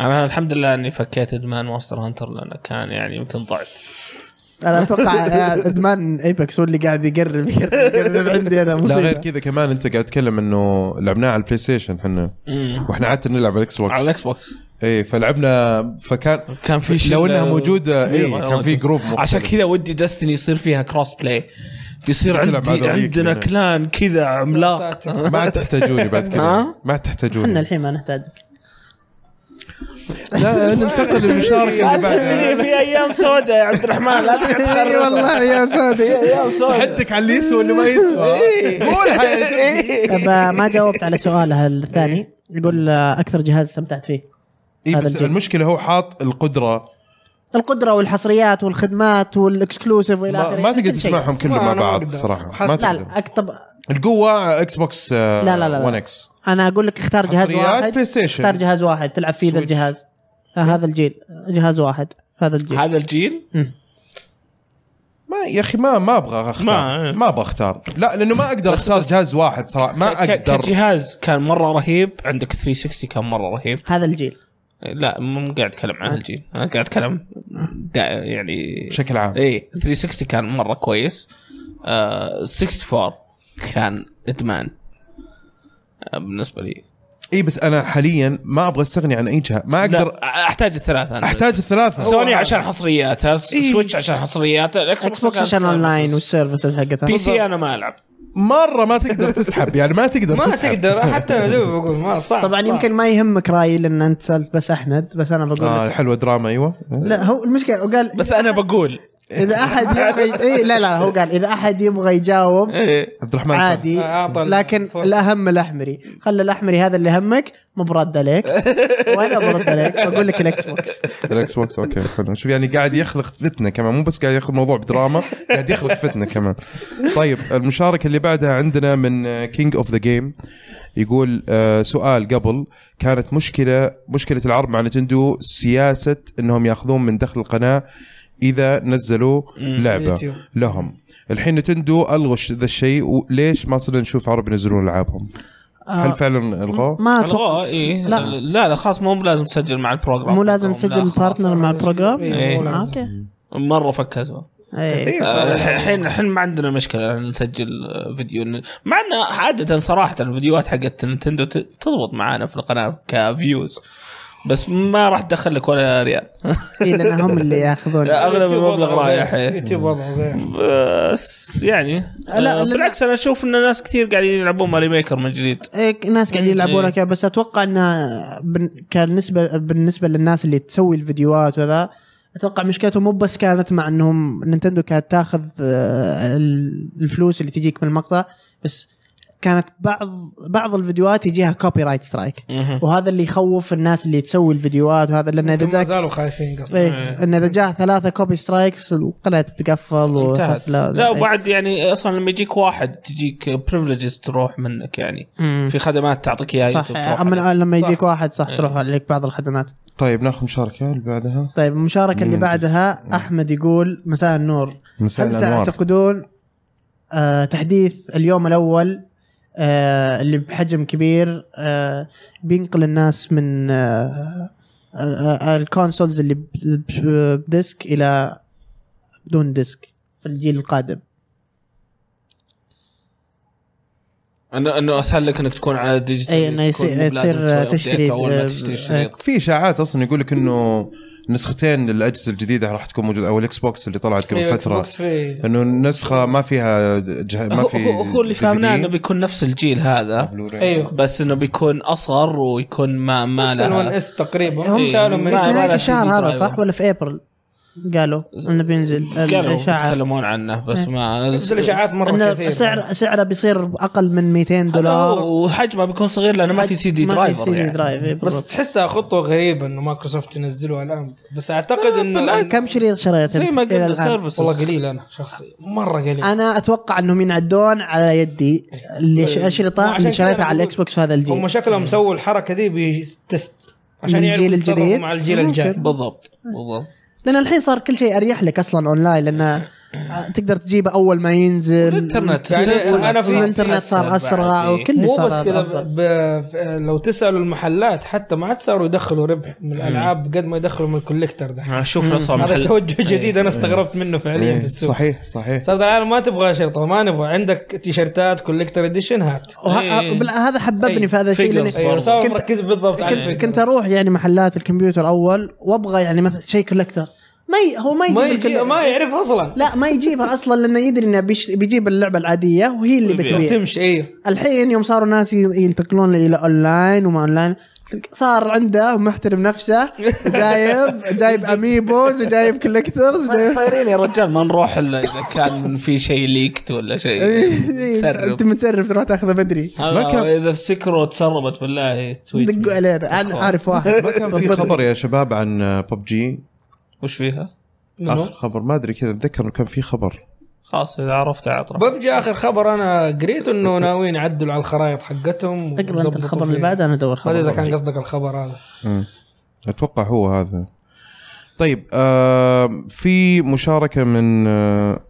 Speaker 2: انا الحمد لله اني فكيت ادمان مونستر هانتر لانه كان يعني يمكن ضعت
Speaker 3: انا اتوقع ادمان ايبكس آه، هو اللي قاعد يقرب يقرب يقرب عندي انا
Speaker 1: لا
Speaker 3: مصيبة.
Speaker 1: غير كذا كمان انت قاعد تتكلم انه لعبناه على البلاي ستيشن احنا
Speaker 2: مم.
Speaker 1: واحنا عاده نلعب على الاكس
Speaker 2: على
Speaker 1: بوكس
Speaker 2: الاكس بوكس
Speaker 1: اي فلعبنا فكان
Speaker 2: كان في شيء
Speaker 1: لو انها موجوده اي كان في جروب مختلف.
Speaker 2: عشان كذا ودي دستني يصير فيها كروس بلاي بيصير
Speaker 1: تلعب مع
Speaker 2: عندي
Speaker 1: ذوليك
Speaker 2: عندنا
Speaker 1: هنا.
Speaker 2: كلان كذا عملاق
Speaker 4: ساتر.
Speaker 1: ما تحتاجوني بعد كذا
Speaker 2: ها؟
Speaker 1: ما
Speaker 3: احنا
Speaker 1: تحتاجوني
Speaker 3: الحين ما نحتاجك
Speaker 1: لا ننتقل للمشاركه
Speaker 2: لا
Speaker 1: اللي بعدها
Speaker 2: تخليني في ايام سوداء يا عبد الرحمن لا تقعد
Speaker 3: اي
Speaker 2: تخرب
Speaker 3: والله يا سعودي
Speaker 2: ايام سوداء
Speaker 1: حدك على اللي يسوى واللي ما يسوى
Speaker 2: إيه.
Speaker 1: قول حياتك.
Speaker 3: طب ما جاوبت على سؤالها الثاني
Speaker 2: إيه.
Speaker 3: يقول آه، اكثر جهاز استمتعت فيه
Speaker 1: اي
Speaker 3: هذا
Speaker 1: إيه، بس
Speaker 3: الجيل.
Speaker 1: المشكله هو حاط القدره
Speaker 3: القدره والحصريات والخدمات والاكسكلوسيف والى
Speaker 1: ما,
Speaker 3: اخره
Speaker 1: ما تقدر
Speaker 3: كل شيء.
Speaker 1: تجمعهم كلهم
Speaker 4: ما-
Speaker 1: مع
Speaker 4: أنا ما
Speaker 1: بعض
Speaker 4: أقدر.
Speaker 1: صراحه
Speaker 4: حط-
Speaker 1: ما
Speaker 3: لا
Speaker 1: تقدر
Speaker 3: لا أكتب...
Speaker 1: القوه اكس بوكس لا
Speaker 3: لا- لا- لا.
Speaker 1: 1 اكس
Speaker 3: انا اقول لك اختار جهاز
Speaker 1: حصريات
Speaker 3: واحد
Speaker 1: بلاي ستيشن
Speaker 3: اختار جهاز واحد تلعب فيه ذا
Speaker 1: سويتش.
Speaker 3: الجهاز آه، هذا الجيل جهاز واحد هذا الجيل
Speaker 2: هذا الجيل
Speaker 1: ما يا اخي ما ما ابغى اختار ما,
Speaker 2: ما-
Speaker 1: ابغى اختار لا لانه ما اقدر
Speaker 2: بس-
Speaker 1: اختار
Speaker 2: بس-
Speaker 1: جهاز واحد صراحه ما
Speaker 2: ك- ك-
Speaker 1: اقدر
Speaker 2: كجهاز كان مره رهيب عندك 360 كان مره رهيب
Speaker 3: هذا الجيل
Speaker 2: لا مو قاعد اتكلم
Speaker 1: آه.
Speaker 2: عن الجيل انا قاعد اتكلم دا- يعني
Speaker 1: بشكل عام
Speaker 3: إيه.
Speaker 2: اي 360 كان مره كويس آه 64 كان ادمان آه، بالنسبه لي
Speaker 1: اي إيه، بس انا حاليا ما ابغى استغني عن اي جهه ما اقدر
Speaker 2: لا احتاج الثلاثه أنا
Speaker 1: احتاج الثلاثه
Speaker 2: سوني عشان حصرياتها سويتش عشان حصرياتها
Speaker 3: اكس بوكس عشان اونلاين والسيرفسز حقتها
Speaker 2: بي سي انا ما العب
Speaker 1: مره ما تقدر تسحب يعني ما تقدر
Speaker 4: ما
Speaker 1: تسحب
Speaker 4: تقدر حتى لو بقول ما صعب
Speaker 3: طبعا
Speaker 4: صعب.
Speaker 3: يمكن ما يهمك رايي لان انت سالت بس احمد بس انا بقول
Speaker 1: اه
Speaker 3: لك
Speaker 1: حلوه دراما ايوه
Speaker 3: لا هو المشكله وقال
Speaker 2: بس انا بقول
Speaker 3: اذا احد يبغى اي لا لا هو قال اذا احد يبغى يجاوب
Speaker 2: إيه.
Speaker 1: عبد الرحمن
Speaker 3: عادي
Speaker 4: أعطى
Speaker 3: لكن
Speaker 4: الفرصة.
Speaker 3: الاهم الاحمري خلى الاحمري هذا اللي همك مو برد عليك وانا برد عليك واقول لك الاكس بوكس
Speaker 1: الاكس بوكس اوكي حلو شوف يعني قاعد يخلق فتنه كمان مو بس قاعد ياخذ موضوع بدراما قاعد يخلق فتنه كمان طيب المشاركه اللي بعدها عندنا من آه، كينج اوف ذا جيم يقول آه سؤال قبل كانت مشكله مشكله العرب مع نتندو سياسه انهم ياخذون من دخل القناه اذا نزلوا لعبه
Speaker 4: يوتيوب.
Speaker 1: لهم الحين نتندو الغوا ش- ذا الشيء وليش ما صرنا نشوف عرب ينزلون العابهم هل
Speaker 3: آه،
Speaker 1: فعلا الغوه
Speaker 3: ما أتوقع-
Speaker 2: الغوه اي
Speaker 3: لا.
Speaker 2: لا لا لا خلاص مو لازم تسجل مع البروجرام
Speaker 3: مو لازم تسجل
Speaker 2: لا، خلاص.
Speaker 3: بارتنر مع البروجرام
Speaker 4: إيه،
Speaker 2: مو
Speaker 3: آه،
Speaker 4: لازم.
Speaker 3: اوكي
Speaker 2: مره فكزوا
Speaker 3: إيه.
Speaker 4: كثير صار.
Speaker 2: آه، الحين الحين ما عندنا مشكله نسجل آه، فيديو ن- مع ان عاده صراحه الفيديوهات حقت نينتندو ت- تضبط معانا في القناه كفيوز بس ما راح تدخل لك ولا ريال
Speaker 3: إيه، لان هم اللي ياخذون
Speaker 2: لا، أغلب
Speaker 4: يوتيوب
Speaker 2: المبلغ
Speaker 4: وضعه
Speaker 2: رايح،
Speaker 4: غير.
Speaker 2: إيه.
Speaker 4: يوتيوب وضعه غير
Speaker 2: بس يعني
Speaker 3: لا، لا،
Speaker 2: آه، بالعكس انا اشوف ان ناس كثير قاعدين يلعبون ماري ميكر من جديد
Speaker 3: إيه، ناس قاعدين يلعبون إيه. بس اتوقع انها بن- كنسبه بالنسبه للناس اللي تسوي الفيديوهات وذا اتوقع مشكلتهم مو بس كانت مع انهم نينتندو كانت تاخذ آه، ال- الفلوس اللي تجيك من المقطع بس كانت بعض بعض الفيديوهات يجيها كوبي رايت سترايك وهذا اللي يخوف الناس اللي تسوي الفيديوهات وهذا لان اذا
Speaker 4: ما
Speaker 3: جاك
Speaker 4: زالوا خايفين قصدي
Speaker 3: إيه ان اذا جاء ثلاثه كوبي سترايكس القناه تتقفل
Speaker 2: انتهت
Speaker 3: وحفلة-
Speaker 2: لا
Speaker 3: إيه.
Speaker 2: وبعد يعني اصلا لما يجيك واحد تجيك بريفليجز تروح منك يعني
Speaker 3: مم.
Speaker 2: في خدمات تعطيك اياها
Speaker 3: صح
Speaker 2: يوتيوب تروح إيه. عليها.
Speaker 3: اما لما
Speaker 4: صح.
Speaker 3: يجيك واحد صح تروح عليك بعض الخدمات
Speaker 1: طيب ناخذ مشاركه اللي بعدها
Speaker 3: طيب المشاركة اللي
Speaker 1: مين
Speaker 2: إيه.
Speaker 3: بعدها أحمد يقول مساء النور
Speaker 1: مساء
Speaker 3: هل
Speaker 1: الانوار
Speaker 3: تعتقدون آه تحديث اليوم الأول آه اللي بحجم كبير آه بينقل الناس من آه آه، آه الكونسولز اللي ب- ب- بديسك إلى بدون ديسك في الجيل القادم
Speaker 2: انه انه اسهل لك انك تكون على ديجيتال
Speaker 3: إيه، إنه يصير- يصير تشتري-
Speaker 2: اول ما
Speaker 3: آه،
Speaker 2: تشتري
Speaker 3: آه.
Speaker 2: شريط
Speaker 1: في اشاعات اصلا يقول لك انه نسختين الاجهزه الجديده راح تكون موجوده او الاكس بوكس اللي طلعت قبل
Speaker 4: إيه،
Speaker 1: فتره
Speaker 4: Xbox في-
Speaker 1: انه النسخه ما فيها جه... ما
Speaker 2: هو-
Speaker 1: في
Speaker 2: هو هو اللي
Speaker 1: DVD. إيه،
Speaker 2: فهمناه انه بيكون نفس الجيل هذا أيوه.
Speaker 1: Blu-ray. أيوه.
Speaker 4: ايوه.
Speaker 2: بس انه بيكون اصغر ويكون ما ما
Speaker 4: نفس ال 1
Speaker 2: لها
Speaker 4: اس تقريبا
Speaker 3: هم
Speaker 2: إيه.
Speaker 4: شالوا
Speaker 3: في طيب.
Speaker 4: من
Speaker 2: ما- ما
Speaker 3: نهاية
Speaker 2: لا
Speaker 3: الشهر
Speaker 2: CD
Speaker 3: هذا
Speaker 2: driver.
Speaker 3: صح ولا في أبريل قالوا انه بينزل
Speaker 2: قالوا
Speaker 3: الاشاعه
Speaker 2: يتكلمون عنه بس
Speaker 3: إيه.
Speaker 2: ما
Speaker 4: بس الاشاعات مره
Speaker 3: انه
Speaker 4: كثير
Speaker 3: سعر سعره بيصير اقل من 200
Speaker 2: دولار
Speaker 3: دولار
Speaker 2: وحجمه بيكون صغير لانه ما في سي دي
Speaker 3: ما في
Speaker 2: درايفر
Speaker 3: سي دي
Speaker 2: يعني.
Speaker 3: درايف إيه،
Speaker 4: بس
Speaker 3: بالضبط.
Speaker 4: تحسها خطوه غريبه انه مايكروسوفت ينزلوها الان بس اعتقد انه
Speaker 2: بالعكس.
Speaker 3: كم شريط شريت
Speaker 2: زي ما
Speaker 3: انت الى
Speaker 2: قلنا
Speaker 3: الان؟
Speaker 2: سيرفس
Speaker 4: والله قليل انا شخصي مره قليل
Speaker 3: انا اتوقع انهم ينعدون على يدي اللي ش- اشرطه
Speaker 4: إيه. عشان
Speaker 3: اللي
Speaker 4: كذا أنا
Speaker 3: شريتها على
Speaker 4: بقول-
Speaker 3: الاكس بوكس في هذا
Speaker 4: هم
Speaker 3: الجيل
Speaker 4: شكلهم سووا الحركه دي بتست عشان
Speaker 3: من
Speaker 4: يعرفوا
Speaker 3: الجيل
Speaker 4: يتصرفوا
Speaker 3: الجديد؟
Speaker 4: مع الجيل الجاي
Speaker 3: ممكن.
Speaker 2: بالضبط بالضبط
Speaker 3: لان الحين صار كل شيء اريح لك اصلا اونلاين لان تقدر تجيبه اول ما ينزل
Speaker 2: الانترنت
Speaker 4: يعني أنا في-
Speaker 3: الانترنت صار اسرع وكل
Speaker 4: مو
Speaker 3: صار
Speaker 4: بس كذا
Speaker 3: أفضل.
Speaker 4: ب- ب- لو تسالوا المحلات حتى ما عاد صاروا يدخلوا ربح من الالعاب قد ما يدخلوا من الكوليكتر ده
Speaker 2: اشوف اصلا
Speaker 4: هذا
Speaker 2: محل- إيه.
Speaker 4: توجه جديد انا استغربت منه
Speaker 1: إيه.
Speaker 4: فعليا في السوق
Speaker 1: صحيح صحيح
Speaker 4: صارت العالم ما تبغى شرطه ما نبغى عندك تيشرتات كوليكتر اديشن هات
Speaker 3: وه-
Speaker 2: إيه.
Speaker 3: بل- هذا حببني
Speaker 4: إيه.
Speaker 3: في هذا الشيء
Speaker 2: Figures
Speaker 3: لاني
Speaker 2: برضه.
Speaker 4: ايوه
Speaker 3: كنت-
Speaker 4: صار مركز بالضبط على
Speaker 3: كنت,
Speaker 4: الفكره
Speaker 3: كنت اروح يعني محلات الكمبيوتر اول وابغى يعني مثلا شيء كولكتر ما ي... هو ما يجيب,
Speaker 4: ما
Speaker 3: الكل-
Speaker 4: يجي ما يعرف اصلا
Speaker 3: لا ما يجيبها اصلا لانه يدري انه بيش... بيجيب اللعبه العاديه وهي اللي
Speaker 2: ويبيع.
Speaker 3: بتبيع
Speaker 4: تمشي ايوه
Speaker 3: الحين يوم صاروا ناس ي- ينتقلون الى اونلاين وما اونلاين صار عنده محترم نفسه وجايب جايب اميبوز وجايب كولكترز وجايب
Speaker 2: صايرين يا رجال ما نروح الا اذا كان في شيء ليكت ولا شيء
Speaker 3: انت
Speaker 2: تسرب
Speaker 3: متسرف إيه، تروح تاخذه بدري
Speaker 1: ما كان-
Speaker 2: هذا اذا سكروا تسربت بالله إيه، تويت
Speaker 3: دقوا علينا انا عارف واحد
Speaker 1: ما كان في خبر يا شباب عن آه، ببجي
Speaker 2: وش فيها؟
Speaker 1: اخر خبر ما ادري كذا اتذكر انه كان في خبر
Speaker 2: خلاص اذا عرفت اعطى
Speaker 4: ببجي اخر خبر انا قريته انه ناويين يعدلوا على الخرائط حقتهم
Speaker 3: اقرا انت
Speaker 4: ويظبطوا
Speaker 3: الخبر اللي
Speaker 4: فيه.
Speaker 3: بعده انا ادور
Speaker 4: ما ادري اذا
Speaker 3: خبر
Speaker 4: كان قصدك الخبر هذا
Speaker 1: مم. اتوقع هو هذا طيب آه في مشاركه من آه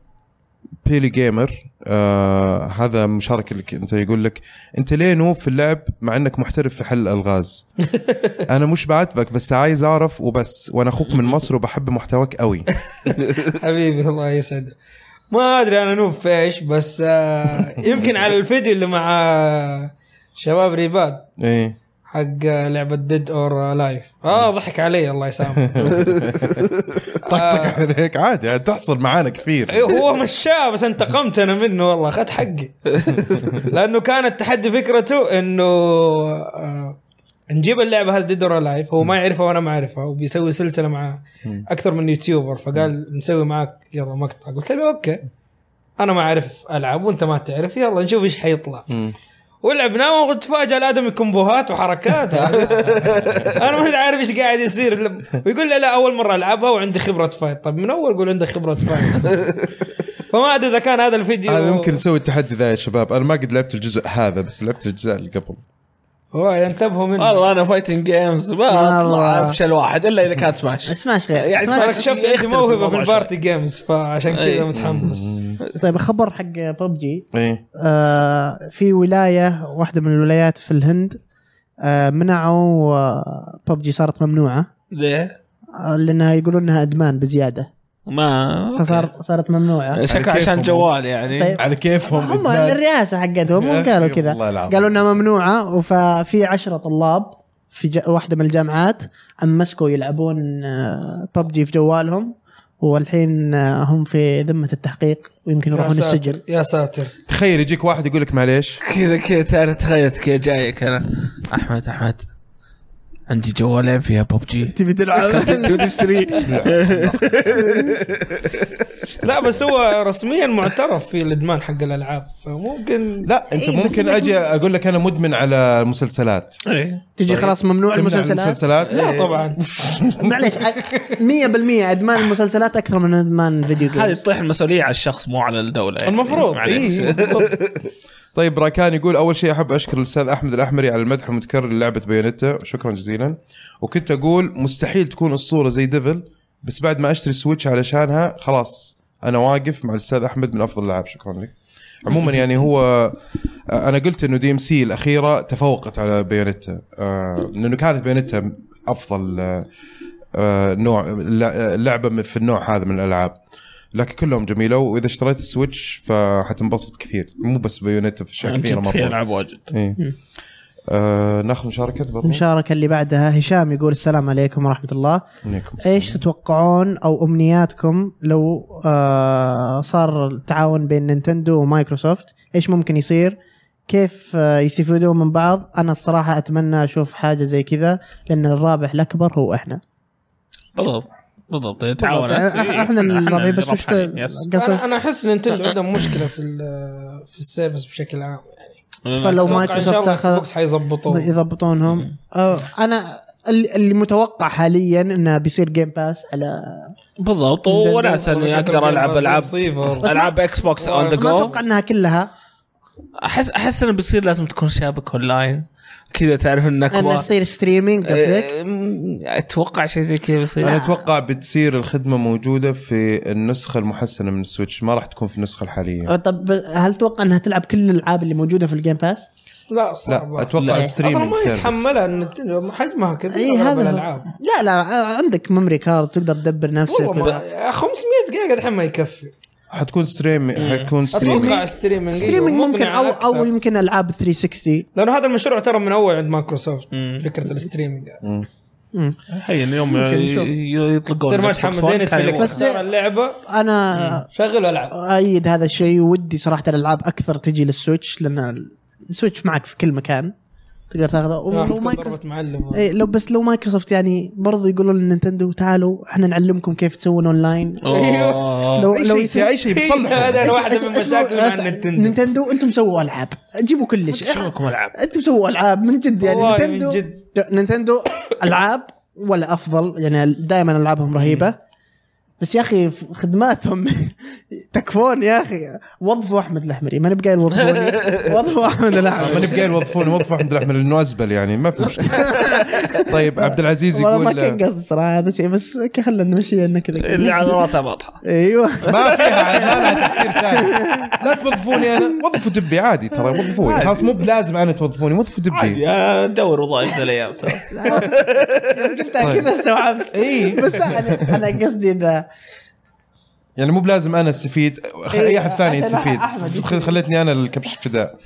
Speaker 1: بيلي جيمر آه هذا مشاركة لك انت يقول لك انت ليه نوب في اللعب مع انك محترف في حل الغاز انا مش بعاتبك بس عايز اعرف وبس وانا اخوك من مصر وبحب محتواك قوي
Speaker 4: حبيبي الله يسعده ما ادري انا نوب في ايش بس آه، يمكن على الفيديو اللي مع آه، شباب ريباد
Speaker 1: ايه
Speaker 4: حق آه، لعبه ديد اور لايف اه ضحك علي الله يسامحه
Speaker 1: طقطق عليك عادي يعني تحصل معانا كثير
Speaker 4: أيوه، هو مشاه بس انتقمت انا منه والله اخذت حقي لانه كان التحدي فكرته انه آه، نجيب اللعبه هذه ديد اور لايف هو ما يعرفها وانا ما اعرفها وبيسوي سلسله مع اكثر من يوتيوبر فقال نسوي معاك يلا مقطع قلت له اوكي انا ما اعرف العب وانت ما تعرف يلا نشوف ايش حيطلع
Speaker 1: مم.
Speaker 4: ولعبناه وتفاجأ الادمي كومبوهات وحركات انا ما عارف ايش قاعد يصير ويقول لي لا اول مره العبها وعندي خبره فايت طب من اول قول عندك خبره فايت فما ادري اذا كان هذا الفيديو
Speaker 1: هذا ممكن نسوي التحدي ذا يا شباب انا ما قد لعبت الجزء هذا بس لعبت الاجزاء اللي قبل
Speaker 4: هو ينتبهوا منه
Speaker 2: والله انا فايتنج جيمز ما
Speaker 3: والله.
Speaker 2: اطلع افشل واحد الا اذا كانت سماش
Speaker 3: اسمعش غير
Speaker 2: يعني
Speaker 4: انا
Speaker 3: سماش
Speaker 2: اسمعش.
Speaker 4: اكتشفت عندي
Speaker 2: يختلف
Speaker 4: موهبه في
Speaker 2: الموضوع
Speaker 4: البارتي جيمز فعشان كذا
Speaker 2: أي.
Speaker 4: متحمس
Speaker 3: طيب خبر حق ببجي
Speaker 1: ايه
Speaker 3: آه في ولايه واحده من الولايات في الهند آه منعوا آه ببجي صارت ممنوعه
Speaker 2: ليه؟
Speaker 3: آه لانها يقولون انها ادمان بزياده
Speaker 2: ما
Speaker 3: فصار صارت ممنوعه
Speaker 2: شكل
Speaker 1: كيفهم.
Speaker 2: أه، عشان جوال يعني
Speaker 3: طيب.
Speaker 1: على كيفهم
Speaker 3: هم
Speaker 1: إدمان.
Speaker 3: الرئاسه حقتهم
Speaker 1: يا
Speaker 3: هم
Speaker 1: أخي
Speaker 3: قالوا كذا
Speaker 1: والله العظيم.
Speaker 3: قالوا انها ممنوعه ففي عشرة طلاب في ج... واحده من الجامعات امسكوا يلعبون ببجي في جوالهم والحين آه، هم في ذمه التحقيق ويمكن
Speaker 4: يا
Speaker 3: يروحون السجن
Speaker 4: ساتر يا ساتر
Speaker 1: تخيل يجيك واحد يقول لك معليش
Speaker 2: كذا كذا انا تخيلت كذا جايك انا احمد احمد عندي جوالين فيها إيه. ببجي
Speaker 3: تبي تلعب
Speaker 2: تبي تشتري
Speaker 4: لا بس هو رسميا معترف في الادمان حق الالعاب فممكن
Speaker 1: لا انت
Speaker 3: إيه، بس
Speaker 1: ممكن
Speaker 3: إنك-
Speaker 1: اجي اقول لك انا مدمن على المسلسلات
Speaker 2: إيه.
Speaker 3: تجي خلاص ممنوع
Speaker 1: تمنع
Speaker 3: المسلسلات إيه.
Speaker 1: المسلسلات
Speaker 4: لا طبعا
Speaker 3: معليش 100% ادمان المسلسلات اكثر من ادمان فيديو
Speaker 2: هذه
Speaker 3: جيمز
Speaker 2: تطيح المسؤوليه على الشخص مو على الدوله يعني.
Speaker 4: المفروض
Speaker 2: معلش
Speaker 4: إيه، بالضبط.
Speaker 1: طيب راكان يقول اول شيء احب اشكر الاستاذ احمد الاحمري على المدح المتكرر للعبه بايونيتا شكرا جزيلا وكنت اقول مستحيل تكون اسطوره زي ديفل بس بعد ما اشتري سويتش علشانها خلاص انا واقف مع الاستاذ احمد من افضل الالعاب شكرا لك عموما يعني هو انا قلت انه دي ام سي الاخيره تفوقت على بايونيتا آه، لانه كانت بايونيتا افضل آه، آه، نوع لا- لعبه من- في النوع هذا من الالعاب لكن كلهم جميله واذا اشتريت السويتش فحتنبسط كثير مو بس بايونيتا في اشياء كثيره
Speaker 2: جد في
Speaker 1: مره
Speaker 2: العاب واجد
Speaker 1: إيه.
Speaker 3: مم.
Speaker 1: آه ناخذ مشاركه برضو
Speaker 3: المشاركة اللي بعدها هشام يقول السلام عليكم ورحمة الله
Speaker 1: عليكم السلام.
Speaker 3: ايش تتوقعون او امنياتكم لو آه صار التعاون بين نينتندو ومايكروسوفت ايش ممكن يصير كيف آه يستفيدون من بعض انا الصراحة اتمنى اشوف حاجة زي كذا لان الرابح الاكبر هو احنا
Speaker 2: بالضبط بالضبط إيه، يتعاون
Speaker 3: بالضبط. إيه، إحنا- إحنا اللي رابحين، بس وش
Speaker 2: ربحانين، يس.
Speaker 3: قصد
Speaker 4: انا أنا احس نينتندو عندهم مشكله في ال- في السيرفس بشكل عام
Speaker 3: فلو ما
Speaker 4: أتوقع إن شاء
Speaker 3: مايكروسوفت
Speaker 4: الله اكس
Speaker 3: اخذ
Speaker 4: بوكس حيظبطوه
Speaker 3: يضبطونهم آه، انا اللي اللي متوقع حاليا انه بيصير جيم باس على
Speaker 2: بالضبط
Speaker 3: نينتندو.
Speaker 2: وناس اني اقدر العب العاب
Speaker 4: مصيبة.
Speaker 2: العاب اكس بوكس اون ذا
Speaker 3: ما
Speaker 2: جو
Speaker 3: اتوقع انها كلها
Speaker 2: احس احس انه بيصير لازم تكون شابك اون لاين كذا تعرف انك
Speaker 3: انها
Speaker 2: وا-
Speaker 3: تصير ستريمينج قصدك
Speaker 2: أم، اتوقع شيء زي كذا بيصير
Speaker 3: طيب.
Speaker 1: انا اتوقع بتصير الخدمه موجوده في النسخه المحسنه من السويتش ما راح تكون في النسخه الحاليه
Speaker 3: آه، طب هل تتوقع انها تلعب كل الالعاب اللي موجوده في الجيم باس؟
Speaker 4: لا صعبة
Speaker 1: لا اتوقع
Speaker 2: لا.
Speaker 4: اصلا
Speaker 1: ستريمينج
Speaker 4: ما يتحملها نينتندو حجمها كذا
Speaker 3: اي
Speaker 4: أغلب
Speaker 3: هذا
Speaker 4: الالعاب
Speaker 3: هو. لا لا آه، عندك ميموري كارد تقدر تدبر نفسك
Speaker 4: والله ما 500 جيجا الحين ما يكفي
Speaker 1: حتكون ستريم حتكون ستريم
Speaker 4: اتوقع ستريمنج
Speaker 3: ستريمينج ممكن او او يمكن العاب 360
Speaker 4: لانه هذا المشروع ترى من اول عند مايكروسوفت
Speaker 2: مم.
Speaker 4: فكره الستريمنج
Speaker 1: مم.
Speaker 3: مم.
Speaker 2: هي اليوم
Speaker 3: ممكن
Speaker 2: ي-
Speaker 3: نشوف.
Speaker 2: ي- يطلقون
Speaker 4: تصير ما
Speaker 2: Xbox
Speaker 4: تحمس
Speaker 2: One،
Speaker 4: زي
Speaker 2: كان
Speaker 4: نتفلكس
Speaker 2: يبغى-
Speaker 3: بس- آه.
Speaker 4: اختار اللعبه
Speaker 3: انا
Speaker 4: شغل والعب
Speaker 3: ايد هذا الشيء ودي صراحه الالعاب اكثر تجي للسويتش لان السويتش معك في كل مكان تقدر تاخذه
Speaker 4: آه،
Speaker 3: ولو مايكروسوفت
Speaker 4: معلم
Speaker 3: إيه لو بس لو مايكروسوفت يعني برضو يقولوا للنينتندو تعالوا احنا نعلمكم كيف تسوون اونلاين
Speaker 2: أوه.
Speaker 3: لو
Speaker 1: اي شيء اي شيء بيصلحه
Speaker 4: هذا واحده
Speaker 3: اسمع-
Speaker 4: من
Speaker 3: اسمع-
Speaker 4: مشاكل مع
Speaker 3: اسمع-
Speaker 4: النتندو
Speaker 3: نينتندو انتم سووا العاب جيبوا كل شيء
Speaker 2: شوفكم العاب
Speaker 3: انتم سووا العاب من جد يعني
Speaker 4: والله من
Speaker 3: نينتندو
Speaker 4: جد.
Speaker 3: نينتندو العاب ولا افضل يعني دائما العابهم رهيبه بس يا اخي خدماتهم تكفون يا اخي وظفوا احمد الاحمري ما نبقى يوظفوني وظفوا احمد
Speaker 1: ما
Speaker 3: الاحمري
Speaker 1: نبقى يوظفون يوظفوا احمد الاحمر لانه ازبل يعني ما في مشكله طيب عبد العزيز
Speaker 3: والله ما
Speaker 1: يقول
Speaker 3: كان قصدي صراحه هذا شيء بس خلنا نمشي لنا كذا
Speaker 2: اللي على راسها واضحه
Speaker 3: ايوه
Speaker 1: ما فيها عاد، ما لها تفسير ثاني لا توظفوني انا وظفوا جبي عادي ترى وظفوني خلاص مو بلازم انا توظفوني وظفوا جبي
Speaker 2: عادي آه، ندور وظائف ذا الايام ترى.
Speaker 3: قلتها كذا يعني استوعبت اي بس لا، انا انا قصدي انه
Speaker 1: يعني مو بلازم انا استفيد خ- اي احد ثاني
Speaker 3: أحسن
Speaker 1: يستفيد
Speaker 3: إيه، أحمد يستفيد.
Speaker 1: خ- خلتني انا الكبش الفداء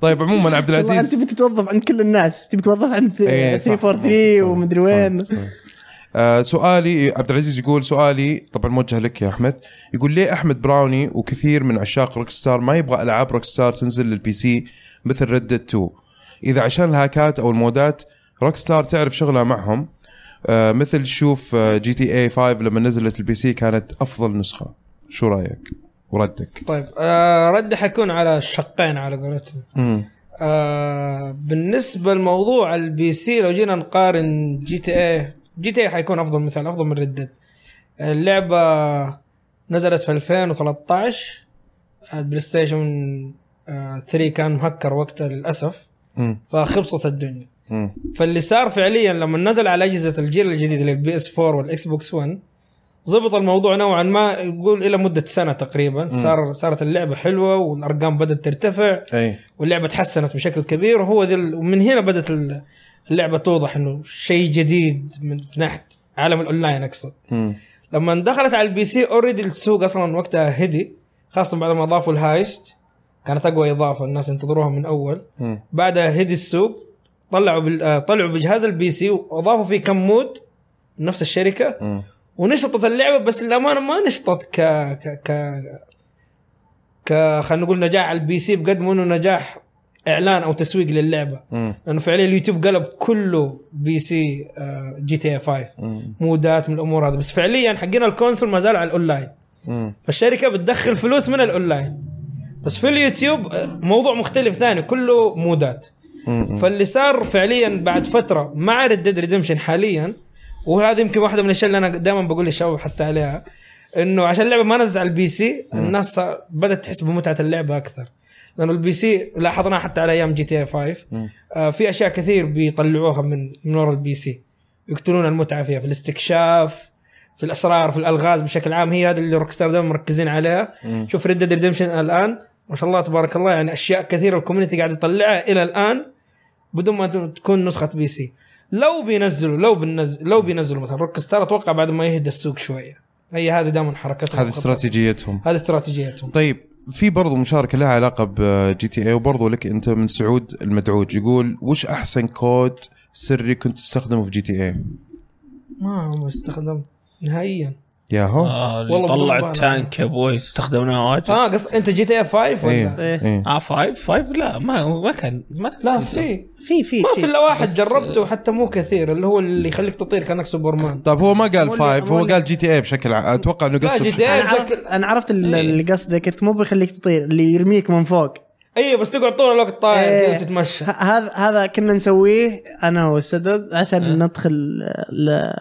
Speaker 1: طيب عموما عبد
Speaker 3: والله انت
Speaker 1: العزيز
Speaker 3: تبي تتوظف عند كل الناس تبي تتوظف عند
Speaker 1: إيه، صح.
Speaker 3: 343
Speaker 1: صح.
Speaker 3: ومدري وين
Speaker 1: صح. آه، سؤالي عبد العزيز يقول سؤالي طبعا موجه لك يا احمد يقول ليه احمد براوني وكثير من عشاق روكستار ما يبغى العاب روكستار تنزل للبي سي مثل ردد 2 اذا عشان الهاكات او المودات روكستار تعرف شغلها معهم آه، مثل شوف جي تي اي 5 لما نزلت البي سي كانت افضل نسخه شو رايك وردك
Speaker 4: طيب آه رد حكون على الشقين على قولتهم
Speaker 1: مم.
Speaker 4: آه بالنسبه لموضوع البي سي لو جينا نقارن جي تي اي جي تي اي حيكون افضل مثال افضل من ردد اللعبه نزلت في 2013 البلاي ستيشن آه 3 كان مهكر وقتها للاسف
Speaker 1: مم.
Speaker 4: فخبصت الدنيا
Speaker 1: مم.
Speaker 4: فاللي صار فعليا لما نزل على اجهزه الجيل الجديد اللي البي اس 4 والاكس بوكس 1 ضبط الموضوع نوعا ما يقول الى مده سنه تقريبا صار صارت اللعبه حلوه والارقام بدات ترتفع
Speaker 1: اي
Speaker 4: واللعبه تحسنت بشكل كبير وهو ذي ال- ومن هنا بدات ال- اللعبه توضح انه شيء جديد من في ناحيه عالم الاونلاين اقصد
Speaker 1: مم.
Speaker 4: لما دخلت على البي سي اوريدي السوق اصلا وقتها هدي خاصه بعد ما اضافوا الهايست كانت اقوى اضافه الناس ينتظروها من اول
Speaker 1: مم.
Speaker 4: بعدها هدي السوق طلعوا بال... آه، طلعوا بجهاز البي سي واضافوا فيه كم مود من نفس الشركه
Speaker 1: مم.
Speaker 4: ونشطت اللعبه بس للامانه ما نشطت ك ك ك ك خلينا نقول نجاح على البي سي بقد ما انه نجاح اعلان او تسويق للعبه
Speaker 1: مم.
Speaker 4: لانه فعليا اليوتيوب قلب كله بي سي آه، جي تي اي 5
Speaker 1: مم.
Speaker 4: مودات من الامور هذه بس فعليا حقين الكونسول ما زالوا على الاونلاين
Speaker 1: مم.
Speaker 4: فالشركه بتدخل فلوس من الاونلاين بس في اليوتيوب آه، موضوع مختلف ثاني كله مودات
Speaker 1: مم.
Speaker 4: فاللي صار فعليا بعد فتره مع ريد ديد ريدمشن حاليا وهذه يمكن واحده من الاشياء اللي انا دائما بقول للشباب حتى عليها انه عشان اللعبه ما نزلت على البي سي الناس صار- بدات تحس بمتعه اللعبه اكثر لانه البي سي لاحظناها حتى على ايام جي تي اي 5
Speaker 1: مم.
Speaker 4: آه في اشياء كثير بيطلعوها من من ورا البي سي يقتلون المتعه فيها في الاستكشاف في الاسرار في الالغاز بشكل عام هي هذه اللي روكستار دائما مركزين عليها
Speaker 1: مم.
Speaker 4: شوف ريد ديد ريدمشن الان ما شاء الله تبارك الله يعني اشياء كثيره الكوميونتي قاعد يطلعها الى الان بدون ما تكون نسخه بي سي لو بينزلوا لو بنزل لو بينزلوا مثلا روك ستار اتوقع بعد ما يهدى السوق شويه هي هذه دائما حركتهم
Speaker 1: هذه
Speaker 4: وخططهم.
Speaker 1: استراتيجيتهم
Speaker 4: هذه استراتيجيتهم
Speaker 1: طيب في برضو مشاركة لها علاقة بجي تي اي وبرضو لك انت من سعود المدعوج يقول وش احسن كود إيه؟" سري كنت تستخدمه في جي تي اي؟
Speaker 4: ما عمري استخدمت نهائيا
Speaker 1: يا هو
Speaker 2: آه اللي
Speaker 4: والله
Speaker 2: طلع
Speaker 4: بالله
Speaker 2: التانك يا بوي استخدمناه واجد
Speaker 4: اه قصد انت جي تي اف 5 ولا؟
Speaker 1: إيه. إيه.
Speaker 2: اه فايف فايف لا ما ما كان ما تقدر
Speaker 4: لا
Speaker 2: تبدأ.
Speaker 4: في
Speaker 3: في في
Speaker 4: ما
Speaker 3: في
Speaker 4: في الا واحد جربته حتى مو كثير اللي هو اللي يخليك تطير كانك سوبرمان
Speaker 1: طيب هو ما قال
Speaker 3: أقول-
Speaker 1: فايف هو
Speaker 3: أقول-
Speaker 1: قال جي تي اي بشكل عام اتوقع انه
Speaker 4: لا،
Speaker 1: قصده
Speaker 4: جي تي
Speaker 1: بشكل-
Speaker 4: إيه.
Speaker 3: انا عرفت انا عرفت ال-
Speaker 2: إيه.
Speaker 3: اللي قصدك انت مو بيخليك تطير اللي يرميك من فوق
Speaker 4: اي إيه، بس تقعد طول الوقت طاير
Speaker 3: إيه.
Speaker 4: كذا تتمشى
Speaker 3: ه- هذا هذا كنا نسويه انا والسدد عشان ندخل ل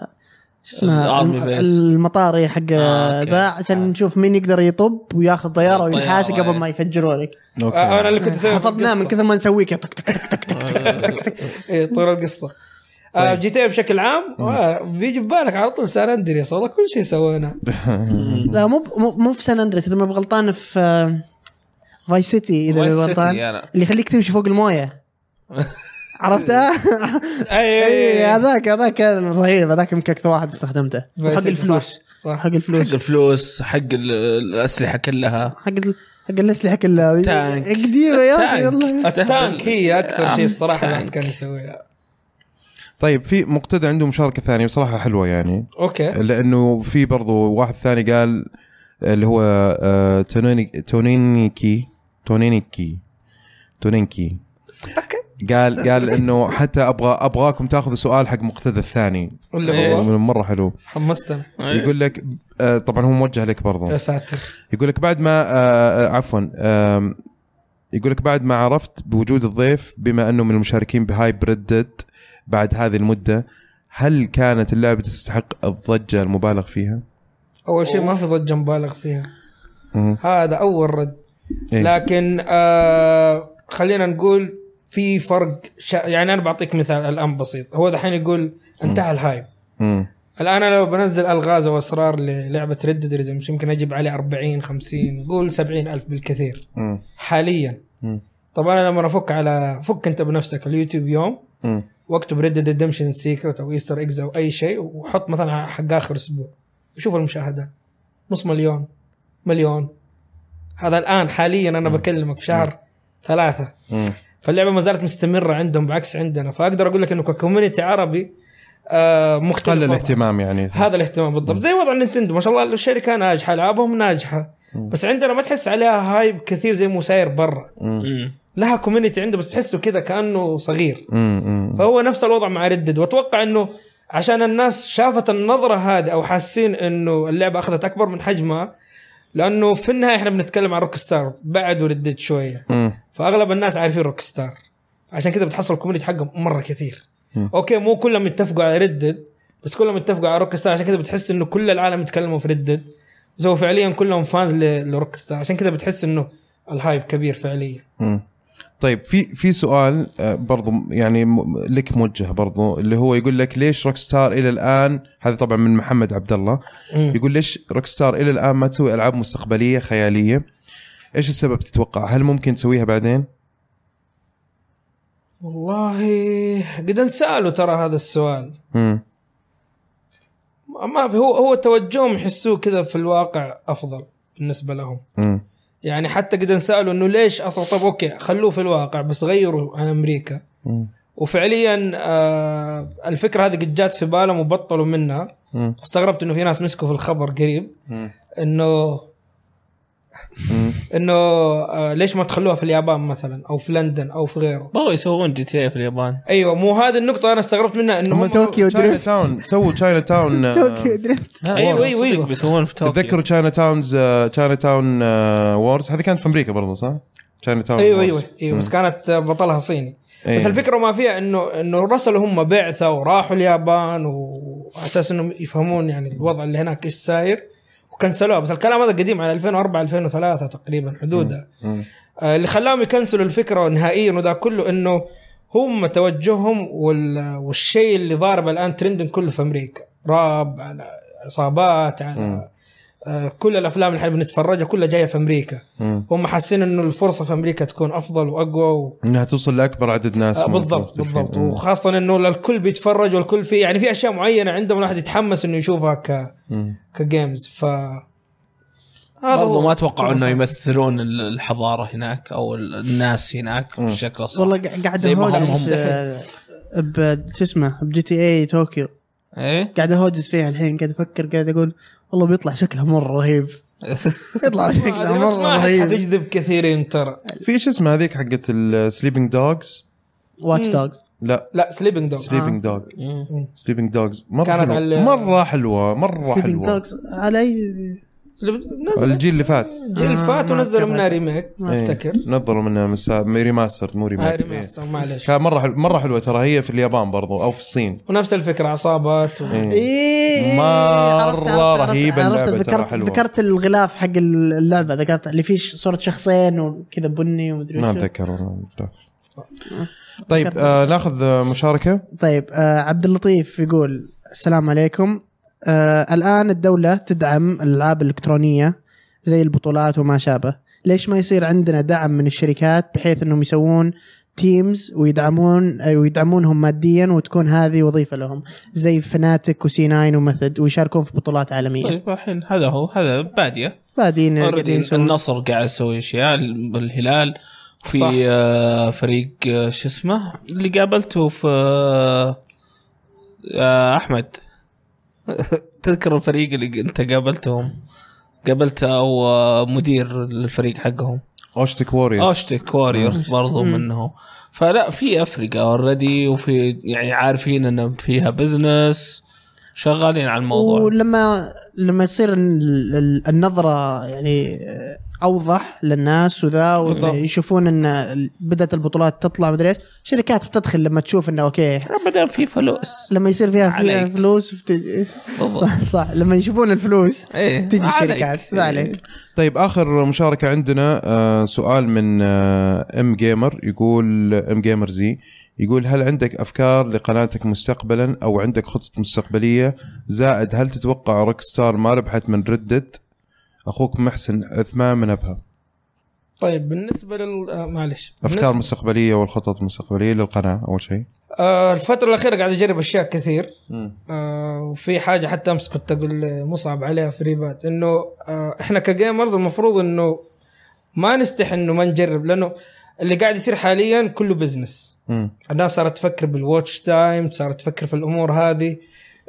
Speaker 3: شو اسمها
Speaker 2: إيه. الأرمي
Speaker 3: الم-
Speaker 2: بيس.
Speaker 3: المطاري حق
Speaker 2: آه، أوكي.
Speaker 3: ذا عشان
Speaker 2: آه.
Speaker 3: نشوف مين يقدر يطب وياخذ طياره
Speaker 2: الطيارة،
Speaker 3: وينحاش قبل
Speaker 2: إيه.
Speaker 3: ما يفجروا لك
Speaker 1: أوكي.
Speaker 4: آه، انا اللي كنت اسوي
Speaker 3: حفظناه من كثر ما نسويه كده تك تك تك تك
Speaker 4: اي طول القصه إيه، آه،
Speaker 1: طيب.
Speaker 4: جي تي إيه بشكل عام آه، بيجي ببالك على طول سان اندريس والله كل شيء سويناه
Speaker 3: لا مو ب- مو مو في سان اندريس اذا ما بغلطان في آه، فاي سيتي اذا
Speaker 2: فايس
Speaker 3: ما
Speaker 2: سيتي
Speaker 3: بغلطان
Speaker 2: أنا.
Speaker 3: اللي يخليك تمشي فوق المويه عرفتها؟ اي
Speaker 4: اي
Speaker 3: إيه، هذاك هذاك كان رهيب هذاك يمكن اكثر واحد استخدمته
Speaker 4: فايس
Speaker 3: حق
Speaker 4: سيتي،
Speaker 3: الفلوس
Speaker 4: صح، صح.
Speaker 3: حق الفلوس
Speaker 2: حق الفلوس حق ال- الاسلحه كلها
Speaker 3: حق ال... حق الاسلحه كلها هذه.
Speaker 2: تانك.
Speaker 3: قديمه يا اخي
Speaker 2: تانك.
Speaker 3: والله
Speaker 2: استهبل.
Speaker 4: التانك هي اكثر شيء الصراحه
Speaker 2: التانك.
Speaker 4: الواحد كان يسويها
Speaker 1: طيب في مقتدى عنده مشاركه ثانيه بصراحه حلوه يعني
Speaker 4: اوكي
Speaker 1: لانه في برضو واحد ثاني قال اللي هو آه، تونيني تونينيكي تونينيكي تونينكي قال قال انه حتى ابغى ابغاكم تاخذوا سؤال حق مقتدى الثاني
Speaker 4: اللي هو
Speaker 1: مره حلو
Speaker 4: حمستنا
Speaker 2: إيه. أيوه.
Speaker 1: يقول لك آه، طبعا هو موجه لك برضو
Speaker 4: يا ساتر
Speaker 1: يقول لك بعد ما آه، آه، عفوا آم، يقول لك بعد ما عرفت بوجود الضيف بما انه من المشاركين بهايبريد ديد بعد هذه المده هل كانت اللعبه تستحق الضجه المبالغ فيها؟
Speaker 4: اول شيء ما في ضجه مبالغ فيها
Speaker 1: مم.
Speaker 4: هذا اول رد
Speaker 1: إيه.
Speaker 4: لكن آه خلينا نقول في فرق شا... يعني انا بعطيك مثال الان بسيط هو دحين يقول انتهى الهايب
Speaker 1: مم.
Speaker 4: الان انا لو بنزل الغاز واسرار للعبه ريد ديد ريدمشن يمكن اجيب عليه 40 50 قول 70 الف بالكثير
Speaker 1: مم.
Speaker 4: حاليا
Speaker 1: مم.
Speaker 4: طبعا انا لما افك على فك انت بنفسك اليوتيوب يوم
Speaker 1: مم.
Speaker 4: واكتب ريد ديد ريدمشن سيكرت او ايستر اكس او اي شيء وحط مثلا حق اخر اسبوع وشوف المشاهدات نص مليون مليون هذا الان حاليا انا بكلمك في شهر ثلاثه
Speaker 1: مم.
Speaker 4: فاللعبه ما زالت مستمره عندهم بعكس عندنا فاقدر اقول لك انه ككوميونتي عربي آه مختلف
Speaker 1: قل
Speaker 4: وضعه.
Speaker 1: الاهتمام يعني
Speaker 4: هذا الاهتمام بالضبط زي وضع نينتندو ما شاء الله الشركه ناجحه العابهم ناجحه
Speaker 1: مم.
Speaker 4: بس عندنا ما تحس عليها هايب كثير زي مو ساير برا
Speaker 1: مم.
Speaker 2: مم.
Speaker 4: لها كوميونتي عنده بس تحسه كذا كانه صغير
Speaker 1: مم. مم.
Speaker 4: فهو نفس الوضع مع ردد واتوقع انه عشان الناس شافت النظره هذه او حاسين انه اللعبه اخذت اكبر من حجمها لانه في النهايه احنا بنتكلم عن روك ستار بعدوا ردد شويه
Speaker 1: مم.
Speaker 4: فاغلب الناس عارفين روك ستار عشان كذا بتحصل الكوميونتي حقهم مره كثير
Speaker 1: مم.
Speaker 4: اوكي مو كلهم يتفقوا على ردد بس كلهم يتفقوا على روك ستار عشان كذا بتحس انه كل العالم يتكلموا في ردد بس هو فعليا كلهم فانز ل- لروك ستار عشان كذا بتحس انه الهايب كبير فعليا
Speaker 1: مم. طيب في في سؤال آه، برضو يعني م- لك موجه برضو اللي هو يقول لك ليش روك ستار الى الان هذا طبعا من محمد عبد الله
Speaker 4: مم.
Speaker 1: يقول ليش روك ستار الى الان ما تسوي العاب مستقبليه خياليه ايش السبب تتوقع هل ممكن تسويها بعدين
Speaker 4: والله قد انسالوا ترى هذا السؤال
Speaker 1: مم.
Speaker 4: ما- ما في هو هو توجههم يحسوه كذا في الواقع افضل بالنسبه لهم
Speaker 1: مم.
Speaker 4: يعني حتى قد انسالوا انه ليش اصلا طب اوكي خلوه في الواقع بس غيروا عن امريكا
Speaker 1: مم.
Speaker 4: وفعليا آه الفكره هذه قد جات في بالهم وبطلوا منها
Speaker 1: مم.
Speaker 4: استغربت انه في ناس مسكوا في الخبر قريب
Speaker 1: مم.
Speaker 4: انه
Speaker 1: مم.
Speaker 4: انه آه ليش ما تخلوها في اليابان مثلا او في لندن او في غيره
Speaker 2: بغوا يسوون جي تي إيه في اليابان
Speaker 4: ايوه مو هذه النقطه انا استغربت منها انه
Speaker 1: هم
Speaker 4: هم-
Speaker 3: توكيو
Speaker 1: تشاينا
Speaker 3: دريفت
Speaker 1: تاون سووا تشاينا تاون آه،
Speaker 3: توكيو دريفت
Speaker 4: أيوة، أيوة،
Speaker 2: صدق
Speaker 4: أيوة.
Speaker 2: بيسوون في توكيو
Speaker 1: تتذكروا تشاينا تاونز تشاينا تاون وورز آه، هذه كانت في امريكا برضو صح؟ تشاينا تاون
Speaker 4: ايوه ايوه ايوه بس كانت آه، بطلها صيني
Speaker 1: إيه.
Speaker 4: بس الفكره ما فيها انه انه رسلوا هم بعثه وراحوا اليابان وعلى اساس انهم يفهمون يعني الوضع اللي هناك ايش ساير وكنسلوها بس الكلام هذا قديم على 2004 2003 تقريبا حدودها آه اللي خلاهم يكنسلوا الفكره نهائيا وذا كله انه هم توجههم وال والشيء اللي ضارب الان ترندن كله في امريكا راب على عصابات على آه كل الافلام اللي احنا بنتفرجها كلها جايه في امريكا هم حاسين انه الفرصه في امريكا تكون افضل واقوى و...
Speaker 1: انها توصل لاكبر عدد ناس
Speaker 4: آه،
Speaker 1: ممكن
Speaker 4: بالضبط
Speaker 1: مختلفين.
Speaker 4: بالضبط
Speaker 1: مم.
Speaker 4: وخاصه انه الكل بيتفرج والكل في يعني في اشياء معينه عندهم الواحد يتحمس انه يشوفها ك
Speaker 1: مم.
Speaker 4: كجيمز ف هذا
Speaker 2: برضو
Speaker 4: هو. آه،
Speaker 2: ما اتوقعوا انه
Speaker 4: صح.
Speaker 2: يمثلون ال- الحضاره هناك او ال- الناس هناك بالشكل الصح
Speaker 3: والله قاعد
Speaker 2: زي ما هم-
Speaker 3: اهوجس
Speaker 2: هم-
Speaker 3: آه، ب شو اسمه بجي تي اي طوكيو
Speaker 2: ايه
Speaker 3: قاعد اهوجس فيها الحين قاعد افكر قاعد اقول والله بيطلع شكلها مره رهيب يطلع شكلها
Speaker 4: ما- بس ما
Speaker 3: مره
Speaker 4: أحس
Speaker 3: رهيب
Speaker 4: حتجذب كثيرين ترى
Speaker 1: في ايش اسمها هذيك حقت السليبنج دوجز
Speaker 3: واتش دوجز
Speaker 1: لا
Speaker 4: لا سليبنج دوغ
Speaker 1: سليبنج دوج
Speaker 2: مم.
Speaker 1: سليبنج دوجز مره
Speaker 4: آه. كانت
Speaker 1: حلوه
Speaker 4: على-
Speaker 1: مره حلوه مره
Speaker 3: سليبنج
Speaker 1: حلوه
Speaker 3: دوجز على اي
Speaker 4: نزل
Speaker 1: الجيل اللي فات
Speaker 4: جيل
Speaker 3: آه،
Speaker 4: فات
Speaker 3: ما
Speaker 4: ونزلوا
Speaker 3: أذكر
Speaker 4: منها
Speaker 3: هذا.
Speaker 4: ريميك ما
Speaker 1: إيه.
Speaker 4: افتكر
Speaker 1: نظروا منها مسا... ريماستر مو
Speaker 4: آه،
Speaker 1: ريماستر
Speaker 4: ريماستر معلش
Speaker 1: كان مره حلو مره حلوه ترى هي في اليابان برضو او في الصين
Speaker 4: ونفس الفكره عصابات و...
Speaker 1: إيه.
Speaker 3: إيه
Speaker 1: مرة
Speaker 3: عرفت- عرفت-
Speaker 1: رهيبة
Speaker 3: عرفت-
Speaker 1: اللعبة ترى
Speaker 3: ذكرت
Speaker 1: حلوة.
Speaker 3: ذكرت الغلاف حق اللعبه ذكرت اللي فيه صوره شخصين وكذا بني ومدري
Speaker 1: ما
Speaker 3: وشو.
Speaker 1: اتذكر والله طيب آه ناخذ آه، مشاركه
Speaker 3: طيب آه عبد اللطيف يقول السلام عليكم آه الان الدوله تدعم الالعاب الالكترونيه زي البطولات وما شابه ليش ما يصير عندنا دعم من الشركات بحيث انهم يسوون تيمز ويدعمون آه، ويدعمونهم ماديا وتكون هذه وظيفه لهم زي فناتك وسي 9 ومثد ويشاركون في بطولات عالميه
Speaker 2: طيب الحين هذا هو هذا باديه
Speaker 3: بعدين
Speaker 2: اوريدي
Speaker 3: قاعدين يسوون-
Speaker 2: النصر قاعد يسوي اشياء الهلال
Speaker 4: صح.
Speaker 2: في آه، فريق آه، شو اسمه اللي قابلته في آه، آه، احمد تذكر الفريق اللي انت قابلتهم قابلت او آه، مدير الفريق حقهم
Speaker 1: اوشتك ووريرز
Speaker 2: اوشتك واريورز برضو
Speaker 3: مم.
Speaker 2: منهم فلا في افريقيا اوريدي وفي يعني عارفين ان فيها بزنس شغالين على الموضوع
Speaker 3: ولما لما تصير ال- ال- النظره يعني آه، اوضح للناس وذا
Speaker 2: بالضبط.
Speaker 3: ويشوفون ان ال- بدات البطولات تطلع مدري ايش شركات بتدخل لما تشوف انه اوكي
Speaker 2: ابدا في فلوس
Speaker 3: لما يصير فيها فيها
Speaker 2: عليك.
Speaker 3: فلوس بت...
Speaker 2: بالضبط
Speaker 3: صح, صح لما يشوفون الفلوس
Speaker 2: ايه
Speaker 3: تجي
Speaker 2: ما عليك.
Speaker 3: الشركات إيه، ما عليك
Speaker 1: طيب اخر مشاركه عندنا آه سؤال من آه ام جيمر يقول ام جيمر زي يقول هل عندك افكار لقناتك مستقبلا او عندك خطط مستقبليه زائد هل تتوقع روك ستار ما ربحت من ردت اخوك محسن عثمان من ابها
Speaker 4: طيب بالنسبه لل آه، معلش
Speaker 1: افكار
Speaker 4: بالنسبة-
Speaker 1: مستقبليه والخطط المستقبليه للقناه اول شيء
Speaker 4: آه، الفتره الاخيره قاعد اجرب اشياء كثير آه، وفي حاجه حتى امس كنت اقول مصعب عليها في ريبات انه آه، احنا كجيمرز المفروض انه ما نستحي انه ما نجرب لانه اللي قاعد يصير حاليا كله بزنس
Speaker 1: امم
Speaker 4: الناس صارت تفكر بالواتش تايم صارت تفكر في الامور هذه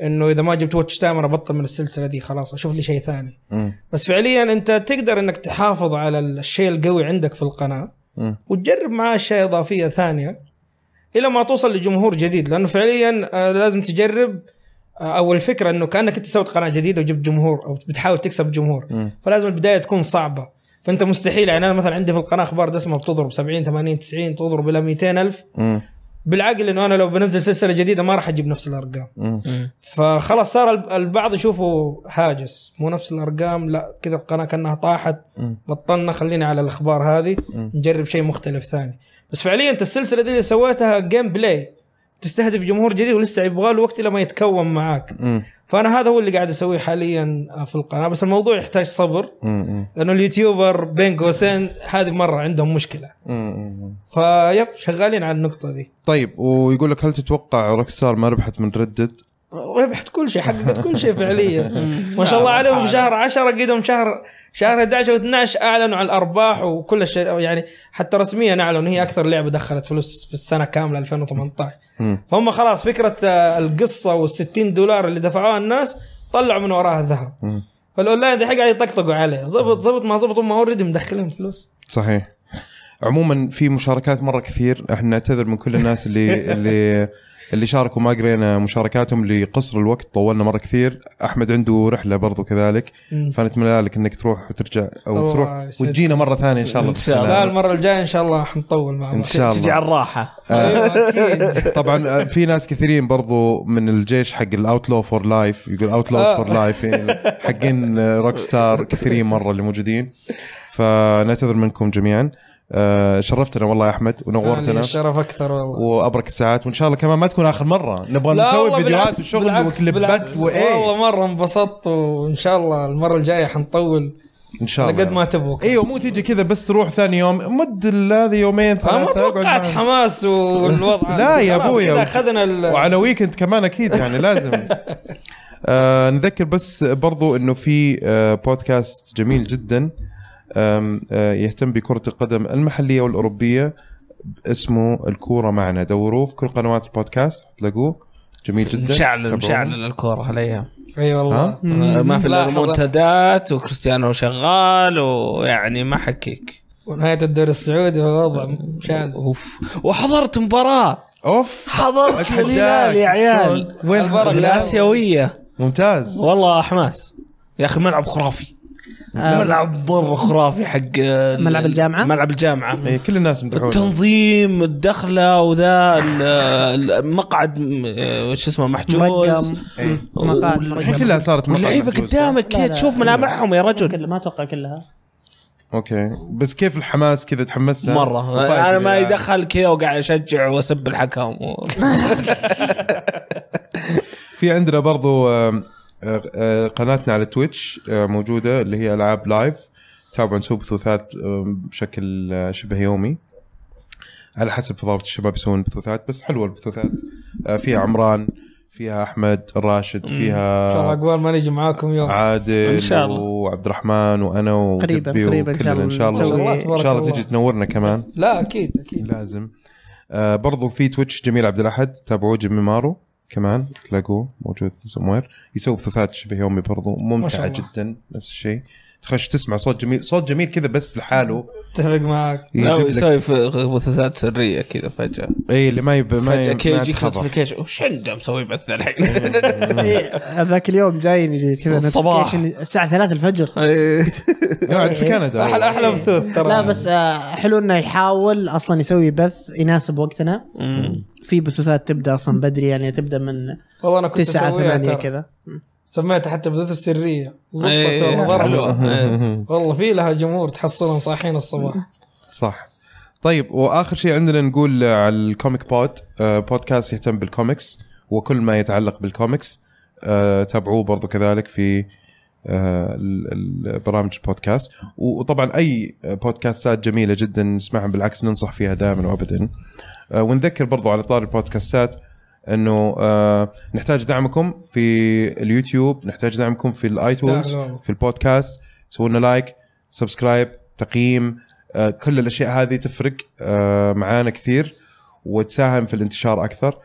Speaker 4: انه اذا ما جبت واتش تايم انا بطل من السلسله دي خلاص اشوف لي شيء ثاني
Speaker 1: امم
Speaker 4: بس فعليا انت تقدر انك تحافظ على الشيء القوي عندك في القناه
Speaker 1: امم
Speaker 4: وتجرب معاه اشياء اضافيه ثانيه الى ما توصل لجمهور جديد لانه فعليا آه، لازم تجرب آه، او الفكره انه كانك انت سويت قناه جديده وجبت جمهور او بتحاول تكسب جمهور
Speaker 1: مم.
Speaker 4: فلازم البدايه تكون صعبه فانت مستحيل يعني انا مثلا عندي في القناه اخبار دسمه بتضرب 70 80 90 تضرب الى 200 الف
Speaker 1: امم
Speaker 4: بالعقل انه انا لو بنزل سلسله جديده ما راح اجيب نفس الارقام
Speaker 1: امم
Speaker 2: مم.
Speaker 4: فخلاص صار الب- البعض يشوفوا هاجس مو نفس الارقام لا كذا القناه كانها طاحت
Speaker 1: مم.
Speaker 4: بطلنا خلينا على الاخبار هذه
Speaker 1: مم.
Speaker 4: نجرب شيء مختلف ثاني بس فعليا انت السلسله دي اللي سويتها جيم بلاي تستهدف جمهور جديد ولسه يبغى له وقت لما يتكون معاك
Speaker 1: امم
Speaker 4: فانا هذا هو اللي قاعد اسويه حاليا في القناه بس الموضوع يحتاج صبر
Speaker 1: امم
Speaker 4: لانه اليوتيوبر بين قوسين هذه مره عندهم مشكله
Speaker 1: امم
Speaker 4: فيب شغالين على النقطه دي
Speaker 1: طيب ويقول لك هل تتوقع روكستار ما ربحت من ردد؟
Speaker 4: ربحت كل شيء حققت كل شيء فعليا ما شاء الله عليهم في شهر 10 قيدهم شهر شهر 11 و12 اعلنوا عن الارباح وكل الشيء يعني حتى رسميا اعلنوا هي اكثر لعبه دخلت فلوس في السنه كامله 2018
Speaker 1: مم.
Speaker 4: فهم خلاص فكره آه، القصه وال60 دولار اللي دفعوها الناس طلعوا من وراها الذهب
Speaker 1: مم.
Speaker 4: فالاونلاين دحين قاعد يطقطقوا عليه زبط زبط ما زبط هم اوريدي مدخلين فلوس
Speaker 1: صحيح عموما في مشاركات مره كثير احنا نعتذر من كل الناس اللي اللي اللي شاركوا ما قرينا مشاركاتهم لقصر الوقت طولنا مره كثير احمد عنده رحله برضو كذلك
Speaker 4: مم.
Speaker 1: فنتمنى لك انك تروح وترجع او
Speaker 4: الله
Speaker 1: تروح
Speaker 4: يسعدك.
Speaker 1: وتجينا مره ثانيه ان شاء الله
Speaker 2: إن شاء
Speaker 4: لا
Speaker 1: بالسلامة.
Speaker 4: المره الجايه ان شاء الله حنطول مع
Speaker 1: ان
Speaker 4: بعض
Speaker 1: شاء
Speaker 2: تشجع
Speaker 1: الله
Speaker 2: الراحه
Speaker 4: أيوة، أكيد.
Speaker 1: طبعا آه، في ناس كثيرين برضو من الجيش حق الاوتلو فور لايف يقول اوتلو
Speaker 4: آه.
Speaker 1: فور لايف يعني حقين روك ستار كثيرين مره اللي موجودين فنعتذر منكم جميعا آه، شرفتنا والله يا احمد
Speaker 4: يعني
Speaker 1: ونورتنا
Speaker 4: الشرف اكثر والله
Speaker 1: وابرك الساعات وان شاء الله كمان ما تكون اخر مره نبغى نسوي فيديوهات وشغل وكليبات
Speaker 4: والله
Speaker 1: وايه
Speaker 4: مره انبسطت وان شاء الله المره الجايه حنطول
Speaker 1: ان شاء
Speaker 4: على
Speaker 1: الله
Speaker 4: قد ما تبغوا
Speaker 1: ايوه مو تيجي كذا بس تروح ثاني يوم مد ال- هذه يومين ثلاثه
Speaker 4: انا آه، ما
Speaker 1: اقعد
Speaker 4: توقعت
Speaker 1: معهم.
Speaker 4: حماس والوضع
Speaker 1: لا
Speaker 4: هذا.
Speaker 1: يا
Speaker 4: خلاص
Speaker 1: أبويا.
Speaker 4: كذا اخذنا ال-
Speaker 1: وعلى ويكند كمان اكيد يعني لازم آه نذكر بس برضو انه في آه بودكاست جميل جدا آم، آه يهتم بكرة القدم المحلية والأوروبية اسمه الكورة معنا دوروه في كل قنوات البودكاست تلاقوه جميل جدا
Speaker 2: مشعل
Speaker 1: تابعونا.
Speaker 2: مشعل الكوره هالايام
Speaker 4: اي والله
Speaker 1: ها؟
Speaker 2: ما في الا
Speaker 4: لاحظ.
Speaker 2: منتدات وكريستيانو شغال ويعني ما حكيك
Speaker 4: ونهايه الدوري السعودي والوضع
Speaker 1: آه.
Speaker 4: مشان
Speaker 2: اوف وحضرت مباراه
Speaker 1: اوف
Speaker 2: حضرت
Speaker 1: أتحداك.
Speaker 2: الهلال يا عيال
Speaker 1: وين
Speaker 4: البركة.
Speaker 2: الاسيويه
Speaker 1: ممتاز
Speaker 2: والله حماس يا اخي ملعب خرافي
Speaker 3: آه.
Speaker 2: ملعب مره خرافي حق
Speaker 3: ملعب الجامعة؟
Speaker 2: ملعب الجامعه
Speaker 1: إيه، كل الناس مدحونه
Speaker 2: التنظيم الدخله وذا ال- المقعد م- آه، وش اسمه محجوز
Speaker 3: مرقم
Speaker 2: إيه.
Speaker 3: مقعد
Speaker 1: الحين
Speaker 3: مرقم
Speaker 1: كلها صارت مقاطع
Speaker 2: واللعيبه
Speaker 1: محجوزة.
Speaker 2: قدامك
Speaker 3: لا،
Speaker 2: كذا
Speaker 3: لا،
Speaker 2: تشوف
Speaker 3: لا.
Speaker 2: ملامحهم يا رجل
Speaker 3: ما اتوقع كلها
Speaker 1: اوكي بس كيف الحماس كذا تحمست
Speaker 2: مره
Speaker 1: وفايز
Speaker 2: انا ما
Speaker 1: الهلال.
Speaker 2: يدخل كذا وقاعد اشجع واسب الحكم و...
Speaker 1: في عندنا برضو آم، آه، آه، قناتنا على تويتش آه، موجوده اللي هي العاب لايف تابعوا نسوي بثوثات آم، بشكل آه، شبه يومي على حسب ضابط الشباب يسوون بثوثات بس حلوه البثوثات آه، فيها عمران فيها احمد راشد
Speaker 4: والله
Speaker 1: فيها
Speaker 4: عقبال ما نجي معاكم يوم
Speaker 1: عادل
Speaker 2: إن شاء الله.
Speaker 1: وعبد الرحمن وانا
Speaker 3: قريباً-
Speaker 1: وجبي
Speaker 3: قريباً إن شاء
Speaker 1: وكلنا ان شاء
Speaker 3: الله
Speaker 1: الله
Speaker 4: نسوي.
Speaker 1: ان شاء الله
Speaker 4: تبارك
Speaker 1: تجي
Speaker 4: الله.
Speaker 1: تنورنا كمان
Speaker 4: لا اكيد اكيد
Speaker 1: إيه، لازم آه برضو في تويتش جميل عبد الاحد تابعوه جيمي مارو كمان تلاقوه موجود سموير يسوي بثوثات شبه يومي برضو
Speaker 4: ما شاء
Speaker 1: ممتعه
Speaker 4: الله.
Speaker 1: جدا نفس الشيء تخش تسمع صوت جميل صوت جميل كذا بس لحاله
Speaker 4: اتفق معك
Speaker 2: لا،
Speaker 1: يجيب لك
Speaker 2: يسوي في بثوثات سريه كذا فجاه
Speaker 1: اي إيه، اللي ما يب ما
Speaker 2: فجاه
Speaker 1: يب
Speaker 2: كذا
Speaker 1: ما
Speaker 2: يجيك
Speaker 1: يتحضر.
Speaker 2: نوتيفيكيشن وش عنده مسوي بث الحين
Speaker 3: ذاك إيه، اليوم جايني كذا
Speaker 2: الصباح.
Speaker 3: notification الساعه 3 الفجر
Speaker 1: إيه.
Speaker 4: إيه،
Speaker 1: قاعد في كندا
Speaker 4: احلى احلى بثوث ترى
Speaker 3: لا بس آه، حلو انه يحاول اصلا يسوي بث يناسب وقتنا
Speaker 2: مم.
Speaker 3: في بثوثات تبدا اصلا بدري يعني تبدا من
Speaker 4: والله انا كنت
Speaker 3: 9
Speaker 4: اسويها
Speaker 3: 8
Speaker 4: ترى.
Speaker 3: كذا
Speaker 4: سميتها حتى بثوث السريه زبطت
Speaker 2: إيه،
Speaker 4: والله
Speaker 2: حلوة.
Speaker 4: ضربة.
Speaker 2: إيه.
Speaker 4: والله في لها جمهور تحصلهم صاحيين الصباح
Speaker 1: صح طيب واخر شيء عندنا نقول آه، على الكوميك بود آه، بودكاست يهتم بالكوميكس وكل ما يتعلق بالكوميكس آه، تابعوه برضو كذلك في آه، ال- ال- برامج البودكاست وطبعا اي بودكاستات جميله جدا نسمعها بالعكس ننصح فيها دائما وابدا آه، ونذكر برضو على طار البودكاستات انه آه، نحتاج دعمكم في اليوتيوب نحتاج دعمكم في الايتونز
Speaker 4: يستاهلوا والله.
Speaker 1: في البودكاست سووا لنا لايك سبسكرايب تقييم آه، كل الاشياء هذه تفرق آه، معانا كثير وتساهم في الانتشار اكثر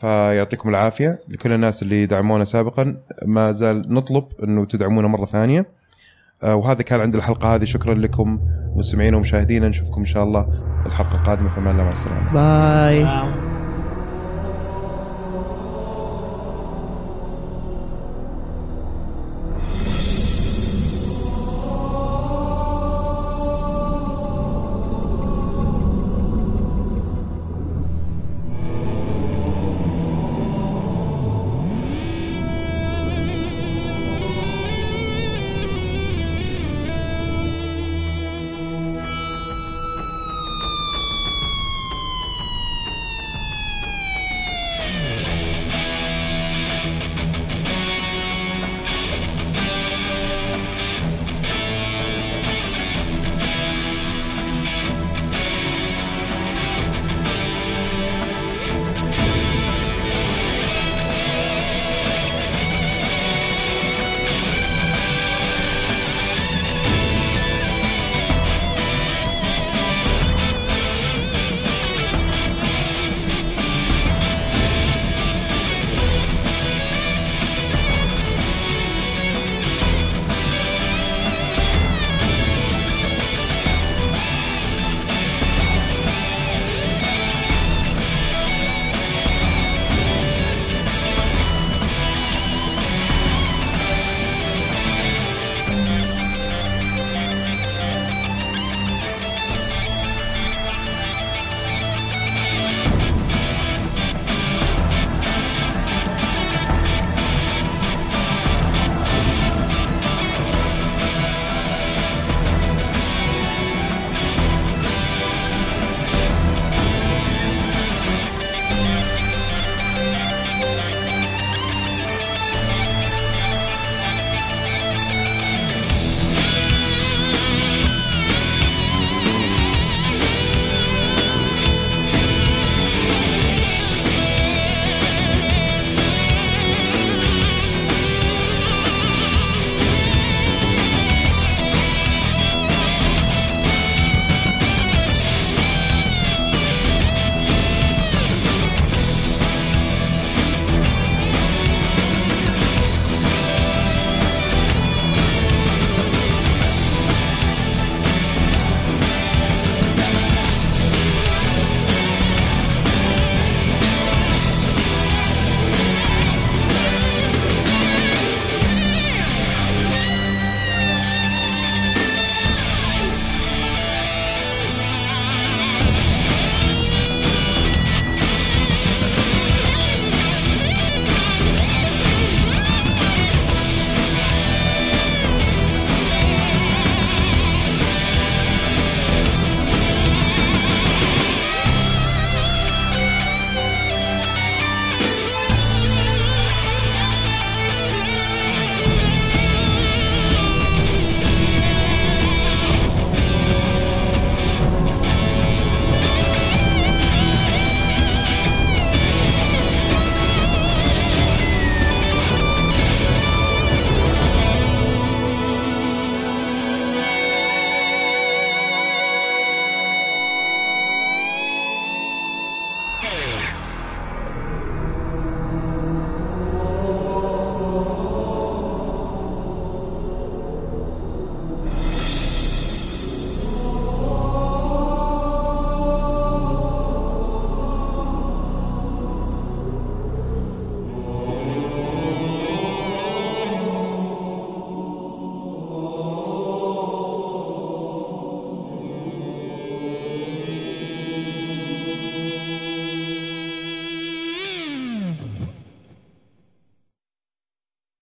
Speaker 1: فيعطيكم العافيه لكل الناس اللي دعمونا سابقا ما زال نطلب انه تدعمونا مره ثانيه آه، وهذا كان عند الحلقه هذه شكرا لكم مستمعينا ومشاهدينا نشوفكم ان شاء الله الحلقه القادمه فمان الله مع السلامه
Speaker 3: باي
Speaker 2: آه.